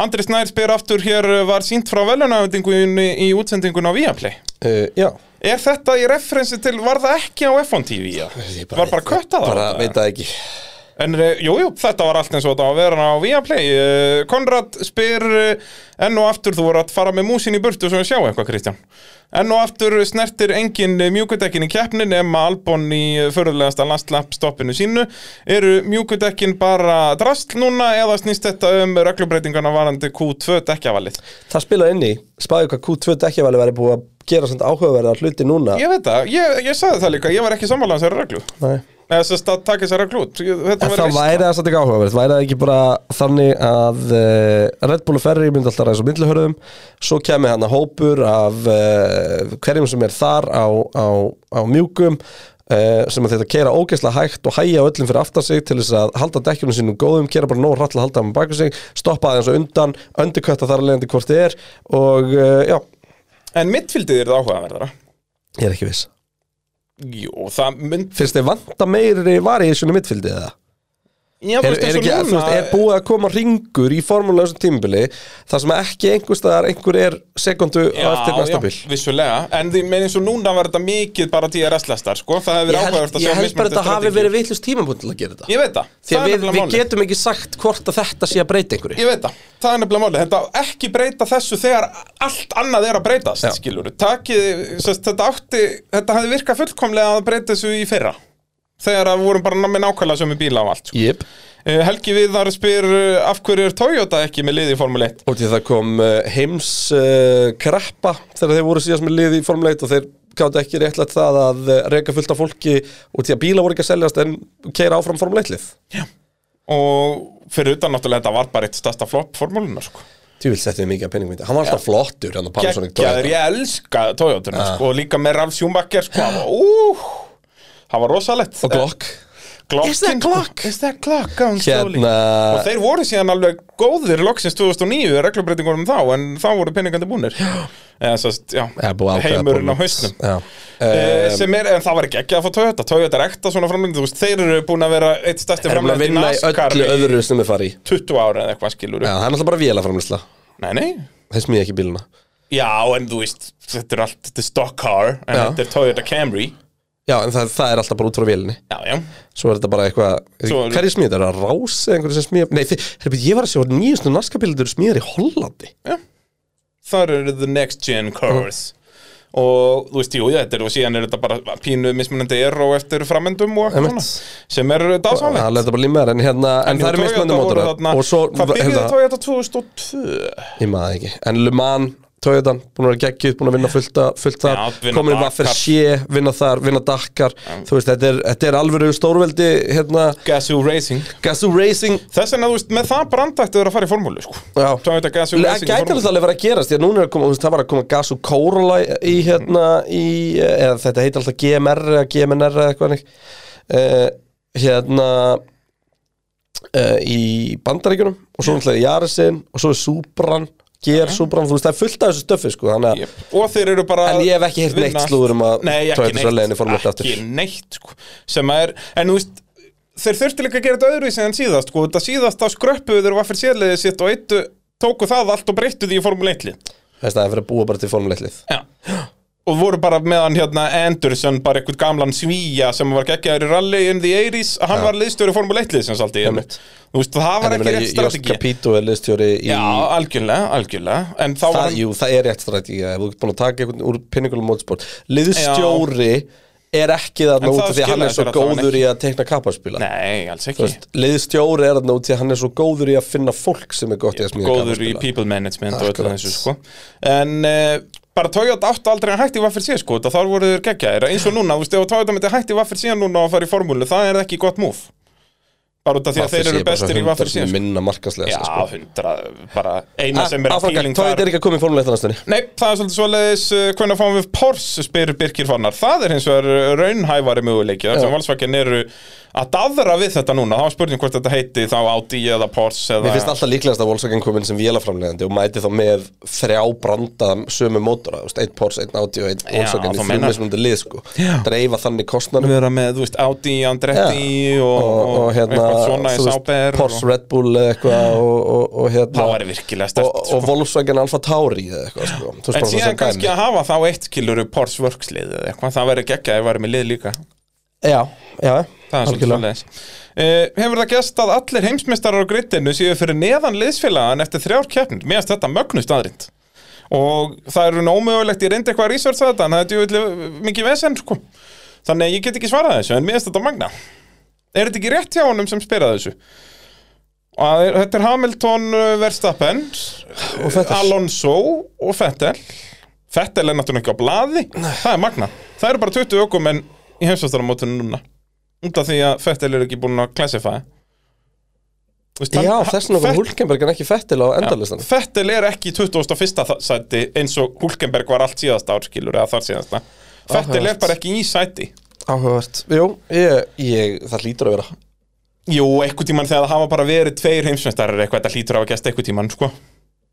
Speaker 2: Andri Snær spyr aftur hér uh, var sínt frá velunafendingunni í útsendingun á Viaplay
Speaker 3: uh, Já
Speaker 2: Er þetta í referensi til, var það ekki á F1 TV? Já?
Speaker 3: Ég
Speaker 2: Var bara kötta það?
Speaker 3: Bara veit það ekki
Speaker 2: En eh, jú, jú, þetta var allt eins og þetta á að vera á Viaplay Eh, Konrad spyr eh, enn og aftur, þú voru að fara með músin í burtu svo við sjá eitthvað, Kristján Enn og aftur snertir engin mjúkudekkin í keppnin nema Albon í förðulegasta landslappstoppinu sínu Eru mjúkudekkin bara drastl núna eða snýst þetta um reglubreitingana varandi Q2 dekkjavalið?
Speaker 3: Það spila inn í Spáðu hvað Q2 dekkjavali væri búið að gera svona áhugaverðar hluti núna
Speaker 2: Ég veit það, ég, ég sagði það líka, ég var ekki sammála um þessari reglu
Speaker 3: Nei
Speaker 2: Eða þess að taka þessari reglu út Ég- Þetta
Speaker 3: En
Speaker 2: var
Speaker 3: það
Speaker 2: veist
Speaker 3: væri það samt ekki áhugaverð væri það ekki bara þannig að uh, Red Bull og Ferrari myndi alltaf ræðis á myndluhörðum svo kemi hann að hópur af uh, hverjum sem er þar á, á, á mjúkum uh, sem að þetta keira ógeðslega hægt og hægja á öllum fyrir aftan sig til þess að halda dekkjunum sínum góðum, kera bara nóg rætt að halda hann baka sig, stoppa aðeins og undan öndurkvætta þar að leiðandi hvort þið er og uh, já,
Speaker 2: En mittfildið er það áhugaverðara
Speaker 3: ég er ekki viss
Speaker 2: Jú, það mynd
Speaker 3: Finnst þið vanta meiri var í þessum mittfildið eða?
Speaker 2: Já, þú
Speaker 3: er,
Speaker 2: veist,
Speaker 3: er,
Speaker 2: eins og
Speaker 3: ekki, þú veist, er búið að koma ringur í formúlega þessum tímubili þar sem ekki einhver staðar einhver er sekundu á eftir næsta bíl
Speaker 2: Já, vissulega, en því með eins og núna var þetta mikið bara DRS-lestar, sko, það hefur
Speaker 3: Ég
Speaker 2: verið
Speaker 3: held,
Speaker 2: áhugavert að sjá
Speaker 3: ég held bara að
Speaker 2: mismunandi
Speaker 3: þetta hafi
Speaker 2: strategíur.
Speaker 3: verið vittlust tímapunkt til að gera þetta
Speaker 2: Ég veit það,
Speaker 3: því
Speaker 2: það
Speaker 3: að
Speaker 2: er
Speaker 3: við,
Speaker 2: nefnilega
Speaker 3: við
Speaker 2: málið
Speaker 3: getum ekki sagt hvort að þetta sé að breyta einhverju
Speaker 2: Ég veit það, það er nefnilega málið, þetta á ekki breyta þessu þegar allt annað er að breytast,
Speaker 3: Já.
Speaker 2: já. skilur Takið, sest, þetta átti, þetta hefði virkað fullkomlega að breyta þessu í fyrra Þegar að við vorum bara með nákvæmlega sömu bíla á allt sko.
Speaker 3: yep.
Speaker 2: Eh, Helgi Viðar spyr eh, af hverju er Toyota ekki með liði í Formule 1
Speaker 3: og því að það kom uh, heims uh, kreppa þegar þeir voru síðast með lið í formuleit og þeir gáttu ekki réttlætt það að eh, reka fullt af fólki og því að bíla voru ekki að seljast en keira áfram formuleit
Speaker 2: Og fyrir utan náttúrulega þetta var bara eitt stærsta flopp formúlunar sko.
Speaker 3: Þú vil setja þið mikið að peningum í þetta Hann var alltaf flottur hann á Panasonic
Speaker 2: geggjaður,
Speaker 3: Toyota. Ah.
Speaker 2: ég elska Toyotuna sko, og líka með Ralf Schumacher sko, hann var- úh, það var rosalegt
Speaker 3: Og Glock
Speaker 2: Glockin,
Speaker 3: Is that clock?
Speaker 2: Is that clock going slowly?
Speaker 3: Hérna-
Speaker 2: og þeir voru síðan alveg góðir loksins 2009, reglubreitingunum þá en þá voru peningandi búnir Eða, sást, já,
Speaker 3: Já, búið að ákveða
Speaker 2: heimurinn á
Speaker 3: búið.
Speaker 2: hausnum
Speaker 3: Já. Eh,
Speaker 2: Uh, sem er, en það var ekki ekki að fá Toyota Toyota er ekta svona framlengd, þú veist, þeir eru búin að vera eitt stærsti
Speaker 3: Þeir eru búin að
Speaker 2: framlengd í
Speaker 3: vinna í
Speaker 2: NASCAR
Speaker 3: öllu öðru sem við fari í
Speaker 2: 20 ára eða eitthvað skilur
Speaker 3: Já, það er náttúrulega bara vélaframlisla
Speaker 2: nei, nei,
Speaker 3: Þeir smíði ekki bíluna
Speaker 2: já, en þú veist þetta er allt, þetta er stock car en
Speaker 3: Já.
Speaker 2: þetta er Toyota Camry
Speaker 3: Já, en það, það er alltaf bara út frá vélinni
Speaker 2: já, já,
Speaker 3: Svo er þetta bara eitthvað
Speaker 2: Svo er-
Speaker 3: Hverju smíði þetta? Er það rás eða einhverju sem smíða? Nei, þið, herrbi, ég var að sjá að nýjustu naskabílindur smíðar í Hollandi
Speaker 2: þar eru the next gen cars
Speaker 3: Uh-huh.
Speaker 2: og þú veist, jú, já, þetta er og síðan er þetta bara pínu mismunandi eró eftir framendum og eitthvað
Speaker 3: Einmitt.
Speaker 2: svona sem er
Speaker 3: Það
Speaker 2: dásamlegt
Speaker 3: er þetta bara limmaðar En, hérna, en, það er mismöndum mótor
Speaker 2: þarna,
Speaker 3: Og svo,
Speaker 2: hvað byrjuði
Speaker 3: hérna,
Speaker 2: Toyota 2002?
Speaker 3: ég maður ekki En Le Mans, Toyota, búin að vera geggið, búin að vinna fullt að- fullt þar
Speaker 2: Já, vinna
Speaker 3: Komin í
Speaker 2: Dakar.
Speaker 3: Vaffer Sjö, vinna þar, vinna Dakar Þú veist, þetta er, þetta er alvöru stórveldi hérna,
Speaker 2: Gazoo Racing
Speaker 3: Gazoo Racing
Speaker 2: þess vegna, þú veist, með það brandættu er að fara í formúlu, sko
Speaker 3: Já.
Speaker 2: Toyota Gazoo
Speaker 3: Það
Speaker 2: Racing í
Speaker 3: gæti
Speaker 2: formúlu.
Speaker 3: alveg verið að gerast Því að núna er að koma, þú veist, það var að koma gas og kórola í hérna í, eða þetta heitir alltaf GMR eða GMNR eða eitthvað hannig uh, hérna eh, uh, í bandaríkjunum og svo náttúrulega Jarisin og svo er Supran ger súbrann, þú veist, það er fullt af þessu stöfi sko, þannig að
Speaker 2: Jep. Og þeir eru bara
Speaker 3: En ég hef ekki heyrt
Speaker 2: vinna
Speaker 3: neitt slúður um að
Speaker 2: Nei, ekki
Speaker 3: Toyota Surleiðin er
Speaker 2: neitt,
Speaker 3: formúlu aftur.
Speaker 2: ekki neitt sko, sem að er, en þú veist þeir þurftu líka að gera þetta öðruvísi en síðast sko, þetta síðast þá skröppuðu þeir var fyrir sérliðið sitt og eittu, tóku það allt og breyttu því í formúlu 1 lið.
Speaker 3: þess að það er fyrir að búa bara til formuleitlið
Speaker 2: Já. og voru bara meðan hérna Anderson, bara eitthvað gamlan svíja sem var geggjaður í rally in the 80s hann var liðstjóri formúlu 1 lið sem saldi í
Speaker 3: Einmitt.
Speaker 2: þú veist, það var ekki rétt
Speaker 3: Jós
Speaker 2: strategi
Speaker 3: Capito er liðstjóri í
Speaker 2: Já, algjörlega, algjörlega En þá var
Speaker 3: það, jú, það er rétt stræti ef þú ert búin að taka einhvern úr pinningulegum mótsport liðstjóri er ekki
Speaker 2: En
Speaker 3: þarna út
Speaker 2: það
Speaker 3: af því að hann
Speaker 2: skilaði
Speaker 3: er svo
Speaker 2: sér að það var
Speaker 3: góður
Speaker 2: ekki.
Speaker 3: í að tekna kapparspila
Speaker 2: Nei, alls ekki
Speaker 3: liðstjóri er þarna út af því að hann er svo góður í að finna fólk sem er gott í að smíða
Speaker 2: góður í
Speaker 3: kapparspila
Speaker 2: people management og öllu
Speaker 3: Akkurat.
Speaker 2: þessu sko en uh, bara Toyota áttu aldrei að hætti vaffir síðan sko þá voru þeir geggjaðir eins og núna, þú veist, ef Toyota myndi hætti vaffir síðan núna og fara í formúlu, það er ekki gott múf bara út af því að þeir eru bestir í vaffir síðan sko.
Speaker 3: minna sko. markaslega
Speaker 2: já, hundra, bara eina sem er að
Speaker 3: Áframgang,
Speaker 2: píling
Speaker 3: tóið er
Speaker 2: þar
Speaker 3: ekki að koma í formuleittanastunni
Speaker 2: Nei, það er svolítið svoleiðis uh, hvernig fáum við Porsche, spyr Birkir Fannar Það er hins vegar uh, raunhæfari möguleiki þar sem Volkswagen eru að daðra við þetta núna þá er spurning hvort þetta heiti þá Audi eða Porsche eða...
Speaker 3: Mér finnst alltaf líklegast að Volkswagen komin sem vélaframlegandi og mæti þá með þrjá branda sömu mótora, þú veist, einn Porsche, einn Audi og einn
Speaker 2: Já,
Speaker 3: Volkswagen í
Speaker 2: þú
Speaker 3: þrjú
Speaker 2: meinar.
Speaker 3: mismunandi lið, sko
Speaker 2: Já.
Speaker 3: dreifa þannig kostnanum
Speaker 2: vera með, þú veist, Audi, Andretti og,
Speaker 3: og, og, hérna,
Speaker 2: eitthvað svona í
Speaker 3: þú veist,
Speaker 2: Sáber
Speaker 3: Porsche, Red Bull eða eitthvað og, og, og hérna
Speaker 2: það væri virkilega
Speaker 3: og,
Speaker 2: stert
Speaker 3: og Volkswagen Alfa Tauri eða eitthvað, sko Þú veist, bara
Speaker 2: en
Speaker 3: svona
Speaker 2: síðan
Speaker 3: sem
Speaker 2: kannski
Speaker 3: dæmi.
Speaker 2: að hafa þá eitt kiluru Porsche vörkslið eða eitthvað, það væri geggja ef væri með lið líka
Speaker 3: Já, já,
Speaker 2: það er svolítið
Speaker 3: algjörlega.
Speaker 2: svolítið uh, hefur það gæst að allir heimsmeistarar á grittinu séu fyrir neðan liðsfélagan eftir þrjár keppnir, mér finnst þetta mögnust aðrind og það er nómögulegt ég reyndi eitthvað að researcha þetta en það er djúvillig mikið vesen sko. þannig að ég get ekki svarað þessu en mér finnst þetta magna er þetta ekki rétt hjá honum sem spyrað þessu að er- þetta er Hamilton uh, Verstappen
Speaker 3: Vettel.
Speaker 2: Alonso og Fettel Fettel er náttúrulega ekki á blaði það er magna, það eru bara 20 ökum en í heimsvastaramótinu núna undan því að Fettel er ekki búin að classify Vist,
Speaker 3: Já, þess vegna var hérna. Hulkenberg en ekki fettil á endalistan
Speaker 2: Fettel er ekki í 21. þa- sæti eins og Hulkenberg var allt síðasta árskilur eða þar síðasta Fettel er
Speaker 3: Áhugavert.
Speaker 2: bara ekki í sæti
Speaker 3: Áhugavert Jú, ég, ég, það lítur að vera
Speaker 2: Jú, einhvern tímann þegar það hafa bara verið tveir heimsmeistarar eitthvað, þetta hlýtur að hafa gæst einhvern tímann sko.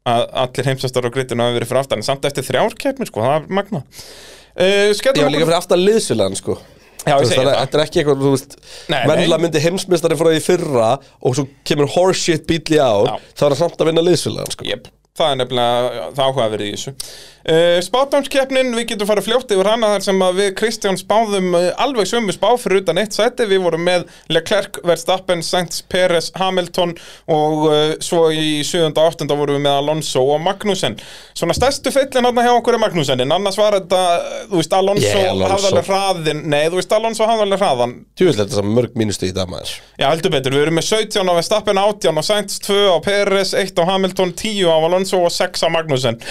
Speaker 2: að allir heimsmeistarar á grittinu hafa verið fyrir aftan, en samt eftir þrjár keppnir sko, það er magna uh,
Speaker 3: Já,
Speaker 2: Skellum
Speaker 3: líka fyrir aftan liðsfélagan sko
Speaker 2: Já,
Speaker 3: Þú
Speaker 2: ég
Speaker 3: veist,
Speaker 2: segi
Speaker 3: þannig að
Speaker 2: það
Speaker 3: Þetta er ekki eitthvað, þú veist
Speaker 2: Nei,
Speaker 3: Vennilega
Speaker 2: nei.
Speaker 3: myndi heimsmeistari frá því í fyrra Og svo kemur horseshit bíl í ár
Speaker 2: Já.
Speaker 3: þá er það samt að vinna liðsfélagan sko
Speaker 2: Jep, það er nefnilega það áhuga verið í þessu uh, Spátumskeppnin, við getum farið fljótt yfir hana þar sem að við Kristján spáðum eh, alveg sömu spá fyrir utan eitt sæti við vorum með Leclerc, Verstappen, Sainz, Perez, Hamilton og uh, svo í 7. og 8. vorum við með Alonso og Magnussen Svona stærstu feillin hann hjá okkur er Magnussen en annars var þetta, eh, þú veist, Alonso,
Speaker 3: Yeah,
Speaker 2: yeah,
Speaker 3: Alonso.
Speaker 2: hafði alveg hraðin Nei, þú veist, Alonso hafði alveg hraðan
Speaker 3: Tjúvill þetta sem mörg mínustu í dag maður
Speaker 2: Já, heldur betur, við erum með 17 á Verstappen, 18 á Sainz, 2 á Peres, 1 á Hamilton, 10 á Alonso og 6 á Magnussen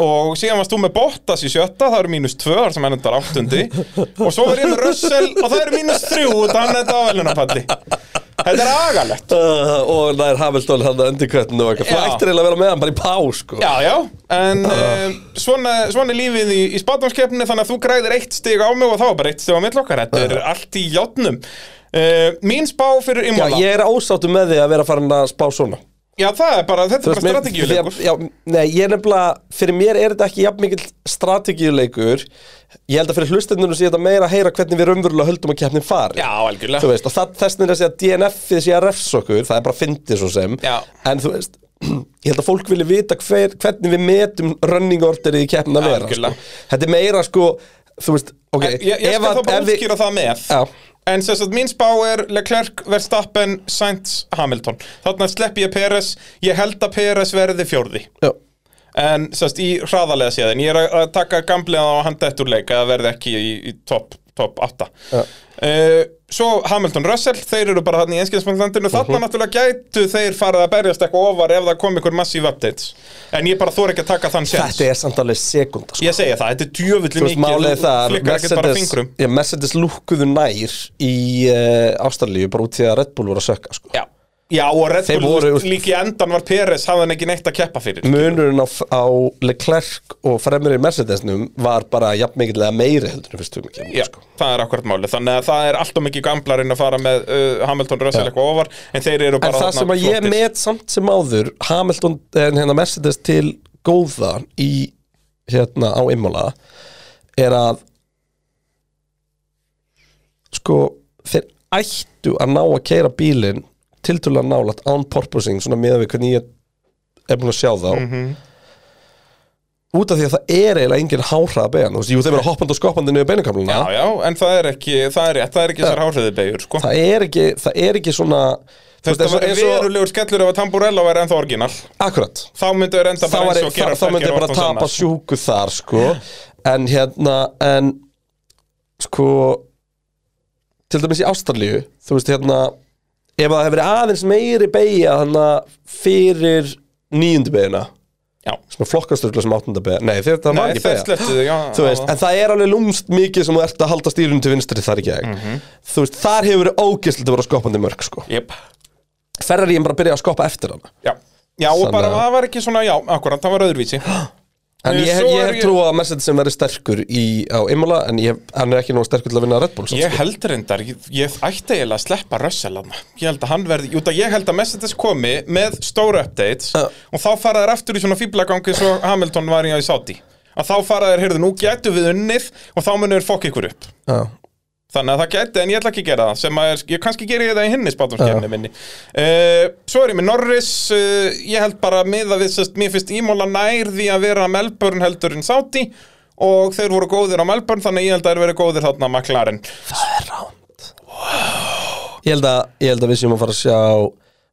Speaker 2: og síðan varst þú með Bottas í sjötta, það eru mínus 2 þar sem hann endar áttundi og svo verður ég með Russell og það eru mínus 3 og hann endar á velunarpalli Þetta er agalegt
Speaker 3: uh, Og það er Hamilton hann að undir kvettinu og eitthvað
Speaker 2: Já.
Speaker 3: Það ættir eiginlega að vera með hann bara í pá sko
Speaker 2: Já, já, en uh, svona, svona er lífið í, í spátumskeppni þannig að þú græðir eitt stig á mig og þá er bara eitt stig á mitt okkar, þetta er allt í játnum uh, Mín spá fyrir
Speaker 3: Ah. Já,
Speaker 2: Imola
Speaker 3: ég er ásáttu með því að vera farin að spá svona
Speaker 2: Já, það er bara, þetta
Speaker 3: Þú
Speaker 2: er bara
Speaker 3: mér-
Speaker 2: strategíuleikur
Speaker 3: því að- já, Nei, ég er nefnilega, fyrir mér er þetta ekki jafn mikill strategíuleikur Ég held að fyrir hlustendunum sé þetta meira að heyra hvernig við raunverulega höldum að keppnin fari
Speaker 2: Já, algjörlega
Speaker 3: þú veist, og það, þess vegna er þessi að DNF-ið sé að refs okkur, það er bara fyndið svo sem
Speaker 2: Já.
Speaker 3: en þú veist, ég held að fólk vilja vita hver, hvernig við metum running orderið í keppnin að vera sko.
Speaker 2: Algjörlega.
Speaker 3: þetta er meira sko, þú veist ok,
Speaker 2: En Ég, ég skal
Speaker 3: að-
Speaker 2: þá bara
Speaker 3: við-
Speaker 2: útskýra það með
Speaker 3: Já.
Speaker 2: En sem sagt, mín spá er Leclerc, Verstappen, Sainz, Hamilton Þarna slepp ég Peres Ég held að Peres verði fjórði
Speaker 3: Já.
Speaker 2: En sem sagt, í hraðalega séðin Ég er að- að taka gamlega á hann dettur leik að verði ekki í, í topp top 8
Speaker 3: Já.
Speaker 2: uh, Svo Hamilton Russell Þeir eru bara hann í einskjöðsmöndlandinu Þarna
Speaker 3: Mhm.
Speaker 2: náttúrulega gætu þeir farið að berjast eitthvað ofar ef það kom ykkur massíf updates En ég bara þor ekki að taka þann séns
Speaker 3: þetta er samt alveg sekunda sko.
Speaker 2: Ég segi það, þetta er djöfulli
Speaker 3: þú veist,
Speaker 2: mikið
Speaker 3: málið er það að
Speaker 2: flikkar ekkert bara fingrum
Speaker 3: Mercedes, já, Mercedes lúkkuðu nær í uh, ástæðlíu bara út því að Red Bull voru að sökka sko.
Speaker 2: Já, já og Red
Speaker 3: Þeir
Speaker 2: Bull
Speaker 3: voru- Mm,
Speaker 2: voru... líki endan var Peres hafði hann ekki neitt að keppa fyrir
Speaker 3: munurinn á, á Leclerc og fremri Mercedesnum var bara jafn mikill eða meiri heldur en fyrst tugum kemur
Speaker 2: Já, Sko, það er akkurat málið Þannig að það er allt og mikið gamblarinn að fara með uh, Hamilton Russell
Speaker 3: Já.
Speaker 2: eitthvað ofar En þeir eru
Speaker 3: En
Speaker 2: bara
Speaker 3: það
Speaker 2: þarna
Speaker 3: sem að ég
Speaker 2: flottir.
Speaker 3: met samt sem áður Hamilton, en hérna Mercedes til góða í, hérna, á immála er að sko, þeir ættu að ná að keira bílinn tiltölulega nálægt án porpoising svona miðað við hvernig ég er búin að sjá þá
Speaker 2: Mhm.
Speaker 3: út af því að það er eiginlega engin háhraða beðan, þú veist, jú þeir vera hoppandi og skoppandi niður beinukamluna
Speaker 2: Já, já, en það er ekki, það er rétt, það er ekki þessar hálfiði beigur, sko
Speaker 3: það er ekki, það er ekki svona þú veist,
Speaker 2: Þetta
Speaker 3: eins og-
Speaker 2: var
Speaker 3: eins og-
Speaker 2: verulegur skellur ef að Tamburello væri ennþá orginal
Speaker 3: Akkurat
Speaker 2: Þá myndu er enda
Speaker 3: Þá,
Speaker 2: bara
Speaker 3: var,
Speaker 2: eins og
Speaker 3: þá,
Speaker 2: gera
Speaker 3: þá myndi ég bara tapa sjúku þar sko En hérna En sko Til dæmis í Ástralíu Þú veist hérna Ef það hefur verið aðeins meiri beigja Þannig að fyrir nýjundu beigina
Speaker 2: Já.
Speaker 3: Sem er flokkasturgla sem áttunda beigja Nei þegar það var
Speaker 2: Nei,
Speaker 3: ekki
Speaker 2: þeir
Speaker 3: beigja
Speaker 2: sleptu þig, já
Speaker 3: Þú veist, en það er alveg lúmst mikið sem þú ert að halda stýrunum til vinstri þar í gegn
Speaker 2: Mhm.
Speaker 3: Þú veist, þar hefur verið ógislega að vera skoppandi mörg sko.
Speaker 2: Jep,
Speaker 3: Ferrari er bara að byrja að skoppa eftir hana
Speaker 2: já Já, og
Speaker 3: Þannig
Speaker 2: bara,
Speaker 3: að-
Speaker 2: það var ekki svona, já, akkurat, það var öðruvísi
Speaker 3: En
Speaker 2: Eh,
Speaker 3: ég, hef-
Speaker 2: svo
Speaker 3: ég
Speaker 2: er
Speaker 3: hef
Speaker 2: ég-
Speaker 3: trú á að Mercedes sem verið sterkur í, á Imola en ég, hef- hann er ekki nóg sterkur til að vinna Red Bull sko.
Speaker 2: Ég
Speaker 3: ég...
Speaker 2: held reyndar, ég, ég ætti eiginlega að sleppa Rössalana Ég held að hann verði, út að ég held að Mercedes komi með stóra updates
Speaker 3: Já.
Speaker 2: og þá fara þær aftur í svona fíblagangi svo Hamilton var í að í Saudi að þá fara þær, heyrðu, nú getum við unnið og þá munum við fokk ykkur upp Þannig að það geti, en ég ætla ekki að gera það sem að er, ég kannski geri ég það í hinni spátumskefni minni uh, Svo er ég með Norris uh, ég held bara miða við sest, mér finnst Ímóla nær því að vera Melbourne heldur en Saudi og þeir voru góðir á Melbourne þannig að ég held að þeir verið góðir þarna að McLaren
Speaker 3: Ég, held að, ég held að við séum að fara að sjá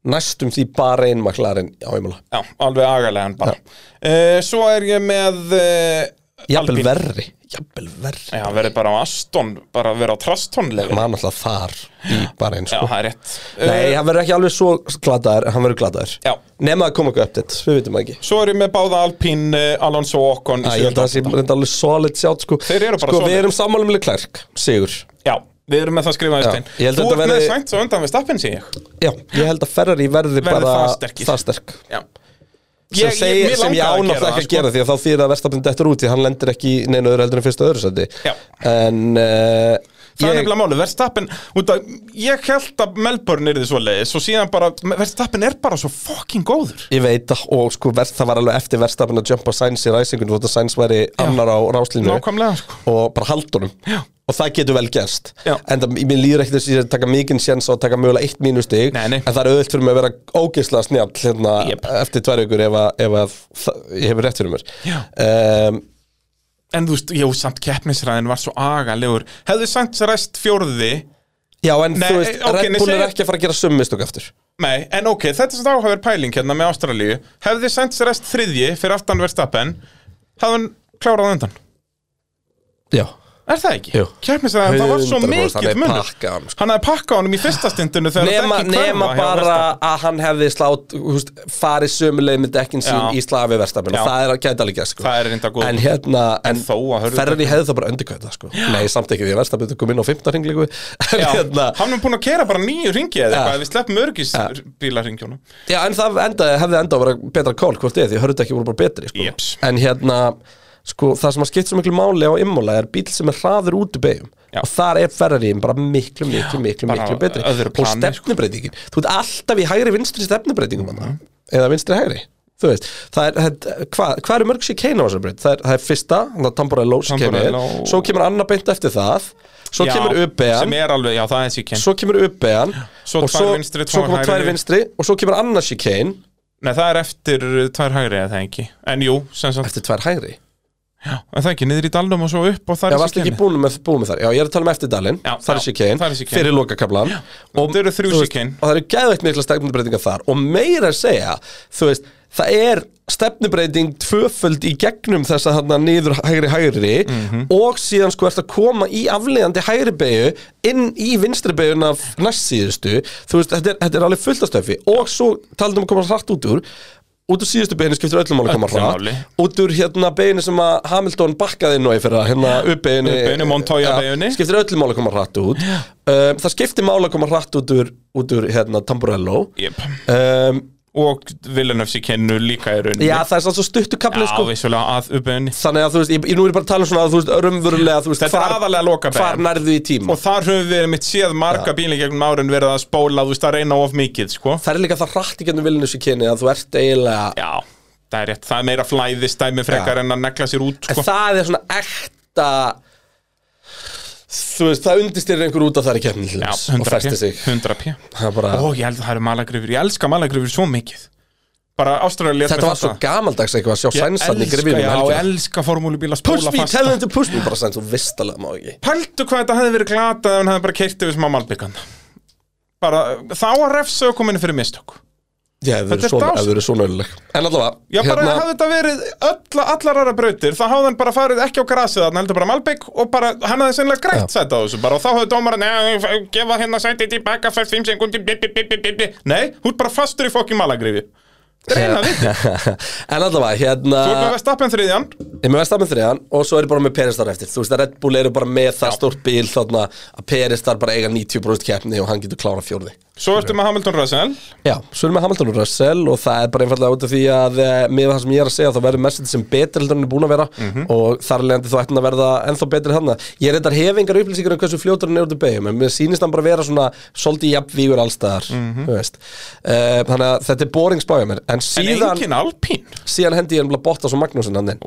Speaker 3: næstum því bara einn maklarinn á Imola
Speaker 2: Já, alveg agalega en bara uh, Svo er ég með uh,
Speaker 3: Jafnvel
Speaker 2: Alpine.
Speaker 3: verri Jafnvel verri
Speaker 2: Já, verði bara á Aston, bara verið á Traston level
Speaker 3: Mann alltaf þar í bara einn
Speaker 2: Já,
Speaker 3: sko
Speaker 2: það er rétt
Speaker 3: Nei,
Speaker 2: Eh,
Speaker 3: hann verður ekki alveg svo gladaður en hann verður gladaður
Speaker 2: Já.
Speaker 3: Nefn að koma eitthvað uppdætt, við vitum það ekki
Speaker 2: Svo er ég með báða Alpín, uh, Alonso og Ocon í
Speaker 3: Æ, Ég held að það sé
Speaker 2: sjöunda.
Speaker 3: reynda alveg solid sjátt sko
Speaker 2: Þeir eru bara
Speaker 3: Sko,
Speaker 2: solid.
Speaker 3: við erum sammálumlega klærk, sigur
Speaker 2: Já, við erum með það skrifaði
Speaker 3: Já,
Speaker 2: stein
Speaker 3: ég held að
Speaker 2: Þú
Speaker 3: þetta
Speaker 2: ert með
Speaker 3: verði-
Speaker 2: sænt svo undan við stappin sé ég
Speaker 3: Já, ég held að Ferrari verði,
Speaker 2: Verði
Speaker 3: bara
Speaker 2: það sterkir.
Speaker 3: það sterk
Speaker 2: Já
Speaker 3: sem, ég, segi,
Speaker 2: mér
Speaker 3: sem ég
Speaker 2: langaði
Speaker 3: ánátt ekki að
Speaker 2: sko.
Speaker 3: gera því að þá þýðir að Verstappen dettur út því hann lendir ekki í neinu öðru heldur en fyrsta og öðru sæti
Speaker 2: Já.
Speaker 3: en uh,
Speaker 2: Það er
Speaker 3: ég,
Speaker 2: nefnilega máli, Verstappen, út að ég held að Melbourne er því svo leiðis og síðan bara, Verstappen er bara svo fucking góður
Speaker 3: ég veit að- og sko verð, það var alveg eftir Verstappen að jumpa Sainz í ræsingun þótt að Sainz væri annar á ráslínu
Speaker 2: Nákvæmlega, sko.
Speaker 3: og bara haldunum Já. og það getur vel gerst
Speaker 2: Já.
Speaker 3: en það, mér líður ekkert þess að ég taka mikinn séns á að taka mögulega eitt mínustig
Speaker 2: Nei, nei.
Speaker 3: en það er auðvilt fyrir mig að vera ógeislega snjátt hérna,
Speaker 2: Jep.
Speaker 3: eftir tvær ykkur ef, að, ef að, það, ég hefur rétt fyrir mér
Speaker 2: Já.
Speaker 3: um,
Speaker 2: En þú veist, jú, samt keppnisræðin var svo agalegur Hefðu Sainz ræst fjórði
Speaker 3: Já, en
Speaker 2: Nei,
Speaker 3: þú veist,
Speaker 2: ok,
Speaker 3: Red
Speaker 2: nei,
Speaker 3: Bull er
Speaker 2: segðu-
Speaker 3: ekki að fara að gera summistök aftur
Speaker 2: Nei, en ok, þetta sem þá hefur pæling hérna með Ástralíu Hefði Sainz ræst þriðji fyrir aftan Verstappen Hefði hann klárað á undan
Speaker 3: Já
Speaker 2: Er það ekki?
Speaker 3: Jú.
Speaker 2: Keppnisræðin, það var svo
Speaker 3: 100%
Speaker 2: mikill
Speaker 3: hann hefði
Speaker 2: munur
Speaker 3: pakkað honum, sko.
Speaker 2: Hann hefði pakkað honum í fyrsta stundinu þegar
Speaker 3: Nema,
Speaker 2: dekkin
Speaker 3: nema
Speaker 2: hverfa hjá
Speaker 3: bara
Speaker 2: Verstappen.
Speaker 3: að hann hefði slátt húst, farið sömuleið með dekkin sín
Speaker 2: Já.
Speaker 3: í slagi við
Speaker 2: Já.
Speaker 3: verstafin og það er gæti alveg gæst sko.
Speaker 2: Það er reynda góð
Speaker 3: En hérna,
Speaker 2: En
Speaker 3: en,
Speaker 2: þó að hörðu
Speaker 3: ferri hefði það bara undirkvæð það sko Nei, samt ekki því að verstafin kom inn á 15 ringlingu En
Speaker 2: Já,
Speaker 3: hérna,
Speaker 2: hann er búin að kera bara nýju ringi eða
Speaker 3: Já.
Speaker 2: eitthvað, ef við sleppum örgis bílarringjónum
Speaker 3: já, en það enda, hefði enda að vera betra kól hvort eð því hörðu ekki voru bara betri sko.
Speaker 2: Jeps.
Speaker 3: En hérna, sko, það sem að skipta svo miklu máli á immola er bíl sem er hraður út í beigum
Speaker 2: Já.
Speaker 3: og þar er ferrariðin bara miklu, miklu, miklu,
Speaker 2: bara
Speaker 3: miklu betri
Speaker 2: öðru
Speaker 3: og
Speaker 2: plani, sko.
Speaker 3: stefnubreitingin, þú ert alltaf í hægri vinstri stefnubreitingum mm eða vinstri hægri þú veist, það er, það- hvað hva eru mörg sér keina á þessar breyt, það er, það er fyrsta þannig að Tamburello sem kemur,
Speaker 2: Tamburello.
Speaker 3: svo kemur annar beint eftir það, svo
Speaker 2: Já,
Speaker 3: kemur
Speaker 2: Sem
Speaker 3: UBN,
Speaker 2: er alveg, já það er síkinn
Speaker 3: svo kemur UBN
Speaker 2: Svo
Speaker 3: og
Speaker 2: tvær
Speaker 3: svo,
Speaker 2: vinstri,
Speaker 3: svo
Speaker 2: tvær
Speaker 3: koma tvær
Speaker 2: hægri.
Speaker 3: vinstri og svo kemur annar sér kein
Speaker 2: Nei, það er eftir uh, tvær hægri eða það ekki En jú, sem sagt,
Speaker 3: eftir tvær hægri,
Speaker 2: er það ekki, niður í dalnum og svo upp og það
Speaker 3: já,
Speaker 2: er
Speaker 3: varstu ekki
Speaker 2: síkinn
Speaker 3: búin með, búin með þar já, ég er að tala um eftir Dalin,
Speaker 2: Já,
Speaker 3: þar er
Speaker 2: já,
Speaker 3: sér kein
Speaker 2: þar er chicane.
Speaker 3: fyrir lokakablan og,
Speaker 2: Þetta eru þrjú
Speaker 3: þú veist,
Speaker 2: chicane.
Speaker 3: og það eru geðvægt mikla stefnubreitingar þar og meira að segja, þú veist það er stefnubreiting tvöföld í gegnum þess að þarna niður hægri hægri
Speaker 2: Mhm.
Speaker 3: og síðan sko ert að koma í afleiðandi hægri beigju inn í vinstri beigjuna næst síðustu þú veist, þetta er, þetta er alveg fullt af stöfi og svo talaðum að koma hratt út úr út úr síðustu beginni skiptir öllum máli að koma
Speaker 2: Öllu
Speaker 3: hratt
Speaker 2: máli.
Speaker 3: út úr hérna beginni sem að Hamilton bakkaði nú í fyrra hérna uppbeginni
Speaker 2: Uppeginni, Montoya-beginni.
Speaker 3: skiptir öllum máli að koma hratt út um, það skiptir máli að koma hratt út úr, út úr hérna Tamburello
Speaker 2: Jep.
Speaker 3: um,
Speaker 2: Og Villeneuve síkinnu líka í rauninni
Speaker 3: já það er svo stuttu
Speaker 2: Já,
Speaker 3: kaplið sko
Speaker 2: vissulega að uppbeinni
Speaker 3: þannig að þú veist, ég, ég nú er ég bara að tala um svona að þú veist, raunverulega þú veist,
Speaker 2: Þetta er aðallega lokabeygjan.
Speaker 3: hvar nærðu í tíma
Speaker 2: Og þar höfum við mitt séð marga bíli gegnum árin verið að spóla, þú veist að reyna of mikið, sko
Speaker 3: það er líka það hratt í gennum viljum þessu kyni að þú ert eiginlega
Speaker 2: Já, það er rétt, það er meira flæðistæmi frekar
Speaker 3: Já.
Speaker 2: en að negla sér út
Speaker 3: En
Speaker 2: sko.
Speaker 3: það er svona ekta Þú veist, það undirstyrir einhver út af þar í keppni til
Speaker 2: Já,
Speaker 3: dæmis og
Speaker 2: 100
Speaker 3: festi
Speaker 2: p,
Speaker 3: sig
Speaker 2: 100 p
Speaker 3: Það er bara,
Speaker 2: Ó, ég held að það eru malagrifur, ég elska malagrifur svo mikið Bara Ástralja
Speaker 3: Þetta var svo gamaldags eitthvað að sjá
Speaker 2: Ég
Speaker 3: sænsann í
Speaker 2: elska,
Speaker 3: grifinum
Speaker 2: já,
Speaker 3: um helgina.
Speaker 2: ég elska formúlubíla
Speaker 3: Push
Speaker 2: spóla
Speaker 3: me,
Speaker 2: fasta
Speaker 3: tell them to push me Bara sæns, þú vistalega má ekki
Speaker 2: Pældu hvað þetta hefði verið glatað ef hann hefði bara keirt yfir smá malbyggan Bara, þá að refsa ökuminn fyrir mistök
Speaker 3: Já, ef
Speaker 2: Þetta er
Speaker 3: verið svona,
Speaker 2: dásamlegt.
Speaker 3: ef verið svona ölluleg En allavega,
Speaker 2: Já, bara
Speaker 3: Hérna-
Speaker 2: hafði þetta verið öll, allar aðra brautir þá hafði hann bara farið ekki á grasið hann heldur bara Malbygg og bara, hann hafði sennilega grætt sæti á þessu bara og þá hafði dómarinn "Nei, gefa hérna sæti tilbaka fyrir 5 sekundi bi, bi, bi, bi, bi, bi. Nei, hún er bara fastur í fokki malagrifi Dreina
Speaker 3: Hérna.
Speaker 2: við Þú
Speaker 3: En allavega, hérna
Speaker 2: ert með Vestappen þriðjan
Speaker 3: Ég er með Verstappen þriðan og svo er ég bara með Peris þar eftir Þú veist að Red Bull eru bara með það stórt bíl þarna að Peris þar bara eiga 90% keppni og hann getur klárað fjórði
Speaker 2: Svo ertu með Hamilton Russell
Speaker 3: Já, svo erum við Hamilton og Russell og það er bara einfallega út af því að eh, með það sem ég er að segja þá verður Mercedes sem betur heldur en hann er búin að vera og þar leðandi þá ætti hann að verða ennþá betur hann Ég reyndar hef engar upplýsingar um hversu fljótur hann er út í beigum en mér sýnist hann bara vera svona svolítið jafnvígur allstaðar mm -hmm. uh, Þannig að þetta er boring spája mér En
Speaker 2: En
Speaker 3: síðan,
Speaker 2: engin Alpín
Speaker 3: síðan hendi ég ennbla Bottas og Magnúsin hann inn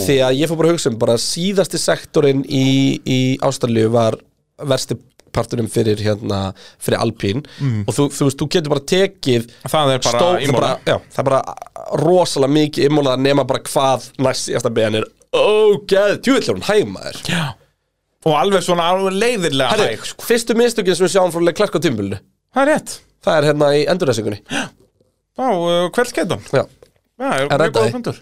Speaker 3: Því að ég fór bara að hugsa um bara síðasti sektorinn í, í Ástralíu var versti parturinn fyrir, hérna, fyrir Alpín og þú, þú veist, þú getur bara tekið
Speaker 2: Mm. Það er bara
Speaker 3: Stó, það, er
Speaker 2: Imola.
Speaker 3: bara, já, það er bara rosalega mikið immóla að nema bara hvað næst síðasta beðan er ógeð, tjúvill er hún hæmaður
Speaker 2: Já Og alveg svona alveg leiðilega
Speaker 3: Herri,
Speaker 2: hæg sko.
Speaker 3: fyrstu mistökin sem við sjáum frá Leclerc á tímbilinu
Speaker 2: Það er rétt
Speaker 3: það er hérna í endurreysingunni
Speaker 2: Þá, uh, hvert getum
Speaker 3: já,
Speaker 2: Já, er
Speaker 3: reddaði.
Speaker 2: mjög góða fundur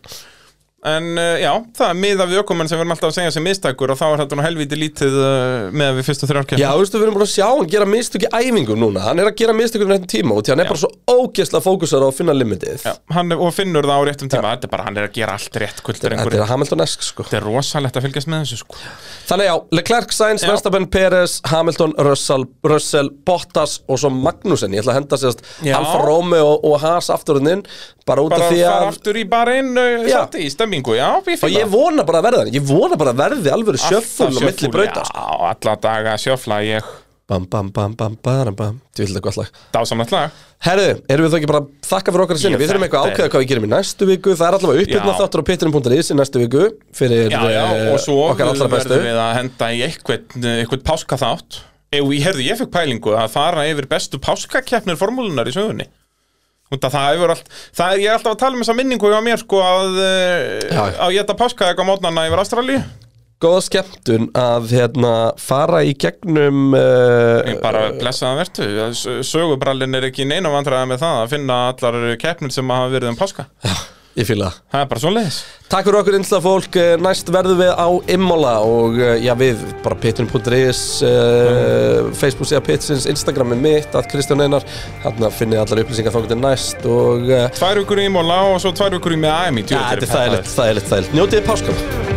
Speaker 2: En uh, já, það er miða við ökumenn sem við erum alltaf að segja sem mistækur og þá er þetta nú helviti lítið uh, með við fyrstu þrjárkjörn
Speaker 3: já, þú veistu, við erum bara að sjá hann gera mistök í æfingum núna, hann er að gera mistök um réttum tíma og því hann er bara svo ógeðslega fókusar á að finna limitið
Speaker 2: hann, er- og finnur það á réttum tíma þetta er bara, hann er að gera allt rétt kvöldur
Speaker 3: Þetta
Speaker 2: einhverjum
Speaker 3: er Hamilton-esk sko
Speaker 2: Þetta er rosalegt að fylgjast með þessu sko
Speaker 3: Þannig já, Leclerc, Sainz,
Speaker 2: Já.
Speaker 3: Verstappen, Perez, Hamilton, Russell, Russell, Bottas og svo Magnussen Ég ætla að henda sérst
Speaker 2: Já.
Speaker 3: Alfa Romeo og, og Haas afturinn bara út
Speaker 2: Bara
Speaker 3: af
Speaker 2: að
Speaker 3: því
Speaker 2: fara
Speaker 3: að
Speaker 2: aftur í bara einn
Speaker 3: Já.
Speaker 2: sati í stemmingu, já, við
Speaker 3: Og ég vona bara að verða þannig, ég vona bara að verði alvöru sjöfnfúl og milli brauta sko.
Speaker 2: Já, alla daga sjöfla ég
Speaker 3: Bam, bam, bam, bam, bam, bam Þú vil þetta gott lag
Speaker 2: dásamlegt lag
Speaker 3: Herðu, erum við þá ekki bara að þakka fyrir okkar að sinni
Speaker 2: Ég,
Speaker 3: Við þurfum eitthvað að
Speaker 2: þetta er-
Speaker 3: ákveða hvað við gerum í næstu viku Það er allavega uppbyrna
Speaker 2: Já.
Speaker 3: þáttur á pitturinn.is í næstu viku Fyrir
Speaker 2: Já, já,
Speaker 3: eh,
Speaker 2: og svo
Speaker 3: okkar allra
Speaker 2: verðum
Speaker 3: bestu
Speaker 2: við að henda í eitthvað, eitthvað páskaþátt Ef ég herði, ég fekk pælingu að fara yfir bestu páskakeppnir formúlunar í sögunni Út að það hefur allt, það er ég er alltaf að tala um þessa minningu hjá mér sko að, já.
Speaker 3: Já.
Speaker 2: að ég ætta páska eitthvað mótnana yfir Ástralíu
Speaker 3: Góða skemmtun að hérna, fara í gegnum uh,
Speaker 2: Ég bara blessaðan vertu, sögubrallin er ekki í neinum vandræða með það að finna allar keppnir sem hafa verið um páska
Speaker 3: Ég fíla það
Speaker 2: Það er bara svoleiðis
Speaker 3: Takk fyrir okkur innsla fólk, Eh, næst verðum við á Immola og eh, já við bara pitturinn.is,
Speaker 2: Mm.
Speaker 3: uh, Facebook síðan pittsins, Instagram er mitt, að Kristján Einar, hann finnið allar upplýsingar þá getur næst og uh,
Speaker 2: Tvær vikur í Móla og svo tvær vikur í með AMI
Speaker 3: ja, þetta er þægilegt, þægilegt, þægilegt. Njótið páskam!